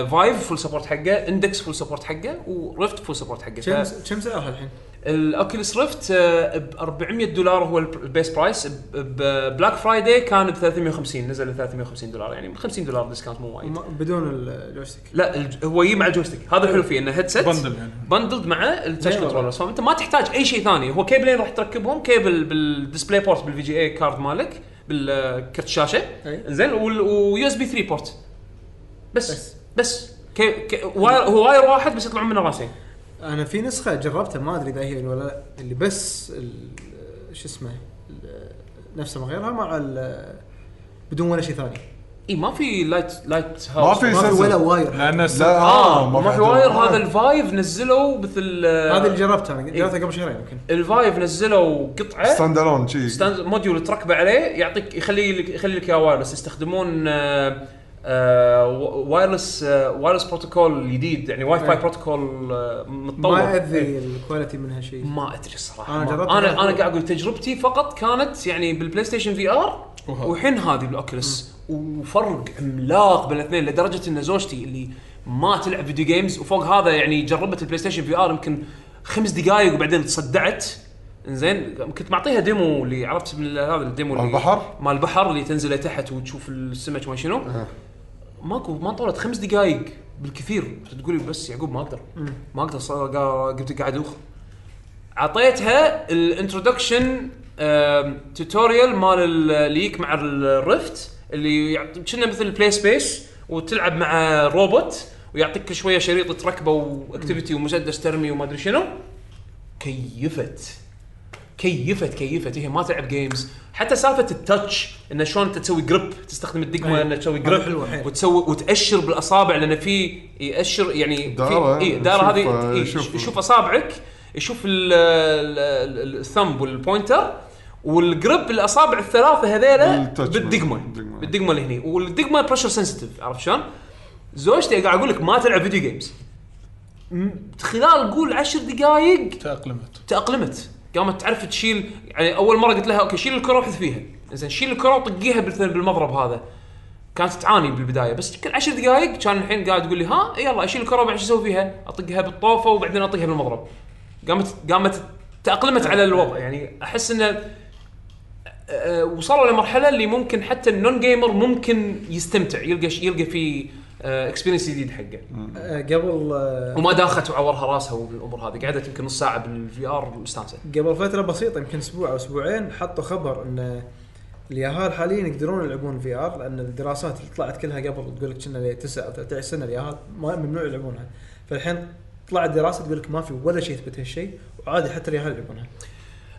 [SPEAKER 1] فايف فول سبورت حقه اندكس فول سبورت حقه وريفت فول سبورت حقه ف-
[SPEAKER 4] كم كم سعرها الحين؟
[SPEAKER 1] الاوكيوليس ريفت آه، ب 400 دولار هو الب- البيس برايس ببلاك فرايداي كان ب 350 نزل ل 350 دولار يعني 50 دولار ديسكاونت مو وايد
[SPEAKER 4] ما- بدون الجويستيك
[SPEAKER 1] لا الج- هو يجي مع الجويستيك هذا الحلو فيه انه هيدسيت
[SPEAKER 2] بندل يعني
[SPEAKER 1] بندلد مع التاتش
[SPEAKER 4] أيوة.
[SPEAKER 1] كنترولرز فانت ما تحتاج اي شيء ثاني هو كيبلين راح تركبهم كيبل بالديسبلاي بورت بالفي جي اي كارد مالك بالكرت الشاشه
[SPEAKER 4] أي.
[SPEAKER 1] زين ويو اس بي 3 بورت بس
[SPEAKER 4] بس.
[SPEAKER 1] بس كي كي واير هو واير واحد بس يطلعون منه راسين
[SPEAKER 4] انا في نسخه جربتها ما ادري اذا هي ولا لا اللي بس ال- شو اسمه ال- نفسها من غيرها مع ال- بدون ولا شيء ثاني
[SPEAKER 1] اي ما في لايت لايت هاوس
[SPEAKER 3] ما في
[SPEAKER 4] ما في
[SPEAKER 3] سلسلة.
[SPEAKER 4] ولا واير
[SPEAKER 2] لان الس-
[SPEAKER 3] لا آه،
[SPEAKER 1] اه ما في واير هذا
[SPEAKER 3] الف...
[SPEAKER 1] الفايف نزلوا مثل آه،
[SPEAKER 4] هذه اللي جربتها انا جربتها قبل شهرين يمكن
[SPEAKER 1] الفايف نزلوا قطعه
[SPEAKER 3] ستاند الون شي
[SPEAKER 1] ستاند موديول تركبه عليه يعطيك يخلي لك يخلي لك اياه وايرلس يستخدمون آه، آه، وايرلس آه، وايرلس بروتوكول جديد يعني واي فاي
[SPEAKER 4] أي.
[SPEAKER 1] بروتوكول آه، متطور
[SPEAKER 4] ما ياذي الكواليتي منها شيء
[SPEAKER 1] ما ادري الصراحه
[SPEAKER 4] أنا
[SPEAKER 1] ما-
[SPEAKER 4] جربت
[SPEAKER 1] انا
[SPEAKER 4] مرة.
[SPEAKER 1] انا قاعد اقول تجربتي فقط كانت يعني بالبلاي ستيشن في ار
[SPEAKER 2] وهذا.
[SPEAKER 1] وحين هذه بالاوكيولس وفرق عملاق بين الاثنين لدرجه ان زوجتي اللي ما تلعب فيديو جيمز وفوق هذا يعني جربت البلاي ستيشن في ار يمكن خمس دقائق وبعدين تصدعت زين كنت معطيها ديمو اللي عرفت من هذا الديمو
[SPEAKER 3] مال
[SPEAKER 1] اللي-
[SPEAKER 3] البحر؟
[SPEAKER 1] مال البحر اللي تنزل لتحت وتشوف السمك ما شنو ماكو ما طولت خمس دقائق بالكثير تقولي بس يعقوب ما اقدر ما اقدر صار قا- قمت قاعد اوخ اعطيتها الانترودكشن توتوريال مال ال- اللي يك مع الرفت اللي يعط- كنا مثل بلاي سبيس وتلعب مع روبوت ويعطيك كل شويه شريط تركبه واكتيفيتي ومسدس ترمي وما ادري شنو كيفت كيفت كيفت هي ما تلعب جيمز حتى سالفه التاتش انه شلون انت تسوي جريب تستخدم الدقمه
[SPEAKER 4] أي.
[SPEAKER 1] انه تسوي
[SPEAKER 4] هذا حلوة
[SPEAKER 1] جريب
[SPEAKER 4] حيل.
[SPEAKER 1] وتسوي وتاشر بالاصابع لان في ياشر يعني
[SPEAKER 3] دائرة.
[SPEAKER 1] في اي الدائره
[SPEAKER 3] يشوف-
[SPEAKER 1] هذه إيه،
[SPEAKER 3] يشوف-
[SPEAKER 1] يشوف اصابعك يشوف الثمب والبوينتر والجريب الاصابع الثلاثه هذيلا
[SPEAKER 3] بالتاتش.
[SPEAKER 1] بالدقمه
[SPEAKER 3] بالدقمة.
[SPEAKER 1] بالدقمه اللي هني والدقمه بريشر سنسيتيف عرفت شلون؟ زوجتي قاعد اقول لك ما تلعب فيديو جيمز م- خلال قول عشر دقائق
[SPEAKER 2] تاقلمت
[SPEAKER 1] تاقلمت قامت تعرف تشيل يعني اول مره قلت لها اوكي شيل الكره وحذ فيها زين شيل الكره وطقيها بالثن- بالمضرب هذا كانت تعاني بالبدايه بس كل عشر دقائق كان الحين قاعد تقول لي ها يلا اشيل الكره وبعدين شو اسوي فيها؟ اطقها بالطوفه وبعدين اطقها بالمضرب قامت قامت تاقلمت على الوضع يعني احس انه أه، وصلوا لمرحله اللي ممكن حتى النون جيمر ممكن يستمتع يلقى يلقى في اكسبيرينس جديد حقه
[SPEAKER 5] آه، قبل آه،
[SPEAKER 1] وما داخت وعورها راسها والامور هذه قعدت يمكن نص ساعه بالفي ار مستانسه
[SPEAKER 5] قبل فتره بسيطه يمكن اسبوع او اسبوعين حطوا خبر ان اليهال حاليا يقدرون يلعبون في ار لان الدراسات اللي طلعت كلها قبل تقول لك كنا 9 او 13 سنه اليهال ما ممنوع يلعبونها فالحين طلعت دراسه تقول لك ما في ولا شيء يثبت هالشيء وعادي حتى اليهال يلعبونها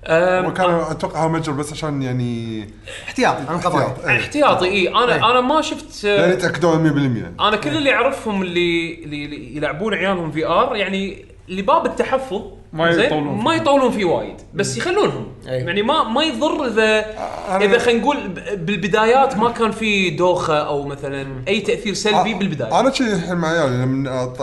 [SPEAKER 1] أم،
[SPEAKER 3] وكان اتوقع هذا مجر بس عشان يعني
[SPEAKER 4] احتياط عن قضايا
[SPEAKER 3] احتياط إيه.
[SPEAKER 1] احتياطي اي انا
[SPEAKER 4] إيه.
[SPEAKER 1] انا ما شفت
[SPEAKER 3] لان
[SPEAKER 1] آه،
[SPEAKER 3] يتاكدون 100%
[SPEAKER 1] انا كل اللي اعرفهم اللي اللي- اللي يلعبون عيالهم في ار يعني لباب التحفظ
[SPEAKER 2] ما
[SPEAKER 1] زين؟
[SPEAKER 2] يطولون
[SPEAKER 1] ما
[SPEAKER 2] فيه.
[SPEAKER 1] يطولون فيه وايد بس يخلونهم
[SPEAKER 5] أي.
[SPEAKER 1] يعني ما ما يضر اذا اذا خلينا نقول ب- بالبدايات ما كان في دوخه او مثلا اي تاثير سلبي
[SPEAKER 2] آه،
[SPEAKER 1] بالبدايه
[SPEAKER 3] انا شي الحين مع عيالي يعني لما أط-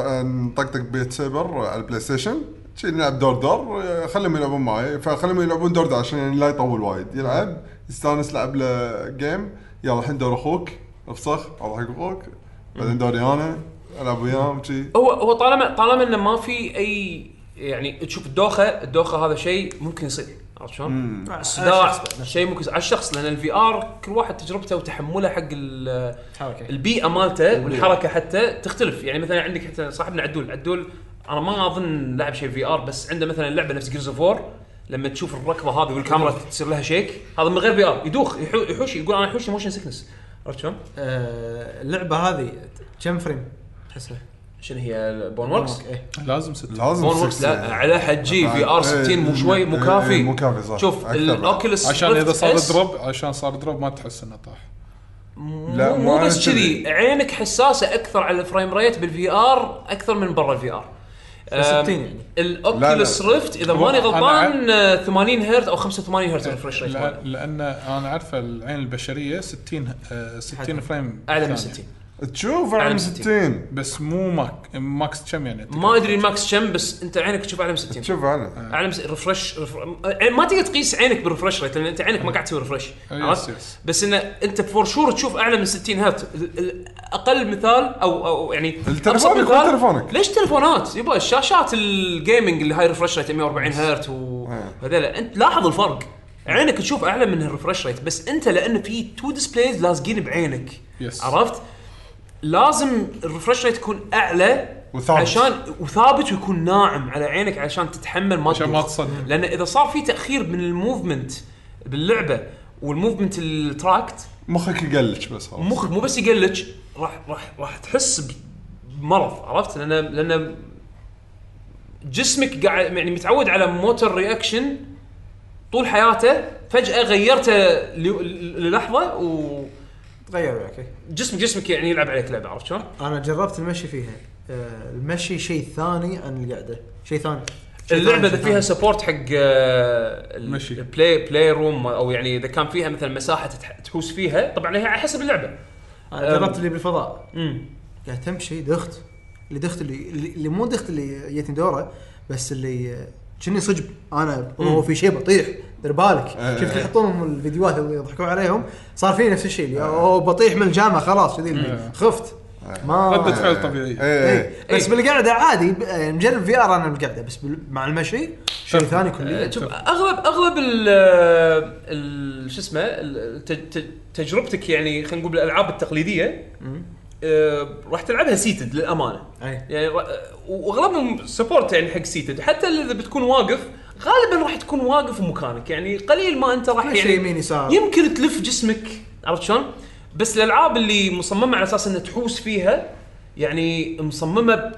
[SPEAKER 3] نطقطق بيت سايبر على البلاي ستيشن شي نلعب دور دور خليهم يلعبون معي فخليهم يلعبون دور دور عشان يعني لا يطول وايد يلعب يستانس لعب له جيم يلا الحين دور اخوك افسخ اروح حق اخوك بعدين دوري انا العب وياهم شي
[SPEAKER 1] هو هو طالما طالما انه ما في اي يعني تشوف الدوخه الدوخه هذا شيء ممكن يصير عرفت شلون؟
[SPEAKER 5] آه،
[SPEAKER 1] صداع شيء ممكن يصير على الشخص لان الفي ار كل واحد تجربته وتحمله حق ال-
[SPEAKER 5] حركه
[SPEAKER 1] البيئه مالته والحركه حتى تختلف يعني مثلا عندك حتى صاحبنا عدول عدول انا ما اظن لعب شيء في ار بس عنده مثلا لعبه نفس جيرز اوف وور لما تشوف الركضه هذه والكاميرا تصير لها شيك هذا من غير في ار يدوخ يحو- يحوش يقول انا يحوشني موشن سكنس عرفت شلون؟
[SPEAKER 4] آه، اللعبه هذه كم فريم تحسها؟
[SPEAKER 1] عشان هي بون وركس
[SPEAKER 4] إيه.
[SPEAKER 2] لازم ست
[SPEAKER 3] لازم
[SPEAKER 1] بون وركس
[SPEAKER 3] سكس-
[SPEAKER 1] لا على حجي في ار 60 مو شوي مو
[SPEAKER 3] إيه،
[SPEAKER 1] كافي
[SPEAKER 3] مو كافي صح
[SPEAKER 1] شوف
[SPEAKER 3] أكثر بعد.
[SPEAKER 1] الاوكيولس
[SPEAKER 2] عشان اذا صار دروب عشان صار دروب ما تحس انه طاح
[SPEAKER 1] لا
[SPEAKER 3] لا،
[SPEAKER 1] مو
[SPEAKER 3] مو
[SPEAKER 1] بس
[SPEAKER 3] أنا
[SPEAKER 1] كذي
[SPEAKER 3] كذي.
[SPEAKER 1] عينك حساسه اكثر على الفريم ريت بالفي ار اكثر من برا الفي ار
[SPEAKER 4] 60 يعني.
[SPEAKER 1] الاوكيولس ريفت اذا
[SPEAKER 2] هو
[SPEAKER 1] ماني
[SPEAKER 2] أنا
[SPEAKER 1] غلطان آه، 80 هرت او 85 هرت الفريش ريت
[SPEAKER 2] لا-
[SPEAKER 1] ماله.
[SPEAKER 2] لان انا عارفه العين البشريه 60 آه، 60 فريم
[SPEAKER 1] اعلى من
[SPEAKER 2] ثانية.
[SPEAKER 1] 60
[SPEAKER 3] تشوف
[SPEAKER 1] أعلى
[SPEAKER 3] اعلى
[SPEAKER 1] من
[SPEAKER 3] من
[SPEAKER 1] 60.
[SPEAKER 3] 60
[SPEAKER 2] بس مو ماك ماكس كم يعني
[SPEAKER 1] ما ادري الماكس كم بس انت عينك تشوف اعلى من 60
[SPEAKER 3] تشوف اعلى
[SPEAKER 1] اعلى من ريفرش ما تقدر تقيس عينك بالريفرش ريت لان انت عينك ما قاعد تسوي ريفرش
[SPEAKER 2] أي
[SPEAKER 1] عرفت؟
[SPEAKER 2] يس.
[SPEAKER 1] بس انه انت فور شور تشوف اعلى من 60 هرت ال- ال- اقل مثال او او يعني
[SPEAKER 3] التلفون
[SPEAKER 1] أبسط
[SPEAKER 3] يكون
[SPEAKER 1] مثال-
[SPEAKER 3] تلفونك.
[SPEAKER 1] ليش تلفونات؟ يبا الشاشات الجيمنج اللي هاي ريفرش ريت 140 هرت
[SPEAKER 3] إيه.
[SPEAKER 1] وهذيلا انت لاحظ الفرق عينك تشوف اعلى من الريفرش ريت بس انت لان في تو ديسبلايز لازقين بعينك
[SPEAKER 2] يس.
[SPEAKER 1] عرفت؟ لازم الريفرش ريت يكون اعلى
[SPEAKER 3] وثابت.
[SPEAKER 1] عشان وثابت ويكون ناعم على عينك عشان تتحمل ما
[SPEAKER 2] عشان ما
[SPEAKER 1] تدوخ.
[SPEAKER 2] تصدم.
[SPEAKER 1] لان اذا صار في تاخير من الموفمنت باللعبه والموفمنت التراكت
[SPEAKER 3] مخك يقلش بس خلاص
[SPEAKER 1] مخك مو بس يقلج راح راح راح تحس بمرض عرفت لان لان جسمك قاعد يعني متعود على موتور رياكشن طول حياته فجاه غيرته ل- للحظه وجسمك
[SPEAKER 4] تغير وياك إيه.
[SPEAKER 1] جسمك يعني يلعب عليك لعبه عرفت شلون؟
[SPEAKER 4] انا جربت المشي فيها آه، المشي شيء ثاني عن القعده شيء ثاني شيء
[SPEAKER 1] اللعبه
[SPEAKER 4] ثاني،
[SPEAKER 1] اذا
[SPEAKER 4] شيء
[SPEAKER 1] فيها
[SPEAKER 4] ثاني.
[SPEAKER 1] سبورت حق آه، ال-
[SPEAKER 2] مشي.
[SPEAKER 1] البلاي بلاي روم او يعني اذا كان فيها مثلا مساحه تتح- تحوس فيها طبعا هي على حسب اللعبه
[SPEAKER 4] انا جربت اللي بالفضاء
[SPEAKER 1] امم
[SPEAKER 4] قاعد تمشي دخت اللي دخت اللي اللي اللي مو دخت اللي جتني دوره بس اللي كني صجب انا هو في شيء بطيح دير بالك
[SPEAKER 3] آه.
[SPEAKER 4] شفت يحطونهم الفيديوهات اللي يضحكون عليهم صار في نفس الشيء اللي أوه بطيح من الجامعه خلاص كذي اللي
[SPEAKER 2] آه.
[SPEAKER 4] خفت ما
[SPEAKER 2] ردة فعل طبيعيه
[SPEAKER 3] ايه
[SPEAKER 4] إيه. بس بالقعده عادي ب- آه، مجرب في ار انا بالقعده بس بال- مع المشي شيء
[SPEAKER 2] شوف.
[SPEAKER 4] ثاني كليا
[SPEAKER 1] آه، شوف اغلب اغلب ال- آه، ال شو اسمه ال- ت- ت- تجربتك يعني خلينا نقول بالالعاب التقليديه آه، راح تلعبها سيتد للامانه
[SPEAKER 4] أي.
[SPEAKER 1] يعني را- واغلبهم سبورت يعني حق سيتد حتى اذا بتكون واقف غالبا راح تكون واقف بمكانك يعني قليل ما انت راح
[SPEAKER 4] كل شيء
[SPEAKER 1] يعني
[SPEAKER 4] يمين يسار.
[SPEAKER 1] يمكن تلف جسمك عرفت شلون؟ بس الالعاب اللي مصممه على اساس انها تحوس فيها يعني مصممه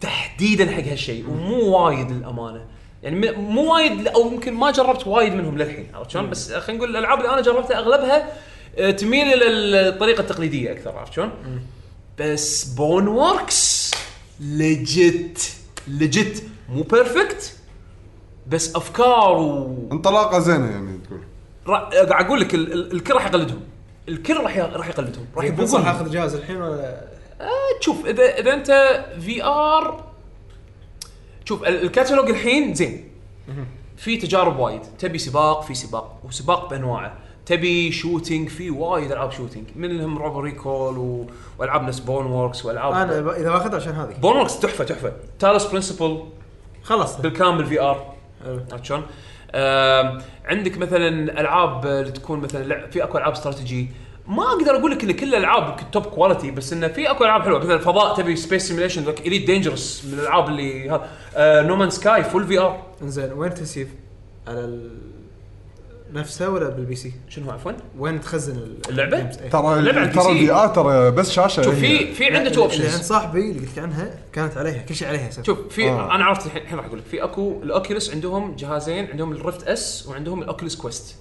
[SPEAKER 1] تحديدا حق هالشيء ومو وايد للامانه يعني م- مو وايد او يمكن ما جربت وايد منهم للحين عرفت شلون؟ بس خلينا نقول الالعاب اللي انا جربتها اغلبها آه، تميل الى الطريقه التقليديه اكثر عرفت شلون؟ بس بون ووركس لجت لجت مو بيرفكت بس افكار و
[SPEAKER 3] انطلاقه زينه يعني تقول
[SPEAKER 1] را- قاعد اقول لك ال- ال- الكل راح يقلدهم الكل راح ي- راح يقلدهم راح
[SPEAKER 4] إيه،
[SPEAKER 1] يبوقون
[SPEAKER 4] بنصح اخذ جهاز الحين ولا
[SPEAKER 1] آه، شوف اذا اذا انت في ار شوف ال- الكاتالوج الحين زين في تجارب وايد تبي سباق في سباق وسباق بانواعه تبي شوتينج في وايد العاب شوتينج منهم روبر ريكول و... والعاب نفس بون ووركس والعاب
[SPEAKER 4] انا ب- اذا باخذها عشان هذه
[SPEAKER 1] بون ووركس تحفه تحفه تالس برنسبل
[SPEAKER 4] خلص
[SPEAKER 1] بالكامل في ار
[SPEAKER 4] حلو.
[SPEAKER 1] عرفت شلون؟ آم، عندك مثلا العاب اللي تكون مثلا لع- في اكو العاب استراتيجي ما اقدر اقول لك ان كل الالعاب توب كواليتي بس انه في اكو العاب حلوه مثلا فضاء تبي سبيس سيميليشن لك اليت دينجرس من الالعاب اللي آه، نومان سكاي فول في ار
[SPEAKER 4] انزين وين تسيف؟ على ال... نفسها ولا بالبي سي؟
[SPEAKER 1] شنو عفوا؟
[SPEAKER 4] وين تخزن ال-
[SPEAKER 1] اللعبة؟
[SPEAKER 4] الجيمز؟ إيه.
[SPEAKER 3] ترى
[SPEAKER 1] لعبة على
[SPEAKER 3] ترى
[SPEAKER 1] البي سي.
[SPEAKER 3] البي ار ترى بس شاشه
[SPEAKER 1] شوف
[SPEAKER 3] هي.
[SPEAKER 1] في في عنده تو
[SPEAKER 4] اللي- اللي
[SPEAKER 1] اوبشنز
[SPEAKER 4] عند صاحبي اللي قلت لك عنها كانت عليها كل شيء عليها شوف
[SPEAKER 1] شوف في
[SPEAKER 3] آه.
[SPEAKER 1] انا عرفت الحين الحين راح اقول لك في اكو الاوكيوليس عندهم جهازين عندهم الرفت اس وعندهم الاوكيوليس كويست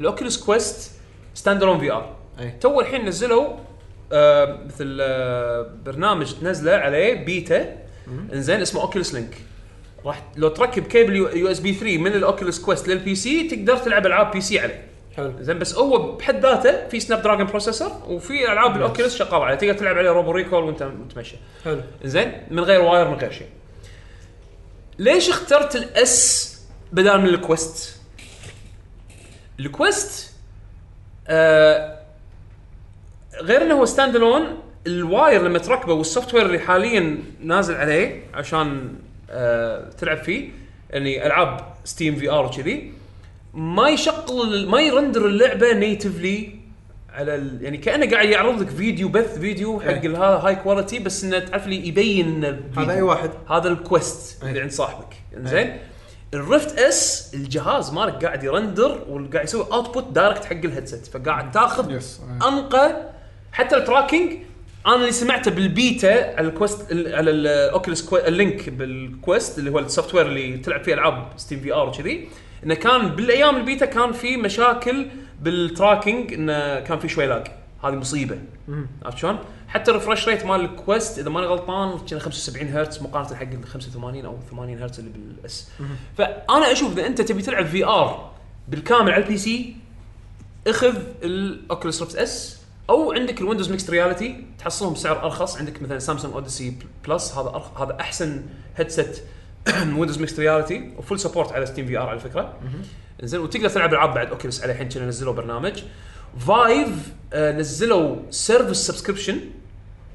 [SPEAKER 1] الاوكيوليس كويست ستاند الون في ار
[SPEAKER 4] أي.
[SPEAKER 1] تو الحين نزلوا آه مثل آه برنامج تنزله عليه بيتا انزين اسمه اوكيوليس لينك راح لو تركب كيبل يو اس بي 3 من الاوكيوليس كويست للبي سي تقدر تلعب العاب بي سي عليه
[SPEAKER 4] حلو
[SPEAKER 1] زين بس هو بحد ذاته في سناب دراجون بروسيسور وفي العاب الاوكيوليس شغاله عليه تقدر تلعب عليه روبو ريكول وانت متمشى
[SPEAKER 4] حلو
[SPEAKER 1] زين من غير واير من غير شيء ليش اخترت الاس بدل من الكويست الكويست آه غير انه هو ستاند الون الواير لما تركبه والسوفت وير اللي حاليا نازل عليه عشان آه تلعب فيه يعني العاب ستيم في ار وكذي ما يشغل ما يرندر اللعبه نيتفلي على ال... يعني كانه قاعد يعرض لك فيديو بث فيديو حق
[SPEAKER 4] إيه.
[SPEAKER 1] الها- هاي كواليتي بس انه تعرف لي يبين إنه
[SPEAKER 4] هذا أيوة
[SPEAKER 1] فيديو.
[SPEAKER 4] اي واحد
[SPEAKER 1] هذا الكويست
[SPEAKER 4] أي.
[SPEAKER 1] اللي عند صاحبك زين الرفت اس الجهاز مالك قاعد يرندر وقاعد يسوي اوتبوت دايركت حق الهيدسيت فقاعد تاخذ
[SPEAKER 2] يس
[SPEAKER 1] انقى حتى التراكنج انا اللي سمعته بالبيتا على الكويست ال- على الاوكيوليس اللينك بالكويست اللي هو السوفت وير اللي تلعب فيه العاب ستيم في ار وكذي انه كان بالايام البيتا كان في مشاكل بالتراكنج انه كان في شوي لاج هذه مصيبه عرفت شلون؟ حتى الريفرش ريت مال الكويست اذا ماني غلطان كان 75 هرتز مقارنه حق ال 85 او 80 هرتز اللي بالاس فانا اشوف اذا انت تبي تلعب في ار بالكامل على البي سي اخذ الاوكيوليس ريفت اس او عندك الويندوز ميكس رياليتي تحصلهم بسعر ارخص عندك مثلا سامسونج اوديسي بلس هذا أرخ... هذا احسن هيدسيت ويندوز ميكس رياليتي وفول سبورت على ستيم في ار على فكره زين وتقدر تلعب العاب بعد اوكيلس على الحين كنا نزلوا برنامج فايف آه نزلوا سيرفس سبسكريبشن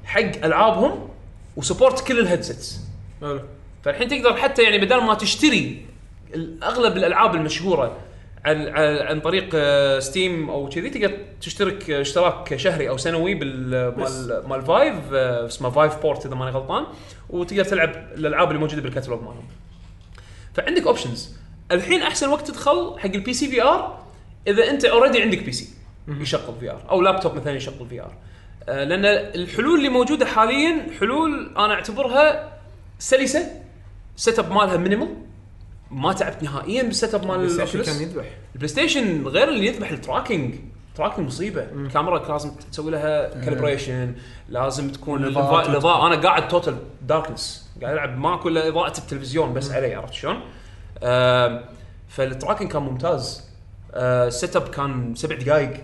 [SPEAKER 1] حق العابهم وسبورت كل الهيدسيتس
[SPEAKER 5] حلو
[SPEAKER 1] فالحين تقدر حتى يعني بدل ما تشتري ال- اغلب الالعاب المشهوره عن عن, عن طريق آه، ستيم او كذي تقدر تشترك آه، اشتراك شهري او سنوي بال مال مال فايف آه، اسمه فايف بورت اذا ماني غلطان وتقدر تلعب الالعاب اللي موجوده بالكتالوج مالهم. فعندك اوبشنز الحين احسن وقت تدخل حق البي سي في ار اذا انت اوريدي عندك بي سي يشغل في ار او لابتوب مثلا يشغل في ار لان الحلول اللي موجوده حاليا حلول انا اعتبرها سلسه سيت اب مالها مينيمال ما تعبت نهائيا بالسيت اب مال الأوكيولوس.
[SPEAKER 4] كان يذبح
[SPEAKER 1] البلاي ستيشن غير اللي يذبح التراكنج تراكنج مصيبه الكاميرا لازم تسوي لها كالبريشن لازم تكون
[SPEAKER 2] الإضاءة
[SPEAKER 1] الاضاءه الإضاءة- انا قاعد توتال داركنس قاعد العب ماكو الا اضاءه التلفزيون بس علي عرفت شلون؟ آم، فالتراكنج كان ممتاز آه، السيت اب كان سبع دقائق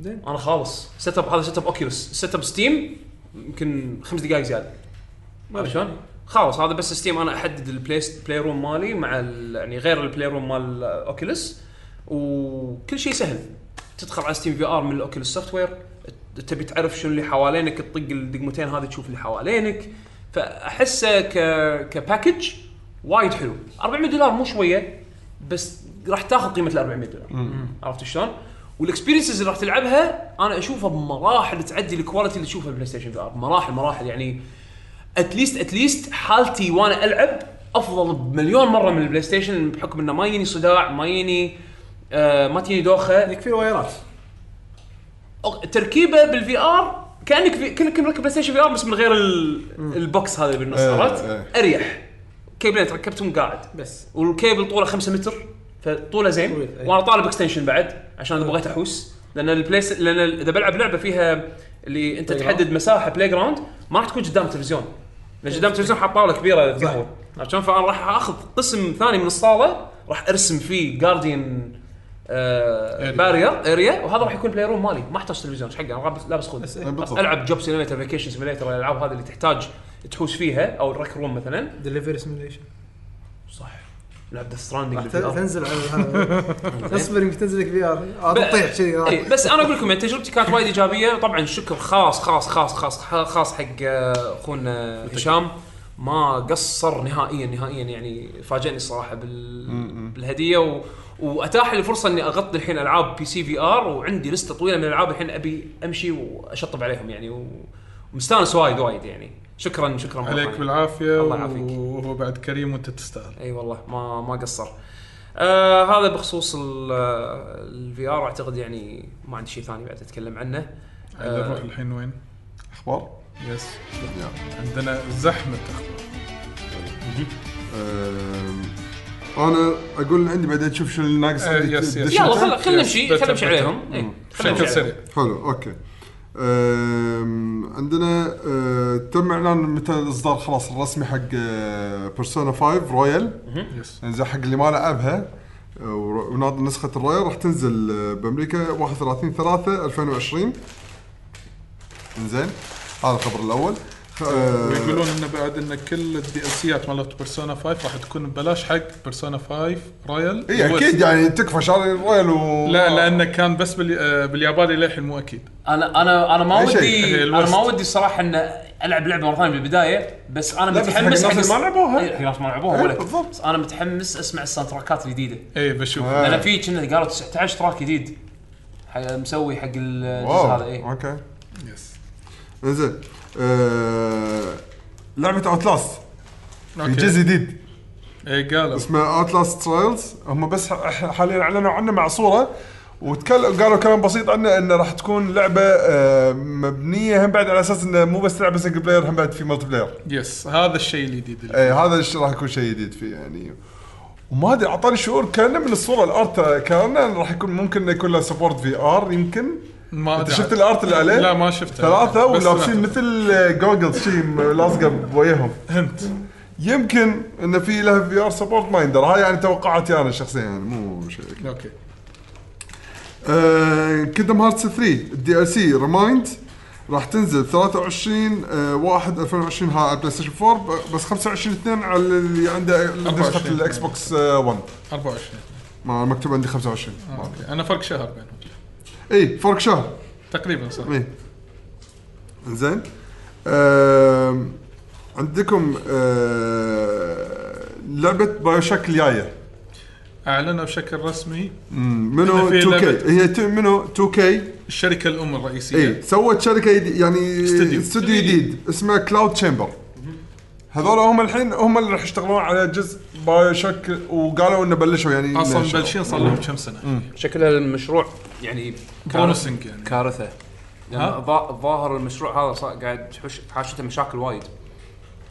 [SPEAKER 5] زين.
[SPEAKER 1] انا خالص سيت اب هذا سيت اب اوكيولس سيت اب ستيم يمكن خمس دقائق زياده ما شلون؟ خلاص هذا بس ستيم انا احدد البلاي بلاي روم مالي مع ال- يعني غير البلاي روم مال اوكيلس وكل شيء سهل تدخل على ستيم في ار من الاوكيلس سوفت وير تبي تعرف شنو اللي حوالينك تطق الدقمتين هذه تشوف اللي حوالينك فاحسه ك كباكج وايد حلو 400 دولار مو شويه بس راح تاخذ قيمه ال 400 دولار عرفت شلون؟ والاكسبيرينسز اللي راح تلعبها انا اشوفها بمراحل تعدي الكواليتي اللي تشوفها بلاي ستيشن في ار مراحل مراحل يعني اتليست اتليست حالتي وانا العب افضل بمليون مره من البلاي ستيشن بحكم انه ما يجيني صداع ما يجيني آه ما تجيني دوخه
[SPEAKER 4] يكفي الوايرات
[SPEAKER 1] أو- تركيبه بالفي ار كانك في كانك مركب بلاي ستيشن في ار بس من غير ال... البوكس هذا اللي بالنص
[SPEAKER 3] إيه،
[SPEAKER 1] عرفت؟
[SPEAKER 3] إيه.
[SPEAKER 1] اريح كيبلين ركبتهم قاعد
[SPEAKER 5] بس
[SPEAKER 1] والكيبل طوله 5 متر فطوله زين
[SPEAKER 5] طويل، أي.
[SPEAKER 1] وانا طالب اكستنشن بعد عشان اذا بغيت احوس لان البلايس لان ال- اذا بلعب لعبه فيها اللي انت
[SPEAKER 5] Playground.
[SPEAKER 1] تحدد مساحه بلاي جراوند ما راح تكون قدام تلفزيون لان قدام تلفزيون حاط طاوله كبيره قهوه عرفت شلون فانا راح اخذ قسم ثاني من الصاله راح ارسم فيه جارديان
[SPEAKER 2] Area.
[SPEAKER 1] بارير اريا وهذا راح يكون بلاي روم مالي ما احتاج تلفزيون ايش حقي انا لابس- لابس خود
[SPEAKER 5] بس إيه.
[SPEAKER 1] بس
[SPEAKER 3] طيب، بالضبط.
[SPEAKER 1] العب جوب سيميليتر فيكيشن سيميليتر الالعاب هذه اللي تحتاج تحوس فيها او الرك روم مثلا
[SPEAKER 5] دليفري سيميليشن
[SPEAKER 1] صح لعب ذا ستراندنج
[SPEAKER 4] تنزل على هذا. اصبر يمكن تنزل لك في ار تطيح كذي
[SPEAKER 1] اي بس انا اقول لكم يعني تجربتي كانت وايد ايجابيه طبعا شكر خاص خاص خاص خاص خاص حق آه، اخونا هشام ما قصر نهائيا نهائيا يعني فاجئني الصراحه بال... بالهديه و... واتاح لي الفرصه اني اغطي الحين العاب بي سي في ار وعندي لسته طويله من الالعاب الحين ابي امشي واشطب عليهم يعني و... ومستانس وايد وايد يعني شكرا شكرا مرة
[SPEAKER 2] عليك
[SPEAKER 1] ثانية.
[SPEAKER 2] بالعافيه
[SPEAKER 1] الله يعافيك.
[SPEAKER 2] وهو بعد كريم وانت تستاهل
[SPEAKER 1] اي والله ما ما قصر آه هذا بخصوص الفي ار اعتقد يعني ما عندي شيء ثاني بعد اتكلم عنه آه،
[SPEAKER 2] عاد نروح الحين وين؟
[SPEAKER 3] اخبار؟
[SPEAKER 2] يس
[SPEAKER 3] نعم.
[SPEAKER 2] عندنا زحمه اخبار
[SPEAKER 3] أم، انا اقول عندي بعدين تشوف شو اللي ناقص
[SPEAKER 2] آه، يس، يس.
[SPEAKER 3] دش
[SPEAKER 1] يلا
[SPEAKER 3] أنت؟
[SPEAKER 1] خل- خلينا نمشي
[SPEAKER 2] بس-
[SPEAKER 1] خلينا نمشي
[SPEAKER 2] بس-
[SPEAKER 1] عليهم إي، خلينا
[SPEAKER 2] بشكل
[SPEAKER 1] نمشي
[SPEAKER 2] سريع
[SPEAKER 1] عليهم.
[SPEAKER 3] حلو اوكي أم، عندنا أه، تم اعلان متى الاصدار خلاص الرسمي حق أه، بيرسونا 5 رويال
[SPEAKER 2] يس
[SPEAKER 3] انزين حق اللي ما لعبها أه، ور- وناظر نسخه الرويال راح تنزل أه، بامريكا 31 3 2020 انزين هذا الخبر الاول خ- أه،
[SPEAKER 2] ويقولون انه بعد ان كل الدي اسيات مالت بيرسونا 5 راح تكون ببلاش حق بيرسونا 5 رويال
[SPEAKER 3] اي اكيد يعني تكفى شاري الرويال و
[SPEAKER 2] لا لانه كان بس بالي- آه، بالياباني للحين مو اكيد
[SPEAKER 1] انا انا انا ما
[SPEAKER 3] أي شيء.
[SPEAKER 1] ودي
[SPEAKER 2] هي
[SPEAKER 1] انا ما
[SPEAKER 2] الوست.
[SPEAKER 1] ودي الصراحه ان العب لعبه مره ثانيه بالبدايه بس انا
[SPEAKER 3] لا، بس حق
[SPEAKER 1] متحمس
[SPEAKER 3] الناس اللي
[SPEAKER 1] الس-
[SPEAKER 3] ما لعبوها.
[SPEAKER 1] إي، حق الناس ما لعبوها
[SPEAKER 3] إي،
[SPEAKER 1] ولا
[SPEAKER 3] إيه، بالضبط.
[SPEAKER 1] بس انا متحمس اسمع الساوند تراكات الجديده
[SPEAKER 2] اي بشوف
[SPEAKER 3] آه.
[SPEAKER 1] لان في كنا قالوا 19 تراك جديد حق- مسوي حق الجزء هذا إيه.
[SPEAKER 3] واو
[SPEAKER 1] اي
[SPEAKER 3] اوكي
[SPEAKER 2] يس
[SPEAKER 3] انزين أه، لعبه اوتلاست في
[SPEAKER 2] أوكي.
[SPEAKER 3] جزء جديد
[SPEAKER 2] اي قالوا
[SPEAKER 3] اسمه اوتلاست ترايلز هم بس ح- حاليا اعلنوا عنه مع صوره وتكلم قالوا كلام بسيط عنه انه راح تكون لعبه آه، مبنيه هم بعد على اساس انه مو بس لعبه سنجل بلاير هم بعد في ملتي بلاير
[SPEAKER 2] يس هذا الشيء الجديد اللي-
[SPEAKER 3] اي هذا الشيء راح يكون شيء جديد فيه يعني وما ادري اعطاني شعور كانه من الصوره الارت كانه راح يكون ممكن إنه يكون له سبورت في ار يمكن
[SPEAKER 2] ما
[SPEAKER 3] انت
[SPEAKER 2] أدري
[SPEAKER 3] شفت
[SPEAKER 2] عاد.
[SPEAKER 3] الارت اللي عليه؟
[SPEAKER 2] لا ما شفته
[SPEAKER 3] ثلاثه
[SPEAKER 2] بس
[SPEAKER 3] ولابسين
[SPEAKER 2] سمعته.
[SPEAKER 3] مثل آه، جوجلز شيء م- لاصقه بوجههم
[SPEAKER 2] هنت
[SPEAKER 3] يمكن انه في له في ار سبورت ما يندر هاي يعني توقعاتي انا شخصيا يعني مو شيء
[SPEAKER 2] اوكي
[SPEAKER 3] كيندم هارتس 3 الدي ال سي ريمايند راح تنزل 23 آه، 1 2020 ها على بلاي ستيشن 4 ب- بس 25 2 على اللي عنده نسخه
[SPEAKER 2] 24.
[SPEAKER 3] الاكس بوكس 1
[SPEAKER 2] 24
[SPEAKER 3] ما مكتوب عندي 25 ما أدري.
[SPEAKER 2] اوكي انا فرق شهر بينهم
[SPEAKER 3] اي فرق شهر
[SPEAKER 2] تقريبا صح
[SPEAKER 3] اي زين آم، عندكم آه، لعبه بايوشاك الجايه
[SPEAKER 2] اعلنوا بشكل رسمي
[SPEAKER 3] مم، منو
[SPEAKER 2] في
[SPEAKER 3] 2
[SPEAKER 2] لعبة- إيه.
[SPEAKER 3] كي هي ت- منو 2 كي
[SPEAKER 2] الشركه الام الرئيسيه
[SPEAKER 3] اي سوت شركه جديد يعني
[SPEAKER 2] استوديو.
[SPEAKER 3] استوديو جديد اسمه كلاود تشامبر هذول هم الحين هم اللي راح يشتغلون على جزء بايو شك وقالوا انه بلشوا يعني
[SPEAKER 2] اصلا
[SPEAKER 3] إنه شغل.
[SPEAKER 2] بلشين صار لهم كم سنه
[SPEAKER 1] شكل المشروع يعني
[SPEAKER 2] بونسنج يعني
[SPEAKER 1] كارثه لان
[SPEAKER 2] ها؟
[SPEAKER 1] ظا- ظاهر المشروع هذا صار قاعد تحش- حاشته مشاكل وايد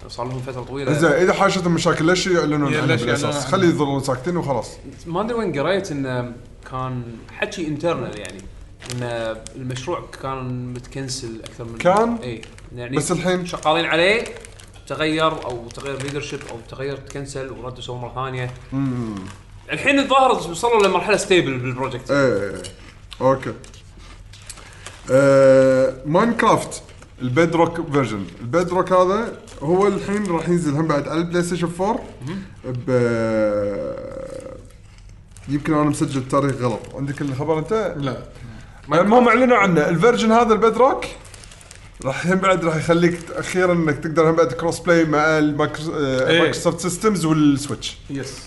[SPEAKER 1] صار لهم فتره
[SPEAKER 3] زين
[SPEAKER 1] طويله
[SPEAKER 3] اذا حاشتهم مشاكل ليش يعلنون
[SPEAKER 2] يا
[SPEAKER 3] عنها
[SPEAKER 2] ليش يعني؟ يعلنون
[SPEAKER 3] بالاساس؟
[SPEAKER 2] عنها؟
[SPEAKER 3] خلي يظلون ساكتين وخلاص
[SPEAKER 1] ما ادري وين قريت انه كان حكي انترنال يعني ان المشروع كان متكنسل اكثر من
[SPEAKER 3] كان؟
[SPEAKER 1] اي يعني
[SPEAKER 3] بس الحين-
[SPEAKER 1] شغالين عليه تغير او تغير ليدرشيب او تغير تكنسل وردوا سووا مره ثانيه الحين الظاهر وصلوا لمرحله ستيبل بالبروجكت
[SPEAKER 3] ايه اوكي آه، ماينكرافت البيد روك فيرجن البيد روك هذا هو الحين راح ينزل هم بعد على البلاي ستيشن 4 ب يمكن انا مسجل التاريخ غلط عندك الخبر انت
[SPEAKER 2] لا
[SPEAKER 3] المهم اعلنوا عنه الفيرجن هذا البيد روك راح هم بعد راح يخليك اخيرا انك تقدر هم بعد كروس بلاي مع المايكرو- آه،
[SPEAKER 2] إيه.
[SPEAKER 3] مايكروسوفت سيستمز والسويتش
[SPEAKER 2] يس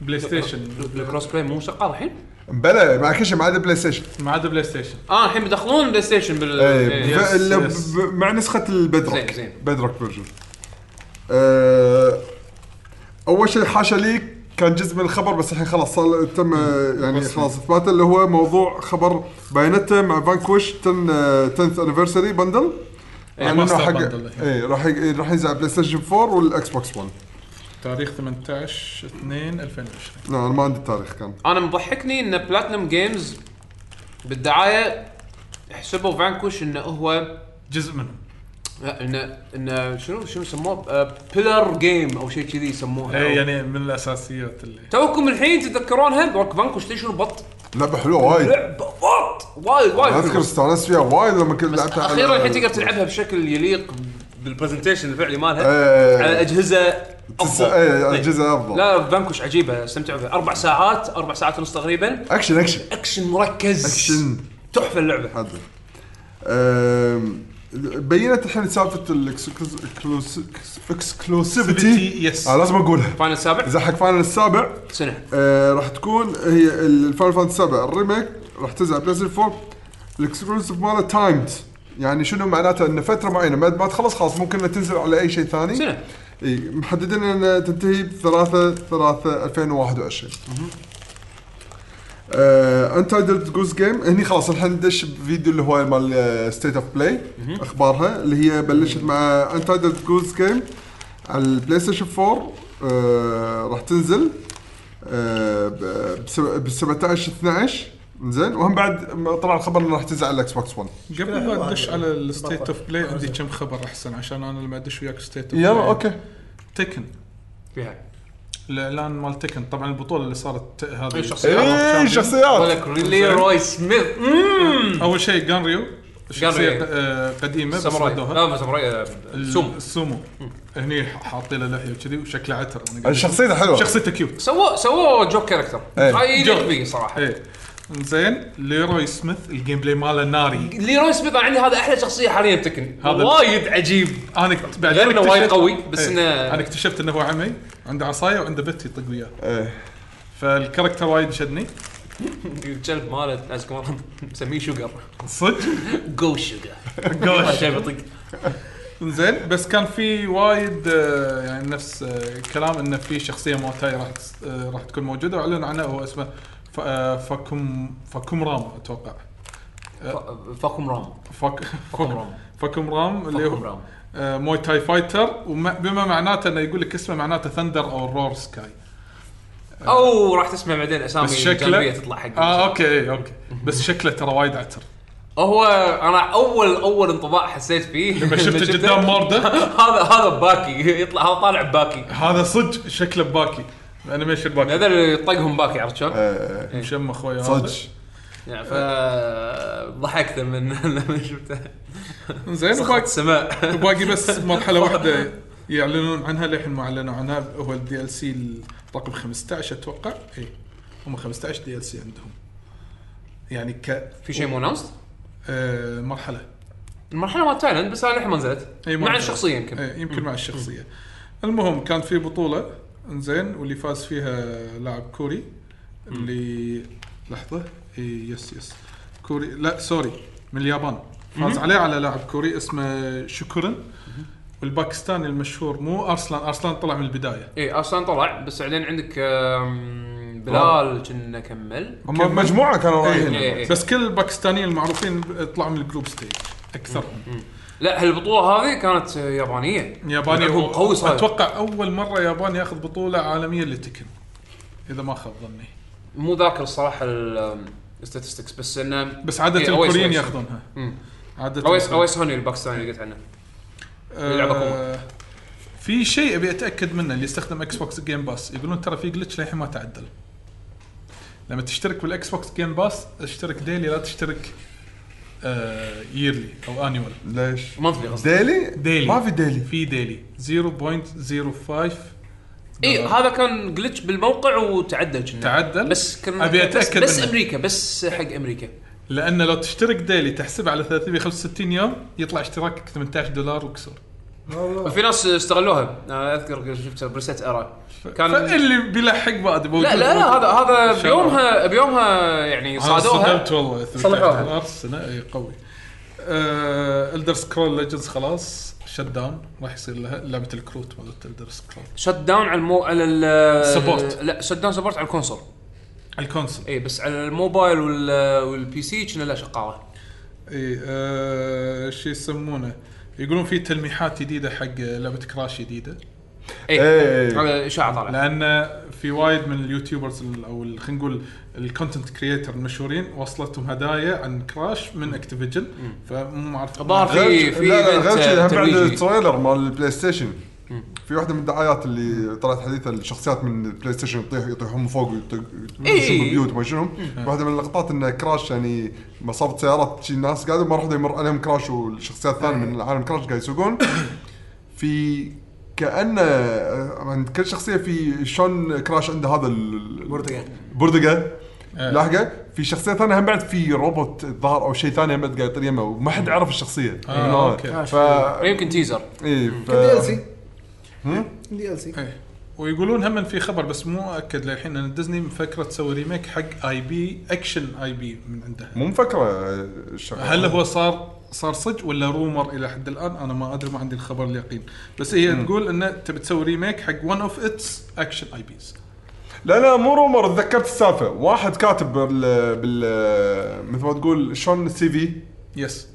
[SPEAKER 2] بلاي ستيشن
[SPEAKER 1] الكروس بلاي مو شغال الحين؟
[SPEAKER 3] بلا مع كل شيء ما عدا بلاي ستيشن
[SPEAKER 2] ما عدا بلاي ستيشن
[SPEAKER 1] اه الحين بيدخلون بلاي ستيشن بال
[SPEAKER 3] ايه
[SPEAKER 1] إيه.
[SPEAKER 2] يس،
[SPEAKER 3] ف- ال-
[SPEAKER 2] يس.
[SPEAKER 3] ب- مع نسخه البدروك
[SPEAKER 1] زين، زين.
[SPEAKER 3] بدروك فيرجن أه اول شيء حاشا لي كان جزء من الخبر بس الحين خلاص صار تم آه، يعني
[SPEAKER 2] رسمي.
[SPEAKER 3] خلاص اثباته اللي هو موضوع خبر باينتا مع آه، فانكوش 10 10th انيفرساري بندل
[SPEAKER 2] إيه، ماستر bundle الحين.
[SPEAKER 3] اي إيه، راح ي- راح ينزل على بلاي ستيشن 4 والاكس بوكس 1
[SPEAKER 2] تاريخ 18 2 2020
[SPEAKER 3] لا انا ما عندي التاريخ كان
[SPEAKER 1] انا مضحكني ان بلاتنم جيمز بالدعايه حسبوا فانكوش انه هو
[SPEAKER 2] جزء منهم
[SPEAKER 1] لا انه انه شنو آه، شنو سموه بيلر جيم او شيء كذي يسموها
[SPEAKER 2] اي يعني من الاساسيات اللي
[SPEAKER 1] توكم الحين تتذكرونها بروك فانكوش تدري شنو بط
[SPEAKER 3] لعبه حلوه وايد
[SPEAKER 1] لعبه بط وايد وايد
[SPEAKER 3] أنا اذكر
[SPEAKER 1] حلوة.
[SPEAKER 3] استانست فيها وايد لما كنت لعبتها على-
[SPEAKER 1] اخيرا الحين تقدر تلعبها بشكل يليق بالبرزنتيشن الفعلي مالها
[SPEAKER 3] إيه.
[SPEAKER 1] على اجهزه
[SPEAKER 3] تس-
[SPEAKER 1] أفضل.
[SPEAKER 3] إيه، اجهزه افضل
[SPEAKER 1] لا فانكوش عجيبه استمتعوا فيها اربع ساعات اربع ساعات ونص تقريبا
[SPEAKER 3] اكشن اكشن
[SPEAKER 1] اكشن مركز
[SPEAKER 3] أكشن.
[SPEAKER 1] تحفه اللعبه
[SPEAKER 3] حدد أم، بينت الحين سالفه الاكسكلوسيفيتي
[SPEAKER 2] يس
[SPEAKER 3] لازم اقولها
[SPEAKER 1] فاينل السابع
[SPEAKER 3] اذا حق فاينل السابع
[SPEAKER 1] سنه
[SPEAKER 3] أه، راح تكون هي الفاينل فانتسي السابع الريميك راح تنزل على بلاي ستيشن 4 الاكسكلوسيف ماله تايمد يعني شنو معناته انه فتره معينه بعد ما تخلص خلاص ممكن إنها تنزل على اي شيء
[SPEAKER 2] إيه؟
[SPEAKER 3] ثاني
[SPEAKER 1] سنه
[SPEAKER 3] اي محددين انها تنتهي ب 3 3 2021 آه، انتايتلد جوز جيم هني خلاص الحين ندش بفيديو اللي هو مال آه، ستيت اوف بلاي اخبارها اللي هي بلشت مع انتايتلد جوز جيم على البلاي ستيشن 4 آه، راح تنزل آه، ب 17 12 زين وهم بعد طلع الخبر انه راح تنزل على الاكس بوكس 1
[SPEAKER 2] قبل ما ادش على الستيت اوف بلاي عندي كم خبر احسن عشان انا لما ادش وياك ستيت اوف
[SPEAKER 3] يلا اوكي
[SPEAKER 2] تكن
[SPEAKER 1] فيها
[SPEAKER 2] الاعلان مال تكن طبعا البطوله اللي صارت هذه
[SPEAKER 1] أي
[SPEAKER 3] إيه،
[SPEAKER 1] شخصية.
[SPEAKER 3] اي شخصيات
[SPEAKER 1] ولك لي روي سميث مم.
[SPEAKER 2] اول شيء جانريو شخصيه
[SPEAKER 1] جانريو.
[SPEAKER 2] آه، قديمه بس
[SPEAKER 1] ساموراي
[SPEAKER 2] ردوها
[SPEAKER 1] لا مو ساموراي آه،
[SPEAKER 2] ال-
[SPEAKER 1] سومو
[SPEAKER 2] السومو هني ح- حاطين له لحيه وكذي وشكله عتر أنا قاعد-
[SPEAKER 3] الشخصيه حلوه
[SPEAKER 2] شخصيته كيوت
[SPEAKER 1] سووا سووا جوك كاركتر
[SPEAKER 3] إيه.
[SPEAKER 1] هاي
[SPEAKER 2] جوك.
[SPEAKER 1] يليق بي صراحه
[SPEAKER 2] ايه زين ليروي سميث الجيم بلاي ماله ناري
[SPEAKER 1] لي روي سميث أنا عندي هذا احلى شخصيه حاليا بتكن
[SPEAKER 2] هذا-
[SPEAKER 1] وايد عجيب
[SPEAKER 2] انا كت- بعدين
[SPEAKER 1] غير إنه وايد
[SPEAKER 2] اكتشفت-
[SPEAKER 1] قوي، بس
[SPEAKER 2] إيه،
[SPEAKER 1] إنه-
[SPEAKER 2] انا اكتشفت انه هو عمي عنده عصايه وعنده بت يطق وياه
[SPEAKER 3] إيه.
[SPEAKER 2] فالكاركتر وايد شدني
[SPEAKER 1] الكلب ماله لازم كمان مسميه شوجر
[SPEAKER 2] صدق
[SPEAKER 1] جو شوجر
[SPEAKER 2] جوش
[SPEAKER 1] شايف يطق
[SPEAKER 2] زين بس كان في وايد آه، يعني نفس آه، كلام انه في شخصيه موتاي راح تس- آه، راح تكون موجوده واعلن عنها هو اسمه ف- آه، فاكوم فاكوم رام اتوقع
[SPEAKER 1] فاكم رام
[SPEAKER 2] فاك
[SPEAKER 1] فاكم رام
[SPEAKER 2] فاكوم رام اللي
[SPEAKER 1] فاكم
[SPEAKER 2] هو
[SPEAKER 1] رام
[SPEAKER 2] آه، موي تاي فايتر وما- بما معناته انه يقول لك اسمه معناته ثندر او رور سكاي
[SPEAKER 1] او راح تسمع بعدين اسامي
[SPEAKER 2] بس شكله-
[SPEAKER 1] جانبيه تطلع حق
[SPEAKER 2] اه اوكي إيه، اوكي بس شكله ترى وايد عتر
[SPEAKER 1] هو انا اول اول انطباع حسيت فيه
[SPEAKER 2] لما شفته قدام مورده
[SPEAKER 1] هذا هذا باكي يطلع هذا طالع باكي
[SPEAKER 2] هذا صدق شكله باكي انيميشن باكي
[SPEAKER 1] هذا اللي يطقهم باكي عرفت شلون؟
[SPEAKER 3] إيه.
[SPEAKER 2] مشم اخوي هذا
[SPEAKER 3] صدق
[SPEAKER 1] يعني ف ضحكت من لما شفته
[SPEAKER 2] زين
[SPEAKER 1] صخرة
[SPEAKER 2] وباقي
[SPEAKER 1] السماء
[SPEAKER 2] وباقي بس مرحله واحده يعلنون عنها للحين ما اعلنوا عنها هو الدي ال سي رقم 15 اتوقع اي إيه. هم 15 دي ال سي عندهم يعني ك
[SPEAKER 1] في شيء مو ناست
[SPEAKER 2] آه مرحله
[SPEAKER 1] المرحله مال تايلاند بس انا للحين ما نزلت
[SPEAKER 2] أي
[SPEAKER 1] مع
[SPEAKER 2] مرحلة.
[SPEAKER 1] الشخصيه يمكن
[SPEAKER 2] إيه، يمكن مع الشخصيه المهم كان في بطوله انزين واللي فاز فيها لاعب كوري اللي لحظه إيه يس يس كوري لا سوري من اليابان فاز عليه على لاعب كوري اسمه شكورن والباكستاني المشهور مو ارسلان ارسلان طلع من البدايه
[SPEAKER 1] اي ارسلان طلع بس بعدين عندك آم، بلال كنا كمل
[SPEAKER 3] هم مجموعه كانوا
[SPEAKER 1] إيه، إيه.
[SPEAKER 3] رايحين
[SPEAKER 2] بس كل الباكستانيين المعروفين طلعوا من الجروب ستيج اكثرهم
[SPEAKER 1] لا هالبطوله هذه كانت آه، يابانيه
[SPEAKER 2] ياباني
[SPEAKER 1] لعبهم
[SPEAKER 2] هو
[SPEAKER 1] قوي صاير
[SPEAKER 2] اتوقع اول مره يابان ياخذ بطوله عالميه للتكن اذا ما خاب ظني
[SPEAKER 1] مو ذاكر الصراحه الستاتستكس بس انه
[SPEAKER 2] بس عاده
[SPEAKER 1] إيه، أويس-
[SPEAKER 2] الكوريين
[SPEAKER 1] أويس.
[SPEAKER 2] ياخذونها
[SPEAKER 1] مم.
[SPEAKER 2] عاده
[SPEAKER 1] اويس اويس هوني الباكستاني اللي قلت عنه يلعب أكوما.
[SPEAKER 2] آه، في شيء ابي اتاكد منه اللي يستخدم اكس بوكس جيم باس يقولون ترى في جلتش للحين ما تعدل لما تشترك بالاكس بوكس جيم باس اشترك ديلي لا تشترك آه ييرلي او انيوال
[SPEAKER 3] ليش؟
[SPEAKER 1] منثلي قصدي
[SPEAKER 3] ديلي؟
[SPEAKER 2] ديلي
[SPEAKER 3] ما في ديلي
[SPEAKER 2] في ديلي 0.05
[SPEAKER 1] اي
[SPEAKER 2] دولار.
[SPEAKER 1] إيه، هذا كان جلتش بالموقع وتعدل كنا
[SPEAKER 2] تعدل؟
[SPEAKER 1] بس كنا
[SPEAKER 2] أبي
[SPEAKER 1] بس,
[SPEAKER 2] أتأكد
[SPEAKER 1] بس
[SPEAKER 2] منه.
[SPEAKER 1] امريكا بس حق امريكا
[SPEAKER 2] لان لو تشترك ديلي تحسبه على 365 يوم يطلع اشتراكك 18 دولار وكسور
[SPEAKER 1] في ناس استغلوها آه، انا اذكر شفت بريست ارا كان-
[SPEAKER 2] كان فاللي بيلحق بعد موجود
[SPEAKER 1] لا لا لا هذا هذا
[SPEAKER 2] شباب.
[SPEAKER 1] بيومها بيومها يعني
[SPEAKER 2] أنا
[SPEAKER 1] صادوها
[SPEAKER 2] آه، صدمت والله 18
[SPEAKER 1] صلحوها.
[SPEAKER 2] دولار سنه اي قوي آه الدر سكرول ليجندز خلاص شت داون راح يصير لها لعبه الكروت مالت الدر سكرول
[SPEAKER 1] شت داون على المو على ال
[SPEAKER 2] Support.
[SPEAKER 1] لا شت داون سبورت على الكونسول
[SPEAKER 2] الكونسول
[SPEAKER 1] اي بس على الموبايل وال والبي سي كنا لا شقاوه
[SPEAKER 2] اي آه شو يسمونه يقولون في تلميحات جديده حق لعبه كراش جديده
[SPEAKER 1] اي
[SPEAKER 3] إيه.
[SPEAKER 1] هذا اشاعه طالعه
[SPEAKER 2] لان في وايد من اليوتيوبرز ال- او ال- خلينا نقول الكونتنت كريتر المشهورين وصلتهم هدايا عن كراش من اكتيفيجن فمو عارف
[SPEAKER 1] الظاهر في-
[SPEAKER 3] غير-
[SPEAKER 1] في
[SPEAKER 3] لا لا
[SPEAKER 1] event
[SPEAKER 3] غير شيء هم بعد
[SPEAKER 1] ترويجي.
[SPEAKER 3] التريلر مال البلاي ستيشن في واحده من الدعايات اللي طلعت حديثه الشخصيات من البلاي ستيشن يطيح يطيحون من فوق
[SPEAKER 1] إي.
[SPEAKER 3] ويطيحون بالبيوت وما شنو واحده من اللقطات ان كراش يعني مصابه سيارات شي ناس قاعده ما راح يمر عليهم كراش والشخصيات الثانيه
[SPEAKER 1] إيه.
[SPEAKER 3] من عالم كراش قاعد يسوقون في كانه آه، عند كل شخصيه في شلون كراش عنده هذا ال-
[SPEAKER 4] بردقة.
[SPEAKER 3] بردقه
[SPEAKER 2] إيه.
[SPEAKER 3] لاحقه في شخصيه ثانيه هم بعد في روبوت الظاهر او شيء ثاني هم بعد قاعد يطير يمه وما حد عرف الشخصيه
[SPEAKER 2] آه،
[SPEAKER 3] من هذا.
[SPEAKER 2] أوكي.
[SPEAKER 3] ف
[SPEAKER 1] يمكن تيزر
[SPEAKER 3] اي ف
[SPEAKER 4] دي ال سي دي ال سي
[SPEAKER 2] ايه ويقولون هم في خبر بس مو مؤكد للحين ان ديزني مفكره تسوي ريميك حق اي بي اكشن اي بي من عندها
[SPEAKER 3] مو مفكره الشغله
[SPEAKER 2] هل هو صار صار صج ولا رومر الى حد الان انا ما ادري ما عندي الخبر اليقين بس هي تقول ان تبي تسوي ريميك حق ون اوف اتس اكشن اي بيز
[SPEAKER 3] لا لا مو رومر تذكرت السالفه واحد كاتب بال, بال... مثل ما تقول شلون السي في
[SPEAKER 2] يس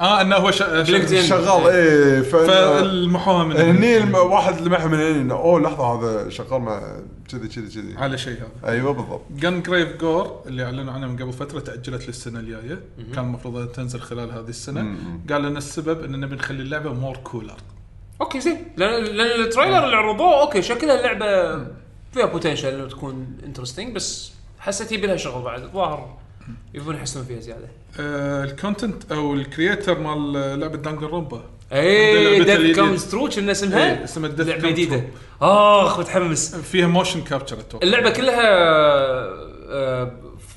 [SPEAKER 2] اه انه هو شا...
[SPEAKER 1] بلينكدين.
[SPEAKER 2] شا-
[SPEAKER 3] شغال اي ف
[SPEAKER 2] فالمحامي من
[SPEAKER 3] آه، هني الم- واحد لمح من هني إنه، اوه لحظه هذا شغال مع كذي كذي كذي
[SPEAKER 2] على شيء هذا
[SPEAKER 3] ايوه بالضبط
[SPEAKER 2] جن جريف جور اللي اعلنوا عنها من قبل فتره تاجلت للسنه الجايه كان المفروض انها تنزل خلال هذه السنه قال لنا السبب اننا بنخلي اللعبه مور كولر
[SPEAKER 1] اوكي زين لان لان التريلر اللي عرضوه اوكي شكلها اللعبه فيها بوتنشل انه تكون انترستنج بس حسيت يبي لها شغل بعد الظاهر يبون يحسنون فيها زياده
[SPEAKER 2] آه، الكونتنت او الكرييتر مال آه، لعبه دانجر رومبا
[SPEAKER 1] اي
[SPEAKER 2] عندنا لعبة
[SPEAKER 1] ديث
[SPEAKER 2] اليدين.
[SPEAKER 1] كمز ترو كنا اسمها
[SPEAKER 2] إيه، اسمها Death
[SPEAKER 1] لعبه
[SPEAKER 2] Comes
[SPEAKER 1] جديده اخ متحمس
[SPEAKER 2] فيها موشن كابتشر اتوقع
[SPEAKER 1] اللعبه كلها آه،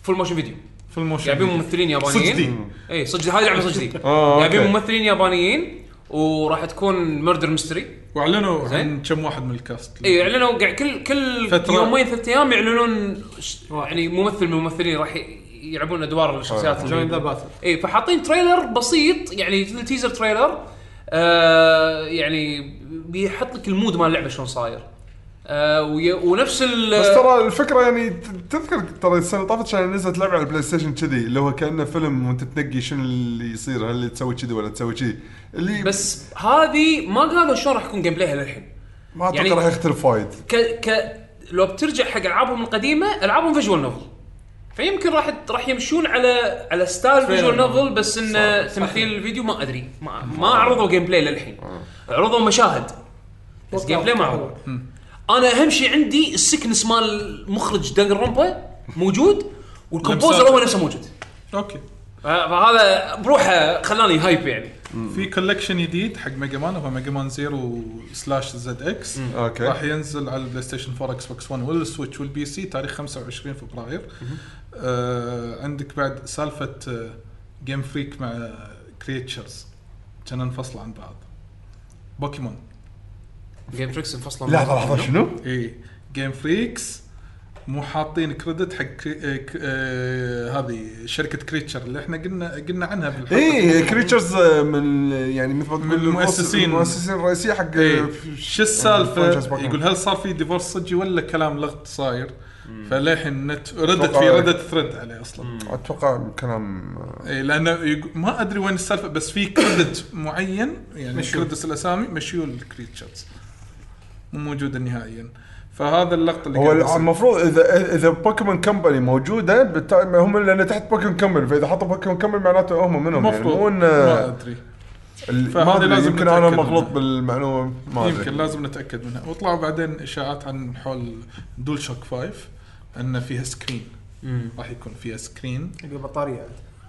[SPEAKER 1] فول موشن فيديو
[SPEAKER 2] في الموشن
[SPEAKER 1] جايبين ممثلين يابانيين
[SPEAKER 2] صدق دي.
[SPEAKER 1] اي صدق هذه لعبه صدق دي
[SPEAKER 3] آه، أوكي.
[SPEAKER 1] جايبين ممثلين يابانيين وراح تكون مردر ميستري
[SPEAKER 2] واعلنوا عن
[SPEAKER 1] زين. إيه، يعني-
[SPEAKER 2] كم واحد من الكاست
[SPEAKER 1] اي اعلنوا قاعد كل كل
[SPEAKER 2] فترة.
[SPEAKER 1] يومين ثلاث ايام يعلنون ش- يعني ممثل من الممثلين راح ي- يلعبون ادوار الشخصيات
[SPEAKER 4] جوين ذا باتل
[SPEAKER 1] اي فحاطين تريلر بسيط يعني مثل تيزر تريلر آه يعني بيحط لك المود مال اللعبه شلون صاير آه وي- ونفس ال
[SPEAKER 3] بس ترى الفكره يعني ت- تذكر ترى السنه اللي طافت كان نزلت لعبه على البلاي ستيشن كذي اللي هو كانه فيلم وانت تنقي شنو اللي يصير هل تسوي كذي ولا تسوي كذي اللي
[SPEAKER 1] بس هذه ما قالوا شلون راح يكون جيم بلايها للحين
[SPEAKER 3] ما اتوقع
[SPEAKER 1] يعني-
[SPEAKER 3] راح يختلف وايد
[SPEAKER 1] ك ك لو بترجع حق العابهم القديمه العابهم فيجوال نوفل فيمكن راح راح يمشون على على ستايل فيجوال نوفل بس انه تمثيل الفيديو ما ادري ما, ما عرضوا جيم بلاي للحين عرضوا مشاهد بس جيم بلاي ما عرضوا انا اهم شيء عندي السكنس مال مخرج دنجر رومبا موجود والكومبوزر
[SPEAKER 2] لمسات.
[SPEAKER 1] هو نفسه موجود
[SPEAKER 2] اوكي
[SPEAKER 1] فهذا بروحه خلاني هايب يعني
[SPEAKER 2] في كولكشن جديد حق ميجا مان هو ميجا مان زيرو سلاش زد اكس
[SPEAKER 3] اوكي.
[SPEAKER 2] راح ينزل على البلاي ستيشن 4 اكس بوكس 1 والسويتش والبي سي تاريخ 25 فبراير آه عندك بعد سالفه آه جيم فريك مع كريتشرز كانوا انفصلوا عن بعض بوكيمون
[SPEAKER 1] جيم فريكس انفصلوا من-
[SPEAKER 3] لحظه لحظه شنو؟
[SPEAKER 2] اي جيم فريكس مو حاطين كريدت حق كري... آه ك... آه هذه شركه كريتشر اللي احنا قلنا قلنا عنها بالحلقه
[SPEAKER 3] اي كريتشرز إيه، من يعني مثل ما تقول
[SPEAKER 2] من المؤسسين.
[SPEAKER 3] المؤسسين الرئيسيه حق آه،
[SPEAKER 2] إيه. شو
[SPEAKER 3] فرانشايز
[SPEAKER 2] السالفه؟
[SPEAKER 3] بوكيمون.
[SPEAKER 2] يقول هل صار في ديفورس صجي ولا كلام لغط صاير؟ فللحين نت ردت في
[SPEAKER 3] أتوقع- إيه.
[SPEAKER 2] ردت ثريد عليه اصلا
[SPEAKER 3] اتوقع كلام آه،
[SPEAKER 2] اي لانه يق- ما ادري وين السالفه بس في كريدت معين يعني كريدت الاسامي مشيول كريتشرز مو موجوده نهائيا فهذا اللقطه اللي
[SPEAKER 3] هو
[SPEAKER 2] قاعد
[SPEAKER 3] ال-
[SPEAKER 2] يصير.
[SPEAKER 3] المفروض اذا اذا بوكيمون كمباني موجوده بالتالي ما هم لان تحت بوكيمون كمباني فاذا حطوا بوكيمون كمباني معناته هم منهم
[SPEAKER 2] المفروض
[SPEAKER 3] يعني مو ان
[SPEAKER 2] ما ادري
[SPEAKER 3] ال-
[SPEAKER 2] فهذه
[SPEAKER 3] ما ادري
[SPEAKER 2] لازم
[SPEAKER 3] يمكن انا
[SPEAKER 2] نتأكد
[SPEAKER 3] مغلوط
[SPEAKER 2] منها.
[SPEAKER 3] بالمعلومه ما ادري
[SPEAKER 2] يمكن لازم نتاكد منها وطلعوا بعدين اشاعات عن حول دول شوك 5 ان فيها سكرين راح يكون فيها سكرين
[SPEAKER 4] يقول بطاريه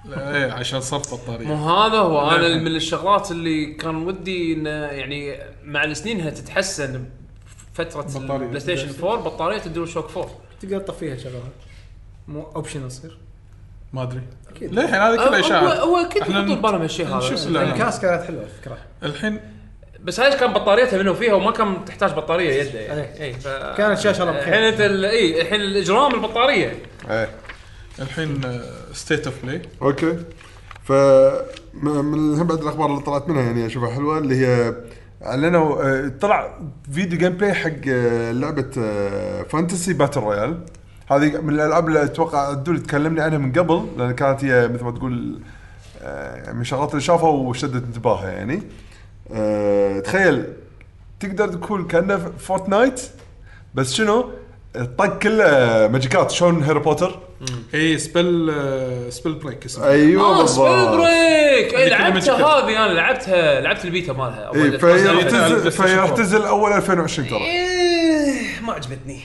[SPEAKER 2] لا، ايه عشان صرف بطاريه
[SPEAKER 1] مو هذا هو انا
[SPEAKER 2] نعم.
[SPEAKER 1] من الشغلات اللي كان ودي انه يعني مع السنين انها تتحسن فتره
[SPEAKER 2] بطارية.
[SPEAKER 1] البلاي ستيشن 4 بطاريه الدول شوك 4
[SPEAKER 5] تقدر تطفيها شغلها مو اوبشن يصير
[SPEAKER 2] ما ادري
[SPEAKER 5] أكيد.
[SPEAKER 2] للحين هذا كله
[SPEAKER 1] هو
[SPEAKER 2] اشاعات
[SPEAKER 1] هو اكيد
[SPEAKER 2] إحنا
[SPEAKER 1] يحطون بالهم هالشيء
[SPEAKER 2] نشوف
[SPEAKER 1] هذا
[SPEAKER 2] لا، لا.
[SPEAKER 5] الكاس كانت حلوه الفكره
[SPEAKER 2] الحين
[SPEAKER 1] بس هاي كان بطاريتها منه فيها وما كان تحتاج بطاريه يده يعني
[SPEAKER 5] إيه.
[SPEAKER 1] اي ف...
[SPEAKER 5] كانت شاشه الله
[SPEAKER 1] الحين
[SPEAKER 5] بخير
[SPEAKER 1] انت ال- اي الحين الاجرام البطاريه
[SPEAKER 3] ايه
[SPEAKER 2] الحين آه، ستيت اوف بلاي
[SPEAKER 3] اوكي ف م- من الهم بعد الاخبار اللي طلعت منها يعني اشوفها حلوه اللي هي اعلنوا آه، طلع فيديو جيم بلاي حق آه، لعبه آه، فانتسي باتل رويال هذه من الالعاب اللي اتوقع الدول تكلمني عنها من قبل لان كانت هي مثل ما تقول آه، من الشغلات اللي شافها وشدت انتباهها يعني آه، تخيل تقدر تقول كانه فورتنايت بس شنو الطق كله آه، ماجيكات شلون هاري بوتر
[SPEAKER 2] اي سبل سبل بريك آه، اسمه
[SPEAKER 3] ايوه
[SPEAKER 1] اه سبيل بريك اي
[SPEAKER 2] هذه كلمة
[SPEAKER 1] لعبتها
[SPEAKER 2] كذا.
[SPEAKER 1] هذه انا لعبتها لعبت البيتا مالها أول-
[SPEAKER 3] اي
[SPEAKER 1] أول-
[SPEAKER 3] فهي
[SPEAKER 2] قصدي
[SPEAKER 3] راح تنزل-
[SPEAKER 2] البلاي
[SPEAKER 3] فهي
[SPEAKER 2] ستيشن
[SPEAKER 3] راح
[SPEAKER 2] فور.
[SPEAKER 3] تنزل اول 2020 ترى
[SPEAKER 1] إيه، ما عجبتني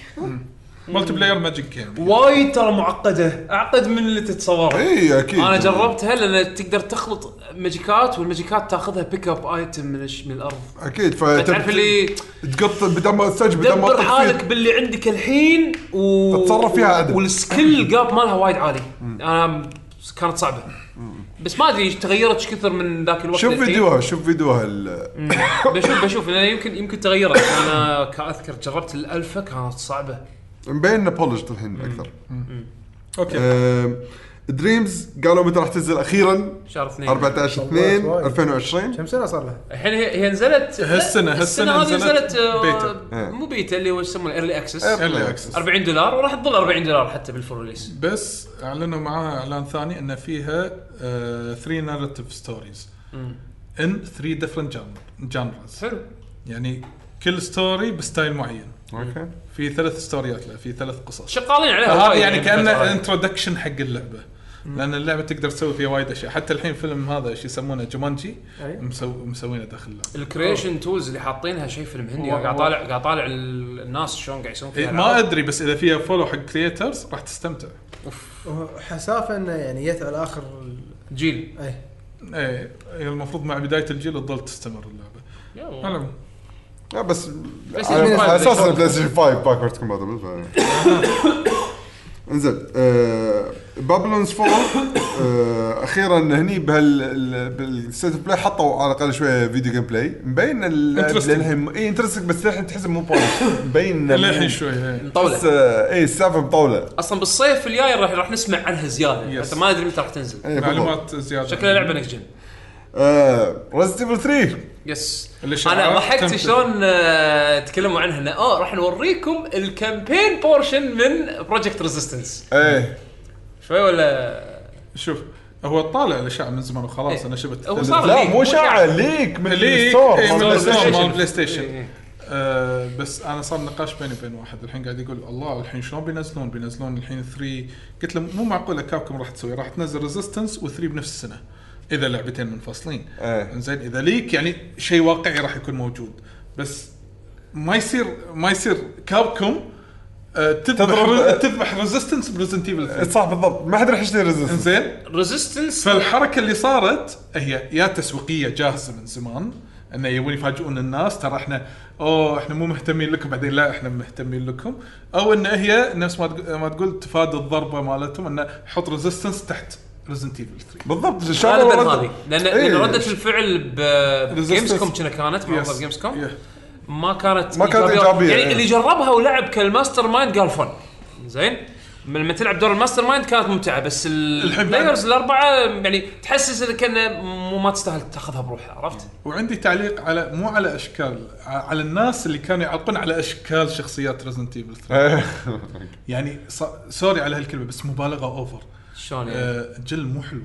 [SPEAKER 2] ملتي بلاير ماجيك جيم
[SPEAKER 1] وايد ترى معقده اعقد من اللي تتصوره
[SPEAKER 3] اي اكيد
[SPEAKER 1] انا جربتها لان تقدر تخلط ماجيكات والماجيكات تاخذها بيك اب ايتم من الش- من الارض
[SPEAKER 3] اكيد
[SPEAKER 1] طيب، تعرف اللي
[SPEAKER 3] تقط بدل ما تستجب بدل ما
[SPEAKER 1] دبر
[SPEAKER 3] تطق
[SPEAKER 1] حالك
[SPEAKER 3] فيه.
[SPEAKER 1] باللي عندك الحين و
[SPEAKER 3] تتصرف فيها عدل.
[SPEAKER 1] والسكيل جاب مالها وايد عالي انا كانت صعبه بس ما ادري إيش تغيرت إيش كثر من ذاك الوقت
[SPEAKER 3] شوف
[SPEAKER 1] للحين.
[SPEAKER 3] فيديوها شوف فيديوها ال-
[SPEAKER 1] بشوف بشوف لان يمكن يمكن تغيرت انا كاذكر جربت الالفا كانت صعبه
[SPEAKER 3] مبين انه بولشت الحين اكثر
[SPEAKER 2] اوكي
[SPEAKER 3] أم، دريمز قالوا متى راح تنزل اخيرا
[SPEAKER 1] شهر اثنين
[SPEAKER 3] 14 2 2020
[SPEAKER 5] كم سنه صار لها؟
[SPEAKER 1] الحين هي هي نزلت
[SPEAKER 2] هالسنة-
[SPEAKER 1] السنه هذه
[SPEAKER 2] هالسنة نزلت
[SPEAKER 1] نزلت آه،
[SPEAKER 2] بيتا.
[SPEAKER 1] مو بيتا اللي هو يسمونه ايرلي
[SPEAKER 3] إيه.
[SPEAKER 1] اكسس
[SPEAKER 2] Early access.
[SPEAKER 1] 40 دولار وراح تظل 40 دولار حتى بالفول ريليس
[SPEAKER 2] بس اعلنوا معاها اعلان ثاني ان فيها آه، 3 ناريتيف ستوريز ان 3 ديفرنت جانرز
[SPEAKER 1] حلو
[SPEAKER 2] يعني كل ستوري بستايل معين
[SPEAKER 3] اوكي
[SPEAKER 2] في ثلاث ستوريات له في ثلاث قصص
[SPEAKER 1] شغالين عليها
[SPEAKER 2] هذا
[SPEAKER 1] وايد
[SPEAKER 2] يعني كانه
[SPEAKER 1] بالفترة هذه.
[SPEAKER 2] انترودكشن حق اللعبه لان اللعبه تقدر تسوي فيها وايد اشياء حتى الحين فيلم هذا شو يسمونه جومانجي
[SPEAKER 5] أي.
[SPEAKER 2] مسو- مسوينه داخل اللعبه
[SPEAKER 1] الكريشن تولز اللي حاطينها شيء فيلم هندي
[SPEAKER 5] واو.
[SPEAKER 1] قاعد طالع قاعد طالع ال- الناس شلون قاعد يسوون فيها
[SPEAKER 2] إيه، ما
[SPEAKER 1] ألعاب.
[SPEAKER 2] ادري بس اذا فيها فولو حق كريترز راح تستمتع
[SPEAKER 5] حسافه انه يعني جت على اخر ال-
[SPEAKER 1] جيل
[SPEAKER 5] اي
[SPEAKER 2] ايه هي المفروض مع بدايه الجيل تظل تستمر اللعبه على العموم.
[SPEAKER 3] لا بس
[SPEAKER 1] بس
[SPEAKER 3] على
[SPEAKER 1] يمين
[SPEAKER 3] على اساس
[SPEAKER 1] البلاي
[SPEAKER 3] البلاي ستيشن 5 باكورد كومباتبل انزين eh, بابلونز فول اخيرا eh, هني بالستيت اوف بلاي حطوا على الاقل شويه فيديو جيم بلاي مبين ال-
[SPEAKER 2] Interesting.
[SPEAKER 3] للحين اي انترستنج بس للحين تحس مو بولش مبين
[SPEAKER 2] للحين شوي إيه.
[SPEAKER 1] طولة
[SPEAKER 3] اي السالفه مطوله
[SPEAKER 1] اصلا بالصيف الجاي راح راح نسمع عنها زياده
[SPEAKER 2] Yes.
[SPEAKER 1] حتى ما ادري متى راح تنزل
[SPEAKER 3] إيه، بالضبط.
[SPEAKER 2] معلومات زياده
[SPEAKER 1] شكلها لعبه نكست جن
[SPEAKER 3] ريزنت ايفل 3
[SPEAKER 1] يس
[SPEAKER 2] الإشاعات
[SPEAKER 1] انا ضحكت
[SPEAKER 2] تنفذ.
[SPEAKER 1] شلون آه، تكلموا عنها انه اه راح نوريكم الكامبين بورشن من بروجكت ريزيستنس
[SPEAKER 3] ايه
[SPEAKER 1] شوي ولا
[SPEAKER 2] شوف هو طالع الاشاعه من زمان وخلاص
[SPEAKER 1] إيه.
[SPEAKER 2] انا شبت
[SPEAKER 1] هو صار
[SPEAKER 3] لا
[SPEAKER 1] ليك،
[SPEAKER 3] مو
[SPEAKER 1] مو
[SPEAKER 3] شاعه
[SPEAKER 1] شاعة.
[SPEAKER 3] ليك من
[SPEAKER 2] ليك
[SPEAKER 3] الستور
[SPEAKER 2] إيه، من
[SPEAKER 1] مال
[SPEAKER 2] الستور مال
[SPEAKER 1] PlayStation.
[SPEAKER 2] البلاي
[SPEAKER 1] إيه،
[SPEAKER 2] ستيشن
[SPEAKER 1] إيه.
[SPEAKER 2] آه بس انا صار نقاش بيني وبين واحد الحين قاعد يقول الله الحين شلون بينزلون بينزلون الحين 3 قلت له مو معقوله كابكم راح تسوي راح تنزل ريزيستنس و3 بنفس السنه اذا لعبتين منفصلين
[SPEAKER 3] إيه.
[SPEAKER 2] زين اذا ليك يعني شيء واقعي راح يكون موجود بس ما يصير ما يصير كابكم آه، تذبح
[SPEAKER 3] تضرب-
[SPEAKER 2] تذبح ريزيستنس بريزنت ايفل
[SPEAKER 3] صح بالضبط ما حد راح يشتري ريزنس
[SPEAKER 2] زين
[SPEAKER 1] إيه. ريزيستنس
[SPEAKER 2] فالحركه اللي صارت هي يا تسويقيه جاهزه من زمان انه يبون يفاجئون الناس ترى احنا اوه احنا مو مهتمين لكم بعدين لا احنا مهتمين لكم او ان هي نفس ما تق- ما تقول تفادى الضربه مالتهم انه حط ريزيستنس تحت ريزنت ايفل 3
[SPEAKER 3] بالضبط شالوا
[SPEAKER 1] غالبا
[SPEAKER 3] رد-
[SPEAKER 1] هذه لان
[SPEAKER 3] إيه.
[SPEAKER 1] لان رده الفعل بجيمز
[SPEAKER 2] Resistance.
[SPEAKER 1] كوم كانت معرضه جيمز كوم
[SPEAKER 2] Yeah.
[SPEAKER 1] ما كانت
[SPEAKER 3] ما كانت إيجابية،
[SPEAKER 1] يعني
[SPEAKER 3] إيه.
[SPEAKER 1] اللي جربها ولعب كالماستر مايند قال فن زين من- لما تلعب دور الماستر مايند كانت ممتعه بس
[SPEAKER 2] الحين بعد-
[SPEAKER 1] البلايرز الاربعه يعني تحسس انك كأنه مو ما تستاهل تاخذها بروحها عرفت؟
[SPEAKER 2] وعندي تعليق على مو على اشكال ع- على الناس اللي كانوا يعلقون على اشكال شخصيات ريزنت ايفل 3
[SPEAKER 3] إيه.
[SPEAKER 2] يعني ص... سوري على هالكلمه بس مبالغه اوفر
[SPEAKER 1] شلون يعني؟
[SPEAKER 2] آه جل مو حلوه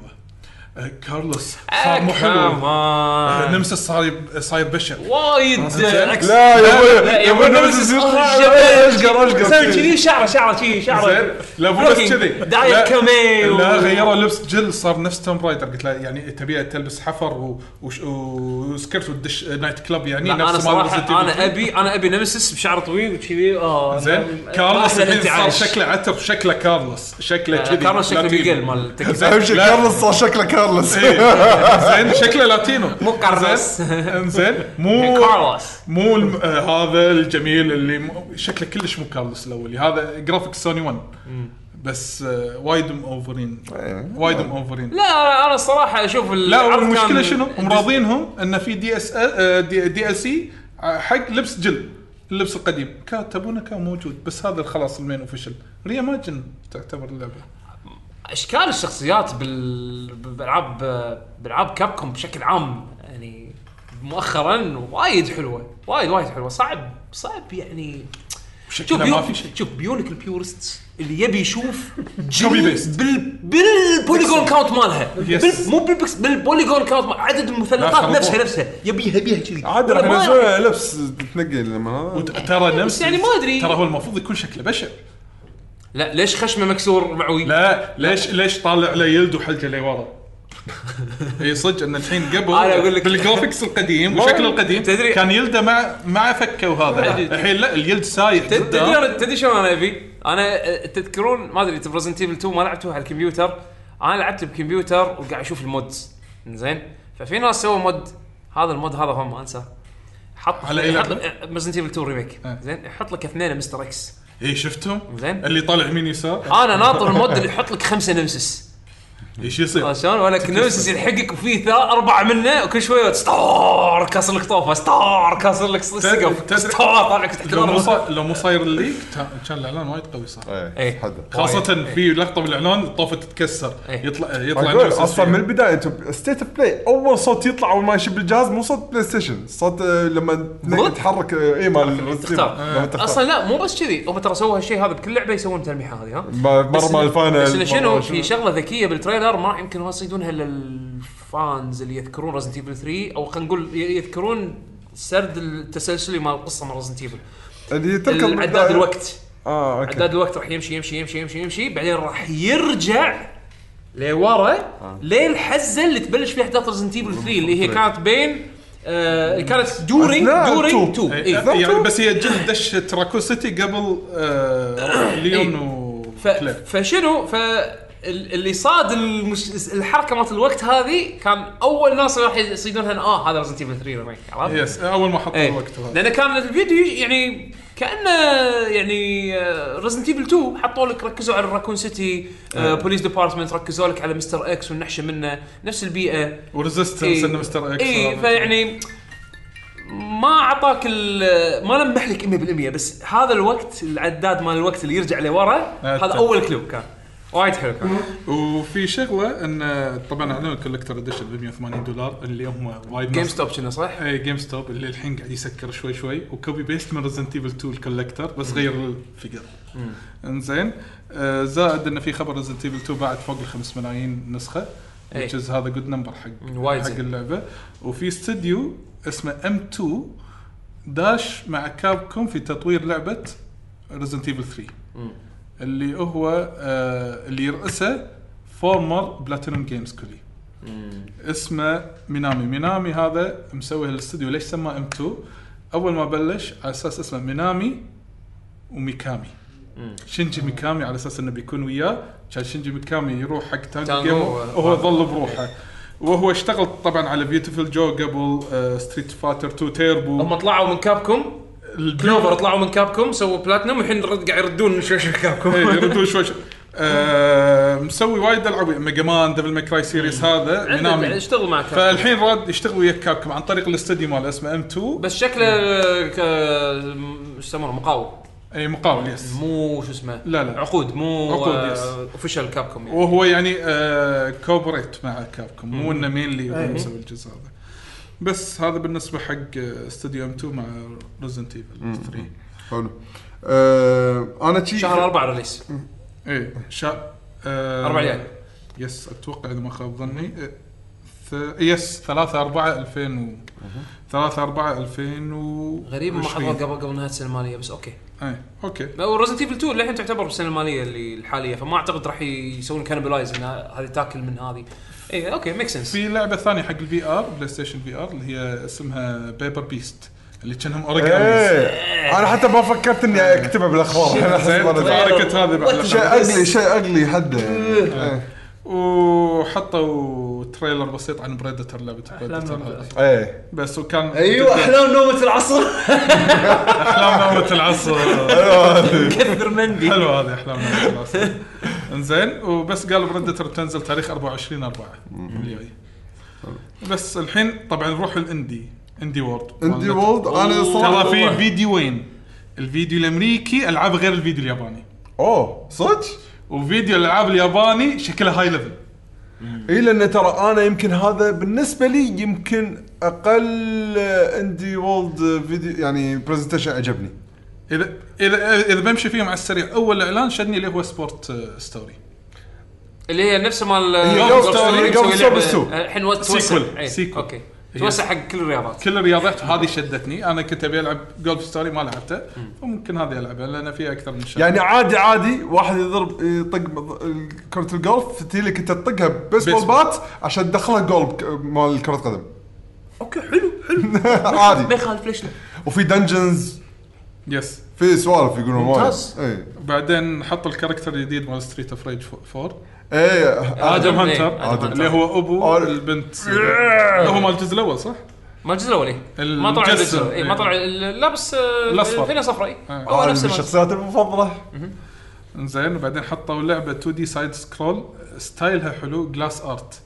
[SPEAKER 2] آه كارلوس
[SPEAKER 1] آه،
[SPEAKER 2] صار مو حلو آه،
[SPEAKER 1] كمان.
[SPEAKER 2] نمسس صار يب... صاير بشع
[SPEAKER 1] وايد
[SPEAKER 2] آه، زين.
[SPEAKER 3] لا يا ابوي
[SPEAKER 1] لا،
[SPEAKER 3] يا
[SPEAKER 1] يا
[SPEAKER 3] ابوي
[SPEAKER 1] ابوي،
[SPEAKER 3] نمسس
[SPEAKER 1] نمسس.
[SPEAKER 3] اشقر
[SPEAKER 1] سوي
[SPEAKER 3] اشقر
[SPEAKER 1] كذي شعره شعره كذي
[SPEAKER 2] زين
[SPEAKER 1] شعره
[SPEAKER 2] لا مو بس
[SPEAKER 1] Blocking.
[SPEAKER 2] كذي
[SPEAKER 1] دايت
[SPEAKER 2] لا-
[SPEAKER 1] كامي و-
[SPEAKER 2] لا غيروا لبس جل صار نفس توم رايدر قلت له يعني تبي تلبس حفر و... وش... وسكرت وتدش نايت كلاب يعني
[SPEAKER 1] لا انا
[SPEAKER 2] نفس مال Resident Evil
[SPEAKER 1] صراحه
[SPEAKER 2] 3.
[SPEAKER 1] انا ابي انا ابي نمسس بشعر طويل وكذي اه
[SPEAKER 2] زين كارلوس
[SPEAKER 1] أحسن
[SPEAKER 2] الحين صار
[SPEAKER 1] انتعاش.
[SPEAKER 2] شكله عتر شكله كارلوس شكله
[SPEAKER 1] آه،
[SPEAKER 2] كذي
[SPEAKER 1] كارلوس شكله
[SPEAKER 2] لاتينو.
[SPEAKER 1] ميغيل مال التكس.
[SPEAKER 2] زين،
[SPEAKER 3] اهم شيء
[SPEAKER 2] لا،
[SPEAKER 3] كارلوس صار شكله كارلوس
[SPEAKER 2] إيه، زين شكله لاتينو
[SPEAKER 1] مو كارلوس.
[SPEAKER 2] زين، زين مو
[SPEAKER 1] كارلوس
[SPEAKER 2] مو الم... آه هذا الجميل اللي م... شكله كلش مو كارلوس الاولي هذا جرافيك سوني 1 بس آه وايد مؤوفرين
[SPEAKER 3] إيه.
[SPEAKER 2] وايد مؤوفرين
[SPEAKER 1] لا أنا- انا الصراحه اشوف
[SPEAKER 2] لا
[SPEAKER 1] العرض
[SPEAKER 2] المشكله
[SPEAKER 1] كان-
[SPEAKER 2] شنو؟ هم راضينهم انه في دي اس آه، دي, دي ال سي آه، حق لبس جل اللبس القديم كان تبونه كان موجود بس هذا خلاص المين اوفيشل ريماجن تعتبر اللعبه
[SPEAKER 1] اشكال الشخصيات بال... بالالعاب بالعاب كابكوم بشكل عام يعني مؤخرا وايد حلوه وايد وايد حلوه صعب صعب يعني شوف
[SPEAKER 2] شكلها
[SPEAKER 1] بيون...
[SPEAKER 2] ما في شيء
[SPEAKER 1] شوف بيونك البيورست اللي يبي يشوف
[SPEAKER 2] Copy
[SPEAKER 1] جل
[SPEAKER 2] paste.
[SPEAKER 1] بال بالبوليجون كاونت مالها بال... مو بالبكس بالبوليجون كاونت مال... عدد المثلثات
[SPEAKER 2] خربوها.
[SPEAKER 1] نفسها نفسها يبيها يبيها كذي
[SPEAKER 3] عاد راح ينزلون لبس تنقي لما هذا
[SPEAKER 2] وت- ترى نفس
[SPEAKER 1] يعني ما أدري.
[SPEAKER 2] ترى هو المفروض يكون شكله بشع
[SPEAKER 1] لا ليش خشمه مكسور معوي
[SPEAKER 2] لا ليش ليش طالع له يلد وحلقه لي ورا اي صدق ان الحين قبل
[SPEAKER 1] أنا أقول لك.
[SPEAKER 2] بالجرافكس القديم وشكله القديم
[SPEAKER 1] تدري-
[SPEAKER 2] كان يلده مع مع فكه وهذا
[SPEAKER 1] أدري.
[SPEAKER 2] الحين لا اليلد سايح
[SPEAKER 1] تد- تدري
[SPEAKER 2] جدا
[SPEAKER 1] انا تدري شلون انا ابي؟ انا أه، تذكرون ما ادري بريزنت ايفل 2 ما لعبتوها على الكمبيوتر انا لعبت بكمبيوتر وقاعد اشوف المودز زين ففي ناس سووا مود هذا المود هذا هو ما انساه حط
[SPEAKER 2] على أي لعبة؟
[SPEAKER 1] بريزنت ايفل 2 ريميك
[SPEAKER 2] أه.
[SPEAKER 1] زين يحط لك اثنين مستر اكس
[SPEAKER 2] اي شفتهم
[SPEAKER 1] زين.
[SPEAKER 2] اللي طالع يمين يسار
[SPEAKER 1] انا ناطر المود اللي يحط لك خمسه نمسس
[SPEAKER 2] ايش يصير؟
[SPEAKER 1] عرفت شلون؟ وانا كنوسس يلحقك وفيه ثلاث اربع منه وكل شويه ستار كاسر لك طوفه ستار كاسر لك
[SPEAKER 2] تدري-
[SPEAKER 1] سقف ستار طالع لك تحت
[SPEAKER 2] لو مو
[SPEAKER 1] الأرض.
[SPEAKER 2] صا- لو مو صاير الليك كان الاعلان وايد قوي صار
[SPEAKER 1] إيه.
[SPEAKER 3] حدا
[SPEAKER 2] خاصة في لقطة بالاعلان الطوفة تتكسر
[SPEAKER 1] إيه.
[SPEAKER 2] يطلع يطلع
[SPEAKER 3] اقول
[SPEAKER 2] نفس
[SPEAKER 3] اصلا من
[SPEAKER 2] الشيء.
[SPEAKER 3] البدايه انتم ستيت اوف بلاي اول صوت يطلع اول ما يشب الجهاز مو صوت بلاي ستيشن صوت آه، لما
[SPEAKER 1] بالضبط.
[SPEAKER 3] تحرك اي مال
[SPEAKER 1] تختار. آه.
[SPEAKER 3] لما تختار.
[SPEAKER 1] اصلا لا مو بس كذي هم ترى سووا هالشيء هذا بكل لعبه يسوون تلميحه هذه ها
[SPEAKER 3] ما- مره
[SPEAKER 1] بس-
[SPEAKER 3] مال فاينل
[SPEAKER 1] بس إنه شنو
[SPEAKER 3] مرة
[SPEAKER 1] في شغله ذكيه بالتريلر ما يمكن ما يصيدونها الا الفانز اللي يذكرون رزنت ايفل 3 او خلينا نقول ي- يذكرون السرد التسلسلي مال القصه مال رزنت ايفل
[SPEAKER 3] اللي تذكر
[SPEAKER 1] عداد
[SPEAKER 3] بالبداية-
[SPEAKER 1] الوقت
[SPEAKER 3] اه اوكي
[SPEAKER 1] عداد الوقت راح يمشي يمشي يمشي يمشي يمشي بعدين راح يرجع لورا للحزه اللي تبلش فيها احداث رزنت ايفل 3 اللي هي كانت بين آه كانت دورينج
[SPEAKER 3] أثناء
[SPEAKER 1] دورينج
[SPEAKER 3] two.
[SPEAKER 1] 2
[SPEAKER 2] إيه،
[SPEAKER 1] إيه.
[SPEAKER 2] يعني بس هي جل دش تراكو سيتي قبل آه ليون
[SPEAKER 1] إيه.
[SPEAKER 2] و
[SPEAKER 1] ف... فشنو ف ال- اللي صاد المش... الحركه مالت الوقت هذه كان اول ناس راح يصيدونها إن اه هذا رزنت ايفل 3 ريميك عرفت؟
[SPEAKER 2] يس اول ما حطوا
[SPEAKER 1] إيه.
[SPEAKER 2] الوقت هذا
[SPEAKER 1] لان كان الفيديو يعني كانه يعني رزنت ايفل 2 حطوا لك ركزوا على الراكون سيتي آه بوليس ديبارتمنت ركزوا لك على مستر اكس والنحشه منه نفس البيئه
[SPEAKER 2] وريزيستنس انه مستر اكس
[SPEAKER 1] اي إيه. فيعني ما اعطاك ال- ما لمح لك 100% بس هذا الوقت العداد مال الوقت اللي يرجع لورا هذا
[SPEAKER 2] أتفق.
[SPEAKER 1] اول كلو كان وايد حلو كان
[SPEAKER 2] وفي شغله ان طبعا اعلنوا الكولكتر اديشن ب 180 دولار اللي هم وايد
[SPEAKER 1] جيم
[SPEAKER 2] ناس-
[SPEAKER 1] ستوب كنا صح؟
[SPEAKER 2] اي جيم ستوب اللي الحين قاعد يسكر شوي شوي وكوبي بيست من ريزنت ايفل 2 الكولكتر بس غير الفيجر انزين آه زائد انه في خبر ريزنت ايفل 2 باعت فوق ال 5 ملايين نسخه
[SPEAKER 1] إي.
[SPEAKER 2] which is هذا جود نمبر حق
[SPEAKER 1] إيه. وايد
[SPEAKER 2] حق
[SPEAKER 1] زين.
[SPEAKER 2] اللعبه وفي استوديو اسمه ام 2 داش مع كابكوم في تطوير لعبه ريزنت ايفل 3 اللي هو آه اللي يرأسه فورمر بلاتينوم جيمز كولي اسمه مينامي مينامي هذا مسوي الاستوديو ليش سماه ام 2 اول ما بلش على اساس اسمه مينامي وميكامي شينجي ميكامي على اساس انه بيكون وياه كان شينجي ميكامي يروح حق تايم
[SPEAKER 6] كان
[SPEAKER 2] جيمر
[SPEAKER 6] هو-
[SPEAKER 2] وهو ظل بروحه وهو اشتغل طبعا على بيوتيفل جو قبل آه، ستريت فاتر 2
[SPEAKER 1] هم
[SPEAKER 2] تيربو
[SPEAKER 1] طلعوا من كابكم كلوفر طلعوا من كابكم سووا بلاتنم والحين رد- قاعد يردون شوي شوي كابكم
[SPEAKER 2] إيه، يردون شوي شوي آه، مسوي وايد العاب ميجا مان دبل ماكراي سيريس هذا
[SPEAKER 1] عنده-
[SPEAKER 2] مينامي
[SPEAKER 1] يعني اشتغل مع كابكم
[SPEAKER 2] فالحين راد يشتغل ويا كابكم عن طريق الاستديو ماله اسمه ام 2
[SPEAKER 1] بس شكله ك ايش يسمونه مقاول
[SPEAKER 2] اي إيه، مقاول يس
[SPEAKER 1] مو شو اسمه
[SPEAKER 2] لا، لا.
[SPEAKER 1] عقود مو
[SPEAKER 2] عقود،
[SPEAKER 1] آه،
[SPEAKER 2] يس.
[SPEAKER 1] اوفيشال كابكم يعني
[SPEAKER 2] وهو يعني آه كوبريت مع كابكم مو انه مينلي
[SPEAKER 1] أيوه.
[SPEAKER 2] هو مسوي الجزء هذا بس هذا بالنسبه حق آه، استوديو ام 2 مع ريزنت ايفل 3
[SPEAKER 3] حلو آه، انا شي
[SPEAKER 1] شهر اربعه ريليس
[SPEAKER 2] ايه شا آه
[SPEAKER 1] أربع ليال.
[SPEAKER 2] يس اتوقع اذا ما خاب ظني آه، ث... يس 3 4 2000 و 3 4 2000 و إيه،
[SPEAKER 1] غريب ما حضر قبل قبل نهايه السنه الماليه بس اوكي
[SPEAKER 2] اي اوكي
[SPEAKER 1] ورزنت ايفل 2 للحين تعتبر بالسنه الماليه اللي الحاليه فما اعتقد راح يسوون كانبلايز ان هذه تاكل من هذه إيه، اي اوكي ميك سنس
[SPEAKER 2] في لعبه ثانيه حق الفي ار بلاي ستيشن في ار اللي هي اسمها بيبر بيست اللي كانهم اوريجاميز
[SPEAKER 3] إيه. انا حتى ما فكرت اني اكتبها بالاخبار أنا أحس
[SPEAKER 2] زين
[SPEAKER 3] مرة ثانية.
[SPEAKER 2] تاركت هذه
[SPEAKER 3] شيء
[SPEAKER 2] بعد
[SPEAKER 3] اقلي شيء اقلي حده يعني.
[SPEAKER 2] وحطوا تريلر بسيط عن بريدتر لعبه بريدتر هذه
[SPEAKER 3] ايه
[SPEAKER 2] بس وكان
[SPEAKER 4] أيوة.
[SPEAKER 6] ايوه احلام نومه العصر
[SPEAKER 2] احلام نومه العصر
[SPEAKER 3] إيه.
[SPEAKER 1] كثر مندي
[SPEAKER 2] حلو هذه احلام نومه العصر انزين وبس قال بريدتر بتنزل تاريخ 24 4 اللي جاي. بس الحين طبعا نروح الاندي اندي وورد
[SPEAKER 3] اندي وولد انا
[SPEAKER 2] ترى
[SPEAKER 3] صراحه
[SPEAKER 2] في فيديوين الفيديو الامريكي العاب غير الفيديو الياباني
[SPEAKER 3] اوه صدق؟
[SPEAKER 2] وفيديو الالعاب الياباني شكلها هاي ليفل
[SPEAKER 3] اي لان إيه، ترى انا يمكن هذا بالنسبه لي يمكن اقل اندي وولد فيديو يعني برزنتيشن عجبني
[SPEAKER 2] اذا اذا اذا بمشي فيهم على السريع اول اعلان شدني اللي هو سبورت آه، ستوري
[SPEAKER 1] اللي هي نفس مال آه،
[SPEAKER 3] Golf Story- Golf Story
[SPEAKER 1] لعبة-
[SPEAKER 3] 2.
[SPEAKER 1] الحين وت- توسع
[SPEAKER 2] Sequel.
[SPEAKER 1] إيه،
[SPEAKER 2] Sequel.
[SPEAKER 1] اوكي توسع حق كل الرياضات
[SPEAKER 2] كل الرياضات هذه شدتني انا كنت ابي العب جولف ستوري ما لعبته فممكن هذه العبها لان فيها اكثر من شيء
[SPEAKER 3] يعني عادي عادي واحد يضرب يطق مض- كرة الجولف تجي لك انت تطقها بيسبول
[SPEAKER 2] بيسبول.
[SPEAKER 3] بات عشان تدخلها جول ك- مال كرة قدم
[SPEAKER 1] اوكي حلو حلو ما
[SPEAKER 3] عادي
[SPEAKER 1] يخالف ليش لا
[SPEAKER 3] وفي دنجنز
[SPEAKER 2] يس
[SPEAKER 3] في سوالف يقولون وايد. إيه.
[SPEAKER 1] ممتاز.
[SPEAKER 3] اي
[SPEAKER 2] بعدين حطوا الكاركتر الجديد مال ستريت اوف ريج 4
[SPEAKER 3] اي
[SPEAKER 2] ادم
[SPEAKER 1] آدم إيه،
[SPEAKER 2] هانتر
[SPEAKER 1] آدم
[SPEAKER 2] اللي هو ابو
[SPEAKER 3] آدم.
[SPEAKER 2] البنت هو مال الجزء الاول صح؟
[SPEAKER 1] ما الجزء الاولي ما طلع
[SPEAKER 2] المجسم.
[SPEAKER 1] الجزء إيه، ما طلع ال- لابس آه،
[SPEAKER 2] الأصفر.
[SPEAKER 1] فينا صفراء إيه.
[SPEAKER 2] آه.
[SPEAKER 1] هو
[SPEAKER 3] أنا من
[SPEAKER 1] نفس المجسم.
[SPEAKER 3] الشخصيات المفضلة
[SPEAKER 2] زين وبعدين حطوا لعبه 2 دي سايد سكرول ستايلها حلو جلاس ارت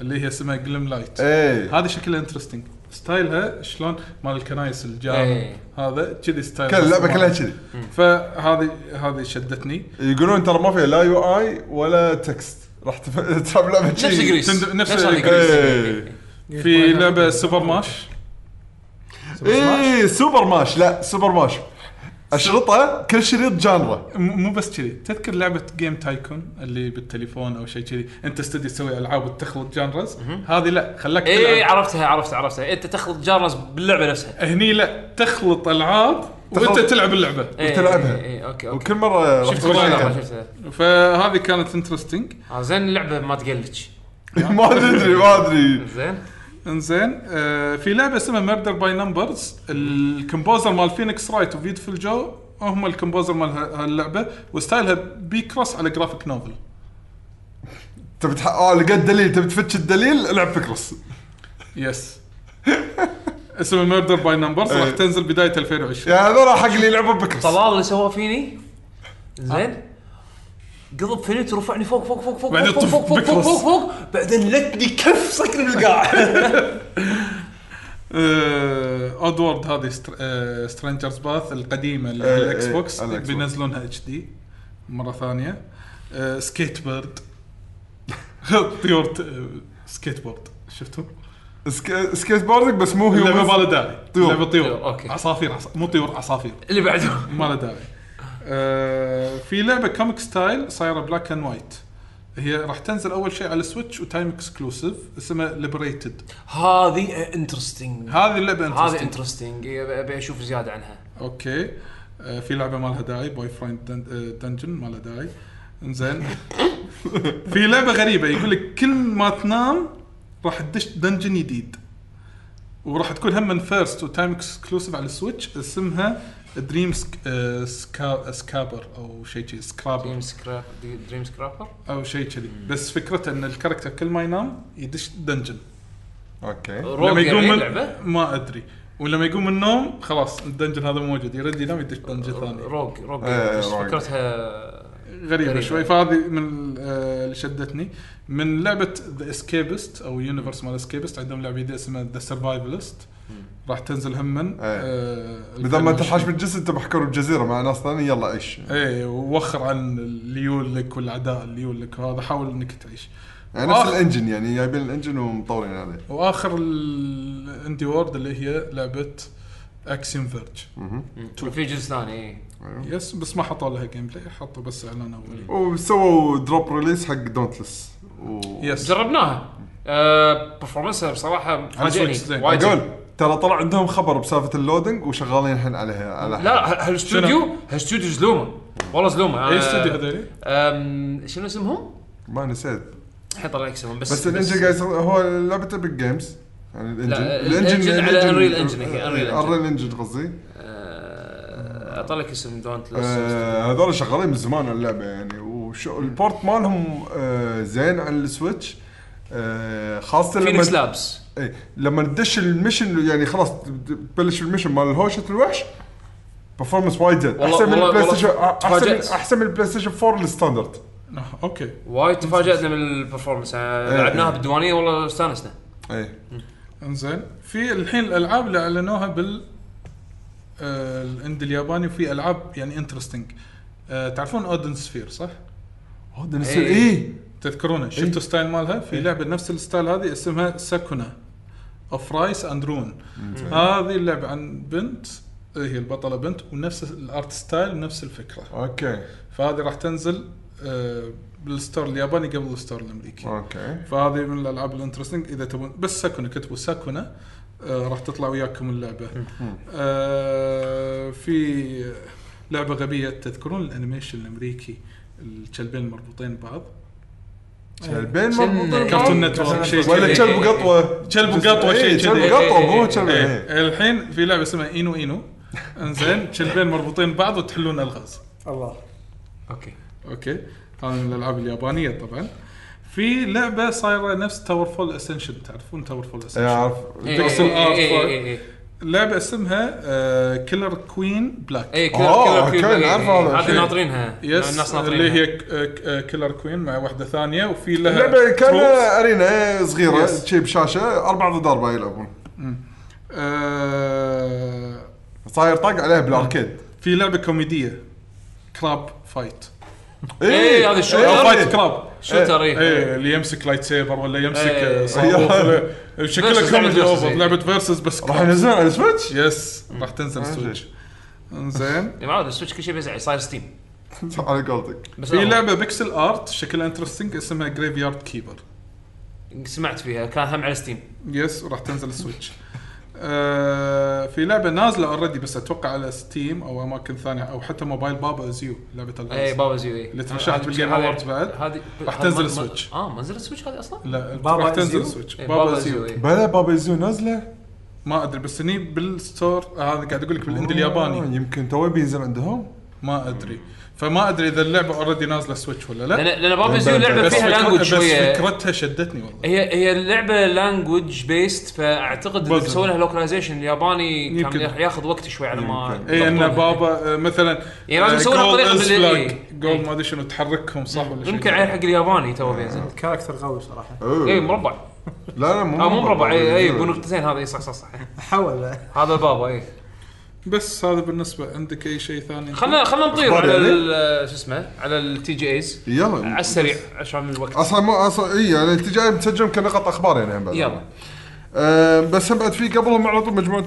[SPEAKER 2] اللي هي اسمها جليم لايت
[SPEAKER 3] اي
[SPEAKER 2] هذه شكلها انترستنج ستايلها شلون مال الكنايس الجان
[SPEAKER 1] إيه.
[SPEAKER 2] هذا كذي ستايل
[SPEAKER 3] كل اللعبة كلها كذي
[SPEAKER 2] فهذه هذه شدتني
[SPEAKER 3] يقولون ترى ما فيها لا يو اي ولا تكست راح تف- تلعب لعبة
[SPEAKER 1] نفس
[SPEAKER 3] كذي.
[SPEAKER 1] جريس
[SPEAKER 2] تند- نفس
[SPEAKER 1] هذه
[SPEAKER 2] جريس.
[SPEAKER 1] جريس.
[SPEAKER 3] إيه.
[SPEAKER 2] في لعبه سوبر ماش
[SPEAKER 3] اي إيه، سوبر ماش لا سوبر ماش الشرطة كل شريط جانرا
[SPEAKER 2] م- مو بس كذي تذكر لعبه جيم تايكون اللي بالتليفون او شيء كذي انت استدي تسوي العاب وتخلط جانرز هذه لا خلاك
[SPEAKER 1] اي
[SPEAKER 2] تلعب.
[SPEAKER 1] إيه، عرفتها عرفتها عرفتها إيه، انت تخلط جارز باللعبه نفسها
[SPEAKER 2] هني لا تخلط العاب وانت
[SPEAKER 3] تخلط.
[SPEAKER 2] تلعب اللعبه
[SPEAKER 1] إيه،
[SPEAKER 3] وتلعبها.
[SPEAKER 1] إيه، إيه، اوكي اوكي
[SPEAKER 3] وكل مرة راح
[SPEAKER 1] شفت
[SPEAKER 3] تكون شيء
[SPEAKER 1] التريلر،
[SPEAKER 3] ثاني.
[SPEAKER 1] شفت التريلر.
[SPEAKER 2] فهذه كانت انترستنج
[SPEAKER 1] آه، زين اللعبه ما تقلتش
[SPEAKER 3] ما ادري ما ادري
[SPEAKER 1] زين
[SPEAKER 2] انزين آه في لعبه اسمها ميردر باي نمبرز الكومبوزر مال فينيكس رايت وبيوتفل جو هم الكومبوزر مال ه- هاللعبه وستايلها بي كروس على جرافيك نوفل
[SPEAKER 3] تبي تح... اه لقيت دليل تبي تفتش الدليل العب فكرس
[SPEAKER 2] يس اسمه ميردر باي نمبرز راح
[SPEAKER 3] إيه.
[SPEAKER 2] تنزل بدايه 2020
[SPEAKER 3] يا يعني هذول حق اللي يلعبون فكرس
[SPEAKER 1] طلال اللي سواه فيني زين قلب فينيت رفعني فوق فوق فوق فوق
[SPEAKER 2] بعدين
[SPEAKER 1] فوق
[SPEAKER 2] طف
[SPEAKER 1] فوق فوق فوق
[SPEAKER 2] بكرس.
[SPEAKER 1] فوق فوق بعدين لتني كف صكني بالقاع
[SPEAKER 2] ادوارد آه، هذه آه، سترينجرز باث القديمه اللي
[SPEAKER 3] إيه،
[SPEAKER 2] على الاكس
[SPEAKER 3] إيه،
[SPEAKER 2] بوكس
[SPEAKER 3] على الإكس بوكس.
[SPEAKER 2] بينزلونها اتش دي مره ثانيه سكيت بيرد طيور سكيت بورد آه، شفتوا؟
[SPEAKER 3] سك... سكيت بوردك بس مو
[SPEAKER 2] اللعبه ما
[SPEAKER 3] هيومنز
[SPEAKER 2] لها داعي
[SPEAKER 3] طيور.
[SPEAKER 2] لعبه طيور
[SPEAKER 1] طيور، أوكي.
[SPEAKER 2] عصافير عص... مو طيور عصافير
[SPEAKER 1] اللي بعده
[SPEAKER 2] ما له داعي آه، في لعبه كوميك ستايل صايره بلاك اند وايت هي راح تنزل اول شيء على سويتش وتايم اكسكلوسيف اسمها ليبريتد
[SPEAKER 1] هذه آه، انترستنج
[SPEAKER 2] هذه اللعبه
[SPEAKER 1] هذه إيه، انترستنج
[SPEAKER 2] انترستنج
[SPEAKER 1] ابي اشوف زياده عنها
[SPEAKER 2] اوكي آه، في لعبه ما لها داعي بوي فريند دنجن ما لها داعي انزين في لعبه غريبه يقول لك كل ما تنام راح تدش دنجن جديد وراح تكون هم من فيرست وتايم اكسكلوسيف على السويتش اسمها دريم سك... آه، سكا... سكابر او شيء كذي سكرابر
[SPEAKER 1] دريم سكراب دريم سكرابر
[SPEAKER 2] او شيء كذي بس فكرته ان الكاركتر كل ما ينام يدش دنجن
[SPEAKER 3] اوكي
[SPEAKER 1] روج يعني
[SPEAKER 2] من...
[SPEAKER 1] لعبه
[SPEAKER 2] ما ادري ولما يقوم من النوم خلاص الدنجن هذا موجود يرد ينام يدش دنجن ثاني
[SPEAKER 1] روج روج
[SPEAKER 3] إيه،
[SPEAKER 1] بس
[SPEAKER 3] روج.
[SPEAKER 1] فكرتها
[SPEAKER 2] غريبه
[SPEAKER 1] غريبة.
[SPEAKER 2] شوي فهذه من آه، اللي شدتني من لعبه ذا اسكيبست او يونيفرس مال اسكيبست عندهم لعبه جديده اسمها ذا سرفايفلست راح تنزل هم آه،
[SPEAKER 3] إيه. بدل ما تنحاش بالجسد انت محكور بجزيره مع ناس ثانيه يلا عيش
[SPEAKER 2] ايه ووخر عن اللي يولك والاعداء اللي يولك وهذا حاول انك تعيش
[SPEAKER 3] يعني نفس
[SPEAKER 2] آخر-
[SPEAKER 3] الانجن يعني جايبين الانجن ومطورين عليه
[SPEAKER 2] واخر الاندي وورد اللي هي لعبه اكسيوم فيرج
[SPEAKER 3] مهم.
[SPEAKER 1] في جزء ثاني إيه.
[SPEAKER 2] يس بس ما حطوا لها جيم بلاي حطوا بس اعلان اولي
[SPEAKER 3] وسووا دروب ريليس حق دونتلس و...
[SPEAKER 2] يس
[SPEAKER 1] جربناها آه، برفورمانسها بصراحه
[SPEAKER 2] Switch
[SPEAKER 1] فاجئني
[SPEAKER 2] زين.
[SPEAKER 1] وايد
[SPEAKER 3] اقول ترى طلع عندهم خبر بسالفه اللودنج وشغالين الحين عليها على
[SPEAKER 1] لا هالاستوديو هالاستوديو زلومه والله زلومه
[SPEAKER 2] اي
[SPEAKER 1] أنا-
[SPEAKER 2] استوديو هذولي
[SPEAKER 1] أم، شنو اسمهم؟
[SPEAKER 3] ما نسيت
[SPEAKER 1] الحين طلع لك اسمهم بس
[SPEAKER 3] بس الانجن قاعد يصير- هو لعبه ابيك جيمز يعني الانجن
[SPEAKER 1] لا، الإنجن على Unreal Engine هي، Unreal Engine.
[SPEAKER 3] انريل انجن قصدي
[SPEAKER 1] آه، اطلع لك اسم دونت
[SPEAKER 3] آه، هذول شغالين من زمان على اللعبه يعني والبورت مالهم آه، زين على السويتش آه، خاصه
[SPEAKER 1] فينيكس
[SPEAKER 3] لما
[SPEAKER 1] لابس
[SPEAKER 3] إيه، لما تدش المشن يعني خلاص تبلش المشن مال الهوشه الوحش برفورمانس وايد زين
[SPEAKER 1] والله-
[SPEAKER 3] احسن من
[SPEAKER 1] والله-
[SPEAKER 3] البلاي
[SPEAKER 1] والله
[SPEAKER 3] ستيشن احسن من
[SPEAKER 1] تفاجأت.
[SPEAKER 3] احسن من البلاي ستيشن 4 الستاندرد
[SPEAKER 2] آه، اوكي
[SPEAKER 1] وايد تفاجئنا من البرفورمانس آه،
[SPEAKER 3] إيه.
[SPEAKER 1] لعبناها بالديوانيه والله استانسنا
[SPEAKER 3] اي
[SPEAKER 2] انزين في الحين الالعاب اللي اعلنوها بال آه، الاندي الياباني وفي العاب يعني انترستنج تعرفون اودن سفير صح؟
[SPEAKER 1] إيه.
[SPEAKER 3] اي
[SPEAKER 2] تذكرونه شفتوا ستايل مالها في لعبه نفس الستايل هذه اسمها ساكونا اوف رايس اند رون هذه اللعبه عن بنت إيه هي البطله بنت ونفس الارت ستايل ونفس الفكره
[SPEAKER 3] اوكي
[SPEAKER 2] فهذه راح تنزل آه، بالستور الياباني قبل الستور الامريكي
[SPEAKER 3] اوكي
[SPEAKER 2] فهذه من الالعاب الانترستنج اذا تبون بس ساكونا كتبوا ساكونا آه، راح تطلع وياكم اللعبه آه، في لعبه غبيه تذكرون الانيميشن الامريكي الكلبين مربوطين ببعض
[SPEAKER 3] كلبين
[SPEAKER 1] شن-
[SPEAKER 3] مربوطين
[SPEAKER 2] كارتون
[SPEAKER 3] بعض؟
[SPEAKER 2] نتورك شيء
[SPEAKER 1] نتورك.
[SPEAKER 3] ولا
[SPEAKER 2] كذي.
[SPEAKER 3] كلب قطوه
[SPEAKER 2] كلب وقطوة، شيء
[SPEAKER 3] إيه، كلب
[SPEAKER 2] كذي.
[SPEAKER 3] قطوه مو كلب
[SPEAKER 2] إيه.
[SPEAKER 3] إيه.
[SPEAKER 2] الحين في لعبه اسمها اينو اينو انزين كلبين مربوطين ببعض وتحلون الغاز
[SPEAKER 5] الله
[SPEAKER 1] اوكي
[SPEAKER 2] اوكي هذا من الالعاب اليابانيه طبعا في لعبه صايره نفس تاور فول اسنشن تعرفون تاور فول
[SPEAKER 3] إيه،
[SPEAKER 2] اسنشن
[SPEAKER 3] اعرف
[SPEAKER 2] Pixel art file.
[SPEAKER 1] اي
[SPEAKER 2] لعبه اسمها آه، كيلر كوين بلاك
[SPEAKER 1] اي
[SPEAKER 3] آه، أوكي، نعرف هذا
[SPEAKER 1] هذه
[SPEAKER 3] الشيء.
[SPEAKER 1] ناطرينها
[SPEAKER 2] يس
[SPEAKER 1] الناس
[SPEAKER 2] اللي
[SPEAKER 1] ناطرينها
[SPEAKER 2] هي آه، كيلر كوين مع واحده ثانيه وفي لها
[SPEAKER 3] اللعبه كان
[SPEAKER 2] troops.
[SPEAKER 3] ارينا صغيره
[SPEAKER 2] Yes.
[SPEAKER 3] شي بشاشه اربعه ضد اربعه يلعبون
[SPEAKER 2] آه،
[SPEAKER 3] صاير طق عليها بالاركيد
[SPEAKER 2] في لعبه كوميديه كراب فايت
[SPEAKER 1] إيه، هذا الشوتر.
[SPEAKER 2] او
[SPEAKER 1] إيه.
[SPEAKER 2] فايت كراب
[SPEAKER 1] شوتر
[SPEAKER 2] ايه
[SPEAKER 1] اي
[SPEAKER 2] اللي يمسك لايت سيبر ولا يمسك
[SPEAKER 1] إيه.
[SPEAKER 2] آه، صاروخ ولا- شكلها
[SPEAKER 1] Versus،
[SPEAKER 2] كوميدي
[SPEAKER 1] لعبة versus،
[SPEAKER 2] اوفر
[SPEAKER 1] إيه.
[SPEAKER 2] لعبه فيرسز بس
[SPEAKER 3] راح
[SPEAKER 2] كراب
[SPEAKER 3] ينزلون على السويتش
[SPEAKER 2] يس راح تنزل سويتش انزين
[SPEAKER 1] يا معود السويتش كل شيء بيزعج صاير ستيم
[SPEAKER 3] على قولتك
[SPEAKER 1] بس
[SPEAKER 2] في
[SPEAKER 1] أنا
[SPEAKER 2] لعبه بيكسل ارت شكلها انترستنج اسمها جريف يارد كيبر
[SPEAKER 1] سمعت فيها كان هم على ستيم
[SPEAKER 2] يس راح تنزل سويتش آه في لعبه نازله اوريدي بس اتوقع على ستيم او اماكن ثانيه او حتى موبايل بابا زيو لعبه
[SPEAKER 1] اي
[SPEAKER 2] الغاز
[SPEAKER 1] بابا زيو اي
[SPEAKER 2] اللي ترشحت بالجيم اووردز بعد
[SPEAKER 1] هذه
[SPEAKER 2] راح
[SPEAKER 1] هذه
[SPEAKER 2] تنزل
[SPEAKER 1] ما- ما-
[SPEAKER 2] Switch.
[SPEAKER 1] اه ما نزلت سويتش هذه اصلا؟
[SPEAKER 2] لا
[SPEAKER 4] بابا
[SPEAKER 2] راح تنزل
[SPEAKER 4] زيو؟
[SPEAKER 2] سويتش
[SPEAKER 1] إيه،
[SPEAKER 2] بابا زيو
[SPEAKER 1] إيه.
[SPEAKER 3] بلا بابا زو نازله
[SPEAKER 2] ما ادري بس هني بالستور آه، هذا قاعد اقول لك بالاندي الياباني
[SPEAKER 3] آه، يمكن تو بينزل عندهم
[SPEAKER 2] ما ادري فما ادري اذا اللعبه اوريدي نازله سويتش ولا لا
[SPEAKER 1] لان لان بابا زيو لعبه
[SPEAKER 2] بس,
[SPEAKER 1] فيها
[SPEAKER 2] فكرة
[SPEAKER 1] لانجوج
[SPEAKER 2] بس
[SPEAKER 1] شويه
[SPEAKER 2] فكرتها شدتني والله
[SPEAKER 1] هي هي اللعبه لانجوج بيست فاعتقد اذا
[SPEAKER 2] بالضبط.
[SPEAKER 1] بيسوي لها لوكلايزيشن ياباني كان
[SPEAKER 2] يمكن.
[SPEAKER 1] راح ياخذ وقت شوي على ما
[SPEAKER 3] يمكن.
[SPEAKER 2] اي ان
[SPEAKER 1] يضبطونها.
[SPEAKER 2] بابا آه، مثلا
[SPEAKER 1] يعني لازم يسوونها بطريقة بال- إيه.
[SPEAKER 2] جول ما ادري شنو تحركهم صح ولا شيء
[SPEAKER 1] يمكن عليه حق الياباني تو
[SPEAKER 3] إيه،
[SPEAKER 1] بينزل
[SPEAKER 5] الكاركتر قوي صراحه
[SPEAKER 1] اي
[SPEAKER 2] إيه،
[SPEAKER 3] اي
[SPEAKER 1] إيه، مربع
[SPEAKER 3] لا لا مو
[SPEAKER 2] آه،
[SPEAKER 1] اه مو مربع اي اي
[SPEAKER 3] بابا زيو.
[SPEAKER 1] بنقطتين هذا اي صح صح صح
[SPEAKER 5] حول
[SPEAKER 1] هذا بابا إيه. اي
[SPEAKER 2] بس هذا بالنسبه عندك اي شيء ثاني
[SPEAKER 1] خلنا خلنا نطير
[SPEAKER 3] أخبار
[SPEAKER 1] على
[SPEAKER 3] يعني؟
[SPEAKER 1] ال- آه، شو اسمه على التي جي ايز على
[SPEAKER 3] يلا
[SPEAKER 1] السريع عشان الوقت
[SPEAKER 3] اصلا مو اصلا اي يعني انت جاي مسجلهم كنقط اخبار يعني هم بعد
[SPEAKER 1] يلا
[SPEAKER 3] آه، بس هم بعد في قبلهم على طول مجموعه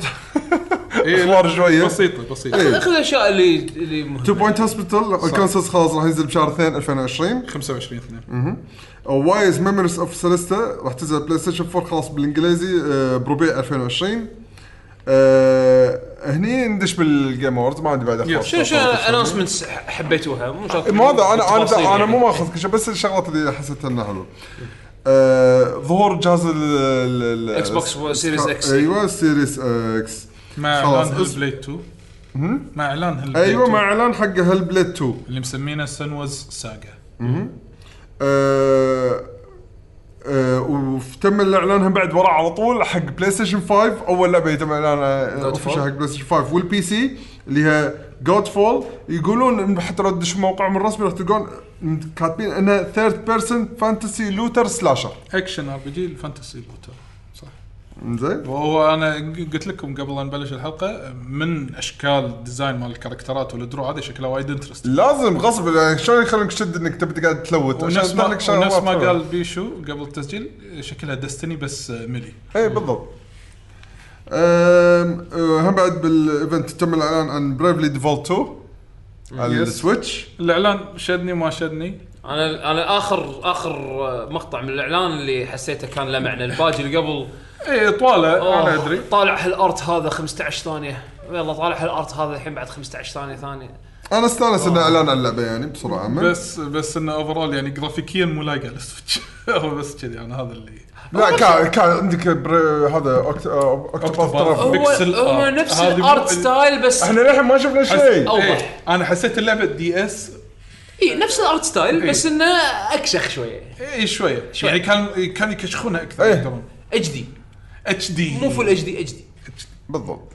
[SPEAKER 2] إيه،
[SPEAKER 3] اخبار شويه
[SPEAKER 2] بسيطه بسيطه
[SPEAKER 3] إيه.
[SPEAKER 1] خذ الاشياء اللي اللي
[SPEAKER 3] تو
[SPEAKER 1] مهمة.
[SPEAKER 3] بوينت هوسبيتال الكونسس خلاص راح ينزل بشهر 2 2020
[SPEAKER 2] 25 2
[SPEAKER 3] وايز ميموريز اوف سيليستا راح تنزل بلاي ستيشن 4 خلاص بالانجليزي آه، بربيع 2020 آه، هني ندش بالجيم اورد ما عندي بعد اخبار
[SPEAKER 1] شو شو اناونسمنتس حبيتوها مو شرط
[SPEAKER 3] مو إيه، هذا انا انا
[SPEAKER 1] بالتفاصيل
[SPEAKER 3] انا
[SPEAKER 1] يعني.
[SPEAKER 3] مو ماخذ كل شيء بس الشغلات اللي حسيت انها حلوه آه، ظهور جهاز ال أيوة،
[SPEAKER 1] Xbox Series X.
[SPEAKER 3] إيه. ايوه سيريس اكس
[SPEAKER 2] مع
[SPEAKER 3] خلاص،
[SPEAKER 2] خلاص بليد 2
[SPEAKER 3] مهم.
[SPEAKER 2] مع اعلان هل
[SPEAKER 3] ايوه مع اعلان حق هل بليد 2
[SPEAKER 2] اللي مسمينه سنوز ساجا
[SPEAKER 3] آه، آه، وتم الاعلان هم بعد وراه على طول حق بلاي ستيشن 5 اول لعبه يتم اعلانها
[SPEAKER 7] God
[SPEAKER 3] اوفشل
[SPEAKER 7] Fall.
[SPEAKER 3] حق بلاي ستيشن 5 والبي سي اللي هي جود فول يقولون إن حتى لو تدش موقعهم الرسمي راح تلقون كاتبين انها ثيرد بيرسون فانتسي لوتر سلاشر
[SPEAKER 2] اكشن ار بي جي الفانتسي لوتر صح
[SPEAKER 3] زين
[SPEAKER 2] وهو انا قلت لكم قبل لا نبلش الحلقه من اشكال الديزاين مال الكاركترات والدرو هذا شكله وايد انترست
[SPEAKER 3] لازم غصب يعني شلون يخلونك تشد انك تبي قاعد تلوت عشان
[SPEAKER 2] ونفس ما,
[SPEAKER 3] يطلع لك شغلات
[SPEAKER 2] ونفس ما
[SPEAKER 3] حلوة.
[SPEAKER 2] قال بيشو قبل التسجيل شكلها دستني بس ملي
[SPEAKER 3] اي إيه، بالضبط أم، أه، هم بعد بالايفنت تم الاعلان عن بريفلي ديفولت 2 على
[SPEAKER 2] Yes.
[SPEAKER 3] السويتش
[SPEAKER 2] الاعلان شدني ما شدني
[SPEAKER 1] انا انا اخر اخر آه، مقطع من الاعلان اللي حسيته كان له معنى الباجي اللي قبل
[SPEAKER 2] اي طواله
[SPEAKER 1] أوه،
[SPEAKER 2] انا ادري
[SPEAKER 1] طالع هالارت هذا 15 ثانيه يلا طالع هالارت هذا الحين بعد 15 ثانيه ثانيه
[SPEAKER 3] انا استانس انه اعلان عن اللعبه يعني بصوره عامه بس
[SPEAKER 2] بس بس انه اوفرول يعني جرافيكيا مو لايقه على السويتش هو بس كذي انا هذا اللي
[SPEAKER 3] لا كان كان عندك بر... هذا آه، أكت... اوكتوباث
[SPEAKER 2] أوكتوباث.
[SPEAKER 3] ترافل
[SPEAKER 1] هو,
[SPEAKER 2] بيكسل
[SPEAKER 1] هو
[SPEAKER 2] آرت.
[SPEAKER 1] نفس
[SPEAKER 2] هذه مو-
[SPEAKER 1] الارت ستايل بس
[SPEAKER 3] احنا للحين ما شفنا شيء
[SPEAKER 1] أو- أوضح.
[SPEAKER 2] إيه، انا حسيت اللعبه دي اس
[SPEAKER 1] اي نفس الارت ستايل
[SPEAKER 2] إيه.
[SPEAKER 1] بس انه اكشخ شويه
[SPEAKER 2] اي شويه
[SPEAKER 1] شوية.
[SPEAKER 2] يعني كان كان يكشخونها اكثر
[SPEAKER 3] إيه.
[SPEAKER 2] يقدرون
[SPEAKER 1] اتش دي
[SPEAKER 2] اتش دي
[SPEAKER 1] مو فول اتش دي اتش دي
[SPEAKER 3] بالضبط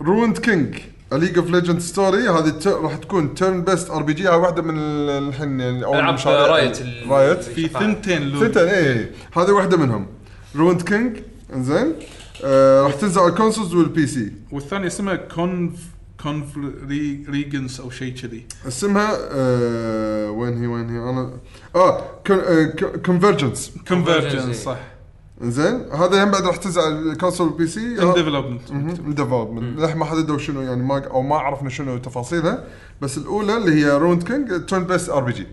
[SPEAKER 3] روند كينج ليج اوف ليجند ستوري هذه الت- راح تكون تيرن بيست ار بي جي واحده من ال- الحين يعني اول
[SPEAKER 1] ألعاب
[SPEAKER 3] مشاريع
[SPEAKER 1] رايت ال-
[SPEAKER 3] رايت
[SPEAKER 2] في ثنتين لون
[SPEAKER 3] ستة اي هذه واحده منهم روند كينج انزين آه، راح تنزل على الكونسولز والبي سي
[SPEAKER 2] والثاني اسمه كونف كونف ري- ريجنس او شيء كذي
[SPEAKER 3] اسمها آه وين هي وين هي انا اه كونفرجنس
[SPEAKER 2] كونفرجنس صح
[SPEAKER 3] انزين هذا هم بعد راح تنزل على الكونسول والبي سي
[SPEAKER 2] ان ديفلوبمنت
[SPEAKER 3] ديفلوبمنت للحين ما حددوا شنو يعني ما او ما عرفنا شنو تفاصيلها بس الاولى اللي هي روند كينج تون بيست ار بي جي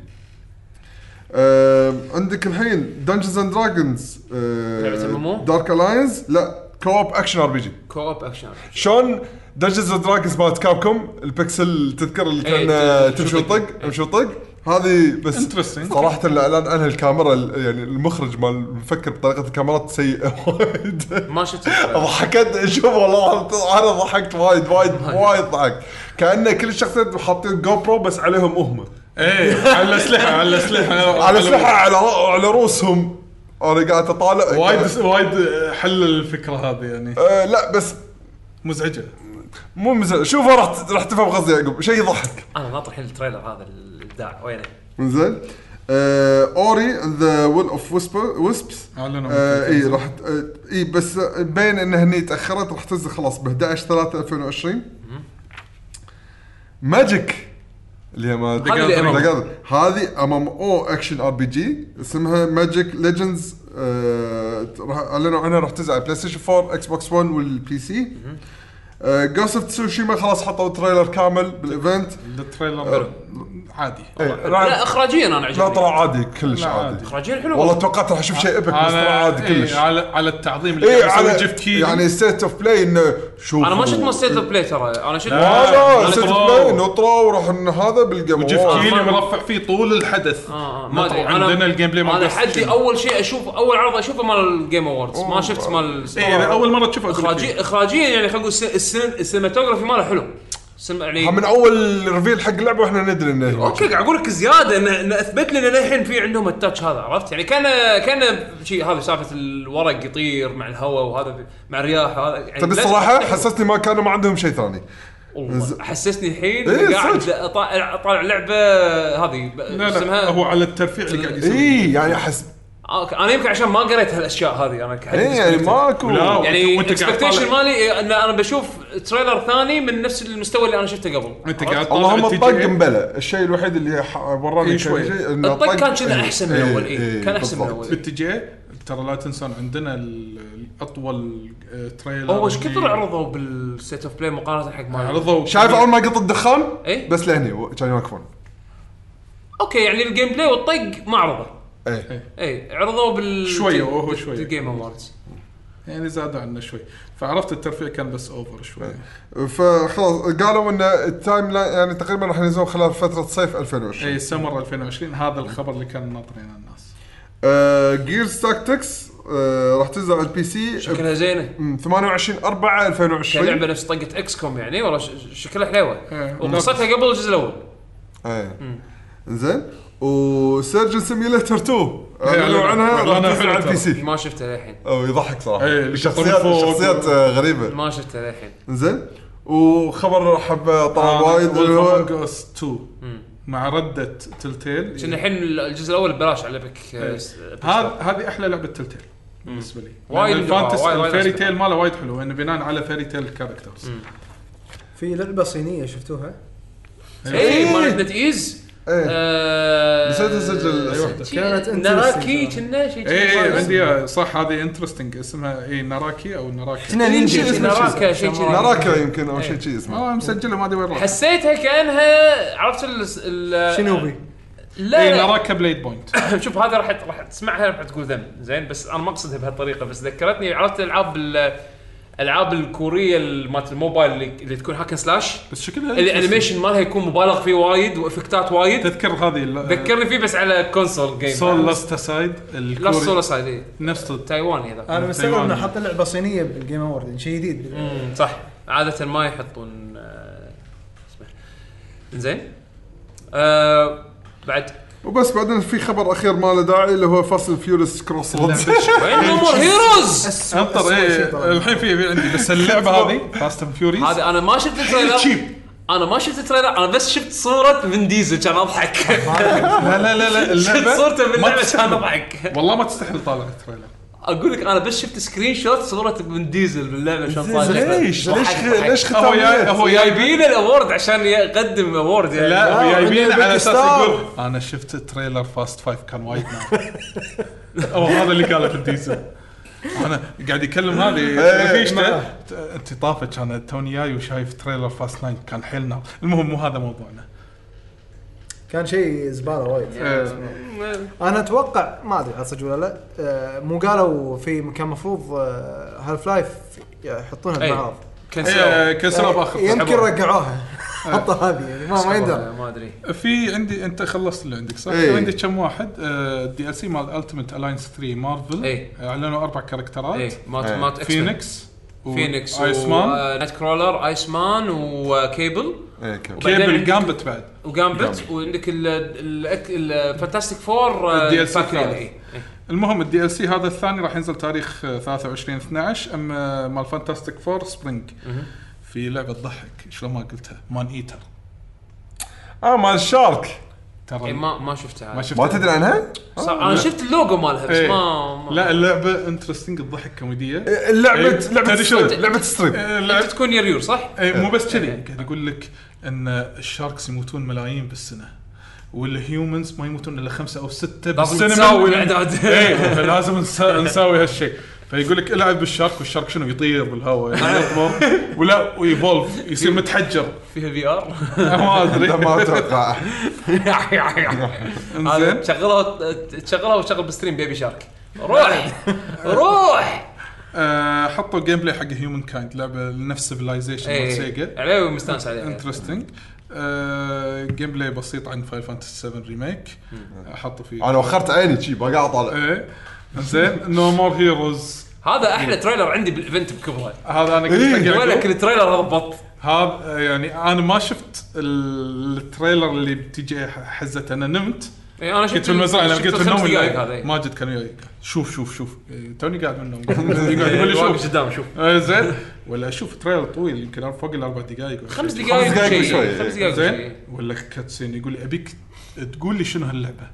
[SPEAKER 3] آه، عندك الحين دنجنز اند دراجونز
[SPEAKER 1] لعبة MMO؟
[SPEAKER 3] دارك الاينز آه، لا كوب اكشن ار بي جي
[SPEAKER 1] كوب اكشن
[SPEAKER 3] شلون دنجنز اند دراجونز مالت كابكوم البكسل تذكر اللي
[SPEAKER 1] إيه،
[SPEAKER 3] كان
[SPEAKER 1] تمشي
[SPEAKER 3] تمشي
[SPEAKER 1] وطق.
[SPEAKER 3] وطق تمشي وطق هذه بس
[SPEAKER 2] Interesting.
[SPEAKER 3] صراحه الاعلان عنها الكاميرا ال- يعني المخرج مال مفكر بطريقه الكاميرات سيئه وايد
[SPEAKER 1] ما شفت
[SPEAKER 3] ضحكت شوف والله انا ضحكت وايد وايد وايد ضحكت كانه كل الشخصيات حاطين جو برو بس عليهم هم
[SPEAKER 2] ايه على الاسلحه على الاسلحه
[SPEAKER 3] على اسلحه على رأ- على رؤوسهم انا قاعد اطالع
[SPEAKER 2] وايد وايد حل الفكره هذه يعني
[SPEAKER 3] آه لا بس
[SPEAKER 2] مزعجه
[SPEAKER 3] مو مزعج شوف راح ت- راح تفهم قصدي يعقوب شيء يضحك
[SPEAKER 1] انا ناطر الحين التريلر هذا الابداع وينه
[SPEAKER 3] زين اوري ذا ويل اوف ويسبس
[SPEAKER 2] اعلنوا
[SPEAKER 3] آه اي راح ت- آه، اي بس بين ان هني تاخرت راح تنزل خلاص ب 11 3 2020 ماجيك اللي هي مال
[SPEAKER 1] هذه اللي أمام.
[SPEAKER 3] دقاطر. هذه أمم ام ام او اكشن ار بي جي اسمها ماجيك ليجندز راح اعلنوا عنها راح تنزل على بلاي ستيشن 4 اكس بوكس 1 والبي سي جوست اوف تسوشيما خلاص حطوا تريلر كامل بالايفنت
[SPEAKER 2] التريلر عادي
[SPEAKER 3] أه. إيه،
[SPEAKER 1] لا
[SPEAKER 3] راح-
[SPEAKER 1] اخراجيا انا
[SPEAKER 3] لا
[SPEAKER 1] عجبني
[SPEAKER 3] طلع عادي كلش
[SPEAKER 2] لا،
[SPEAKER 3] عادي
[SPEAKER 2] عادي.
[SPEAKER 1] اخراجيا حلو
[SPEAKER 3] والله توقعت راح اشوف شيء ايبك بس طلع عادي
[SPEAKER 2] إيه،
[SPEAKER 3] كلش
[SPEAKER 2] على على التعظيم اللي
[SPEAKER 3] اي
[SPEAKER 2] قاعد
[SPEAKER 3] على
[SPEAKER 2] يسوي جيف كي
[SPEAKER 3] يعني ستيت اوف بلاي انه شوف
[SPEAKER 1] انا ما شفت ما ستيت اوف بلاي ترى انا شفت
[SPEAKER 3] لا
[SPEAKER 2] آه،
[SPEAKER 3] لا ستيت اوف
[SPEAKER 2] نطروا.
[SPEAKER 3] بلاي نطروا وراح إن هذا بالجيم
[SPEAKER 2] وجيف
[SPEAKER 3] أوورد.
[SPEAKER 2] كيلي مرفع فيه طول الحدث
[SPEAKER 1] آه، آه، ما
[SPEAKER 2] نطروا
[SPEAKER 1] ادري
[SPEAKER 2] عندنا الجيم بلاي مال
[SPEAKER 1] انا
[SPEAKER 2] بلاي
[SPEAKER 1] حدي
[SPEAKER 2] ستيشن.
[SPEAKER 1] اول شيء اشوف اول عرض اشوفه مال الجيم اووردز ما
[SPEAKER 3] أوه.
[SPEAKER 1] شفت مال
[SPEAKER 2] اي اذا اول مره تشوفه أقول لك إيه.
[SPEAKER 1] اخراجيا اخراجيا يعني خلينا نقول السين- السين- السينماتوجرافي ماله حلو السينما- يعني
[SPEAKER 3] ها من اول ريفيل حق اللعبه واحنا ندري انه
[SPEAKER 1] اوكي قاعد اقول لك زياده ان, إن اثبت لنا للحين في عندهم التاتش هذا عرفت يعني كان كان شيء هذا سالفه الورق يطير مع الهواء وهذا مع الرياح هذا يعني
[SPEAKER 3] تبي
[SPEAKER 1] لازم
[SPEAKER 3] الصراحه
[SPEAKER 1] أفتح-
[SPEAKER 3] طيب، حسستني ما كانوا ما عندهم شيء ثاني ز-
[SPEAKER 1] والله حسسني الحين
[SPEAKER 3] إيه،
[SPEAKER 1] قاعد
[SPEAKER 3] صدق.
[SPEAKER 1] أطالع- اطالع لعبه هذه ب-
[SPEAKER 2] لا لا
[SPEAKER 1] اسمها
[SPEAKER 2] هو على الترفيع اللي قاعد يسويه
[SPEAKER 3] اي يعني احس
[SPEAKER 1] آه، اوكي انا يمكن عشان ما قريت هالاشياء هذه انا كحد
[SPEAKER 3] اي يعني ماكو
[SPEAKER 2] لا، وأنت-
[SPEAKER 1] يعني
[SPEAKER 2] وأنت قاعد
[SPEAKER 1] الاكسبكتيشن
[SPEAKER 2] طالع.
[SPEAKER 1] مالي إيه، ان انا بشوف تريلر ثاني من نفس المستوى اللي انا شفته قبل
[SPEAKER 2] انت قاعد طالع
[SPEAKER 3] اللهم
[SPEAKER 2] ال
[SPEAKER 3] الطق
[SPEAKER 2] TGA.
[SPEAKER 3] مبلى الشيء الوحيد اللي ح- وراني
[SPEAKER 2] إي
[SPEAKER 3] كان
[SPEAKER 2] شوي.
[SPEAKER 3] شيء إنه
[SPEAKER 1] إيه، الطق كان كذا
[SPEAKER 3] إي،
[SPEAKER 1] احسن من الاول اي كان احسن من
[SPEAKER 3] بالضبط.
[SPEAKER 1] الاول
[SPEAKER 2] باتجاه ترى لا تنسون عندنا ال- الاطول آه، تريلر
[SPEAKER 1] هو ايش
[SPEAKER 2] اللي
[SPEAKER 1] كثر عرضوا بالسيت اوف بلاي مقارنه حق ماريو
[SPEAKER 2] عرضوا
[SPEAKER 3] شايف اول ما قط الدخان
[SPEAKER 1] إي.
[SPEAKER 3] بس لهني و- كانوا يوقفون
[SPEAKER 1] اوكي يعني الجيم بلاي والطق ما عرضه
[SPEAKER 3] اي
[SPEAKER 1] اي عرضوا بال
[SPEAKER 2] شوية، وهو شوية.
[SPEAKER 1] الجيم اووردز
[SPEAKER 2] يعني زادوا عنا شوي فعرفت الترفيه كان بس اوفر شوي
[SPEAKER 3] فخلاص قالوا ان التايم لاين يعني تقريبا راح ينزلون خلال فتره صيف 2020
[SPEAKER 2] إيه، اي سمر 2020 هذا الخبر اللي كان ناطرينه الناس
[SPEAKER 3] جيرز تاكتكس آه، راح تنزل على البي سي
[SPEAKER 1] شكلها زينه
[SPEAKER 3] م، 28 4
[SPEAKER 1] كلعبه
[SPEAKER 3] 2020
[SPEAKER 1] نفس طقه اكس كوم يعني والله ش- شكلها حلوه
[SPEAKER 2] إيه.
[SPEAKER 1] وقصتها قبل الجزء الاول
[SPEAKER 3] ايه زين وسيرجن سيميليتر 2 اعلنوا
[SPEAKER 2] إعلانها.
[SPEAKER 3] عنها راح
[SPEAKER 2] إعلانها
[SPEAKER 3] تنزل على
[SPEAKER 2] حلو
[SPEAKER 3] البي سي
[SPEAKER 1] ما شفتها للحين
[SPEAKER 3] او يضحك صراحه
[SPEAKER 2] إيه،
[SPEAKER 3] الشخصيات
[SPEAKER 2] يشطون فوق.
[SPEAKER 3] الشخصيات آه، غريبه
[SPEAKER 1] ما شفتها للحين
[SPEAKER 3] زين وخبر حبه طلع
[SPEAKER 2] آه،
[SPEAKER 3] وايد اللي
[SPEAKER 2] Wolf
[SPEAKER 3] هو
[SPEAKER 2] Among Us 2 مع ردة تلتيل
[SPEAKER 1] كنا الحين الجزء الاول ببلاش على بك آه، س-
[SPEAKER 2] إيه. هذا هذه احلى لعبه تلتيل بالنسبه لي يعني
[SPEAKER 1] وايد
[SPEAKER 2] وايد الفانتس
[SPEAKER 1] وايد- وايد
[SPEAKER 2] الفيري
[SPEAKER 1] أسمع.
[SPEAKER 2] تيل ماله وايد حلو انه بناء على فيري تيل كاركترز
[SPEAKER 4] في لعبه صينيه شفتوها
[SPEAKER 2] إيه.
[SPEAKER 1] اي مالت نت ايز
[SPEAKER 3] ايه
[SPEAKER 1] آه،
[SPEAKER 3] نسيت أسجل
[SPEAKER 2] أي واحدة.
[SPEAKER 1] شي-
[SPEAKER 4] كانت
[SPEAKER 1] ناراكي
[SPEAKER 4] interesting.
[SPEAKER 1] كنا شيء
[SPEAKER 2] اي اي إيه، عندي إياه، صح هذه انترستنج اسمها إيه، اي ناراكي او ناراكي
[SPEAKER 8] كنا
[SPEAKER 1] شي-
[SPEAKER 8] نينجا
[SPEAKER 1] ناراكا شيء كذي
[SPEAKER 3] نراكا يمكن او شيء
[SPEAKER 1] إيه.
[SPEAKER 3] شيء اسمه
[SPEAKER 2] والله مسجله آه، ما ادري وين راح
[SPEAKER 1] حسيتها كانها عرفت ال- ال
[SPEAKER 8] شنوبي
[SPEAKER 1] لا
[SPEAKER 2] اي
[SPEAKER 1] لا
[SPEAKER 2] ناراكا بليد بوينت
[SPEAKER 1] شوف هذا إيه، راح راح تسمعها راح تقول ذم زين بس انا ما اقصدها بهالطريقه بس ذكرتني عرفت العاب ال- الالعاب الكوريه ال- مالت الموبايل اللي, اللي تكون هاكن سلاش
[SPEAKER 2] بس شكلها
[SPEAKER 1] الانيميشن مالها يكون مبالغ فيه وايد وافكتات وايد
[SPEAKER 2] تذكر هذه
[SPEAKER 1] ذكرني فيه بس على كونسول جيم
[SPEAKER 2] سول لاست اسايد
[SPEAKER 1] لا سول سايد
[SPEAKER 2] نفس الت-
[SPEAKER 1] تايواني هذا
[SPEAKER 4] انا مستغرب انه
[SPEAKER 2] تايواني.
[SPEAKER 4] حط لعبه صينيه بالجيم اوورد يعني شيء جديد
[SPEAKER 1] امم صح عاده ما يحطون آه، اسمه. زين آه بعد
[SPEAKER 3] وبس بعدين في خبر اخير ما له داعي اللي هو فاصل فيورس كروس رودز
[SPEAKER 1] وين نمر هيروز
[SPEAKER 4] أسوأ-
[SPEAKER 2] انطر
[SPEAKER 4] أسوأ شيء
[SPEAKER 2] ايه
[SPEAKER 4] طبعاً.
[SPEAKER 2] الحين في في عندي بس اللعبه هذه فاست اند فيوريز
[SPEAKER 1] هذا انا ما شفت التريلر
[SPEAKER 2] cheap.
[SPEAKER 1] انا ما شفت التريلر انا بس شفت صوره فين ديزل كان اضحك
[SPEAKER 2] لا لا لا لا
[SPEAKER 1] شفت
[SPEAKER 2] اللعبه
[SPEAKER 1] صورته
[SPEAKER 2] ما
[SPEAKER 1] باللعبه
[SPEAKER 2] تستحمل.
[SPEAKER 1] كان اضحك
[SPEAKER 2] والله ما تستحمل طالع التريلر
[SPEAKER 1] اقول لك انا بس شفت سكرين شوت صوره فين ديزل باللعبه شلون طالع
[SPEAKER 3] ليش ليش ليش
[SPEAKER 2] هو جاي
[SPEAKER 3] ختام
[SPEAKER 2] هو جاي
[SPEAKER 1] جايبين الاورد عشان يقدم اوورد يعني
[SPEAKER 2] لا هو جايبين
[SPEAKER 8] عندنا
[SPEAKER 2] على اساس
[SPEAKER 8] باكستان.
[SPEAKER 2] يقول انا شفت تريلر فاست فايف كان وايد نار او هذا اللي قاله في الديزل انا قاعد يكلم هذه
[SPEAKER 4] إيه،
[SPEAKER 2] رفيجته ت- انت طافت انا توني جاي وشايف تريلر فاست 9 كان حيل نار المهم مو هذا موضوعنا
[SPEAKER 4] كان شيء زباله وايد انا اتوقع ما ادري عاد صدق ولا لا آه، مو قالوا في كان المفروض هالف لايف يحطونها
[SPEAKER 1] أي.
[SPEAKER 4] ببعض آه،
[SPEAKER 1] كنسلوا
[SPEAKER 2] كسرها باخر
[SPEAKER 4] إيه، يمكن رقعوها
[SPEAKER 1] إيه.
[SPEAKER 4] حطوا هذه يعني ما ما يندرى
[SPEAKER 1] ما ادري
[SPEAKER 2] في عندي انت خلصت اللي عندك صح؟
[SPEAKER 3] إيه.
[SPEAKER 2] عندي كم واحد آه، الدي ال سي مال التيمت الاينس 3 مارفل
[SPEAKER 1] إيه.
[SPEAKER 2] اعلنوا اربع آه، كاركترات
[SPEAKER 1] اي مات
[SPEAKER 3] إيه.
[SPEAKER 1] مات X-Men. آه،
[SPEAKER 2] فينيكس و
[SPEAKER 1] فينيكس
[SPEAKER 2] ايس مان
[SPEAKER 1] ونت كرولر ايس مان آه، وكيبل
[SPEAKER 3] إيه،
[SPEAKER 1] وبعدين
[SPEAKER 2] كيبل
[SPEAKER 1] عندك-
[SPEAKER 2] جامبت بعد
[SPEAKER 1] وجامبت وعندك الفانتاستيك فور آه،
[SPEAKER 2] ال DLC
[SPEAKER 1] الباك
[SPEAKER 2] كلها.
[SPEAKER 1] يعني. إيه.
[SPEAKER 2] المهم الدي ال سي هذا الثاني راح ينزل تاريخ آه، 23 12 اما مال فانتاستيك فور سبرينج في لعبه تضحك شلون ما قلتها مان ايتر
[SPEAKER 3] اه مال شارك
[SPEAKER 2] ترى
[SPEAKER 1] إيه، ما ما شفتها
[SPEAKER 2] ما
[SPEAKER 1] هذه.
[SPEAKER 3] ما
[SPEAKER 2] شفت آه،
[SPEAKER 3] تدري عنها؟
[SPEAKER 1] صح، انا شفت اللوجو مالها بس
[SPEAKER 2] إيه.
[SPEAKER 1] ما ما-
[SPEAKER 2] لا اللعبه انترستنج تضحك كوميديه
[SPEAKER 3] لعبه
[SPEAKER 2] إيه.
[SPEAKER 3] لعبه
[SPEAKER 2] تدري شو؟
[SPEAKER 3] ستريم لعبه ستريم
[SPEAKER 2] آه،
[SPEAKER 1] انت
[SPEAKER 2] اللعب
[SPEAKER 1] تكون يريور صح؟
[SPEAKER 2] إيه، مو بس كذي قاعد اقول لك ان الشاركس يموتون ملايين بالسنه والهيومنز ما يموتون الا خمسه او سته بالسنه
[SPEAKER 1] تساوي
[SPEAKER 2] من-
[SPEAKER 1] الأعداد.
[SPEAKER 2] ايه فلازم نسا- نساوي هالشيء فيقول لك العب بالشارك والشارك شنو يطير بالهواء يعني يكبر ولا ويفولف يصير متحجر
[SPEAKER 1] فيها في ار
[SPEAKER 2] ما ادري
[SPEAKER 3] لا ما اتوقع
[SPEAKER 2] انزين
[SPEAKER 1] تشغلها تشغلها وتشغل بستريم بيبي شارك روح روح
[SPEAKER 2] آه، حطوا جيم بلاي حق هيومن كايند لعبه نفس سيفلايزيشن مال
[SPEAKER 1] ايه
[SPEAKER 2] سيجا
[SPEAKER 1] عليه مستانس عليه
[SPEAKER 2] انترستنج جيم بلاي آه، بسيط عن فاير فانتسي 7 ريميك حطوا فيه
[SPEAKER 3] انا وخرت عيني شي بقى قاعد اطالع
[SPEAKER 2] ايه زين نو مور هيروز
[SPEAKER 1] هذا احلى تريلر عندي بالايفنت بكبره
[SPEAKER 2] هذا انا
[SPEAKER 3] إيه.
[SPEAKER 2] قلت حق
[SPEAKER 1] ولك
[SPEAKER 2] يعقوب.
[SPEAKER 1] التريلر هبط
[SPEAKER 2] هذا يعني انا ما شفت ال- التريلر اللي بتجي حزت انا نمت
[SPEAKER 1] إيه، انا شفت
[SPEAKER 2] كنت في المزرعه لما
[SPEAKER 1] شفت
[SPEAKER 2] كنت في
[SPEAKER 1] الخمس
[SPEAKER 2] النوم
[SPEAKER 1] دقايق
[SPEAKER 2] اللي-
[SPEAKER 1] هذا إيه.
[SPEAKER 2] ماجد كان وياي شوف شوف شوف إيه، توني قاعد من النوم يقعد
[SPEAKER 1] إيه،
[SPEAKER 2] يقول لي
[SPEAKER 1] واقف
[SPEAKER 2] شوف
[SPEAKER 1] قدام شوف
[SPEAKER 2] آه، زين ولا اشوف تريلر طويل يمكن فوق الاربع دقائق ولا
[SPEAKER 1] خمس
[SPEAKER 2] شيء.
[SPEAKER 1] دقائق
[SPEAKER 3] خمس دقايق وشوي.
[SPEAKER 1] وشيء خمس دقائق
[SPEAKER 2] زين
[SPEAKER 1] وشيء
[SPEAKER 2] ولا كاتسين يقول لي ابيك تقول لي شنو هاللعبه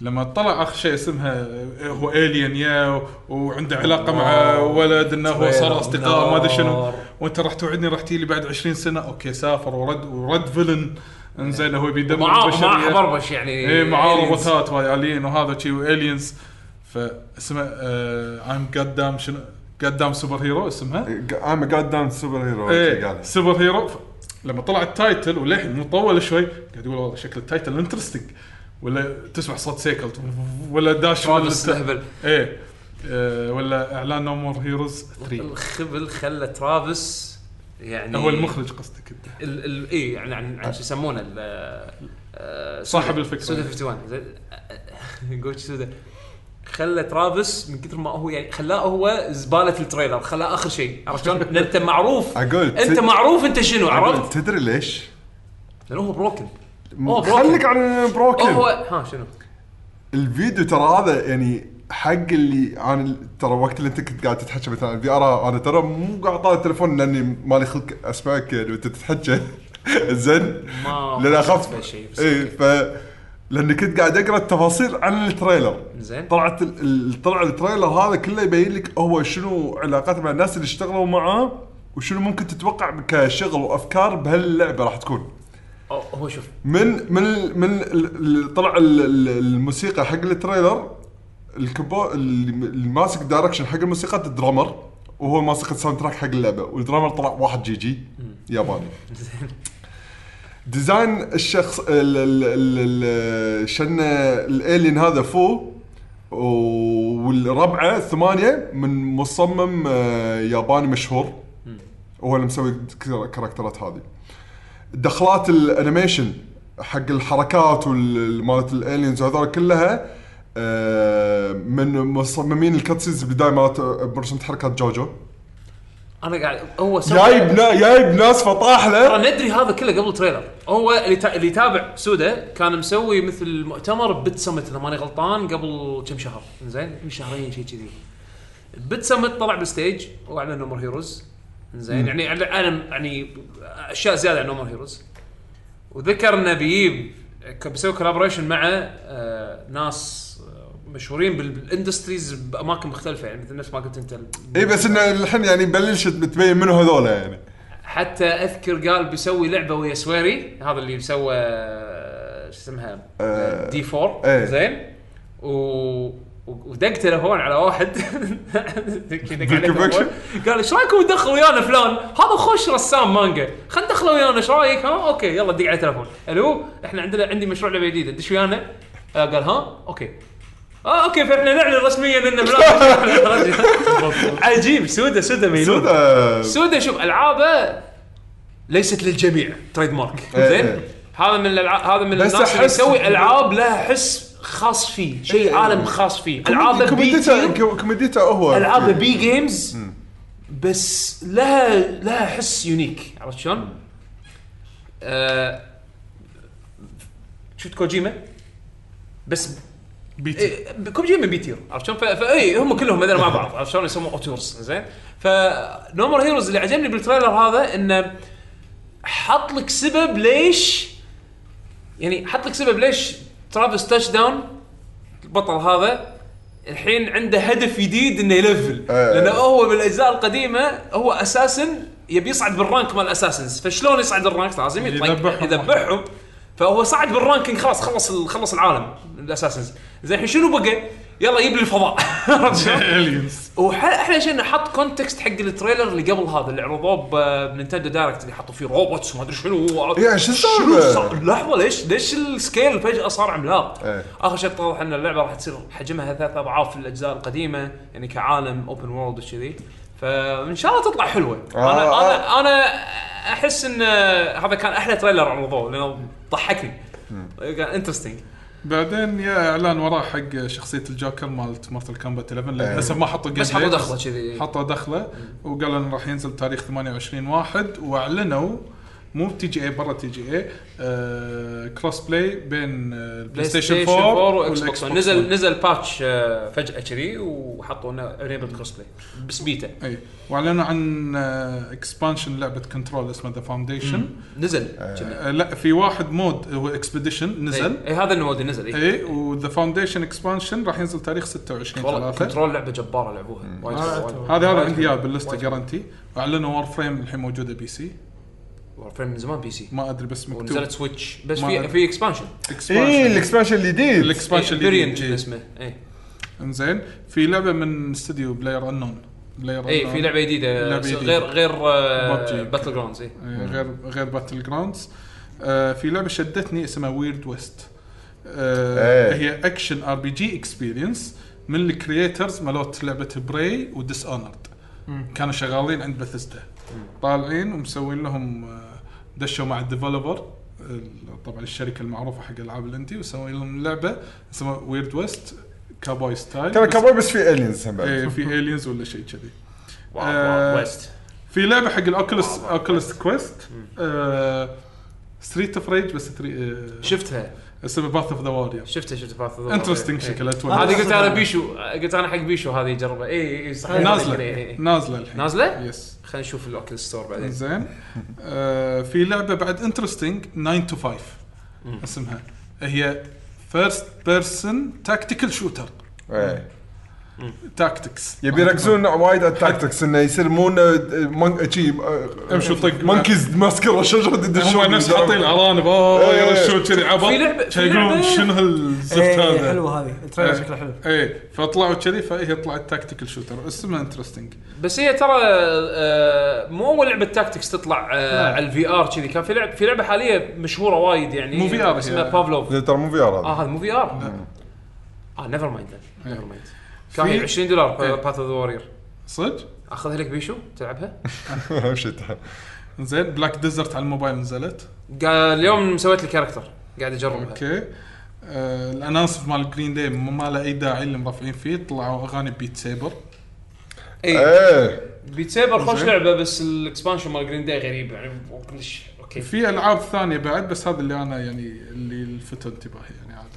[SPEAKER 2] لما طلع اخر شيء اسمها آه، هو الين يا و- وعنده علاقه مع ولد انه هو صار اصدقاء ما ادري شنو وانت راح توعدني راح تجي لي بعد 20 سنه اوكي سافر ورد ورد فيلن انزين هو بيدمر
[SPEAKER 1] معاه معاه
[SPEAKER 2] البشرية.
[SPEAKER 1] حبربش يعني
[SPEAKER 2] ايه معاه
[SPEAKER 1] aliens.
[SPEAKER 2] روبوتات والين وهذا شي والينز فاسمه ايم جاد دام آه، شنو جاد دام سوبر هيرو اسمها
[SPEAKER 3] إيه، ام جاد دام سوبر هيرو
[SPEAKER 2] ايه
[SPEAKER 3] قال.
[SPEAKER 2] سوبر هيرو ف- لما طلع التايتل وللحين مطول شوي قاعد يقول والله شكل التايتل انترستنج ولا تسمع صوت سيكل ولا داش من
[SPEAKER 1] ترابس
[SPEAKER 2] الت-
[SPEAKER 1] لهبل
[SPEAKER 2] ايه آه، ولا اعلان نو مور هيروز
[SPEAKER 1] إيه.
[SPEAKER 2] 3
[SPEAKER 1] الخبل خلى ترافيس يعني
[SPEAKER 2] هو المخرج قصدك انت
[SPEAKER 1] ال ال اي يعني عن عن شو يسمونه ال- آه،
[SPEAKER 2] صاحب الفكرة.
[SPEAKER 1] سودا 51 زين. قلت سودا خلى ترافيس من كثر ما هو يعني خلاه هو زباله التريلر خلاه اخر شيء عرفت شلون؟ لأن انت معروف
[SPEAKER 3] أقول
[SPEAKER 1] انت
[SPEAKER 3] ت-
[SPEAKER 1] معروف انت شنو
[SPEAKER 3] أقول،
[SPEAKER 1] عرفت؟
[SPEAKER 3] تدري ليش؟
[SPEAKER 1] لانه هو بروكن هو بروكن
[SPEAKER 3] خليك عن
[SPEAKER 1] هو
[SPEAKER 3] بروكن
[SPEAKER 1] ها شنو؟
[SPEAKER 3] الفيديو ترى هذا يعني حق اللي انا ترى وقت اللي انت كنت قاعد تتحكى مثلا عن الفي ار انا ترى مو قاعد اطالع التليفون لاني مالي خلق اسمعك يعني وانت تتحكى زين
[SPEAKER 1] ما
[SPEAKER 3] لان
[SPEAKER 1] بالنسبة
[SPEAKER 3] اخاف
[SPEAKER 1] شيء، بس
[SPEAKER 3] اي إيه، ف لاني كنت قاعد اقرا التفاصيل عن التريلر
[SPEAKER 1] زين
[SPEAKER 3] طلعت ال- ال- طلع التريلر هذا كله يبين لك هو شنو علاقاته مع الناس اللي اشتغلوا معاه وشنو ممكن تتوقع كشغل وافكار بهاللعبه راح تكون
[SPEAKER 1] أو- هو شوف
[SPEAKER 3] من من ال- من ال- ال- طلع ال- ال- الموسيقى حق التريلر الكبو اللي اللي ماسك دايركشن حق الموسيقى الدرامر وهو ماسك الساوند تراك حق اللعبه والدرامر طلع واحد جي جي ياباني ديزاين الشخص ال- ال- ال- ال- شنه الالين هذا فو و- والربعه ثمانيه من مصمم آه، ياباني مشهور هو اللي مسوي الكاركترات هذه دخلات الانيميشن حق الحركات وال- مالت الالينز وهذول كلها آه، من مصممين الكاتسينز البدايه مالت برسمة حركات جوجو
[SPEAKER 1] انا قاعد هو سوى-
[SPEAKER 3] جايب نا- جايب ناس فطاح له
[SPEAKER 1] ترى ندري هذا كله قبل تريلر هو اللي تا... اللي تابع سودا كان مسوي مثل مؤتمر بت سمت اذا ماني غلطان قبل كم شهر زين من شهرين شيء كذي بت سمت طلع بالستيج واعلن نمر هيروز زين يعني أعلن- انا يعني اشياء زياده عن نمر هيروز وذكر انه بيجيب ك- بيسوي كولابوريشن مع آه، ناس آه، مشهورين بال- بالاندستريز باماكن مختلفه يعني مثل نفس ما قلت انت ال-
[SPEAKER 3] اي إيه، بس انه الحين يعني بلشت بتبين منو هذول يعني
[SPEAKER 1] حتى اذكر قال بيسوي لعبه ويا سويري هذا اللي سوى آه، شو اسمها
[SPEAKER 3] آه،
[SPEAKER 1] دي 4
[SPEAKER 3] إيه.
[SPEAKER 1] زين و و- ودق تلفون على واحد دق عليه
[SPEAKER 3] ذيك
[SPEAKER 1] تلفون. قال ايش رايكم ندخل ويانا فلان؟ هذا خوش رسام مانجا، خلينا ندخله ويانا ايش رايك؟ ها اوكي يلا دق على تلفون، الو احنا عندنا عندي مشروع لعبه جديده دش ويانا؟ آه، قال ها اوكي اه اوكي فاحنا نعلن رسميا ان فلان عجيب سودا سودا ميلود
[SPEAKER 3] سودا
[SPEAKER 1] سودا شوف العابه ليست للجميع تريد مارك
[SPEAKER 3] إيه
[SPEAKER 1] زين
[SPEAKER 3] إيه.
[SPEAKER 1] هذا من الالعاب هذا من
[SPEAKER 3] بس
[SPEAKER 1] الناس اللي
[SPEAKER 3] أحس-
[SPEAKER 1] يسوي العاب لها حس خاص فيه شيء
[SPEAKER 3] إيه.
[SPEAKER 1] عالم خاص فيه العابه بي
[SPEAKER 3] كوميديته
[SPEAKER 1] تير،
[SPEAKER 3] كو- كوميديته هو إيه.
[SPEAKER 1] العابه بي جيمز بس لها لها حس يونيك عرفت شلون؟ آه، شفت كوجيما بس
[SPEAKER 2] بيتي
[SPEAKER 1] إيه، كوجيما بيتير عرفت شلون؟ ف- فاي هم كلهم هذول مع بعض عرفت شلون يسمون اوتورز زين فنومر هيروز اللي عجبني بالتريلر هذا انه حط لك سبب ليش يعني حط لك سبب ليش ترافيس تاتش داون البطل هذا الحين عنده هدف جديد انه يلفل
[SPEAKER 3] آه.
[SPEAKER 1] لانه هو بالاجزاء القديمه هو اساسا يبي يصعد بالرانك مال اساسنز فشلون يصعد الرانك لازم يطق-
[SPEAKER 2] يذبحهم.
[SPEAKER 1] يذبحهم فهو صعد بالرانكينج خلاص خلص ال- خلص العالم الاساسنز زين الحين شنو بقى؟ يلا يجيب لي الفضاء عرفت شلون؟
[SPEAKER 2] الينز
[SPEAKER 1] واحلى شيء انه حط كونتكست حق التريلر اللي قبل هذا اللي عرضوه ب- بنينتندو دايركت اللي حطوا فيه روبوتس وما ادري شنو
[SPEAKER 3] يا شو
[SPEAKER 1] شنو
[SPEAKER 3] السالفة؟
[SPEAKER 1] صار- لحظه ليش ليش السكيل فجاه صار عملاق؟
[SPEAKER 3] إيه.
[SPEAKER 1] اخر شيء اتضح ان اللعبه راح تصير حجمها ثلاث اضعاف الاجزاء القديمه يعني كعالم اوبن وورلد وكذي فان شاء الله تطلع حلوه
[SPEAKER 3] آه،
[SPEAKER 1] انا انا
[SPEAKER 3] آه.
[SPEAKER 1] انا احس ان هذا كان احلى تريلر عرضوه لانه ضحكني كان انترستنج
[SPEAKER 2] بعدين يا اعلان وراه حق شخصيه الجوكر مالت مارتل كومبات 11 لأن للاسف ما حطوا
[SPEAKER 1] بس
[SPEAKER 2] gameplay،
[SPEAKER 1] حطوا دخله كذي
[SPEAKER 2] حطوا دخله وقالوا انه راح ينزل تاريخ 28 واحد واعلنوا مو تي جي اي برا تي جي اي آه كروس بلاي بين آه، البلاي ستيشن 4
[SPEAKER 1] واكس
[SPEAKER 2] والإكس
[SPEAKER 1] بوكس
[SPEAKER 2] بوكس
[SPEAKER 1] نزل
[SPEAKER 2] 1.
[SPEAKER 1] نزل باتش آه، فجاه كذي وحطوا انه انيبل كروس بلاي بس بيتا
[SPEAKER 2] اي واعلنوا إيه، عن آه، اكسبانشن لعبه كنترول اسمها ذا فاونديشن
[SPEAKER 1] نزل
[SPEAKER 3] آه.
[SPEAKER 1] كنا.
[SPEAKER 2] لا في واحد مود هو اكسبيديشن نزل إيه،
[SPEAKER 1] اي إي، هذا النوادي
[SPEAKER 3] إيه،
[SPEAKER 1] نزل إيه. اي
[SPEAKER 2] اي وذا فاونديشن اكسبانشن راح ينزل تاريخ 26
[SPEAKER 1] والله
[SPEAKER 2] 3
[SPEAKER 1] كنترول لعبه جباره لعبوها وايد وايد.
[SPEAKER 2] هذا هذا عندي اياه باللسته جرانتي اعلنوا وار فريم الحين موجوده بي سي
[SPEAKER 1] وورفريم من زمان بي سي
[SPEAKER 2] ما ادري بس مكتوب
[SPEAKER 1] ونزلت سويتش بس
[SPEAKER 2] ما
[SPEAKER 1] في
[SPEAKER 2] أدري.
[SPEAKER 1] في اكسبانشن
[SPEAKER 3] اي الاكسبانشن إيه، الجديد
[SPEAKER 2] الاكسبانشن
[SPEAKER 1] اللي
[SPEAKER 2] اللي
[SPEAKER 1] اسمه إيه. اي
[SPEAKER 2] انزين في لعبه من استديو بلاير انون بلاير
[SPEAKER 1] اي إيه، في لعبه جديده
[SPEAKER 2] لعبة
[SPEAKER 1] س-
[SPEAKER 2] جديدة.
[SPEAKER 1] غير غير آه، إيه.
[SPEAKER 2] PUBG.
[SPEAKER 1] باتل جراوندز اي
[SPEAKER 2] آه، غير غير باتل جراوندز في لعبه شدتني اسمها ويرد ويست
[SPEAKER 3] إيه.
[SPEAKER 2] هي اكشن ار بي جي اكسبيرينس من الكرييترز مالوت لعبه براي وديس اونرد كانوا شغالين عند بثيستا طالعين ومسوين لهم آه، دشوا مع الديفلوبر طبعا الشركه المعروفه حق العاب الاندي وسووا لهم لعبه اسمها ويرد ويست كابوي ستايل
[SPEAKER 3] ترى
[SPEAKER 2] بس-
[SPEAKER 3] كابوي بس في الينز هم بعد
[SPEAKER 2] إيه، في الينز ولا شيء كذي
[SPEAKER 1] واو
[SPEAKER 2] آه.
[SPEAKER 1] واو ويست
[SPEAKER 2] في لعبه حق الاوكلس
[SPEAKER 1] آه،
[SPEAKER 2] اوكلس كويست آه، ستريت اوف ريج بس تري...
[SPEAKER 1] شفتها
[SPEAKER 2] آه، اسمه باث اوف ذا وارير
[SPEAKER 1] شفتها شفت فاث
[SPEAKER 2] انترستنج شكلها اتوقع
[SPEAKER 1] إيه. هذه قلت انا بيشو قلت انا حق بيشو هذه إيه، يجربها اي اي صح إي، إي،
[SPEAKER 2] نازله
[SPEAKER 1] إي.
[SPEAKER 2] نازله الحين
[SPEAKER 1] نازله؟
[SPEAKER 2] يس
[SPEAKER 1] إيه. خلينا نشوف الاوكل ستور بعدين
[SPEAKER 2] زين آه، في لعبه بعد انترستنج 9 تو 5 اسمها هي فيرست بيرسون تاكتيكال شوتر
[SPEAKER 3] إيه.
[SPEAKER 2] تاكتكس
[SPEAKER 3] يبي يركزون وايد على التاكتكس انه يصير مو إنه من- شي آه،
[SPEAKER 2] امشوا طق
[SPEAKER 3] مونكيز ماسكه شجره ضد
[SPEAKER 2] هم
[SPEAKER 3] الشجرة.
[SPEAKER 2] نفس حاطين الارانب اوه
[SPEAKER 3] إيه.
[SPEAKER 2] يرشون كذي عبط
[SPEAKER 1] في لعبة- في
[SPEAKER 2] كذي يقولون
[SPEAKER 1] لعبة-
[SPEAKER 2] شنو هالزفت
[SPEAKER 4] إيه،
[SPEAKER 2] هذا
[SPEAKER 4] حلوه هذه التريلر شكله حلو
[SPEAKER 2] ايه فطلعوا كذي فهي طلعت تاكتيكال شوتر اسمها انترستنج
[SPEAKER 1] بس هي ترى آه، مو اول لعبه تاكتكس تطلع آه، على الفي ار كذي كان في لعب في لعبه حاليه مشهوره وايد يعني
[SPEAKER 2] مو VR هي.
[SPEAKER 1] اسمها بافلوف
[SPEAKER 3] لا، ترى مو في ار هذا
[SPEAKER 1] اه هذا مو في ار اه نيفر مايند نيفر مايند كان
[SPEAKER 2] إيه. في-
[SPEAKER 1] 20 دولار
[SPEAKER 2] إيه.
[SPEAKER 1] باث اوف ذا وورير
[SPEAKER 2] صدق؟
[SPEAKER 1] اخذها لك بيشو تلعبها
[SPEAKER 3] اهم شيء تعال.
[SPEAKER 2] زين بلاك ديزرت على الموبايل نزلت
[SPEAKER 1] قال اليوم سويت لي كاركتر قاعد اجربها
[SPEAKER 2] اوكي آه الانونس مال جرين داي ما له اي داعي اللي مرافعين فيه طلعوا اغاني بيت سيبر
[SPEAKER 1] اي
[SPEAKER 3] ايه
[SPEAKER 1] بيت سيبر إيه. خوش
[SPEAKER 2] زين.
[SPEAKER 1] لعبه بس الاكسبانشن مال جرين داي غريب يعني كلش اوكي
[SPEAKER 2] في العاب ثانيه بعد بس هذا اللي انا يعني اللي لفت انتباهي يعني عاده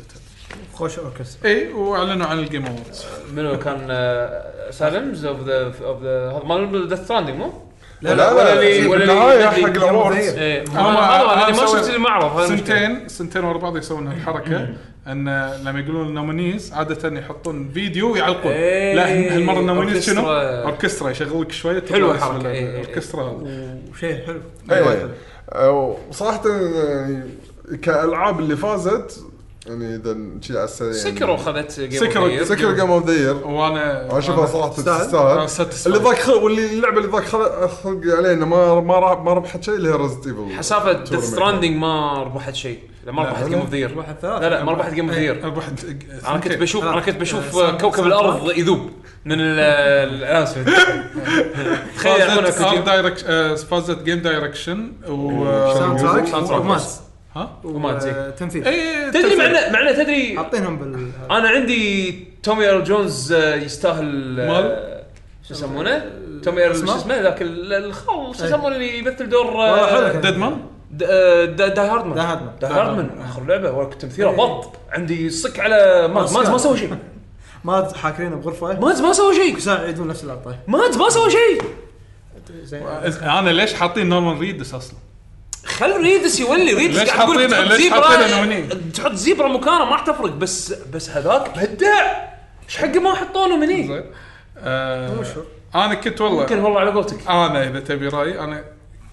[SPEAKER 4] خوش اوركسترا
[SPEAKER 2] اي واعلنوا عن الجيم اووردز
[SPEAKER 1] منو كان آه، سالمز اوف ذا اوف ذا هذا مال ديث ستراندنج مو؟
[SPEAKER 3] لا
[SPEAKER 1] لا، ولا لي- ولا لي-
[SPEAKER 3] النهايه
[SPEAKER 1] لي-
[SPEAKER 3] حق الاورد
[SPEAKER 1] ايه هم-
[SPEAKER 2] هم-
[SPEAKER 1] هذا
[SPEAKER 2] هم
[SPEAKER 1] انا ما
[SPEAKER 2] سووا-
[SPEAKER 1] شفت المعرض هذا المشكلة.
[SPEAKER 2] سنتين سنتين ورا بعض يسوون هالحركه ان لما يقولون نومينيز عاده يحطون فيديو ويعلقون
[SPEAKER 1] إيه.
[SPEAKER 2] لا هالمره نومينيز شنو؟
[SPEAKER 1] أوركسترا.
[SPEAKER 2] اوركسترا يشغل لك شويه تطلع
[SPEAKER 1] حلوة
[SPEAKER 2] اسم
[SPEAKER 1] الحركة.
[SPEAKER 2] ال-
[SPEAKER 1] إيه، إيه، إيه.
[SPEAKER 2] اوركسترا هذا
[SPEAKER 4] وشيء حلو
[SPEAKER 3] ايه أو صراحه يعني كالعاب اللي فازت يعني اذا شي على السريع يعني.
[SPEAKER 1] سكروا خذت جيم
[SPEAKER 2] سكروا-
[SPEAKER 1] اوف
[SPEAKER 3] سكر جيم اوف ذا يير
[SPEAKER 2] وانا
[SPEAKER 3] اشوفها
[SPEAKER 2] وأنا-
[SPEAKER 3] صراحه
[SPEAKER 4] تستاهل؟
[SPEAKER 2] أنا
[SPEAKER 3] تستاهل
[SPEAKER 2] satisfied.
[SPEAKER 3] اللي ضاق خلق واللي اللعبه اللي ضاق خلق خلق علينا ما ما راح ما ربحت شيء اللي هي ريزد ايفل
[SPEAKER 1] حسافه ديث ستراندنج ما ربحت شيء لا ما ربحت
[SPEAKER 3] لا.
[SPEAKER 1] جيم اوف ذير
[SPEAKER 4] ربحت ثلاثة.
[SPEAKER 1] لا لا ما ربحت جيم اوف
[SPEAKER 2] إيه،
[SPEAKER 1] ذير
[SPEAKER 2] ربحت
[SPEAKER 1] انا كنت
[SPEAKER 2] ثنتين.
[SPEAKER 1] بشوف انا كنت بشوف
[SPEAKER 4] آه، ساوند-
[SPEAKER 1] كوكب
[SPEAKER 4] ساوند
[SPEAKER 1] الارض يذوب من ال- الاسود تخيل يعطونا
[SPEAKER 2] فازت ار
[SPEAKER 1] كوجيما.
[SPEAKER 2] دايركت آه، فازت جيم دايركشن و
[SPEAKER 4] ساوند
[SPEAKER 1] ساوند
[SPEAKER 4] تراك
[SPEAKER 1] تراك.
[SPEAKER 4] وماس
[SPEAKER 2] ها
[SPEAKER 1] وماس، إيه.
[SPEAKER 4] وتمثيل
[SPEAKER 2] اي
[SPEAKER 1] تدري معنا معنا تدري
[SPEAKER 4] حاطينهم بال
[SPEAKER 1] انا عندي تومي ايرل جونز آه، يستاهل آه،
[SPEAKER 2] مال؟
[SPEAKER 1] شو يسمونه؟ تومي ايرل شو
[SPEAKER 4] اسمه؟ إيه.
[SPEAKER 1] اسمه ذاك ال- الخال شو يسمونه اللي يمثل دور آه،
[SPEAKER 4] والله حلو كان.
[SPEAKER 2] ديد مان
[SPEAKER 1] د- آه، دا دا هاردمان
[SPEAKER 4] دا هاردمان. إيه.
[SPEAKER 1] دا هاردمان اخر لعبه ولا كنت تمثيله بط عندي صك على ماز ماز ما سوى شيء
[SPEAKER 4] ما حاكرينه بغرفه
[SPEAKER 1] ماز ما سوى شيء
[SPEAKER 4] ساعه يعيدون نفس اللقطه
[SPEAKER 1] ماز ما سوى شيء
[SPEAKER 2] انا ليش حاطين نورمان ريدس اصلا؟
[SPEAKER 1] خل ريدس يولي ريدس
[SPEAKER 2] ليش
[SPEAKER 1] قاعد يقول
[SPEAKER 2] حاطينه-
[SPEAKER 1] تحط
[SPEAKER 2] ليش حاطينه
[SPEAKER 1] زيبرا
[SPEAKER 2] هني؟
[SPEAKER 1] تحط زيبرا مكانه ما راح تفرق بس بس هذاك بدع ايش حقه ما حطونه من هني
[SPEAKER 2] زين آه، انا كنت والله
[SPEAKER 1] يمكن والله على قولتك
[SPEAKER 2] انا اذا تبي رايي انا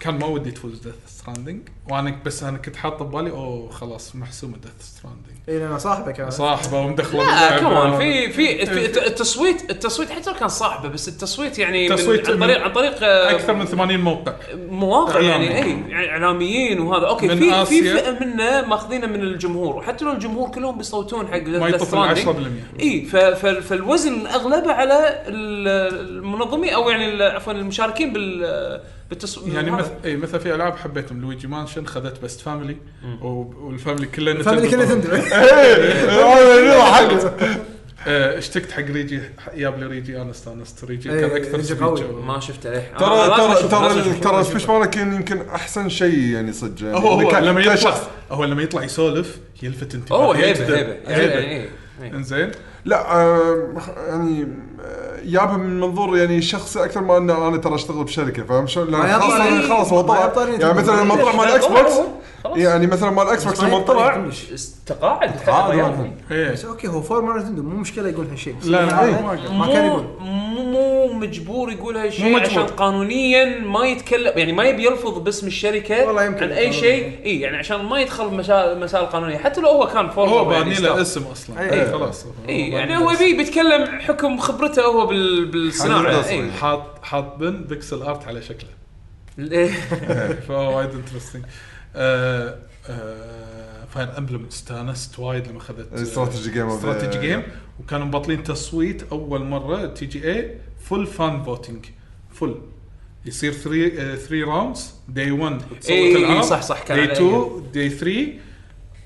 [SPEAKER 2] كان ما ودي تفوز ديث ستراندنج وانا بس انا كنت حاط ببالي اوه خلاص محسومه ديث ستراندنج
[SPEAKER 4] اي لان إيه، صاحبه كان
[SPEAKER 2] صاحبه ومدخله
[SPEAKER 1] لا
[SPEAKER 2] باللعبة.
[SPEAKER 1] كمان في
[SPEAKER 2] إيه.
[SPEAKER 1] في في الت- التصويت التصويت حتى لو كان صاحبه بس التصويت يعني من-
[SPEAKER 2] تصويت
[SPEAKER 1] عن طريق عن طريق آه،
[SPEAKER 2] اكثر من 80 موقع
[SPEAKER 1] مواقع
[SPEAKER 2] إعلامي.
[SPEAKER 1] يعني اي يعني اعلاميين وهذا اوكي
[SPEAKER 2] من
[SPEAKER 1] في في
[SPEAKER 2] آسيا.
[SPEAKER 1] فئه منه ماخذينه من الجمهور وحتى لو الجمهور كلهم بيصوتون حق
[SPEAKER 2] ما يطوفون 10%
[SPEAKER 1] اي ف- ف- فالوزن اغلبه على ال- المنظمين او يعني ال- عفوا المشاركين بال بالتصويت
[SPEAKER 2] يعني مثل اي مثلا في العاب حبيتهم لويجي مانشن خذت بست فاميلي و- والفاميلي كله
[SPEAKER 4] فاميلي كله
[SPEAKER 2] طبعاً.
[SPEAKER 4] تندري
[SPEAKER 3] إيه.
[SPEAKER 2] آه، اشتقت حق ريجي جاب لي ريجي انا استانست ريجي
[SPEAKER 4] إيه،
[SPEAKER 2] كان اكثر
[SPEAKER 4] ريجي
[SPEAKER 2] سبيتش
[SPEAKER 4] قوي.
[SPEAKER 2] أو-
[SPEAKER 1] ما شفته ليه
[SPEAKER 3] ترى
[SPEAKER 1] أنا لازم
[SPEAKER 3] ترى
[SPEAKER 1] أشوفه، لازم
[SPEAKER 3] ترى
[SPEAKER 1] أشوفه.
[SPEAKER 3] ترى سبيش مارك يمكن احسن شيء يعني صدق يعني.
[SPEAKER 2] هو هو
[SPEAKER 3] كان-
[SPEAKER 2] لما يطلع
[SPEAKER 3] كشخص.
[SPEAKER 2] هو لما يطلع يسولف يلفت انتباهي
[SPEAKER 1] اوه هيبه
[SPEAKER 2] جداً.
[SPEAKER 1] هيبه يعني إيه، إيه.
[SPEAKER 2] انزين
[SPEAKER 3] لا آه، يعني آه، جابها من منظور يعني شخصي اكثر ما انه انا ترى اشتغل بشركه فاهم شلون؟
[SPEAKER 4] ما
[SPEAKER 3] لأن
[SPEAKER 4] يطلع
[SPEAKER 3] خاصه
[SPEAKER 4] لي-
[SPEAKER 3] خلاص
[SPEAKER 4] ما
[SPEAKER 3] هو
[SPEAKER 4] يطلع
[SPEAKER 3] طلع
[SPEAKER 4] لي
[SPEAKER 3] يعني مثلا لما طلع مال الاكس بوكس يعني مثلا مال الاكس بوكس لما طلع
[SPEAKER 1] تقاعد
[SPEAKER 3] تقاعد
[SPEAKER 1] تقاعد
[SPEAKER 2] ايه
[SPEAKER 4] بس اوكي هو فورمان نتندو مو مشكله يقول هالشيء بس
[SPEAKER 2] لا، لا،
[SPEAKER 4] هذا
[SPEAKER 2] ما قال.
[SPEAKER 4] ما كان يقول
[SPEAKER 1] مو مو مجبور يقول
[SPEAKER 2] مو
[SPEAKER 1] هالشيء
[SPEAKER 2] مجبور.
[SPEAKER 1] عشان قانونيا ما يتكلم يعني ما يبي يلفظ باسم الشركه
[SPEAKER 4] والله يمكن
[SPEAKER 1] عن اي
[SPEAKER 4] يتكلم.
[SPEAKER 1] شيء اي يعني عشان ما يدخل مسائل مسائل قانونيه حتى لو هو يعني كان فورمال
[SPEAKER 2] هو باني له اسم اصلا
[SPEAKER 4] إيه.
[SPEAKER 2] إيه، خلاص
[SPEAKER 1] اي يعني هو يبي بيتكلم حكم خبرته هو بال- إيه. بالصناعه
[SPEAKER 3] هذا
[SPEAKER 1] اي
[SPEAKER 2] حاط حاط بن بيكسل ارت على شكله فهو وايد آه، انترستنج فاير امبلم استانست وايد لما اخذت
[SPEAKER 3] استراتيجي جيم of the-
[SPEAKER 2] استراتيجي جيم وكانوا مبطلين تصويت اول مره تي جي اي فول فان فوتنج فول يصير آه، 3 3 راوندز دي 1
[SPEAKER 1] إي، إي، إيه، صح، صح، كان
[SPEAKER 2] دي
[SPEAKER 1] على
[SPEAKER 2] 2 دي 3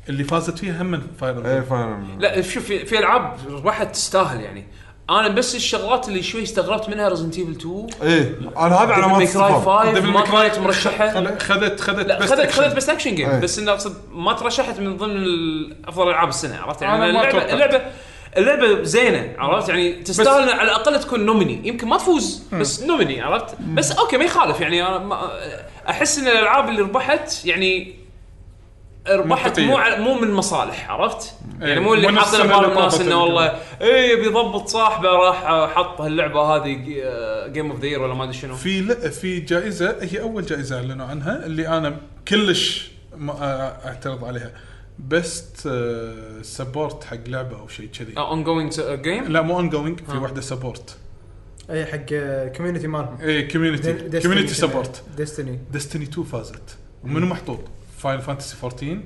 [SPEAKER 2] اللي فازت فيها هم فاير
[SPEAKER 3] ايه
[SPEAKER 2] امبلم
[SPEAKER 3] فاهم
[SPEAKER 1] لا شوف في, في العاب راحت تستاهل يعني انا بس الشغلات اللي شوي استغربت منها ريزنت ايفل 2
[SPEAKER 3] ايه انا هذا على ما
[SPEAKER 1] ديفل كراي
[SPEAKER 3] استفهم
[SPEAKER 1] 5
[SPEAKER 2] ديفل
[SPEAKER 1] ما
[SPEAKER 2] ماي كراي
[SPEAKER 1] كانت مرشحه
[SPEAKER 2] خل- خذت خذت
[SPEAKER 1] لا
[SPEAKER 2] Best
[SPEAKER 1] خذت
[SPEAKER 2] Action. إيه.
[SPEAKER 1] خذت بس اكشن جيم
[SPEAKER 3] أي.
[SPEAKER 1] بس انه اقصد ما ترشحت من ضمن ال- افضل العاب السنه عرفت يعني
[SPEAKER 2] أنا ما
[SPEAKER 1] اللعبه
[SPEAKER 2] أتوقع.
[SPEAKER 1] اللعبه اللعبه زينه عرفت يعني تستاهل على الاقل تكون نوميني يمكن ما تفوز بس نوميني عرفت بس اوكي ما يخالف يعني انا ما احس ان الالعاب اللي ربحت يعني ربحت
[SPEAKER 2] منطقية.
[SPEAKER 1] مو على- مو من مصالح عرفت؟ يعني
[SPEAKER 2] إيه،
[SPEAKER 1] مو اللي
[SPEAKER 2] مو نفس
[SPEAKER 1] حاطين
[SPEAKER 2] السنة
[SPEAKER 1] ببال
[SPEAKER 2] اللي
[SPEAKER 1] الناس
[SPEAKER 2] طافت
[SPEAKER 1] انه
[SPEAKER 2] اللي
[SPEAKER 1] والله اي بيضبط صاحبه راح آه، حط هاللعبه هذه آه، جيم اوف ذا ولا ما ادري شنو
[SPEAKER 2] في لا في جائزه هي اول جائزه اعلنوا عنها اللي انا كلش ما أ- اعترض عليها بست سبورت حق لعبه او شيء كذي
[SPEAKER 1] اون جوينج جيم
[SPEAKER 2] لا مو اون جوينج في واحده سبورت
[SPEAKER 4] اي حق كوميونتي مالهم
[SPEAKER 2] اي كوميونتي كوميونتي سبورت
[SPEAKER 4] ديستني
[SPEAKER 2] ديستني 2 فازت ومنو محطوط؟ فاينل فانتسي 14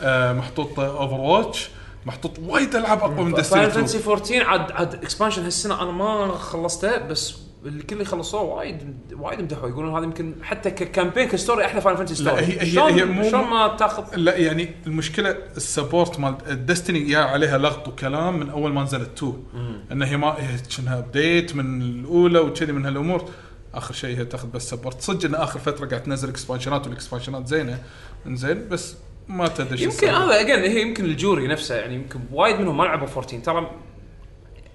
[SPEAKER 2] آه محطوط اوفر واتش محطوط وايد العاب اقوى من ديستني
[SPEAKER 1] فاينل فانتسي
[SPEAKER 2] 2
[SPEAKER 1] 14 عاد عاد اكسبانشن هالسنه انا ما خلصته بس الكل اللي خلصوه وايد وايد مدحوا يقولون هذا يمكن حتى ككامبين كستوري احلى فاينل فانتسي
[SPEAKER 2] لا،
[SPEAKER 1] ستوري
[SPEAKER 2] هي- هي-
[SPEAKER 1] شلون-
[SPEAKER 2] هي مو-
[SPEAKER 1] شلون ما تاخذ
[SPEAKER 2] لا يعني المشكله السبورت مال ديستني يا عليها لغط وكلام من اول ما نزلت 2 ان هي ما هي كأنها ابديت من الاولى وكذي من هالامور اخر شيء هي تاخذ بس سبورت صدق ان اخر فتره قاعد تنزل اكسبانشنات والاكسبانشنات زينه انزين بس ما تدري شو
[SPEAKER 1] يمكن
[SPEAKER 2] السبب.
[SPEAKER 1] هذا اجين هي يمكن الجوري نفسه يعني يمكن وايد منهم ما لعبوا 14 ترى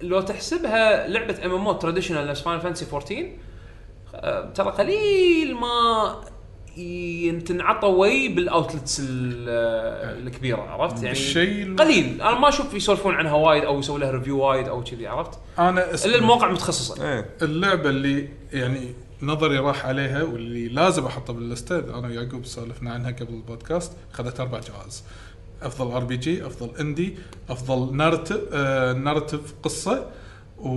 [SPEAKER 1] لو تحسبها لعبه ام ام او تراديشنال نفس فاينل فانتسي 14 آه، ترى قليل ما ي- تنعطى وي بالاوتلتس ال- آه، الكبيره عرفت يعني
[SPEAKER 2] الشيء ال-
[SPEAKER 1] قليل انا ما اشوف يسولفون عنها وايد او يسوي لها ريفيو وايد او كذي عرفت
[SPEAKER 2] انا
[SPEAKER 1] الا المواقع المتخصصه
[SPEAKER 3] ايه
[SPEAKER 2] اللعبه اللي يعني نظري راح عليها واللي لازم احطها باللسته انا ويعقوب سولفنا عنها قبل البودكاست خذت اربع جوائز افضل ار بي جي افضل اندي افضل نارتيف آه نارتيف قصه و...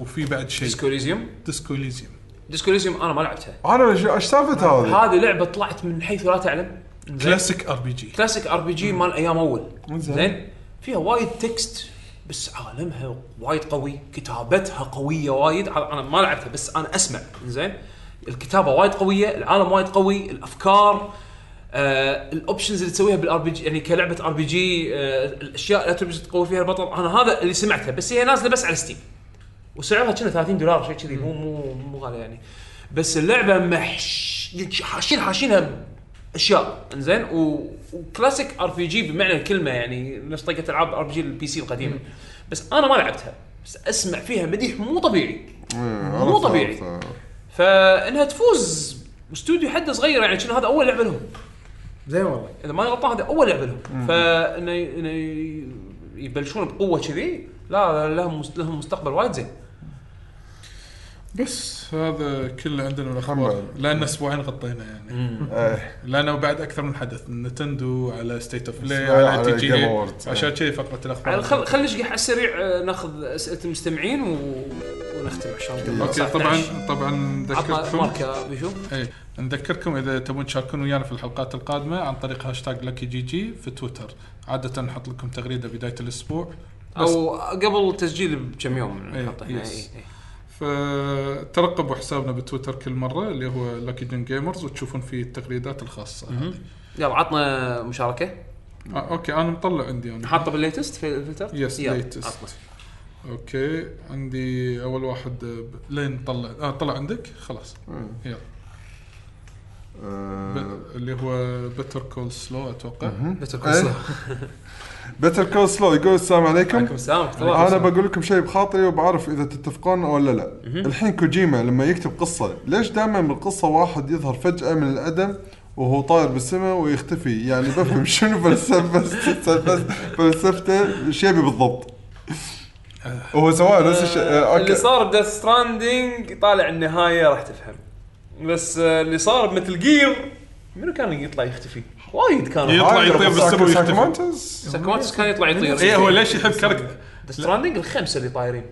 [SPEAKER 2] وفي بعد شيء
[SPEAKER 1] ديسكوليزيوم
[SPEAKER 2] ديسكو اليزيوم
[SPEAKER 1] ديسكوليزيوم انا ما لعبتها
[SPEAKER 3] انا شو- ايش سالفه هذه؟
[SPEAKER 1] هذه لعبه طلعت من حيث لا تعلم زين.
[SPEAKER 2] كلاسيك ار بي جي
[SPEAKER 1] كلاسيك ار بي جي مال ايام اول
[SPEAKER 3] زين.
[SPEAKER 1] زين فيها وايد تكست بس عالمها وايد قوي كتابتها قويه وايد ع- انا ما لعبتها بس انا اسمع زين الكتابه وايد قويه العالم وايد قوي الافكار آه الاوبشنز اللي تسويها بالار بي جي يعني كلعبه ار بي جي آه الاشياء اللي تبي تقوي فيها البطل انا هذا اللي سمعته بس هي نازله بس على ستيم وسعرها كنا 30 دولار شيء كذي مو مو مو غالي يعني بس اللعبه محش حاشين حاشينها اشياء انزين و... وكلاسيك ار بي جي بمعنى الكلمه يعني نفس طريقه العاب ار بي جي البي سي القديمه بس انا ما لعبتها بس اسمع فيها مديح مو طبيعي
[SPEAKER 3] إيه،
[SPEAKER 1] مو طبيعي فانها تفوز استوديو حده صغير يعني كنا هذا اول لعبه لهم
[SPEAKER 4] زين والله
[SPEAKER 1] اذا ما غلطان هذا اول لعبه لهم فانه ي- إنه ي- يبلشون بقوه كذي لا لا- لهم مست- لهم مستقبل وايد زين
[SPEAKER 2] بس هذا كله عندنا من الاخبار
[SPEAKER 3] محمد.
[SPEAKER 2] لان اسبوعين غطينا يعني
[SPEAKER 3] إيه.
[SPEAKER 2] لان وبعد اكثر من حدث نتندو على ستيت اوف بلاي
[SPEAKER 3] على
[SPEAKER 2] على تي جي
[SPEAKER 3] Game
[SPEAKER 2] إيه.
[SPEAKER 3] Awards.
[SPEAKER 2] عشان كذي فقره الاخبار
[SPEAKER 1] يعني خل خل نشقح على السريع آه، ناخذ اسئله المستمعين و... ونختم عشان قبل
[SPEAKER 2] اوكي
[SPEAKER 1] 19.
[SPEAKER 2] طبعا طبعا
[SPEAKER 1] عطنا
[SPEAKER 2] نذكركم
[SPEAKER 1] ماركه بيشو
[SPEAKER 2] ايه نذكركم اذا تبون تشاركون ويانا في الحلقات القادمه عن طريق هاشتاج لكي جي جي في تويتر عاده نحط لكم تغريده بدايه الاسبوع بس
[SPEAKER 1] او قبل التسجيل بكم يوم
[SPEAKER 2] إيه،
[SPEAKER 1] نحطه هنا
[SPEAKER 2] يس.
[SPEAKER 1] إيه، إيه.
[SPEAKER 2] فترقبوا حسابنا بتويتر كل مره اللي هو لكي جن جيمرز وتشوفون فيه التغريدات الخاصه هذه
[SPEAKER 1] طيب. يلا عطنا مشاركه
[SPEAKER 2] آه اوكي انا مطلع عندي انا
[SPEAKER 1] حاطه بالليتست في الفلتر
[SPEAKER 2] يس
[SPEAKER 1] يلا،
[SPEAKER 2] ليتست
[SPEAKER 1] عطنا.
[SPEAKER 2] اوكي عندي اول واحد آه، ب- لين طلع اه طلع عندك خلاص يلا
[SPEAKER 3] آه،
[SPEAKER 2] ب- اللي هو بيتر كول سلو اتوقع
[SPEAKER 1] بيتر
[SPEAKER 3] إيه؟
[SPEAKER 1] كول سول.
[SPEAKER 3] بيتر كول سلو يقول السلام عليكم
[SPEAKER 1] عليكم السلام ورحمه الله
[SPEAKER 3] انا بقول لكم شيء بخاطري وبعرف اذا تتفقون ولا لا الحين كوجيما لما يكتب قصه ليش دائما بالقصه واحد يظهر فجاه من العدم وهو طاير بالسماء ويختفي يعني بفهم شنو فلسفه فلسفة- فلسفته شيء بالضبط هو سواء نفس الشيء آه،
[SPEAKER 1] اللي
[SPEAKER 3] أوكي.
[SPEAKER 1] صار بديث ستراندنج طالع النهايه راح تفهم بس آه، اللي صار بمثل جير منو كان يطلع يختفي؟ وايد كانوا
[SPEAKER 2] يط- يطلع
[SPEAKER 3] هاي
[SPEAKER 2] يطير
[SPEAKER 3] قصة
[SPEAKER 2] بالسماء ويختفي.
[SPEAKER 3] ساكرامنتوز؟
[SPEAKER 1] ساكواتس كان يطلع يطير
[SPEAKER 2] ايه هو ليش يحب كاركتر
[SPEAKER 1] ستراندنج الخمسه اللي طايرين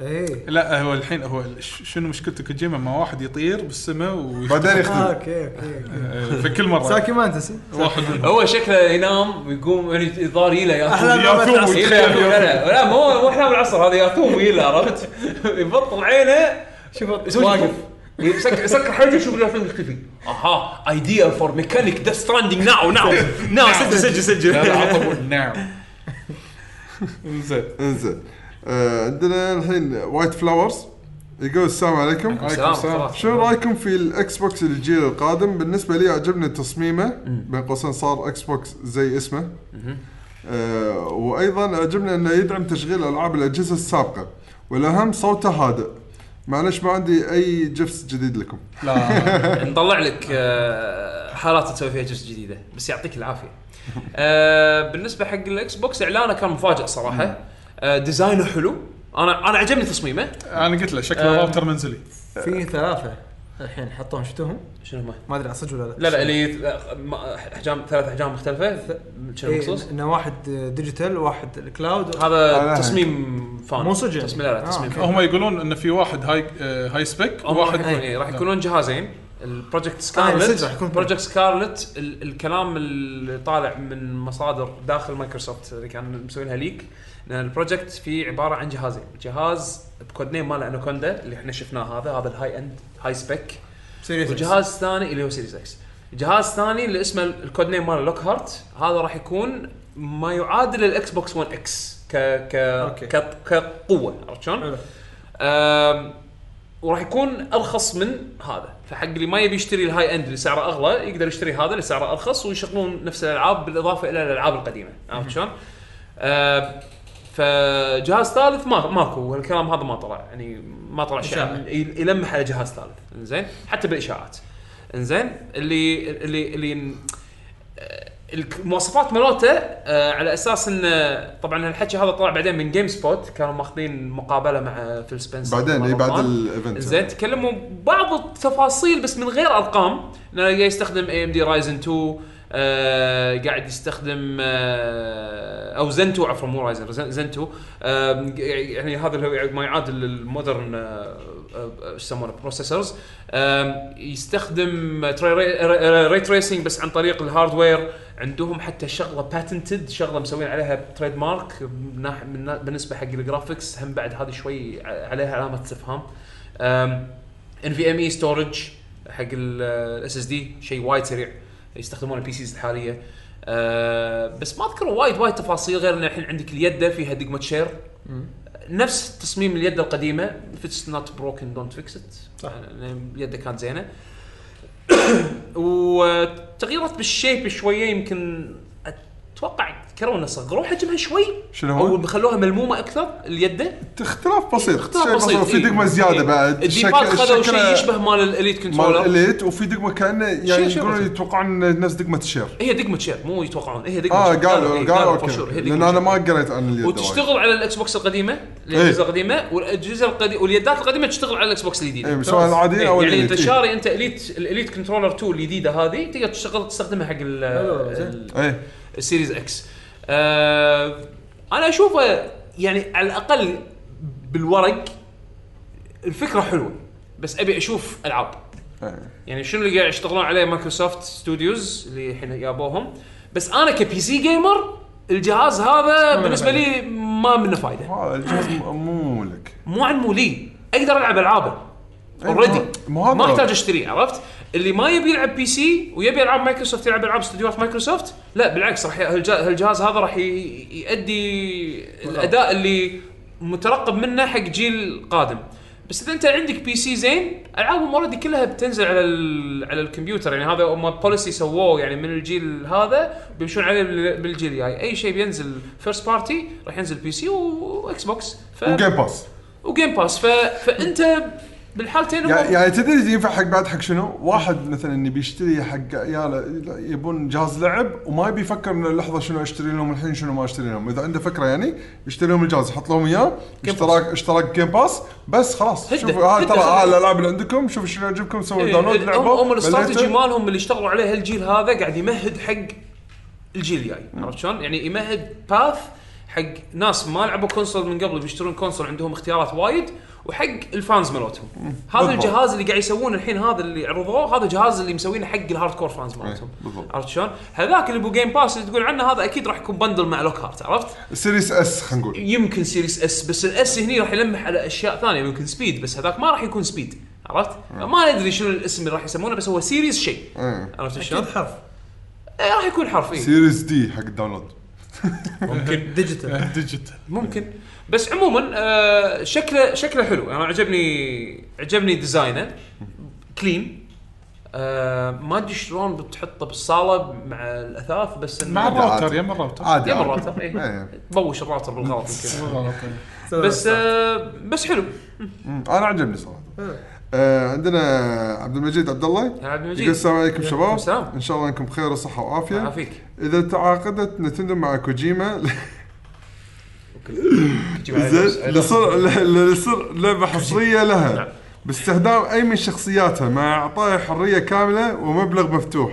[SPEAKER 4] اي
[SPEAKER 2] لا هو الحين هو ش- شنو مشكلته كوجيما ما واحد يطير بالسماء وبعدين
[SPEAKER 3] بعدين
[SPEAKER 4] آه،
[SPEAKER 3] يختفي
[SPEAKER 4] اوكي اوكي أوكي.
[SPEAKER 2] في كل مره
[SPEAKER 4] ساكي ما انتسي
[SPEAKER 2] واحد منهم
[SPEAKER 1] هو شكله ينام ويقوم يعني الظاهر يلا ياثوم
[SPEAKER 4] أحلام
[SPEAKER 2] يا ثوب
[SPEAKER 4] يا
[SPEAKER 1] يلا ياثوم لا لا مو مو احلام العصر هذا ياثوم يلا عرفت يبطل عينه
[SPEAKER 4] شوف
[SPEAKER 1] يسوي
[SPEAKER 4] واقف
[SPEAKER 1] يسكر سكر حيطه يشوف الفيلم يختفي اها ايديا فور ميكانيك ذا ستراندنج ناو ناو ناو سجل سجل
[SPEAKER 2] لا لا
[SPEAKER 1] سجل
[SPEAKER 2] عطوا نعم زين
[SPEAKER 3] انزين آه، عندنا الحين وايت فلاورز يقول السلام عليكم
[SPEAKER 1] السلام.
[SPEAKER 3] شو رايكم في الاكس بوكس الجيل القادم؟ بالنسبه لي عجبني تصميمه بين قوسين صار اكس بوكس زي اسمه. آه وايضا عجبني انه يدعم تشغيل العاب الاجهزه السابقه والاهم صوته هادئ. معلش ما عندي اي جفس جديد لكم.
[SPEAKER 2] لا
[SPEAKER 1] نطلع لك آه، حالات تسوي فيها جزء جديده بس يعطيك العافيه آه، بالنسبه حق الاكس بوكس اعلانه كان مفاجئ صراحه آه، ديزاينه حلو انا انا عجبني تصميمه
[SPEAKER 2] انا قلت له
[SPEAKER 1] آه.
[SPEAKER 2] شكله راوتر منزلي
[SPEAKER 4] في ثلاثه الحين حطوهم شفتهم
[SPEAKER 1] شنو ما
[SPEAKER 4] ما ادري عن صدق ولا لا
[SPEAKER 1] لا لا اللي لا، ما- احجام ثلاث احجام مختلفه شنو
[SPEAKER 4] إيه،
[SPEAKER 1] مخصوص؟
[SPEAKER 4] انه واحد ديجيتال واحد الكلاود
[SPEAKER 1] هذا
[SPEAKER 3] أنا
[SPEAKER 1] تصميم فان
[SPEAKER 4] مو صج يعني.
[SPEAKER 1] تصميم لا لا
[SPEAKER 4] آه،
[SPEAKER 1] تصميم
[SPEAKER 4] أوكي.
[SPEAKER 1] فان
[SPEAKER 2] هم يقولون ان في واحد هاي آه، هاي سبيك
[SPEAKER 1] هم راح يكون
[SPEAKER 2] وواحد
[SPEAKER 1] إيه، راح يكونون جهازين البروجكت
[SPEAKER 4] آه، صدق راح
[SPEAKER 1] سكارلت
[SPEAKER 4] يكون-
[SPEAKER 1] بروجكت سكارلت ال- الكلام اللي طالع من مصادر داخل مايكروسوفت اللي كان مسوينها ليك لان البروجكت فيه عباره عن جهازين جهاز بكود نيم مال اناكوندا اللي احنا شفناه هذا هذا الهاي اند هاي سبيك
[SPEAKER 4] سيريس
[SPEAKER 1] وجهاز ثاني اللي هو سيريس اكس جهاز ثاني اللي اسمه ال- الكود نيم ماله لوك هارت هذا راح يكون ما يعادل الاكس بوكس 1 اكس ك ك
[SPEAKER 4] أوكي.
[SPEAKER 1] ك كقوه عرفت شلون؟
[SPEAKER 4] حلو.
[SPEAKER 1] أم، وراح يكون ارخص من هذا فحق اللي ما يبي يشتري الهاي اند اللي سعره اغلى يقدر يشتري هذا اللي سعره ارخص ويشغلون نفس الالعاب بالاضافه الى الالعاب القديمه عرفت شلون؟ أم، فجهاز ثالث ما ماكو الكلام هذا ما طلع يعني ما طلع شيء
[SPEAKER 4] إشاعة.
[SPEAKER 1] عن- ي- يلمح على جهاز ثالث زين حتى بالاشاعات انزين اللي اللي اللي آه، المواصفات مالته آه، على اساس انه طبعا الحكي هذا طلع بعدين من جيم سبوت كانوا ماخذين مقابله مع فيل سبنسر
[SPEAKER 3] بعدين
[SPEAKER 1] مرة
[SPEAKER 3] اي بعد
[SPEAKER 1] ثانية.
[SPEAKER 3] الايفنت
[SPEAKER 1] زين تكلموا بعض التفاصيل بس من غير ارقام انه قاعد يستخدم اي ام دي رايزن 2 آه قاعد يستخدم آه او زن 2 عفوا مو رايزن زن زن 2 آه يعني هذا اللي هو ما يعادل المودرن آه، آه، آه، ايش يسمونه بروسيسورز آه يستخدم ري تريسنج بس عن طريق الهاردوير عندهم حتى شغله باتنتد شغله مسوين عليها تريد مارك بالنسبه حق الجرافكس هم بعد هذه شوي عليها علامه استفهام Um, ان في ام اي ستورج E حق الاس اس دي شيء وايد سريع يستخدمونه البي سيز الحاليه آه، بس ما اذكر وايد وايد تفاصيل غير ان الحين عندك اليد فيها دقمه شير نفس تصميم اليد القديمه if it's not broken don't fix it صح اليد كانت زينه وتغيرت بالشيب شويه يمكن اتوقع كرونه صغروا حجمها شوي
[SPEAKER 3] شنو
[SPEAKER 1] او
[SPEAKER 3] هو؟
[SPEAKER 1] خلوها ملمومه اكثر اليده
[SPEAKER 3] اختلاف بسيط
[SPEAKER 1] اختلاف
[SPEAKER 3] شيء
[SPEAKER 1] بسيط
[SPEAKER 3] في دقمه
[SPEAKER 1] إيه.
[SPEAKER 3] زياده
[SPEAKER 1] إيه.
[SPEAKER 3] بعد
[SPEAKER 1] الديباد
[SPEAKER 3] شكل-
[SPEAKER 1] خذوا
[SPEAKER 3] شكله
[SPEAKER 1] شيء يشبه مال الاليت
[SPEAKER 3] مال
[SPEAKER 1] كنترولر
[SPEAKER 3] اليت وفي دقمه كانه يعني
[SPEAKER 1] شيء
[SPEAKER 3] يقولون
[SPEAKER 1] بسيط.
[SPEAKER 3] يتوقعون إن نفس دقمه الشير
[SPEAKER 1] هي دقمه شير مو يتوقعون هي دقمه
[SPEAKER 3] اه
[SPEAKER 1] شير. قالوا-
[SPEAKER 3] قالوا قالوا
[SPEAKER 1] قالوا for sure،
[SPEAKER 3] اوكي
[SPEAKER 1] هي
[SPEAKER 3] لان
[SPEAKER 1] دقمة
[SPEAKER 3] انا
[SPEAKER 1] شير.
[SPEAKER 3] ما قريت عن اليد وايد. إيه.
[SPEAKER 1] وتشتغل على الاكس بوكس القديمه الاجهزه القديمه والاجهزه القديمه واليدات القديمه تشتغل على الاكس بوكس
[SPEAKER 3] اي
[SPEAKER 1] الجديده
[SPEAKER 3] سواء العاديه
[SPEAKER 1] إيه،
[SPEAKER 3] او
[SPEAKER 1] يعني انت
[SPEAKER 3] اليد، إيه.
[SPEAKER 1] شاري انت اليت الاليت كنترولر 2 الجديده هذه تقدر تشتغل تستخدمها حق ال- ال-
[SPEAKER 3] ايه
[SPEAKER 1] السيريز اكس آه انا اشوفه يعني على الاقل بالورق الفكره حلوه بس ابي اشوف العاب
[SPEAKER 3] إيه.
[SPEAKER 1] يعني شنو اللي قاعد يشتغلون عليه مايكروسوفت ستوديوز اللي الحين جابوهم بس انا كبي سي جيمر الجهاز هذا بالنسبه لي ما منه فايده
[SPEAKER 3] آه، الجهاز م- مو لك
[SPEAKER 1] مو عن مولي اقدر العب العابه
[SPEAKER 3] إيه،
[SPEAKER 1] اوريدي
[SPEAKER 3] مو هذا
[SPEAKER 1] ما احتاج اشتريه عرفت اللي ما يبي يلعب بي سي ويبي العاب مايكروسوفت يلعب العاب استديوهات مايكروسوفت لا بالعكس راح ي- هالجا- هالجهاز هذا راح ي- يؤدي الاداء اللي مترقب منه حق جيل قادم بس اذا انت عندك بي سي زين العابهم اوريدي كلها بتنزل على ال- على الكمبيوتر يعني هذا هم بوليسي سووه يعني من الجيل هذا بيمشون عليه بال- بالجيل الجاي اي شيء بينزل فيرست بارتي راح ينزل بي سي واكس بوكس ف...
[SPEAKER 3] وجيم باس
[SPEAKER 1] وجيم باس ف... فانت بالحالتين
[SPEAKER 3] يعني
[SPEAKER 1] هو
[SPEAKER 3] يعني تدري ينفع حق بعد حق شنو؟ واحد مثلا اللي بيشتري حق عياله يبون جهاز لعب وما يبي يفكر من اللحظه شنو اشتري لهم الحين شنو ما اشتري لهم، اذا عنده فكره يعني يشتري لهم الجهاز يحط لهم اياه اشتراك اشتراك جيم باس بس خلاص
[SPEAKER 1] هدة،
[SPEAKER 3] شوفوا ها
[SPEAKER 1] هدة،
[SPEAKER 3] ترى
[SPEAKER 1] هدة.
[SPEAKER 3] ها الالعاب اللي عندكم شوفوا شنو يعجبكم سووا داونلود
[SPEAKER 1] إيه، هم
[SPEAKER 3] لعبوا
[SPEAKER 1] هم الاستراتيجي
[SPEAKER 3] بليتوا.
[SPEAKER 1] مالهم اللي اشتغلوا عليه الجيل هذا قاعد يمهد حق الجيل الجاي عرفت شلون؟ يعني يمهد باث حق ناس ما لعبوا كونسول من قبل بيشترون كونسول عندهم اختيارات وايد وحق الفانز مالتهم هذا
[SPEAKER 3] بالضبط.
[SPEAKER 1] الجهاز اللي قاعد يسوونه الحين هذا اللي عرضوه هذا الجهاز اللي مسوينه حق الهارد كور فانز مالتهم
[SPEAKER 3] إيه، بالضبط.
[SPEAKER 1] عرفت شلون؟ هذاك اللي بو جيم باس اللي تقول عنه هذا اكيد راح يكون بندل مع لوك هارت عرفت؟
[SPEAKER 3] سيريس اس خلينا نقول
[SPEAKER 1] يمكن سيريس اس بس الاس هني راح يلمح على اشياء ثانيه يمكن سبيد بس هذاك ما راح يكون سبيد عرفت؟
[SPEAKER 3] آه.
[SPEAKER 1] ما ندري شنو الاسم اللي راح يسمونه بس هو سيريز شيء
[SPEAKER 3] إيه.
[SPEAKER 1] عرفت شلون؟
[SPEAKER 9] اكيد حرف
[SPEAKER 1] إيه، راح يكون حرف إيه.
[SPEAKER 3] سيريز دي حق الداونلود
[SPEAKER 1] ممكن
[SPEAKER 9] ديجيتال
[SPEAKER 2] آه، ديجيتال
[SPEAKER 1] ممكن بس عموما آه شكله شكله حلو انا عجبني عجبني ديزاينه كلين آه ما ادري شلون بتحطه بالصاله مع الاثاث بس إنه-
[SPEAKER 2] مع الراوتر يم الراوتر
[SPEAKER 3] عادي
[SPEAKER 1] يا
[SPEAKER 3] عادي.
[SPEAKER 1] مرات إيه.
[SPEAKER 3] إيه.
[SPEAKER 1] تبوش الراوتر بالغلط يمكن بس
[SPEAKER 9] بس
[SPEAKER 1] آه بس حلو
[SPEAKER 3] مم. انا عجبني صراحه آه عندنا عبد المجيد عبد الله
[SPEAKER 1] يا عبد المجيد.
[SPEAKER 3] يقول السلام عليكم شباب
[SPEAKER 1] السلام.
[SPEAKER 3] ان شاء الله انكم بخير وصحه وعافيه
[SPEAKER 1] عافيك
[SPEAKER 3] اذا تعاقدت نتندو مع كوجيما زين
[SPEAKER 10] زين
[SPEAKER 3] لصنع ل- لصنع لعبه حصريه لها باستخدام اي من شخصياتها مع اعطائها حريه كامله ومبلغ مفتوح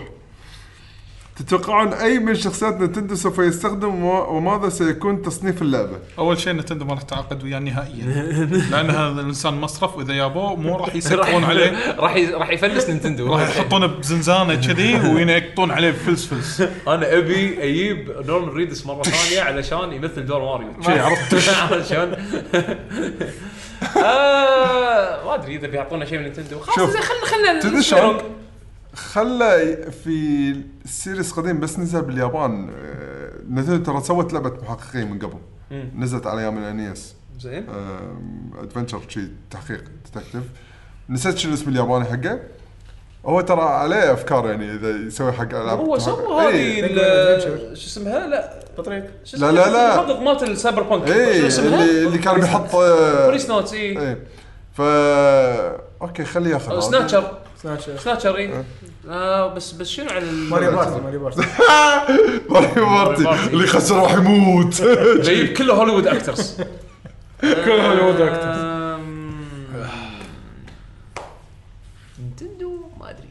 [SPEAKER 3] تتوقعون اي من شخصيات نتندو سوف يستخدم وما- وماذا سيكون تصنيف اللعبه؟
[SPEAKER 2] اول شيء نتندو ما راح تعاقد وياه نهائيا لان هذا الانسان مصرف واذا يابوه مو راح يسكرون عليه
[SPEAKER 1] راح ي- راح يفلس نينتندو
[SPEAKER 2] راح يحطونه بزنزانه كذي وينقطون عليه فلس فلس
[SPEAKER 1] انا ابي اجيب نورمان ريدس مره ثانيه علشان يمثل دور ماريو
[SPEAKER 2] شي عرفت
[SPEAKER 1] علشان آه، ما ادري اذا بيعطونا شيء من نينتندو خلاص
[SPEAKER 3] شوف.
[SPEAKER 1] إذا خلنا خلنا
[SPEAKER 3] تدري شلون؟ خلى في سيريس قديم بس نزل باليابان آه، نتندو ترى سوت لعبه محققين من قبل نزلت على ايام الانيس
[SPEAKER 1] زين
[SPEAKER 3] ادفنشر شي تحقيق ديتكتيف نسيت شنو الاسم الياباني حقه هو ترى عليه افكار يعني اذا يسوي حق العاب
[SPEAKER 1] هو سوى هذه
[SPEAKER 3] إيه.
[SPEAKER 1] ال- شو اسمها لا بطريق
[SPEAKER 3] لا، لا، لا.
[SPEAKER 1] المحقق مالت السايبر بانك شو
[SPEAKER 3] اي اللي,
[SPEAKER 1] اسمها؟
[SPEAKER 3] إيه، اللي كان بيحط آه،
[SPEAKER 1] بوليس نوتس اي
[SPEAKER 3] اي ف اوكي خليه ياخذ
[SPEAKER 1] Oh, آه، سناتشر
[SPEAKER 9] سناتشر
[SPEAKER 1] سناتشر
[SPEAKER 3] إيه.
[SPEAKER 1] اي إيه. آه، بس بس شنو على ال-
[SPEAKER 9] ماريو بارتي ماريو بارتي
[SPEAKER 3] ماريو بارتي
[SPEAKER 1] بارتي.
[SPEAKER 3] اللي خسر راح يموت
[SPEAKER 1] جايب كله هوليوود اكترز
[SPEAKER 2] كل هوليوود actors.
[SPEAKER 1] نتندو ما ادري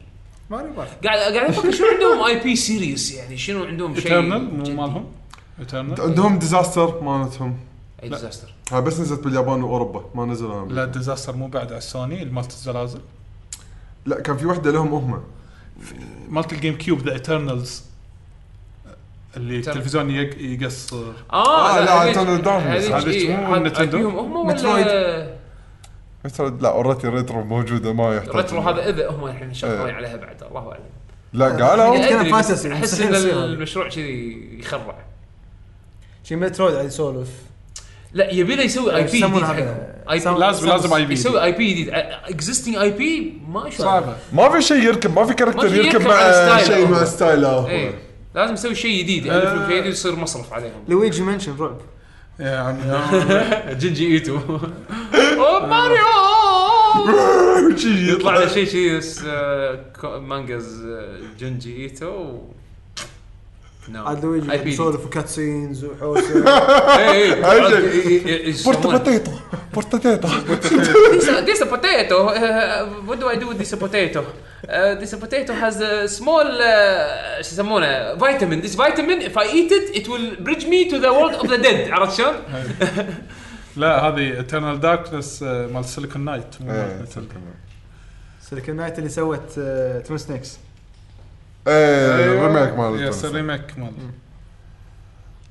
[SPEAKER 9] ماريو بارتي
[SPEAKER 1] قاعد قاعد افكر شنو عندهم اي بي سيريس يعني شنو عندهم شيء
[SPEAKER 2] ايترنال مو مالهم ايترنال
[SPEAKER 3] عندهم ديزاستر مالتهم
[SPEAKER 1] اي ديزاستر
[SPEAKER 3] ها بس نزلت باليابان واوروبا ما نزل أمريكا.
[SPEAKER 2] لا ديزاستر مو بعد على السوني مالت الزلازل
[SPEAKER 3] لا كان في وحده لهم هم
[SPEAKER 2] مالت الجيم كيوب ذا ايترنالز اللي التلفزيون يق- يقصر
[SPEAKER 1] اه
[SPEAKER 3] آه، لا،
[SPEAKER 1] هذيك-
[SPEAKER 3] Nintendo Darkness.
[SPEAKER 1] هذيك
[SPEAKER 2] هذيك
[SPEAKER 1] إيه،
[SPEAKER 2] مو
[SPEAKER 1] هذ-
[SPEAKER 2] Nintendo.
[SPEAKER 1] هذيهم هم
[SPEAKER 9] Metroid.
[SPEAKER 1] ولا
[SPEAKER 3] مثلا لا اوريدي ريترو موجوده ما يحتاج
[SPEAKER 1] ريترو هذا اذا هم الحين شغالين
[SPEAKER 3] إيه.
[SPEAKER 1] عليها بعد الله اعلم
[SPEAKER 3] لا قالوا
[SPEAKER 1] أدري،
[SPEAKER 4] كان
[SPEAKER 1] بس
[SPEAKER 4] fantasy،
[SPEAKER 1] احس
[SPEAKER 4] مستحيل
[SPEAKER 1] ان
[SPEAKER 4] يصير.
[SPEAKER 1] المشروع كذي يخرع
[SPEAKER 9] شي مترويد قاعد يسولف
[SPEAKER 1] لا يبي له يسوي اي بي جديد
[SPEAKER 9] يسمون
[SPEAKER 1] حقهم
[SPEAKER 4] هذا-
[SPEAKER 1] اي
[SPEAKER 4] يسمون-
[SPEAKER 2] لازم لازم اي بي
[SPEAKER 1] يسوي اي بي جديد اكزيستنج اي بي ما شاء
[SPEAKER 2] صعبه
[SPEAKER 3] ما في شيء يركب ما في
[SPEAKER 1] ما
[SPEAKER 3] كاركتر
[SPEAKER 1] في
[SPEAKER 3] يركب
[SPEAKER 1] يركب
[SPEAKER 3] مع
[SPEAKER 1] على ستايل
[SPEAKER 3] شيء
[SPEAKER 1] أول.
[SPEAKER 3] مع ستايل آه، هو.
[SPEAKER 1] ايه لازم يسوي شيء جديد
[SPEAKER 2] آه.
[SPEAKER 1] يألفون شيء جديد يصير مصرف عليهم
[SPEAKER 4] لويجي منشن رعب
[SPEAKER 2] يا عمي
[SPEAKER 1] جنجي ايتو أوه، ماريو
[SPEAKER 3] شي
[SPEAKER 1] يطلع له شيء شيء يس- آه، كو- مانجاز آه، جنجي ايتو و- نو
[SPEAKER 4] عاد
[SPEAKER 1] اي
[SPEAKER 4] لويجي قاعد
[SPEAKER 1] بي دي.
[SPEAKER 4] يسولف وكاتسينز وحوسه
[SPEAKER 1] إيه، إيه،
[SPEAKER 3] أي
[SPEAKER 1] عاد
[SPEAKER 3] شيء.
[SPEAKER 1] ي- ي-
[SPEAKER 3] بورتا
[SPEAKER 1] يسمونه-
[SPEAKER 3] باتيتا بورتا باتيتا
[SPEAKER 1] This this a potato. Uh, what do I do with this potato? Uh, this potato has a small uh, شو يسمونه vitamin. This vitamin if I eat it it will bridge me to the world of the dead. عرفت شلون؟
[SPEAKER 2] لا هذه ايترنال داركنس مال سيليكون نايت مو مال
[SPEAKER 3] إيه،
[SPEAKER 2] نتندو.
[SPEAKER 4] سيليكون نايت اللي سوت آه، تون سنيكس
[SPEAKER 3] ايه
[SPEAKER 2] إيه،
[SPEAKER 3] الريميك مال
[SPEAKER 2] يس
[SPEAKER 3] التونس.
[SPEAKER 2] أيوة. الريميك مال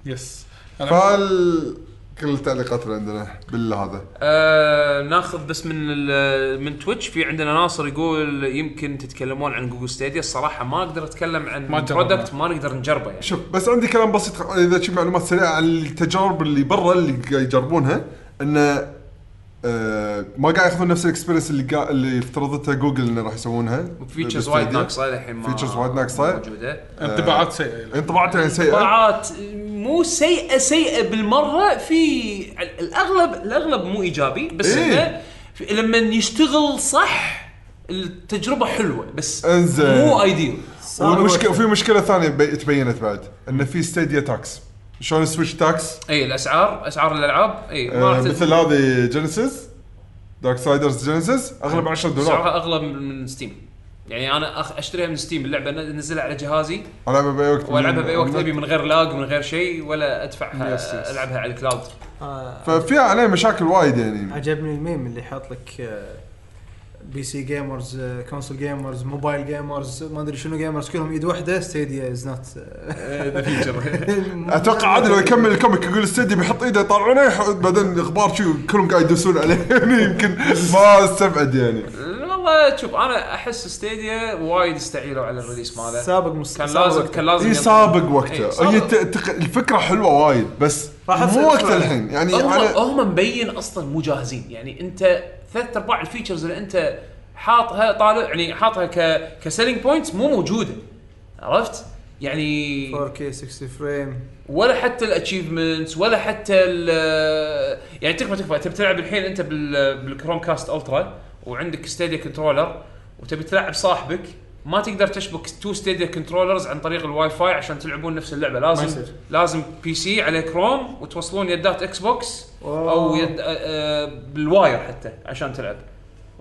[SPEAKER 2] يس
[SPEAKER 3] فال كل التعليقات اللي عندنا بالهذا
[SPEAKER 1] آه، ناخذ بس من ال- من تويتش في عندنا ناصر يقول يمكن تتكلمون عن جوجل ستيديا الصراحه ما اقدر اتكلم عن
[SPEAKER 2] ما جربنا.
[SPEAKER 1] برودكت ما نقدر نجربه يعني
[SPEAKER 3] شوف بس عندي كلام بسيط اذا شي معلومات سريعه عن التجارب اللي برا اللي قاعد يجربونها انه آه، ما قاعد ياخذون نفس الاكسبيرينس اللي قاعد اللي افترضتها جوجل انه راح يسوونها
[SPEAKER 1] فيتشرز
[SPEAKER 3] بالستوديو.
[SPEAKER 1] وايد ناقصه للحين ما
[SPEAKER 3] features وايد ناقصة.
[SPEAKER 1] ما موجوده
[SPEAKER 2] انطباعات سيئه
[SPEAKER 3] انطباعات يعني سيئه
[SPEAKER 1] طبعات مو سيئه سيئه بالمره في ال- الاغلب الاغلب مو ايجابي بس
[SPEAKER 3] إيه.
[SPEAKER 1] إنه في- لما يشتغل صح التجربه حلوه بس
[SPEAKER 3] انزين.
[SPEAKER 1] مو ايديل
[SPEAKER 3] والمشكله في مشكله ثانيه بي- تبينت بعد انه في ستيديا تاكس شلون سويتش تاكس
[SPEAKER 1] اي الاسعار اسعار الالعاب اي ما
[SPEAKER 3] آه،
[SPEAKER 1] راح تت-
[SPEAKER 3] مثل هذه جينيسيس دارك سايدرز جينيسيس اغلب 10 دولار
[SPEAKER 1] سعرها اغلى من من ستيم يعني انا أخ اشتريها من ستيم اللعبه أنا انزلها على جهازي
[SPEAKER 3] العبها باي وقت
[SPEAKER 1] والعبها
[SPEAKER 3] من-
[SPEAKER 1] باي وقت
[SPEAKER 3] من-
[SPEAKER 1] ابي من غير لاج ومن غير شيء ولا
[SPEAKER 2] Yes, yes.
[SPEAKER 1] ادفعها العبها على الكلاود
[SPEAKER 9] آه،
[SPEAKER 3] ففيها عليه مشاكل وايد يعني
[SPEAKER 4] عجبني الميم اللي حاط لك آه، بي سي جيمرز آه، كونسول جيمرز موبايل جيمرز ما ادري شنو جيمرز كلهم ايد واحده ستيديا از نوت
[SPEAKER 1] ذا فيوتشر
[SPEAKER 3] اتوقع عاد لو يكمل الكوميك يقول استدي بيحط ايده يطالعونه يح- بعدين اخبار شو كلهم قاعد يدوسون عليه يعني يمكن ما استبعد يعني
[SPEAKER 1] والله والله شوف انا احس ستيديا وايد استعيروا على الريليس ماله
[SPEAKER 4] سابق مست...
[SPEAKER 1] كان
[SPEAKER 4] سابق
[SPEAKER 1] لازم
[SPEAKER 4] وقت.
[SPEAKER 1] كان لازم
[SPEAKER 3] اي
[SPEAKER 1] ينطلع.
[SPEAKER 3] سابق
[SPEAKER 1] إيه،
[SPEAKER 3] وقته
[SPEAKER 1] سابق.
[SPEAKER 3] هي ت- تق- الفكره حلوه وايد بس
[SPEAKER 4] راح
[SPEAKER 3] مو
[SPEAKER 4] أسأل
[SPEAKER 3] وقت
[SPEAKER 4] سؤال.
[SPEAKER 3] الحين يعني
[SPEAKER 1] هم
[SPEAKER 3] انا
[SPEAKER 1] هم مبين اصلا مو جاهزين يعني انت ثلاث ارباع الفيتشرز اللي انت حاطها طالع يعني حاطها ك كسيلينج بوينتس مو موجوده عرفت؟ يعني
[SPEAKER 4] 4K 60 فريم
[SPEAKER 1] ولا حتى الاتشيفمنتس ولا حتى ال يعني تكفى تكفى تبي تلعب الحين انت بال بالكروم كاست الترا وعندك ستيديا كنترولر وتبي تلعب صاحبك ما تقدر تشبك تو ستيديا كنترولرز عن طريق الواي فاي عشان تلعبون نفس اللعبه لازم
[SPEAKER 4] يصير.
[SPEAKER 1] لازم بي سي على كروم وتوصلون يدات اكس بوكس او
[SPEAKER 4] أوه.
[SPEAKER 1] يد آه، آه، بالواير حتى عشان تلعب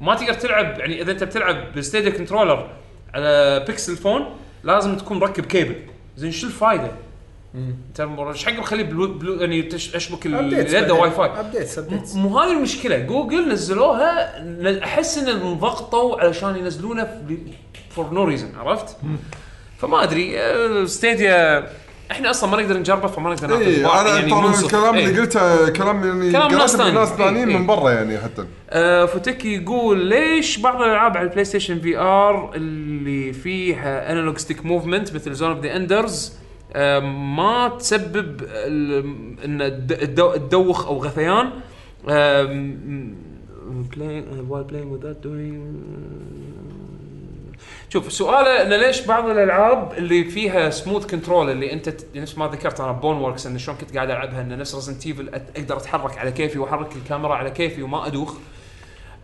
[SPEAKER 1] وما تقدر تلعب يعني اذا انت بتلعب بالستيديا كنترولر على بيكسل فون لازم تكون مركب كيبل زين شو الفائده؟ انت مر- ايش حق مخليه بلو بلو يعني تش- اشبك ال- اليد واي فاي
[SPEAKER 5] ابديتس ابديتس
[SPEAKER 1] مو هاي المشكله جوجل نزلوها ن- احس ان انضغطوا علشان ينزلونه فور نو ريزن عرفت؟ فما آه، ادري ستيديا احنا اصلا ما نقدر نجربه فما نقدر ناخذ
[SPEAKER 3] اي
[SPEAKER 1] إنطباع
[SPEAKER 3] انا طبعا
[SPEAKER 1] منصف.
[SPEAKER 3] إيه، الكلام
[SPEAKER 1] إيه.
[SPEAKER 3] اللي قلته كلام يعني
[SPEAKER 1] كلام ناس
[SPEAKER 3] قرأته من
[SPEAKER 1] ثانيين.
[SPEAKER 3] ناس
[SPEAKER 1] إيه،
[SPEAKER 3] ثانيين
[SPEAKER 1] إيه.
[SPEAKER 3] من برا يعني حتى
[SPEAKER 1] آه، فوتك يقول ليش بعض الالعاب على البلاي ستيشن في ار اللي فيها انالوج ستيك موفمنت مثل زون اوف ذا اندرز آه، ما تسبب ال- ان الد- الدو- تدوخ او غثيان آه، وايل بلاينج without doing شوف سؤاله انه ليش بعض الالعاب اللي فيها سموث كنترول اللي انت ت- نفس ما ذكرت انا بون وركس انه شلون كنت قاعد العبها انه نفس ريزنت ايفل اقدر اتحرك على كيفي واحرك الكاميرا على كيفي وما ادوخ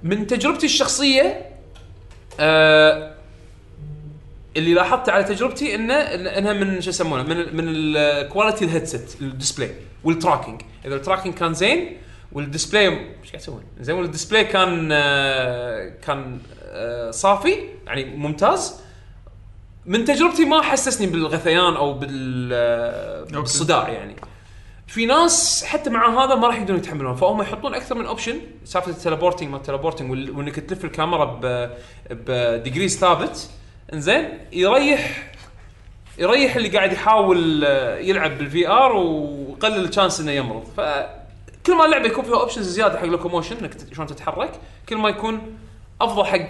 [SPEAKER 1] من تجربتي الشخصيه آه اللي لاحظته على تجربتي انه إن- انها من شو يسمونه من ال- من الكواليتي الهيدسيت الديسبلاي والتراكنج اذا التراكنج كان زين والديسبلاي ايش قاعد تسوون؟ زين والديسبلاي كان آه كان آه صافي يعني ممتاز من تجربتي ما حسسني بالغثيان او بال آه، بالصداع يعني في ناس حتى مع هذا ما راح يقدرون يتحملون فهم يحطون اكثر من اوبشن سالفه التليبورتنج ما التليبورتنج وال- وانك تلف الكاميرا ب بديجريز ثابت انزين يريح يريح اللي قاعد يحاول آه، يلعب بالفي ار ويقلل الشانس انه يمرض فكل ما اللعبه يكون فيها اوبشنز زياده حق لوكوموشن انك تت- شلون تتحرك كل ما يكون افضل حق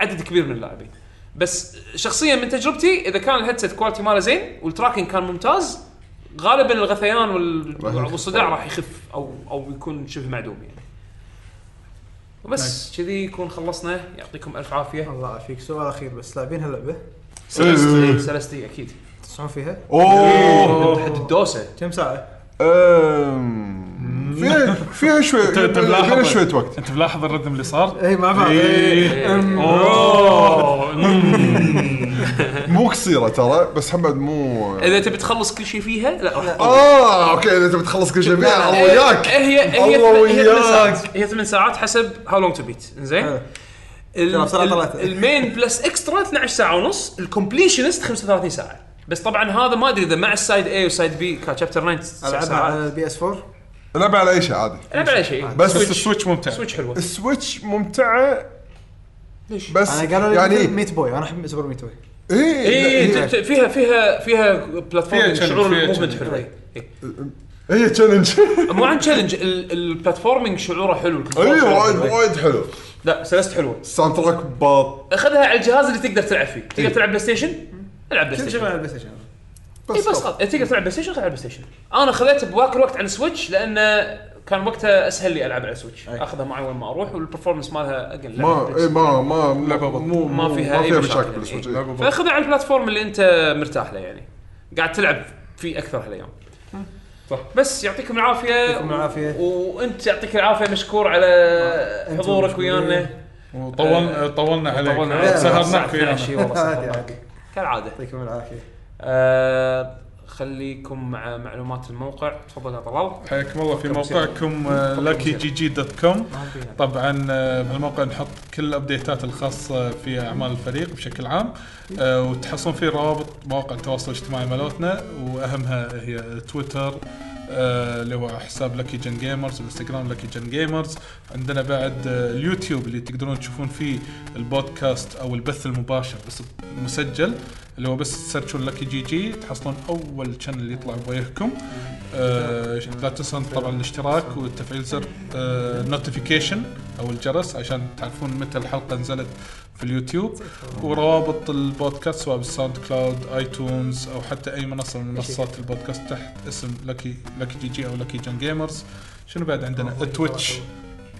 [SPEAKER 1] عدد كبير من اللاعبين بس شخصيا من تجربتي اذا كان الهيدسيت كواليتي ماله زين والتراكنج كان ممتاز غالبا الغثيان وال-
[SPEAKER 3] راح يخف.
[SPEAKER 1] والصداع راح يخف او او يكون شبه معدوم يعني وبس كذي يكون خلصنا يعطيكم الف عافيه
[SPEAKER 4] الله يعافيك سؤال اخير بس لاعبين هاللعبه
[SPEAKER 1] سلستي سلستي اكيد
[SPEAKER 4] تسمعون فيها
[SPEAKER 3] اوه
[SPEAKER 1] حد الدوسه
[SPEAKER 4] كم ساعه؟
[SPEAKER 3] أم، فيها فيها شوي
[SPEAKER 2] أنت-
[SPEAKER 1] طيب،
[SPEAKER 2] أنت ملاحظ-
[SPEAKER 3] فيها شوية وقت
[SPEAKER 2] انت ملاحظ الردم اللي صار؟
[SPEAKER 4] اي مع بعض
[SPEAKER 2] إيه. اوه
[SPEAKER 1] إيه.
[SPEAKER 2] مم.
[SPEAKER 3] مو قصيرة ترى بس هم بعد مو
[SPEAKER 1] اذا تبي تخلص كل شي فيها لا راح
[SPEAKER 3] اه اوكي اذا تبي تخلص كل شيء فيها الله وياك
[SPEAKER 1] إيه، هي هي
[SPEAKER 3] الله
[SPEAKER 1] ثم- هي ثمان
[SPEAKER 3] وياك.
[SPEAKER 1] ساعات هي ثمان ساعات حسب هاو لونج تو بيت زين
[SPEAKER 4] حلو. يلا، بسرعة طلعت.
[SPEAKER 1] المين بلس اكسترا 12 ساعه ونص الكومبليشنست 35 ساعه بس طبعا هذا ما ادري اذا مع السايد اي والسايد بي كشابتر 9 سبع
[SPEAKER 4] العبها على
[SPEAKER 1] ساعات
[SPEAKER 4] البي اس 4
[SPEAKER 3] العب على اي شيء عادي
[SPEAKER 1] العب على شيء
[SPEAKER 3] بس
[SPEAKER 2] بس السويتش ممتع
[SPEAKER 1] سويتش حلوه
[SPEAKER 3] السويتش ممتعة
[SPEAKER 1] ليش؟
[SPEAKER 3] بس
[SPEAKER 4] انا قالوا لي
[SPEAKER 3] يعني إيه،
[SPEAKER 4] ميت بوي انا احب سوبر ميت بوي
[SPEAKER 1] اي
[SPEAKER 3] اي
[SPEAKER 1] إيه، فيها فيها فيها
[SPEAKER 2] فيها
[SPEAKER 1] بلاتفورم
[SPEAKER 2] challenge،
[SPEAKER 1] شعور
[SPEAKER 2] فيها
[SPEAKER 1] الموفمنت
[SPEAKER 2] challenge.
[SPEAKER 1] حلو إيه.
[SPEAKER 3] هي تشالنج
[SPEAKER 1] مو عن تشالنج البلاتفورمينج شعوره حلو الكنترول
[SPEAKER 4] أيوة،
[SPEAKER 3] اي
[SPEAKER 1] شعوره
[SPEAKER 3] إيه، وايد
[SPEAKER 1] حلو.
[SPEAKER 3] وايد حلو
[SPEAKER 1] لا سلست حلوه
[SPEAKER 3] الساوند تراك باط
[SPEAKER 1] اخذها على الجهاز اللي تقدر تلعب فيه تقدر تلعب بلاي ستيشن العب بلاي
[SPEAKER 4] إيه. كل شيء
[SPEAKER 1] ستيشن
[SPEAKER 4] على البلاي ستيشن
[SPEAKER 1] اي إيه، بس خلاص تقدر تلعب بلاي ستيشن خليها على البلاي ستيشن انا خذيته بواك الوقت على السويتش لانه كان وقتها اسهل لي العب على السويتش اخذها معي وين ما اروح والبرفورمنس مالها اقل
[SPEAKER 3] ما
[SPEAKER 4] إيه،
[SPEAKER 3] اي ما ما
[SPEAKER 2] لعبة بط.
[SPEAKER 3] مو
[SPEAKER 1] ما فيها
[SPEAKER 3] ما
[SPEAKER 1] أي مشاكل
[SPEAKER 3] فيها مشاكل
[SPEAKER 1] يعني.
[SPEAKER 3] بالسويتش
[SPEAKER 1] إي.
[SPEAKER 3] إي.
[SPEAKER 1] فاخذها على البلاتفورم اللي انت مرتاح له يعني قاعد تلعب فيه اكثر هالايام صح بس يعطيكم العافيه
[SPEAKER 4] يعطيكم العافية.
[SPEAKER 1] و- وانت يعطيك العافيه مشكور على
[SPEAKER 4] أنتم
[SPEAKER 1] حضورك
[SPEAKER 4] مشكورين.
[SPEAKER 1] ويانا
[SPEAKER 3] آه.
[SPEAKER 2] وطولنا طولنا
[SPEAKER 1] طولنا
[SPEAKER 2] عليك
[SPEAKER 1] عليك.
[SPEAKER 2] سهرناك
[SPEAKER 1] الساعة 12
[SPEAKER 2] فيها
[SPEAKER 1] والله
[SPEAKER 4] عادي،
[SPEAKER 1] سهرناك.
[SPEAKER 4] عادي.
[SPEAKER 1] كالعاده
[SPEAKER 4] يعطيكم العافيه
[SPEAKER 1] آه، خليكم مع معلومات الموقع تفضل يا طلال
[SPEAKER 2] حياكم الله في موقعكم آه، لاكي جي جي دوت كوم طبعا آه، بهالموقع نحط كل الابديتات الخاصه في اعمال الفريق بشكل عام آه، وتحصلون فيه روابط مواقع التواصل الاجتماعي مالتنا واهمها هي تويتر آه، اللي هو حساب لكي جن جيمرز الانستغرام لكي جن جيمرز عندنا بعد آه، اليوتيوب اللي تقدرون تشوفون فيه البودكاست او البث المباشر بس مسجل اللي هو بس تسيرشون لكي جي جي تحصلون اول شانل يطلع بوجهكم آه، لا تنسون طبعا الاشتراك وتفعيل زر نوتيفيكيشن او الجرس عشان تعرفون متى الحلقه نزلت في اليوتيوب وروابط البودكاست سواء بالساوند كلاود ايتونز او حتى اي منصه من منصات البودكاست تحت اسم لكي لكي جي جي او لكي جن جيمرز شنو بعد عندنا تويتش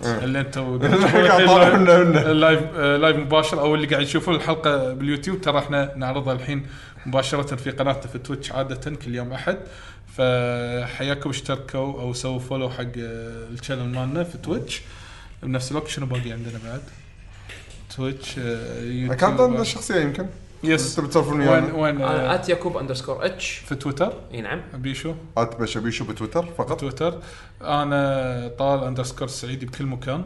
[SPEAKER 2] اللي انتم
[SPEAKER 3] قاعد طالعونا هنا.
[SPEAKER 2] اللايف آه، لايف مباشر او اللي قاعد يشوفون الحلقه باليوتيوب ترى احنا نعرضها الحين مباشره في قناتنا في تويتش عاده كل يوم احد فحياكم اشتركوا او سووا فولو حق آه، الشانل مالنا في تويتش بنفس الوقت شنو باقي عندنا بعد؟ تويتش آه، يوتيوب
[SPEAKER 3] كان ضمن الشخصيه يمكن
[SPEAKER 2] يس
[SPEAKER 3] تبي تسولفون
[SPEAKER 2] وين
[SPEAKER 3] ويانا
[SPEAKER 2] وين
[SPEAKER 1] انا
[SPEAKER 2] آه،
[SPEAKER 1] ات يعقوب اندرسكور اتش
[SPEAKER 2] في تويتر
[SPEAKER 1] اي نعم
[SPEAKER 2] بيشو
[SPEAKER 3] اتبع شبيشو بتويتر فقط
[SPEAKER 2] تويتر انا طال اندرسكور السعيدي بكل مكان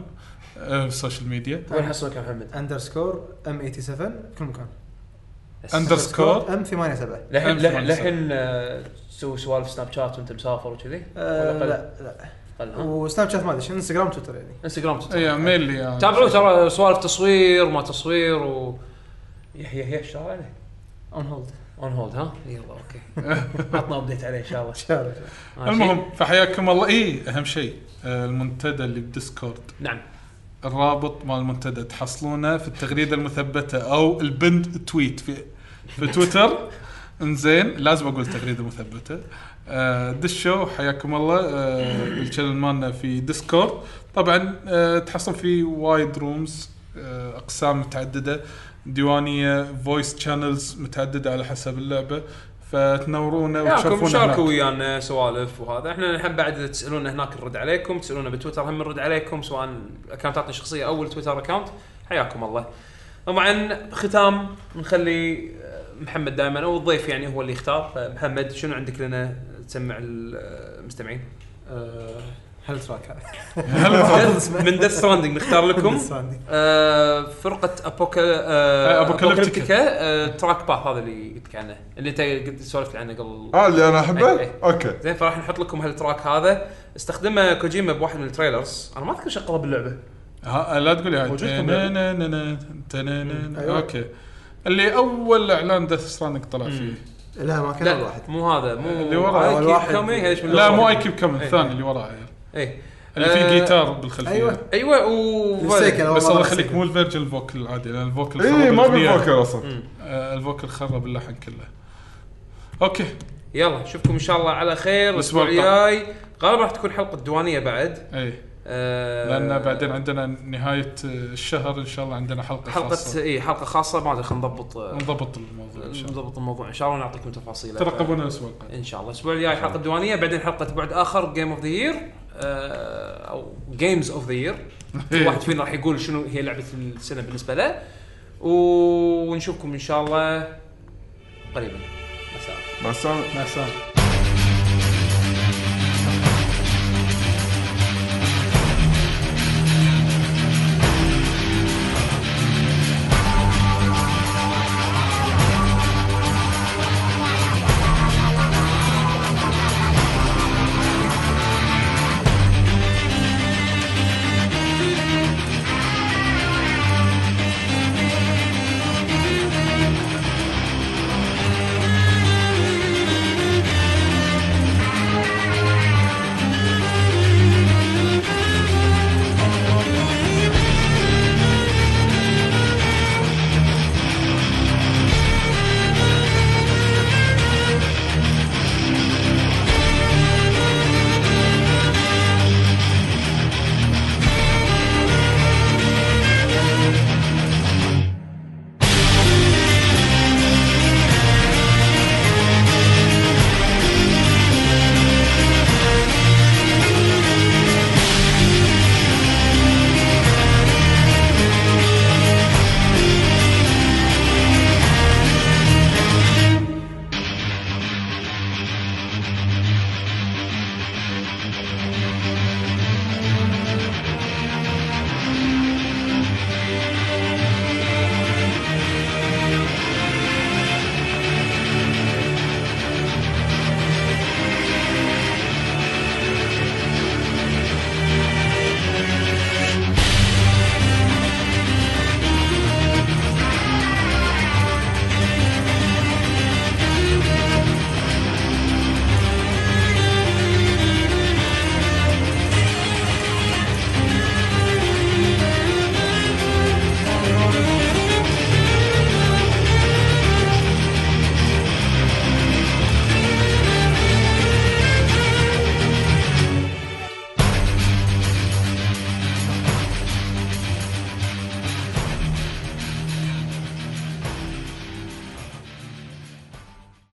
[SPEAKER 2] آه، في السوشيال ميديا
[SPEAKER 1] وين حصلك يا محمد؟
[SPEAKER 4] اندرسكور ام 87 كل مكان
[SPEAKER 2] اندرسكور
[SPEAKER 4] ام 87
[SPEAKER 1] لحن
[SPEAKER 2] أمس
[SPEAKER 1] لحن
[SPEAKER 2] ما
[SPEAKER 1] لحن آه، تسوي سوالف سناب شات وانت مسافر وكذي؟
[SPEAKER 4] آه،
[SPEAKER 1] ولا قل؟
[SPEAKER 4] لا لا
[SPEAKER 1] قل ها؟
[SPEAKER 4] وسناب شات ما ادري شنو، انستغرام تويتر يعني
[SPEAKER 1] انستغرام تويتر.
[SPEAKER 2] اي ميلي يعني.
[SPEAKER 1] تابعوه ترى سوالف تصوير ما تصوير و يحيى يحيى ايش صار عليه؟
[SPEAKER 4] اون هولد
[SPEAKER 1] اون هولد ها؟ يلا اوكي عطنا ابديت عليه ان شاء الله ماشي؟
[SPEAKER 2] المهم فحياكم الله اي اهم شيء آه، المنتدى اللي بديسكورد
[SPEAKER 1] نعم
[SPEAKER 2] الرابط مال المنتدى تحصلونه في التغريده المثبته او البند تويت في في تويتر انزين لازم اقول تغريده مثبته آه، دشوا حياكم الله آه، بالشانل مالنا في ديسكورد طبعا آه، تحصل في وايد رومز آه، اقسام متعدده ديوانيه فويس شانلز متعدده على حسب اللعبه فتنورونا
[SPEAKER 1] ياكم
[SPEAKER 2] وتشرفونا هناك.
[SPEAKER 1] شاركوا ويانا سوالف وهذا احنا الحين بعد إذا تسالونا هناك نرد عليكم تسالونا بتويتر هم نرد عليكم سواء اكونتاتنا الشخصيه او التويتر اكونت حياكم الله طبعا ختام نخلي آه، محمد دائما او الضيف يعني هو اللي يختار فمحمد شنو عندك لنا تسمع آه، المستمعين
[SPEAKER 4] هل تراك هذا
[SPEAKER 1] من ديث ستراندنج نختار لكم
[SPEAKER 4] عندي.
[SPEAKER 1] آه، فرقه ابوكا آه،
[SPEAKER 2] آه، أبوكاليبتيكا.
[SPEAKER 1] أبوكاليبتيكا، آه، تراك باث هذا اللي قلت لك عنه اللي انت قلت سولفت عنه قبل
[SPEAKER 3] اه اللي انا احبه؟
[SPEAKER 1] أي- أي.
[SPEAKER 3] اوكي
[SPEAKER 1] زين فراح نحط لكم هالتراك هذا استخدمه كوجيما بواحد من التريلرز انا ما اذكر شغله باللعبه
[SPEAKER 2] ها لا تقول يا
[SPEAKER 1] موجود في أيوة.
[SPEAKER 2] تنانانا، تنانانا. اوكي اللي اول اعلان ديث ستراندنج طلع فيه
[SPEAKER 4] لا ما كان
[SPEAKER 1] لا
[SPEAKER 4] اول واحد
[SPEAKER 1] مو هذا مو
[SPEAKER 2] اللي ورا
[SPEAKER 1] I keep
[SPEAKER 4] الواحد.
[SPEAKER 1] coming، هذا من
[SPEAKER 2] لا
[SPEAKER 1] الأول.
[SPEAKER 2] مو اي كيب كم
[SPEAKER 1] إيه.
[SPEAKER 2] الثاني اللي وراه عيل.
[SPEAKER 1] اي
[SPEAKER 2] اللي فيه
[SPEAKER 1] آه،
[SPEAKER 2] جيتار بالخلفيه
[SPEAKER 4] أيوة.
[SPEAKER 1] ايوه و
[SPEAKER 4] مستيكن أول
[SPEAKER 2] بس
[SPEAKER 4] مرة
[SPEAKER 2] الله يخليك
[SPEAKER 4] مستيكن.
[SPEAKER 2] مو الفيرجن الفوكل العادي لان الفوكل
[SPEAKER 3] اي
[SPEAKER 2] خرب
[SPEAKER 3] إيه، ما
[SPEAKER 2] الأغنية.
[SPEAKER 3] بالفوكر اصلا
[SPEAKER 2] آه، الفوكل خرب اللحن كله اوكي
[SPEAKER 1] يلا نشوفكم ان شاء الله على خير
[SPEAKER 2] الأسبوع
[SPEAKER 1] الاسبوع الجاي غالبا راح تكون حلقه دوانيه بعد
[SPEAKER 2] اي
[SPEAKER 1] آه،
[SPEAKER 2] لان إيه. بعدين عندنا نهايه آه، الشهر ان شاء الله عندنا حلقه
[SPEAKER 1] حلقه
[SPEAKER 2] خاصه
[SPEAKER 1] اي حلقه خاصه إيه، ما ادري خلينا نضبط آه،
[SPEAKER 2] نضبط الموضوع ان شاء الله
[SPEAKER 1] نضبط الموضوع ان شاء الله ونعطيكم تفاصيل
[SPEAKER 2] ترقبونا الاسبوع القادم
[SPEAKER 1] ان شاء الله الاسبوع الجاي حلقه دوانيه بعدين حلقه بعد اخر جيم اوف ذا يير او جيمز اوف ذا يير كل واحد فينا راح يقول شنو هي لعبه السنه بالنسبه له و- ونشوفكم ان شاء الله قريبا مساء
[SPEAKER 3] مع السلامه
[SPEAKER 2] مع السلامه